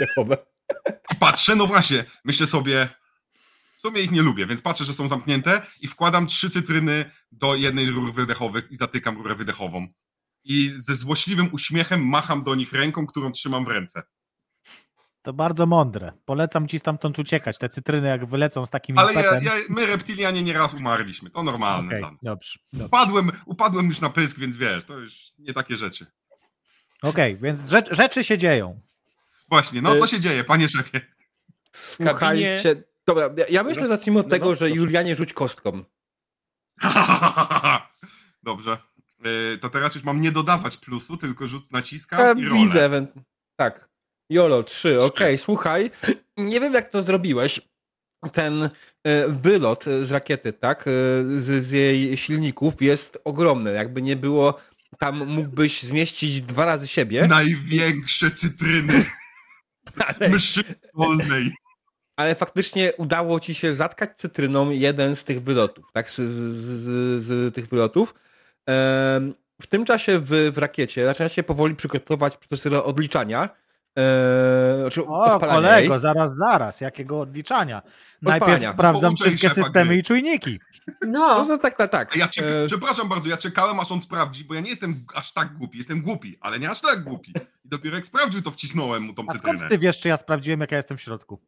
[SPEAKER 5] i patrzę, no właśnie, myślę sobie, w sumie ich nie lubię, więc patrzę, że są zamknięte i wkładam trzy cytryny do jednej z rur wydechowych i zatykam rurę wydechową. I ze złośliwym uśmiechem macham do nich ręką, którą trzymam w ręce.
[SPEAKER 3] To bardzo mądre. Polecam ci stamtąd uciekać. Te cytryny jak wylecą z takim
[SPEAKER 5] Ale ja,
[SPEAKER 3] impetem.
[SPEAKER 5] ja, my reptilianie nieraz umarliśmy, to normalne
[SPEAKER 3] Okej,
[SPEAKER 5] dla nas.
[SPEAKER 3] dobrze. dobrze.
[SPEAKER 5] Upadłem, upadłem już na pysk, więc wiesz, to już nie takie rzeczy.
[SPEAKER 3] Okej, więc rzecz, rzeczy się dzieją.
[SPEAKER 5] Właśnie, no co
[SPEAKER 1] Y-
[SPEAKER 5] się dzieje, panie szefie?
[SPEAKER 1] Słuchajcie. Dobra, ja, ja myślę, że zacznijmy od
[SPEAKER 4] No, no,
[SPEAKER 1] tego, że
[SPEAKER 4] proszę.
[SPEAKER 1] Julianie rzuć kostką.
[SPEAKER 5] Dobrze. Y, To teraz już mam nie dodawać plusu, tylko rzut naciskam
[SPEAKER 1] Ja
[SPEAKER 5] i rolę.
[SPEAKER 1] E, widzę, ewent... tak. Jolo, trzy, okej, słuchaj. Nie wiem, jak to zrobiłeś. Ten e, wylot e, z rakiety, tak? e, Z, z jej silników jest ogromny. Jakby nie było, tam mógłbyś zmieścić dwa razy siebie.
[SPEAKER 5] Największe cytryny
[SPEAKER 1] Ale,
[SPEAKER 5] mszy wolnej.
[SPEAKER 1] ale faktycznie udało ci się zatkać cytryną jeden z tych wylotów, tak? Z, z, z, z, z tych wylotów. Em, W tym czasie w, w rakiecie zaczyna się powoli przygotować proces odliczania. E, znaczy
[SPEAKER 3] O,
[SPEAKER 1] odpalania jej.
[SPEAKER 3] kolego, zaraz, zaraz, jakiego odliczania. Najpierw
[SPEAKER 1] Odpalania.
[SPEAKER 3] sprawdzam
[SPEAKER 5] Pouczaj
[SPEAKER 3] wszystkie
[SPEAKER 5] szefa
[SPEAKER 3] systemy
[SPEAKER 5] gry.
[SPEAKER 3] i czujniki.
[SPEAKER 1] No,
[SPEAKER 2] No,
[SPEAKER 1] no tak, tak, tak.
[SPEAKER 5] A Ja czeka-
[SPEAKER 1] E,
[SPEAKER 5] Przepraszam bardzo, ja czekałem aż on sprawdzi, bo ja nie jestem aż tak głupi. Jestem głupi, ale nie aż tak głupi. I dopiero jak sprawdził, to wcisnąłem mu tą
[SPEAKER 3] A skąd
[SPEAKER 5] cytrynę.
[SPEAKER 3] ty wiesz, czy ja sprawdziłem, jak ja jestem w środku?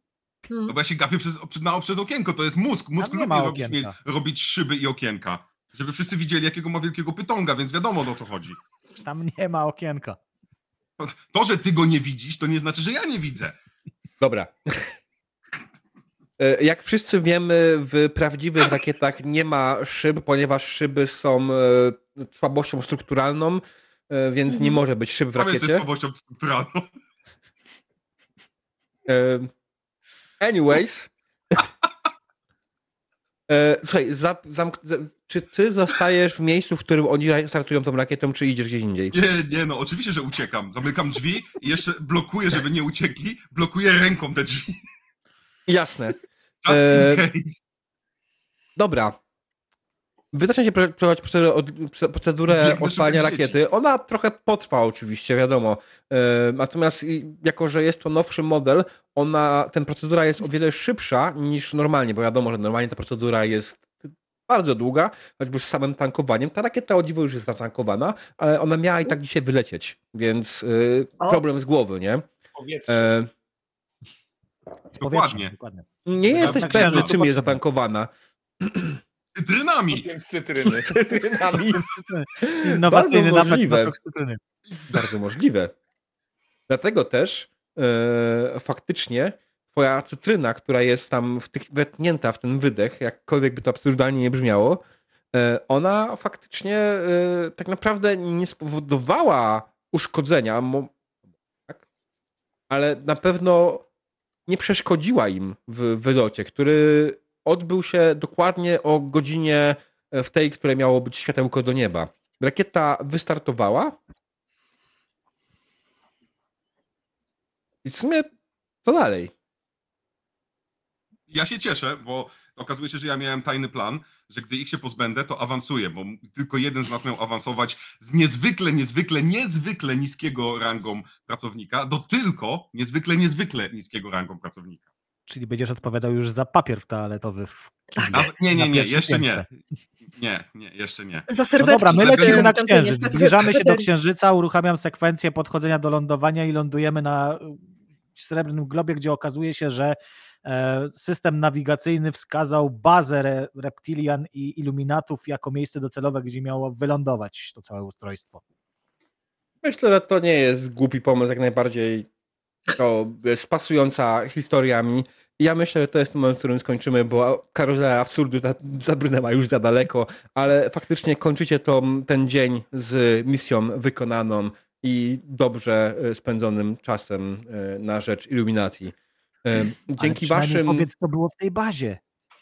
[SPEAKER 5] No bo ja się gapię przez, przez, na, przez okienko, to jest mózg. Mózg
[SPEAKER 3] Mhm. nie
[SPEAKER 5] lubi
[SPEAKER 3] ma
[SPEAKER 5] robić,
[SPEAKER 3] okienka.
[SPEAKER 5] mie- robić szyby i okienka. Żeby wszyscy widzieli, jakiego ma wielkiego pytonga, więc wiadomo o co chodzi.
[SPEAKER 3] Tam nie ma okienka.
[SPEAKER 5] To, że ty go nie widzisz, to nie znaczy, że ja nie widzę.
[SPEAKER 1] Dobra. E, Jak wszyscy wiemy, w prawdziwych rakietach nie ma szyb, ponieważ szyby są e, słabością strukturalną, e, więc nie może być szyb w
[SPEAKER 5] Tam jesteś
[SPEAKER 1] rakiecie.
[SPEAKER 5] słabością strukturalną.
[SPEAKER 1] E, Anyways. E, Słuchaj, za, zamk- za, czy ty zostajesz w miejscu, w którym oni ra- startują tą rakietą, czy idziesz gdzieś indziej?
[SPEAKER 5] Nie, nie, no oczywiście, że uciekam. Zamykam drzwi i jeszcze blokuję, żeby nie uciekli. Blokuję ręką te drzwi.
[SPEAKER 1] Jasne.
[SPEAKER 5] Just
[SPEAKER 1] Eee,
[SPEAKER 3] E,
[SPEAKER 5] in case.
[SPEAKER 1] Dobra. Wy zaczynacie pro- prowadzić procedurę, od, proce- procedurę
[SPEAKER 5] Biegnę
[SPEAKER 1] odpalania
[SPEAKER 5] szukać dzieci.
[SPEAKER 1] rakiety. Ona trochę potrwa oczywiście, wiadomo. E, Natomiast i- jako, że jest to nowszy model, ona, ten procedura jest o wiele szybsza niż normalnie, bo wiadomo, że normalnie ta procedura jest bardzo długa, choćby z samym tankowaniem. Ta rakieta o dziwo już jest zatankowana, ale ona miała i tak dzisiaj wylecieć, więc y,
[SPEAKER 2] O.
[SPEAKER 1] problem z głowy, nie?
[SPEAKER 8] Powietrze.
[SPEAKER 1] E,
[SPEAKER 5] Dokładnie.
[SPEAKER 3] dokładnie.
[SPEAKER 1] Nie jesteś
[SPEAKER 3] tak,
[SPEAKER 1] pewny,
[SPEAKER 5] tak.
[SPEAKER 1] czym jest zatankowana.
[SPEAKER 5] Cytrynami.
[SPEAKER 8] z cytryny.
[SPEAKER 1] Cytrynami. Bardzo
[SPEAKER 3] Innowacyjny napęd
[SPEAKER 1] możliwe.
[SPEAKER 3] na cytryny.
[SPEAKER 1] Bardzo możliwe. Dlatego też e, faktycznie twoja cytryna, która jest tam wtych- wetnięta w ten wydech, jakkolwiek by to absurdalnie nie brzmiało, e, ona faktycznie e, tak naprawdę nie spowodowała uszkodzenia, mo- tak? ale na pewno nie przeszkodziła im w wylocie, który odbył się dokładnie o godzinie e, w tej, której miało być światełko do nieba. Rakieta wystartowała, I w sumie co dalej?
[SPEAKER 5] Ja się cieszę, bo okazuje się, że ja miałem tajny plan, że gdy ich się pozbędę, to awansuję, bo tylko jeden z nas miał awansować z niezwykle, niezwykle, niezwykle niskiego rangą pracownika do tylko niezwykle, niezwykle niskiego rangą pracownika.
[SPEAKER 3] Czyli będziesz odpowiadał już za papier toaletowy. W
[SPEAKER 5] A, nie,
[SPEAKER 3] Na
[SPEAKER 5] nie, nie,
[SPEAKER 3] pierwszym
[SPEAKER 5] jeszcze nie.
[SPEAKER 3] piętrze.
[SPEAKER 5] Nie, nie, jeszcze nie.
[SPEAKER 2] Za
[SPEAKER 3] No
[SPEAKER 2] serwetki.
[SPEAKER 3] dobra, my
[SPEAKER 5] Serwetki.
[SPEAKER 3] lecimy na
[SPEAKER 5] Potem
[SPEAKER 2] Tamten
[SPEAKER 3] księżyc.
[SPEAKER 2] niestety-
[SPEAKER 3] Zbliżamy się do księżyca, uruchamiam sekwencję podchodzenia do lądowania i lądujemy na y, srebrnym globie, gdzie okazuje się, że e, system nawigacyjny wskazał bazę re, reptilian i iluminatów jako miejsce docelowe, gdzie miało wylądować to całe ustrojstwo.
[SPEAKER 1] Myślę, że to nie jest głupi pomysł, jak najbardziej to jest pasująca historiami. Ja myślę, że to jest ten moment, w którym skończymy, bo karuzela absurdu za- zabrnęła już za daleko, ale faktycznie kończycie tą, ten dzień z misją wykonaną i dobrze e, spędzonym czasem e, na rzecz Illuminati. E,
[SPEAKER 3] Ale
[SPEAKER 1] Dzięki
[SPEAKER 3] przynajmniej
[SPEAKER 1] waszym...
[SPEAKER 3] Powiedz, co było w tej bazie.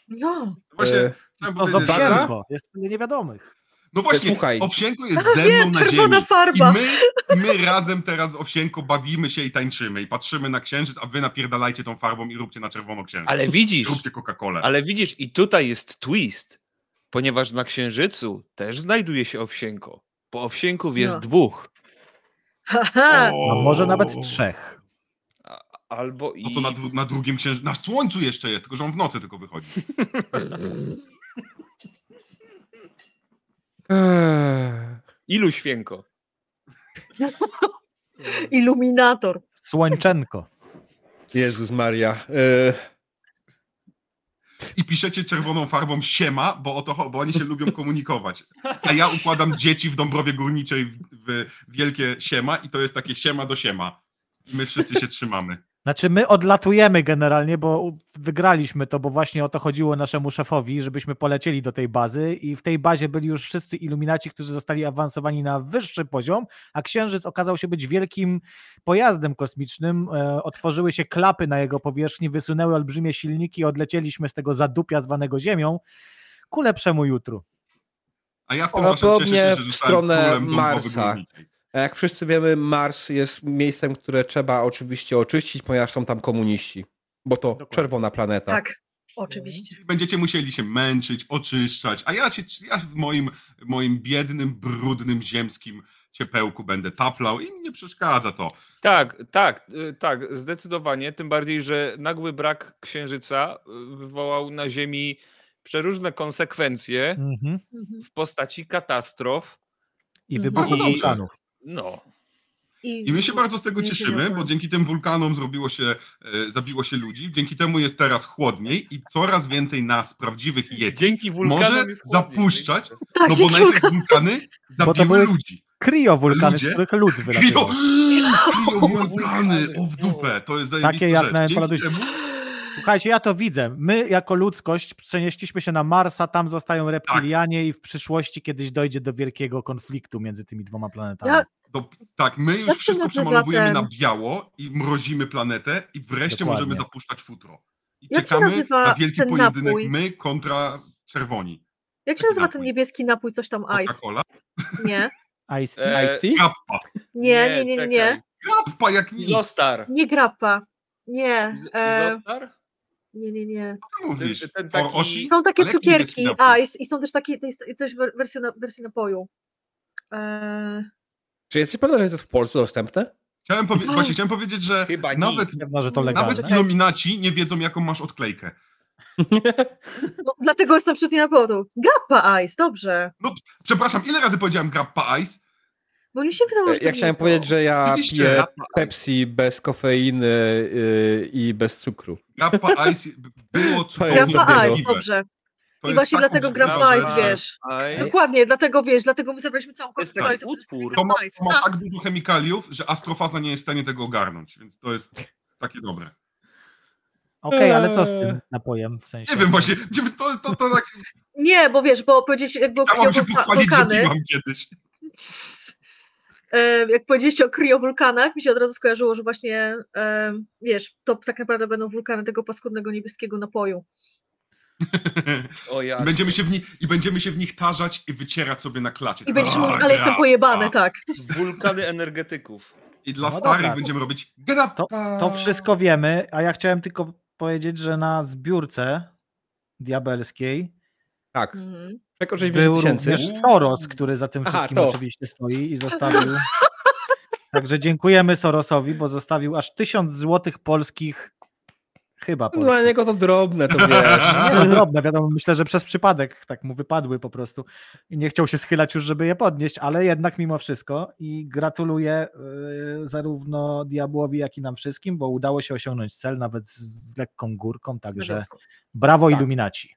[SPEAKER 2] No,
[SPEAKER 5] Właśnie,
[SPEAKER 1] e,
[SPEAKER 5] chciałem
[SPEAKER 3] To
[SPEAKER 5] powiedzieć, że-
[SPEAKER 1] zobaczę.
[SPEAKER 3] zobaczko. Jest tyle niewiadomych.
[SPEAKER 5] No właśnie,
[SPEAKER 1] Słuchaj.
[SPEAKER 5] Owsienko jest ze mną
[SPEAKER 2] wiem,
[SPEAKER 5] na ziemi.
[SPEAKER 2] czerwona farba.
[SPEAKER 5] I my, my razem teraz, Owsienko, bawimy się i tańczymy. I patrzymy na księżyc, a wy napierdalajcie tą farbą i róbcie na czerwono księżyc.
[SPEAKER 4] Ale widzisz,
[SPEAKER 5] Róbcie Coca-Colę.
[SPEAKER 4] ale widzisz, i tutaj jest twist, ponieważ na księżycu też znajduje się owsienko. Po owsienków jest
[SPEAKER 2] No.
[SPEAKER 4] dwóch.
[SPEAKER 2] haha.
[SPEAKER 5] O.
[SPEAKER 3] A może nawet trzech.
[SPEAKER 4] Albo i.
[SPEAKER 5] No to na, dru- na drugim księżycu, na słońcu jeszcze jest, tylko że on w nocy tylko wychodzi.
[SPEAKER 1] Eee,
[SPEAKER 4] Ilu święko?
[SPEAKER 2] Iluminator.
[SPEAKER 3] Słończenko.
[SPEAKER 1] Jezus Maria. E,
[SPEAKER 5] I piszecie czerwoną farbą siema, bo, o to, cho- bo oni się lubią komunikować. A ja układam dzieci w Dąbrowie Górniczej w, w wielkie siema i to jest takie siema do siema. I my wszyscy się trzymamy.
[SPEAKER 3] Znaczy, my odlatujemy generalnie, bo u- wygraliśmy to, bo właśnie o to chodziło naszemu szefowi, żebyśmy polecieli do tej bazy i w tej bazie byli już wszyscy iluminaci, którzy zostali awansowani na wyższy poziom, a Księżyc okazał się być wielkim pojazdem kosmicznym. E, Otworzyły się klapy na jego powierzchni, wysunęły olbrzymie silniki, odlecieliśmy z tego zadupia zwanego Ziemią ku lepszemu jutru.
[SPEAKER 5] A ja w tym czasie cieszę
[SPEAKER 1] Podobnie
[SPEAKER 5] się,
[SPEAKER 1] w
[SPEAKER 5] że
[SPEAKER 1] stronę
[SPEAKER 5] zostałem królem
[SPEAKER 1] Marsa.
[SPEAKER 5] Marsa.
[SPEAKER 1] A Jak wszyscy wiemy, Mars jest miejscem, które trzeba oczywiście oczyścić, ponieważ są tam komuniści. Bo to
[SPEAKER 3] Dokładnie.
[SPEAKER 1] czerwona planeta.
[SPEAKER 2] Tak, oczywiście.
[SPEAKER 5] Będziecie musieli się męczyć, oczyszczać, a ja, się, ja w moim, moim biednym, brudnym, ziemskim ciepełku będę taplał i nie przeszkadza to.
[SPEAKER 4] Tak, tak, y, tak, zdecydowanie. Tym bardziej, że nagły brak księżyca y, wywołał na Ziemi przeróżne konsekwencje
[SPEAKER 3] Mhm.
[SPEAKER 2] Mhm.
[SPEAKER 4] w postaci katastrof.
[SPEAKER 3] I
[SPEAKER 2] Mhm.
[SPEAKER 3] wybuchu
[SPEAKER 5] No to dobrze.
[SPEAKER 3] wulkanów.
[SPEAKER 4] No,
[SPEAKER 5] I my się bardzo z tego
[SPEAKER 2] Nie
[SPEAKER 5] cieszymy, bo
[SPEAKER 2] wiedziałam.
[SPEAKER 5] dzięki tym wulkanom zrobiło się, e, zabiło się ludzi, dzięki temu jest teraz chłodniej i coraz więcej nas, prawdziwych jedzie.
[SPEAKER 4] dzięki wulkanom
[SPEAKER 5] Może
[SPEAKER 4] jest chłodniej.
[SPEAKER 5] zapuszczać?
[SPEAKER 2] Tak,
[SPEAKER 5] No bo
[SPEAKER 2] dzięki
[SPEAKER 5] najpierw wulkany zabiły
[SPEAKER 3] były-
[SPEAKER 5] ludzi.
[SPEAKER 3] Kriowulkany, z
[SPEAKER 5] Ludzie?
[SPEAKER 3] których lód
[SPEAKER 5] Krio,
[SPEAKER 3] wylatuje.
[SPEAKER 5] krio wulkany, o w dupę, to jest zajebista
[SPEAKER 3] Takie jak
[SPEAKER 5] rzecz.
[SPEAKER 3] na
[SPEAKER 5] Dzięki
[SPEAKER 3] Paladusie.
[SPEAKER 5] temu
[SPEAKER 3] Słuchajcie, ja to widzę. My jako ludzkość przenieśliśmy się na Marsa, tam zostają reptilianie i w przyszłości kiedyś dojdzie do wielkiego konfliktu między tymi dwoma planetami.
[SPEAKER 2] Ja-
[SPEAKER 5] Do, tak, my już
[SPEAKER 2] Jak się
[SPEAKER 5] wszystko
[SPEAKER 2] nazywa
[SPEAKER 5] przemalowujemy
[SPEAKER 2] ten-
[SPEAKER 5] na biało i mrozimy planetę i wreszcie
[SPEAKER 3] Dokładnie.
[SPEAKER 5] możemy zapuszczać futro. I
[SPEAKER 2] Jak się
[SPEAKER 5] czekamy
[SPEAKER 2] nazywa
[SPEAKER 5] na wielki
[SPEAKER 2] ten
[SPEAKER 5] pojedynek
[SPEAKER 2] napój?
[SPEAKER 5] my kontra czerwoni.
[SPEAKER 2] Jak się
[SPEAKER 5] Taki
[SPEAKER 2] nazywa ten
[SPEAKER 5] napój. No tak,
[SPEAKER 2] niebieski napój, coś tam ice?
[SPEAKER 5] Coca-Cola.
[SPEAKER 2] Nie,
[SPEAKER 3] Ice
[SPEAKER 4] E,
[SPEAKER 3] tea? Ice tea?
[SPEAKER 5] Grappa.
[SPEAKER 2] nie, nie, nie, nie,
[SPEAKER 4] czekaj.
[SPEAKER 2] nie,
[SPEAKER 5] Grappa jak nic.
[SPEAKER 4] Zostar.
[SPEAKER 2] nie grappa. Nie,
[SPEAKER 4] Z-
[SPEAKER 2] e,
[SPEAKER 4] Zostar?
[SPEAKER 2] nie, nie, nie.
[SPEAKER 5] Co ty mówisz?
[SPEAKER 4] Ten- ten
[SPEAKER 5] For
[SPEAKER 4] taki-
[SPEAKER 5] Osi?
[SPEAKER 2] Są takie
[SPEAKER 5] Ale jaki
[SPEAKER 2] cukierki
[SPEAKER 5] niebieski napój?
[SPEAKER 2] ice i są też takie, to jest coś w wersji, na, wersji napoju. E,
[SPEAKER 1] Czy jesteś pewna, że jest to w Polsce dostępne?
[SPEAKER 5] Chciałem, powie-
[SPEAKER 2] Mhm.
[SPEAKER 5] właśnie chciałem powiedzieć, że
[SPEAKER 4] Chyba nie.
[SPEAKER 5] nawet,
[SPEAKER 3] Pewno, że to legalne.
[SPEAKER 5] nawet iluminaci nie wiedzą jaką masz odklejkę.
[SPEAKER 2] no, dlatego jestem przed nie na powodu. Grappa ice, dobrze.
[SPEAKER 5] Przepraszam, ile razy powiedziałem Grappa Ice?
[SPEAKER 2] Bo mi się wydawało, że to
[SPEAKER 1] E, Ja
[SPEAKER 2] nie
[SPEAKER 1] chciałem
[SPEAKER 2] to.
[SPEAKER 1] powiedzieć, że ja
[SPEAKER 5] Oczywiście.
[SPEAKER 1] piję
[SPEAKER 4] Grappa ice.
[SPEAKER 1] Pepsi bez kofeiny yy, i bez cukru.
[SPEAKER 5] Grappa Ice było cudownie
[SPEAKER 1] to
[SPEAKER 2] Grappa ice,
[SPEAKER 5] obrzydliwe.
[SPEAKER 2] dobrze.
[SPEAKER 5] To
[SPEAKER 2] I
[SPEAKER 5] jest
[SPEAKER 2] właśnie
[SPEAKER 5] tak
[SPEAKER 2] dlatego
[SPEAKER 5] obrzydliwe,
[SPEAKER 2] grappa ice,
[SPEAKER 5] że
[SPEAKER 2] wiesz.
[SPEAKER 4] Aj.
[SPEAKER 2] Dokładnie, dlatego wiesz, dlatego my zabraliśmy całą
[SPEAKER 4] Jest
[SPEAKER 2] kontrolę i
[SPEAKER 4] taki
[SPEAKER 2] to pozostaje
[SPEAKER 4] utwór.
[SPEAKER 5] To ma,
[SPEAKER 2] grappa ice.
[SPEAKER 5] to ma tak dużo chemikaliów, że astrofaza nie jest w stanie tego ogarnąć, więc to jest takie dobre.
[SPEAKER 3] Okej, ale co z tym napojem? W sensie?
[SPEAKER 5] Nie wiem właśnie, nie- to, to, to tak
[SPEAKER 2] Nie, bo wiesz, bo powiedzieliście jakby o
[SPEAKER 5] chciałam się
[SPEAKER 2] kriowulka-
[SPEAKER 5] pochwalić, że
[SPEAKER 2] wulkany.
[SPEAKER 5] piłam kiedyś.
[SPEAKER 2] E, Jak powiedzieliście o kriowulkanach, mi się od razu skojarzyło, że właśnie, e, wiesz, to tak naprawdę będą wulkany tego paskudnego niebieskiego napoju.
[SPEAKER 4] O
[SPEAKER 3] Tak.
[SPEAKER 4] ja.
[SPEAKER 5] Będziemy się w nich, I będziemy się w nich tarzać i wycierać sobie na klacie.
[SPEAKER 2] I będziesz
[SPEAKER 5] A,
[SPEAKER 2] mówił, ale jestem
[SPEAKER 5] gra.
[SPEAKER 2] pojebany, tak.
[SPEAKER 4] Wulkany energetyków.
[SPEAKER 5] I dla
[SPEAKER 3] No
[SPEAKER 5] starych
[SPEAKER 3] dobra.
[SPEAKER 5] będziemy robić get up.
[SPEAKER 3] To wszystko wiemy, a ja chciałem tylko powiedzieć, że na zbiórce diabelskiej
[SPEAKER 1] Tak.
[SPEAKER 2] Mhm.
[SPEAKER 1] Przekroczyliśmy
[SPEAKER 3] był
[SPEAKER 1] 10 tysięcy.
[SPEAKER 3] również Soros, który za tym
[SPEAKER 1] Aha,
[SPEAKER 3] wszystkim
[SPEAKER 1] to.
[SPEAKER 3] oczywiście stoi i zostawił. Także dziękujemy Sorosowi, bo zostawił aż 1000 złotych polskich chyba
[SPEAKER 1] No, Dla
[SPEAKER 3] polskich.
[SPEAKER 1] niego to drobne, to wiesz.
[SPEAKER 3] Nie, no drobne, wiadomo, myślę, że przez przypadek tak mu wypadły po prostu i nie chciał się schylać już, żeby je podnieść, ale jednak mimo wszystko i gratuluję yy, zarówno Diabłowi, jak i nam wszystkim, bo udało się osiągnąć cel nawet z lekką górką, także
[SPEAKER 2] Nawiązku.
[SPEAKER 3] brawo
[SPEAKER 1] Tak.
[SPEAKER 3] iluminaci.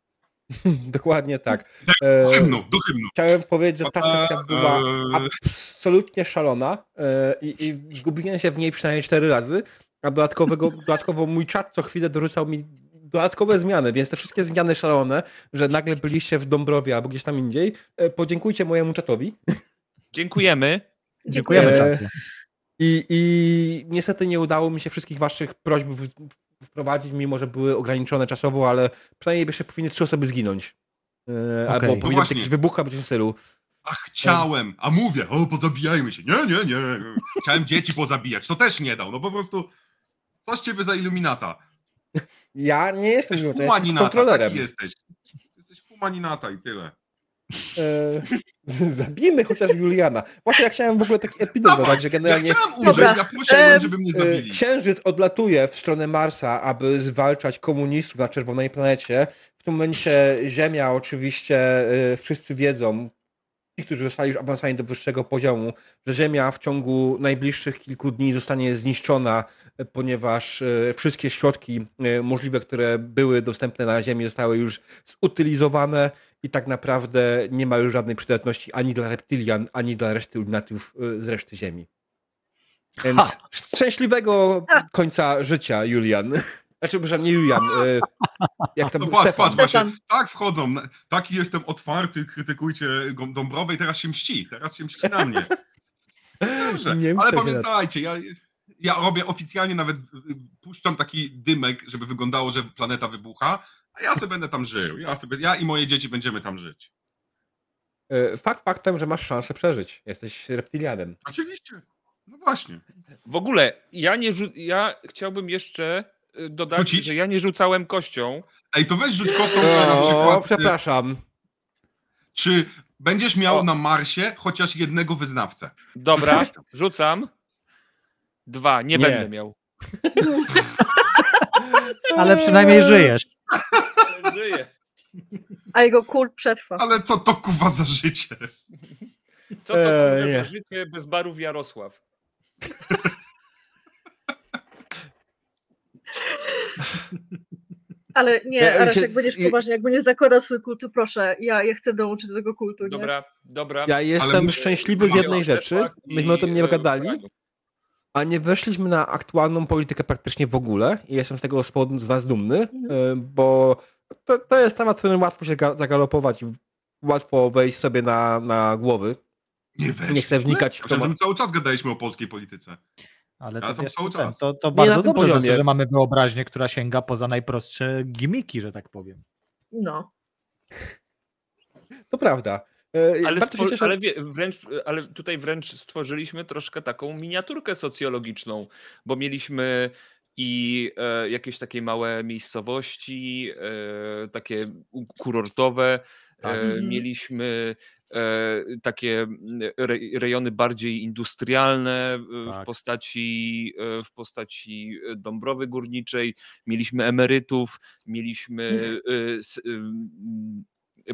[SPEAKER 1] Dokładnie tak.
[SPEAKER 5] Do
[SPEAKER 1] E,
[SPEAKER 5] hymnu, do hymnu.
[SPEAKER 1] Chciałem powiedzieć, że ta sesja była
[SPEAKER 5] Eee,
[SPEAKER 1] absolutnie szalona e, i, i zgubiłem się w niej przynajmniej cztery razy, a dodatkowego, dodatkowo mój czat co chwilę dorzucał mi dodatkowe zmiany, więc te wszystkie zmiany szalone, że nagle byliście w Dąbrowie albo gdzieś tam indziej, e, podziękujcie mojemu czatowi
[SPEAKER 4] Dziękujemy.
[SPEAKER 3] Dziękujemy
[SPEAKER 1] Eee,
[SPEAKER 3] czacie.
[SPEAKER 1] i, i niestety nie udało mi się wszystkich waszych prośb w, w- wprowadzić, mimo że były ograniczone czasowo, ale przynajmniej jeszcze powinny trzy osoby zginąć. E, Albo
[SPEAKER 3] No
[SPEAKER 1] powinien być
[SPEAKER 5] właśnie.
[SPEAKER 1] jakiś wybuch albo coś w tym stylu.
[SPEAKER 5] A chciałem, a mówię, o pozabijajmy się. Nie, nie, nie. Chciałem dzieci pozabijać, to też nie dał. No po prostu, coś ciebie za iluminata.
[SPEAKER 1] Ja nie jestem
[SPEAKER 5] Jesteś
[SPEAKER 1] idiotą, jestem
[SPEAKER 5] humaninata,
[SPEAKER 1] kontrolerem.
[SPEAKER 5] taki jesteś. Jesteś humaninata i tyle.
[SPEAKER 1] E, zabijmy chociaż Juliana. Właśnie ja chciałem w ogóle taki epidem
[SPEAKER 5] Dawaj,
[SPEAKER 1] dodać, że
[SPEAKER 5] Ja
[SPEAKER 1] generalnie
[SPEAKER 5] chciałem umrzeć,
[SPEAKER 2] Dobra,
[SPEAKER 5] ja prosiłem,
[SPEAKER 2] em,
[SPEAKER 5] żeby mnie
[SPEAKER 1] e,
[SPEAKER 5] zabili.
[SPEAKER 1] księżyc odlatuje w stronę Marsa, aby zwalczać komunistów na czerwonej planecie. W tym momencie Ziemia oczywiście e, wszyscy wiedzą, ci, którzy zostali już awansowani do wyższego poziomu, że Ziemia w ciągu najbliższych kilku dni zostanie zniszczona, e, ponieważ e, wszystkie środki e, możliwe, które były dostępne na Ziemi, zostały już zutylizowane i tak naprawdę nie y, ma już żadnej przydatności ani dla reptilian, ani dla reszty luminatów e, z reszty Ziemi. Więc
[SPEAKER 3] Ha.
[SPEAKER 1] szczęśliwego końca życia, Julian. Znaczy, przepraszam, nie Julian. e, Jak tam
[SPEAKER 5] No
[SPEAKER 1] no,
[SPEAKER 5] patrz, patrz, właśnie,
[SPEAKER 2] Stefan.
[SPEAKER 5] tak wchodzą, na- taki jestem otwarty, krytykujcie Gą- Dąbrowej, teraz się mści, teraz się mści na mnie. Dobrze,
[SPEAKER 1] Nie mszczę
[SPEAKER 5] ale
[SPEAKER 1] się na-
[SPEAKER 5] pamiętajcie, ja, ja robię oficjalnie nawet, y, y, puszczam taki dymek, żeby wyglądało, że planeta wybucha, a ja sobie będę tam żył, ja, sobie, ja i moje dzieci będziemy tam żyć.
[SPEAKER 1] E, Fakt faktem, że masz szansę przeżyć. Jesteś reptilianem.
[SPEAKER 5] Oczywiście, no właśnie.
[SPEAKER 4] W ogóle ja nie rzu- ja chciałbym jeszcze y, dodać,
[SPEAKER 5] Rzucić?
[SPEAKER 4] że ja nie rzucałem kością.
[SPEAKER 5] Ej, to weź rzuć kostką, No, czy na
[SPEAKER 1] O,
[SPEAKER 5] przykład, y,
[SPEAKER 1] przepraszam.
[SPEAKER 5] czy będziesz miał
[SPEAKER 4] O.
[SPEAKER 5] na Marsie chociaż jednego wyznawcę.
[SPEAKER 4] Dobra,
[SPEAKER 5] Rzuć.
[SPEAKER 4] rzucam. Dwa, nie,
[SPEAKER 1] Nie.
[SPEAKER 4] będę miał.
[SPEAKER 3] Ale przynajmniej żyjesz.
[SPEAKER 4] Żyję.
[SPEAKER 2] A jego kult przetrwa.
[SPEAKER 5] Ale co to kuwa za życie?
[SPEAKER 4] Co to
[SPEAKER 1] Eee,
[SPEAKER 4] kurde za
[SPEAKER 1] nie.
[SPEAKER 4] życie bez barów Jarosław?
[SPEAKER 2] Ale nie,
[SPEAKER 1] Ja-
[SPEAKER 2] Arasz,
[SPEAKER 1] się-
[SPEAKER 2] jak będziesz
[SPEAKER 1] je-
[SPEAKER 2] poważnie, jak będziesz zakładał swój kult, to proszę, ja, ja chcę dołączyć do tego kultu. Nie?
[SPEAKER 4] Dobra, dobra.
[SPEAKER 1] Ja jestem
[SPEAKER 5] muszę-
[SPEAKER 1] szczęśliwy z
[SPEAKER 5] Mamy
[SPEAKER 1] jednej rzeczy. Myśmy o tym
[SPEAKER 5] e,
[SPEAKER 4] e,
[SPEAKER 1] nie gadali, a nie weszliśmy na aktualną politykę praktycznie w ogóle i jestem z tego powodu z nas dumny, e, bo to, to jest temat, którym łatwo się ga- zagalopować i łatwo wejść sobie na, na głowy.
[SPEAKER 5] Nie weź.
[SPEAKER 1] Nie chcę wnikać, kto
[SPEAKER 5] Chociaż
[SPEAKER 1] ma-
[SPEAKER 5] my cały czas gadaliśmy o polskiej polityce.
[SPEAKER 3] Ale
[SPEAKER 5] Ale
[SPEAKER 3] to,
[SPEAKER 5] to
[SPEAKER 3] wiesz,
[SPEAKER 5] cały
[SPEAKER 3] ten,
[SPEAKER 5] czas.
[SPEAKER 3] to, to
[SPEAKER 1] Nie
[SPEAKER 3] bardzo
[SPEAKER 1] na tym
[SPEAKER 3] dobrze, znaczy,
[SPEAKER 1] poziomie.
[SPEAKER 3] że mamy wyobraźnię, która sięga poza najprostsze gimiki, że tak powiem.
[SPEAKER 2] No.
[SPEAKER 1] To prawda. E,
[SPEAKER 4] Ale,
[SPEAKER 1] bardzo się
[SPEAKER 4] stwor-
[SPEAKER 1] cieszę-
[SPEAKER 4] ale, wie, wręcz, ale tutaj wręcz stworzyliśmy troszkę taką miniaturkę socjologiczną, bo mieliśmy i e, jakieś takie małe miejscowości, e, takie u- kurortowe,
[SPEAKER 3] Tak.
[SPEAKER 4] e,
[SPEAKER 2] Mhm.
[SPEAKER 4] mieliśmy e, takie m, re, rejony bardziej industrialne e, w,
[SPEAKER 3] Tak.
[SPEAKER 4] postaci, e, w postaci e, Dąbrowy Górniczej, mieliśmy emerytów, mieliśmy e, s- e, m,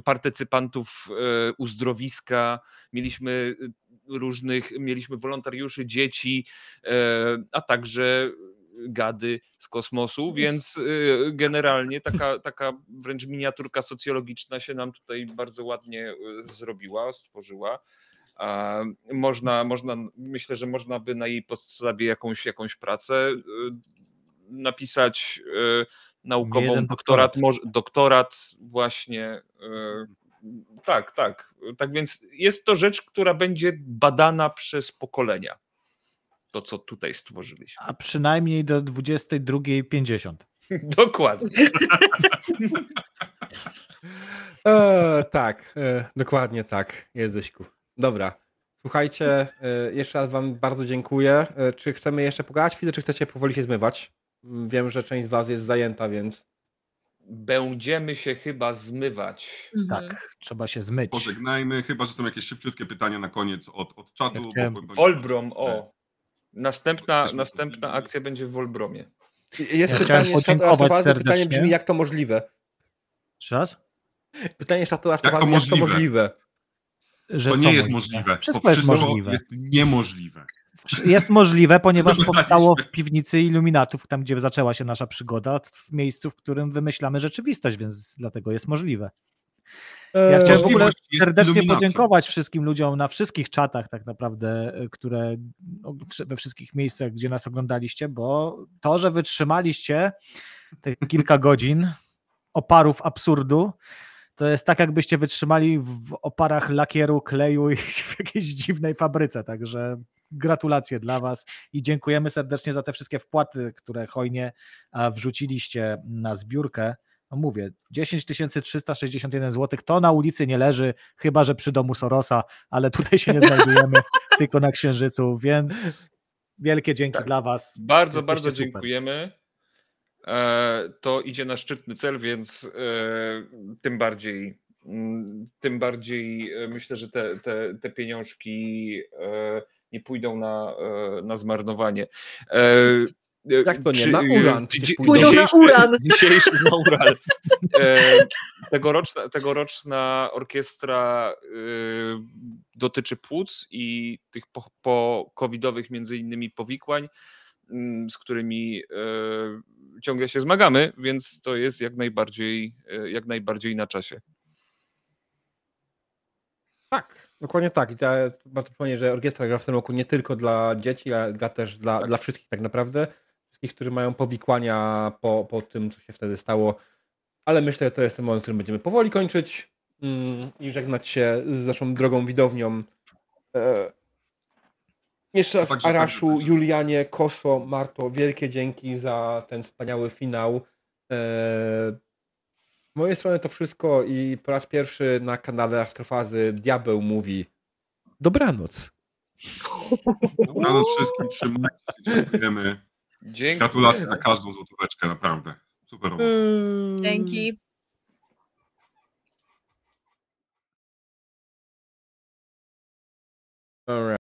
[SPEAKER 4] partycypantów e, uzdrowiska, mieliśmy e, różnych, mieliśmy wolontariuszy, dzieci, e, a także gady z kosmosu, więc e, generalnie taka, taka wręcz miniaturka socjologiczna się nam tutaj bardzo ładnie e, zrobiła, stworzyła. A Można, można, myślę, że można by na jej podstawie jakąś, jakąś pracę e, napisać e, naukową,
[SPEAKER 3] Jeden
[SPEAKER 4] doktorat,
[SPEAKER 3] doktorat.
[SPEAKER 4] może, doktorat właśnie. e, Tak, tak. Tak więc jest to rzecz, która będzie badana przez pokolenia. To, co tutaj stworzyliśmy.
[SPEAKER 3] A przynajmniej do 22.50.
[SPEAKER 4] Dokładnie.
[SPEAKER 1] E, tak, e, dokładnie tak, Jezyśku. Dobra. Słuchajcie, e, jeszcze raz wam bardzo dziękuję. E, czy chcemy jeszcze pogadać chwilę, czy chcecie powoli się zmywać? Mm, Wiem, że część z was jest zajęta, więc...
[SPEAKER 4] Będziemy się chyba zmywać.
[SPEAKER 2] Mhm.
[SPEAKER 3] Tak, trzeba się zmyć.
[SPEAKER 5] Pożegnajmy, chyba że są jakieś szybciutkie pytania na koniec od, od czatu.
[SPEAKER 3] Ja
[SPEAKER 5] bo
[SPEAKER 3] chciałem-
[SPEAKER 5] powiem-
[SPEAKER 4] Wolbrom,
[SPEAKER 3] Tak.
[SPEAKER 4] o. Następna,
[SPEAKER 5] Jesteśmy
[SPEAKER 4] następna
[SPEAKER 5] powinni-
[SPEAKER 4] akcja będzie w Wolbromie.
[SPEAKER 1] I- Jest
[SPEAKER 3] Ja chciałem
[SPEAKER 1] pytanie z czatu
[SPEAKER 3] podziękować
[SPEAKER 1] Astowazy, pytanie
[SPEAKER 3] serdecznie.
[SPEAKER 1] brzmi, jak to możliwe?
[SPEAKER 3] Jeszcze raz?
[SPEAKER 1] Pytanie z czatu
[SPEAKER 5] to
[SPEAKER 1] Astowazy, jak, to
[SPEAKER 5] możliwe?
[SPEAKER 1] możliwe?
[SPEAKER 3] Że
[SPEAKER 5] To
[SPEAKER 3] co
[SPEAKER 5] nie jest możliwe.
[SPEAKER 3] tak. Wszystko
[SPEAKER 5] To
[SPEAKER 3] jest możliwe.
[SPEAKER 5] jest niemożliwe.
[SPEAKER 3] Jest możliwe, ponieważ
[SPEAKER 5] Wydaliśmy.
[SPEAKER 3] powstało w piwnicy iluminatów, tam gdzie zaczęła się nasza przygoda, w miejscu, w którym wymyślamy rzeczywistość, więc dlatego jest możliwe. Ja
[SPEAKER 1] E,
[SPEAKER 3] chciałem w ogóle
[SPEAKER 5] Możliwość jest
[SPEAKER 3] serdecznie
[SPEAKER 5] iluminacją.
[SPEAKER 3] podziękować wszystkim ludziom na wszystkich czatach, tak naprawdę, y, które o, wsz- we wszystkich miejscach, gdzie nas oglądaliście, bo to, że wytrzymaliście te kilka godzin oparów absurdu, to jest tak, jakbyście wytrzymali w oparach lakieru, kleju i w jakiejś dziwnej fabryce. Także gratulacje dla Was i dziękujemy serdecznie za te wszystkie wpłaty, które hojnie a, wrzuciliście na zbiórkę. No mówię, 10 361 zł to na ulicy nie leży, chyba że przy domu Sorosa, ale tutaj się nie znajdujemy, tylko na Księżycu, więc wielkie dzięki
[SPEAKER 4] Tak.
[SPEAKER 3] dla Was.
[SPEAKER 4] Bardzo,
[SPEAKER 3] Jesteście
[SPEAKER 4] bardzo
[SPEAKER 3] super.
[SPEAKER 4] dziękujemy. E, To idzie na szczytny cel, więc e, tym bardziej, mm, tym bardziej e, myślę, że te, te, te pieniążki e, nie pójdą na, e, na zmarnowanie. E, e,
[SPEAKER 1] Jak to nie?
[SPEAKER 4] przy-
[SPEAKER 1] Na uran
[SPEAKER 4] e,
[SPEAKER 1] przecież
[SPEAKER 4] dzi-
[SPEAKER 1] pójdą.
[SPEAKER 4] dzisiejszy-
[SPEAKER 2] Pójdą na uran.
[SPEAKER 4] Dzisiejszy na uran. E, Tegoroczna, tegoroczna orkiestra e, dotyczy płuc i tych po, po covidowych między innymi powikłań, m, z którymi e, ciągle się zmagamy, więc to jest jak najbardziej, e, jak najbardziej na czasie.
[SPEAKER 1] Tak, dokładnie tak. I teraz bardzo przypomnę, że orkiestra gra w tym roku nie tylko dla dzieci, ale gra też dla, dla wszystkich tak naprawdę. Wszystkich, którzy mają powikłania po, po tym, co się wtedy stało. Ale myślę, że to jest ten moment, w którym będziemy powoli kończyć mm, i żegnać się z naszą drogą widownią. E, jeszcze raz
[SPEAKER 5] Także-
[SPEAKER 1] Araszu, Julianie, Koso, Marto, wielkie dzięki za ten wspaniały finał. E, z mojej strony to wszystko i po raz pierwszy na kanale Astrofazy Diabeł mówi dobranoc.
[SPEAKER 5] Dobranoc wszystkim, trzymajcie się, dziękujemy.
[SPEAKER 4] Dzięki.
[SPEAKER 5] Gratulacje za każdą złotóweczkę, naprawdę. Super robota.
[SPEAKER 2] Dzięki.
[SPEAKER 1] Alright.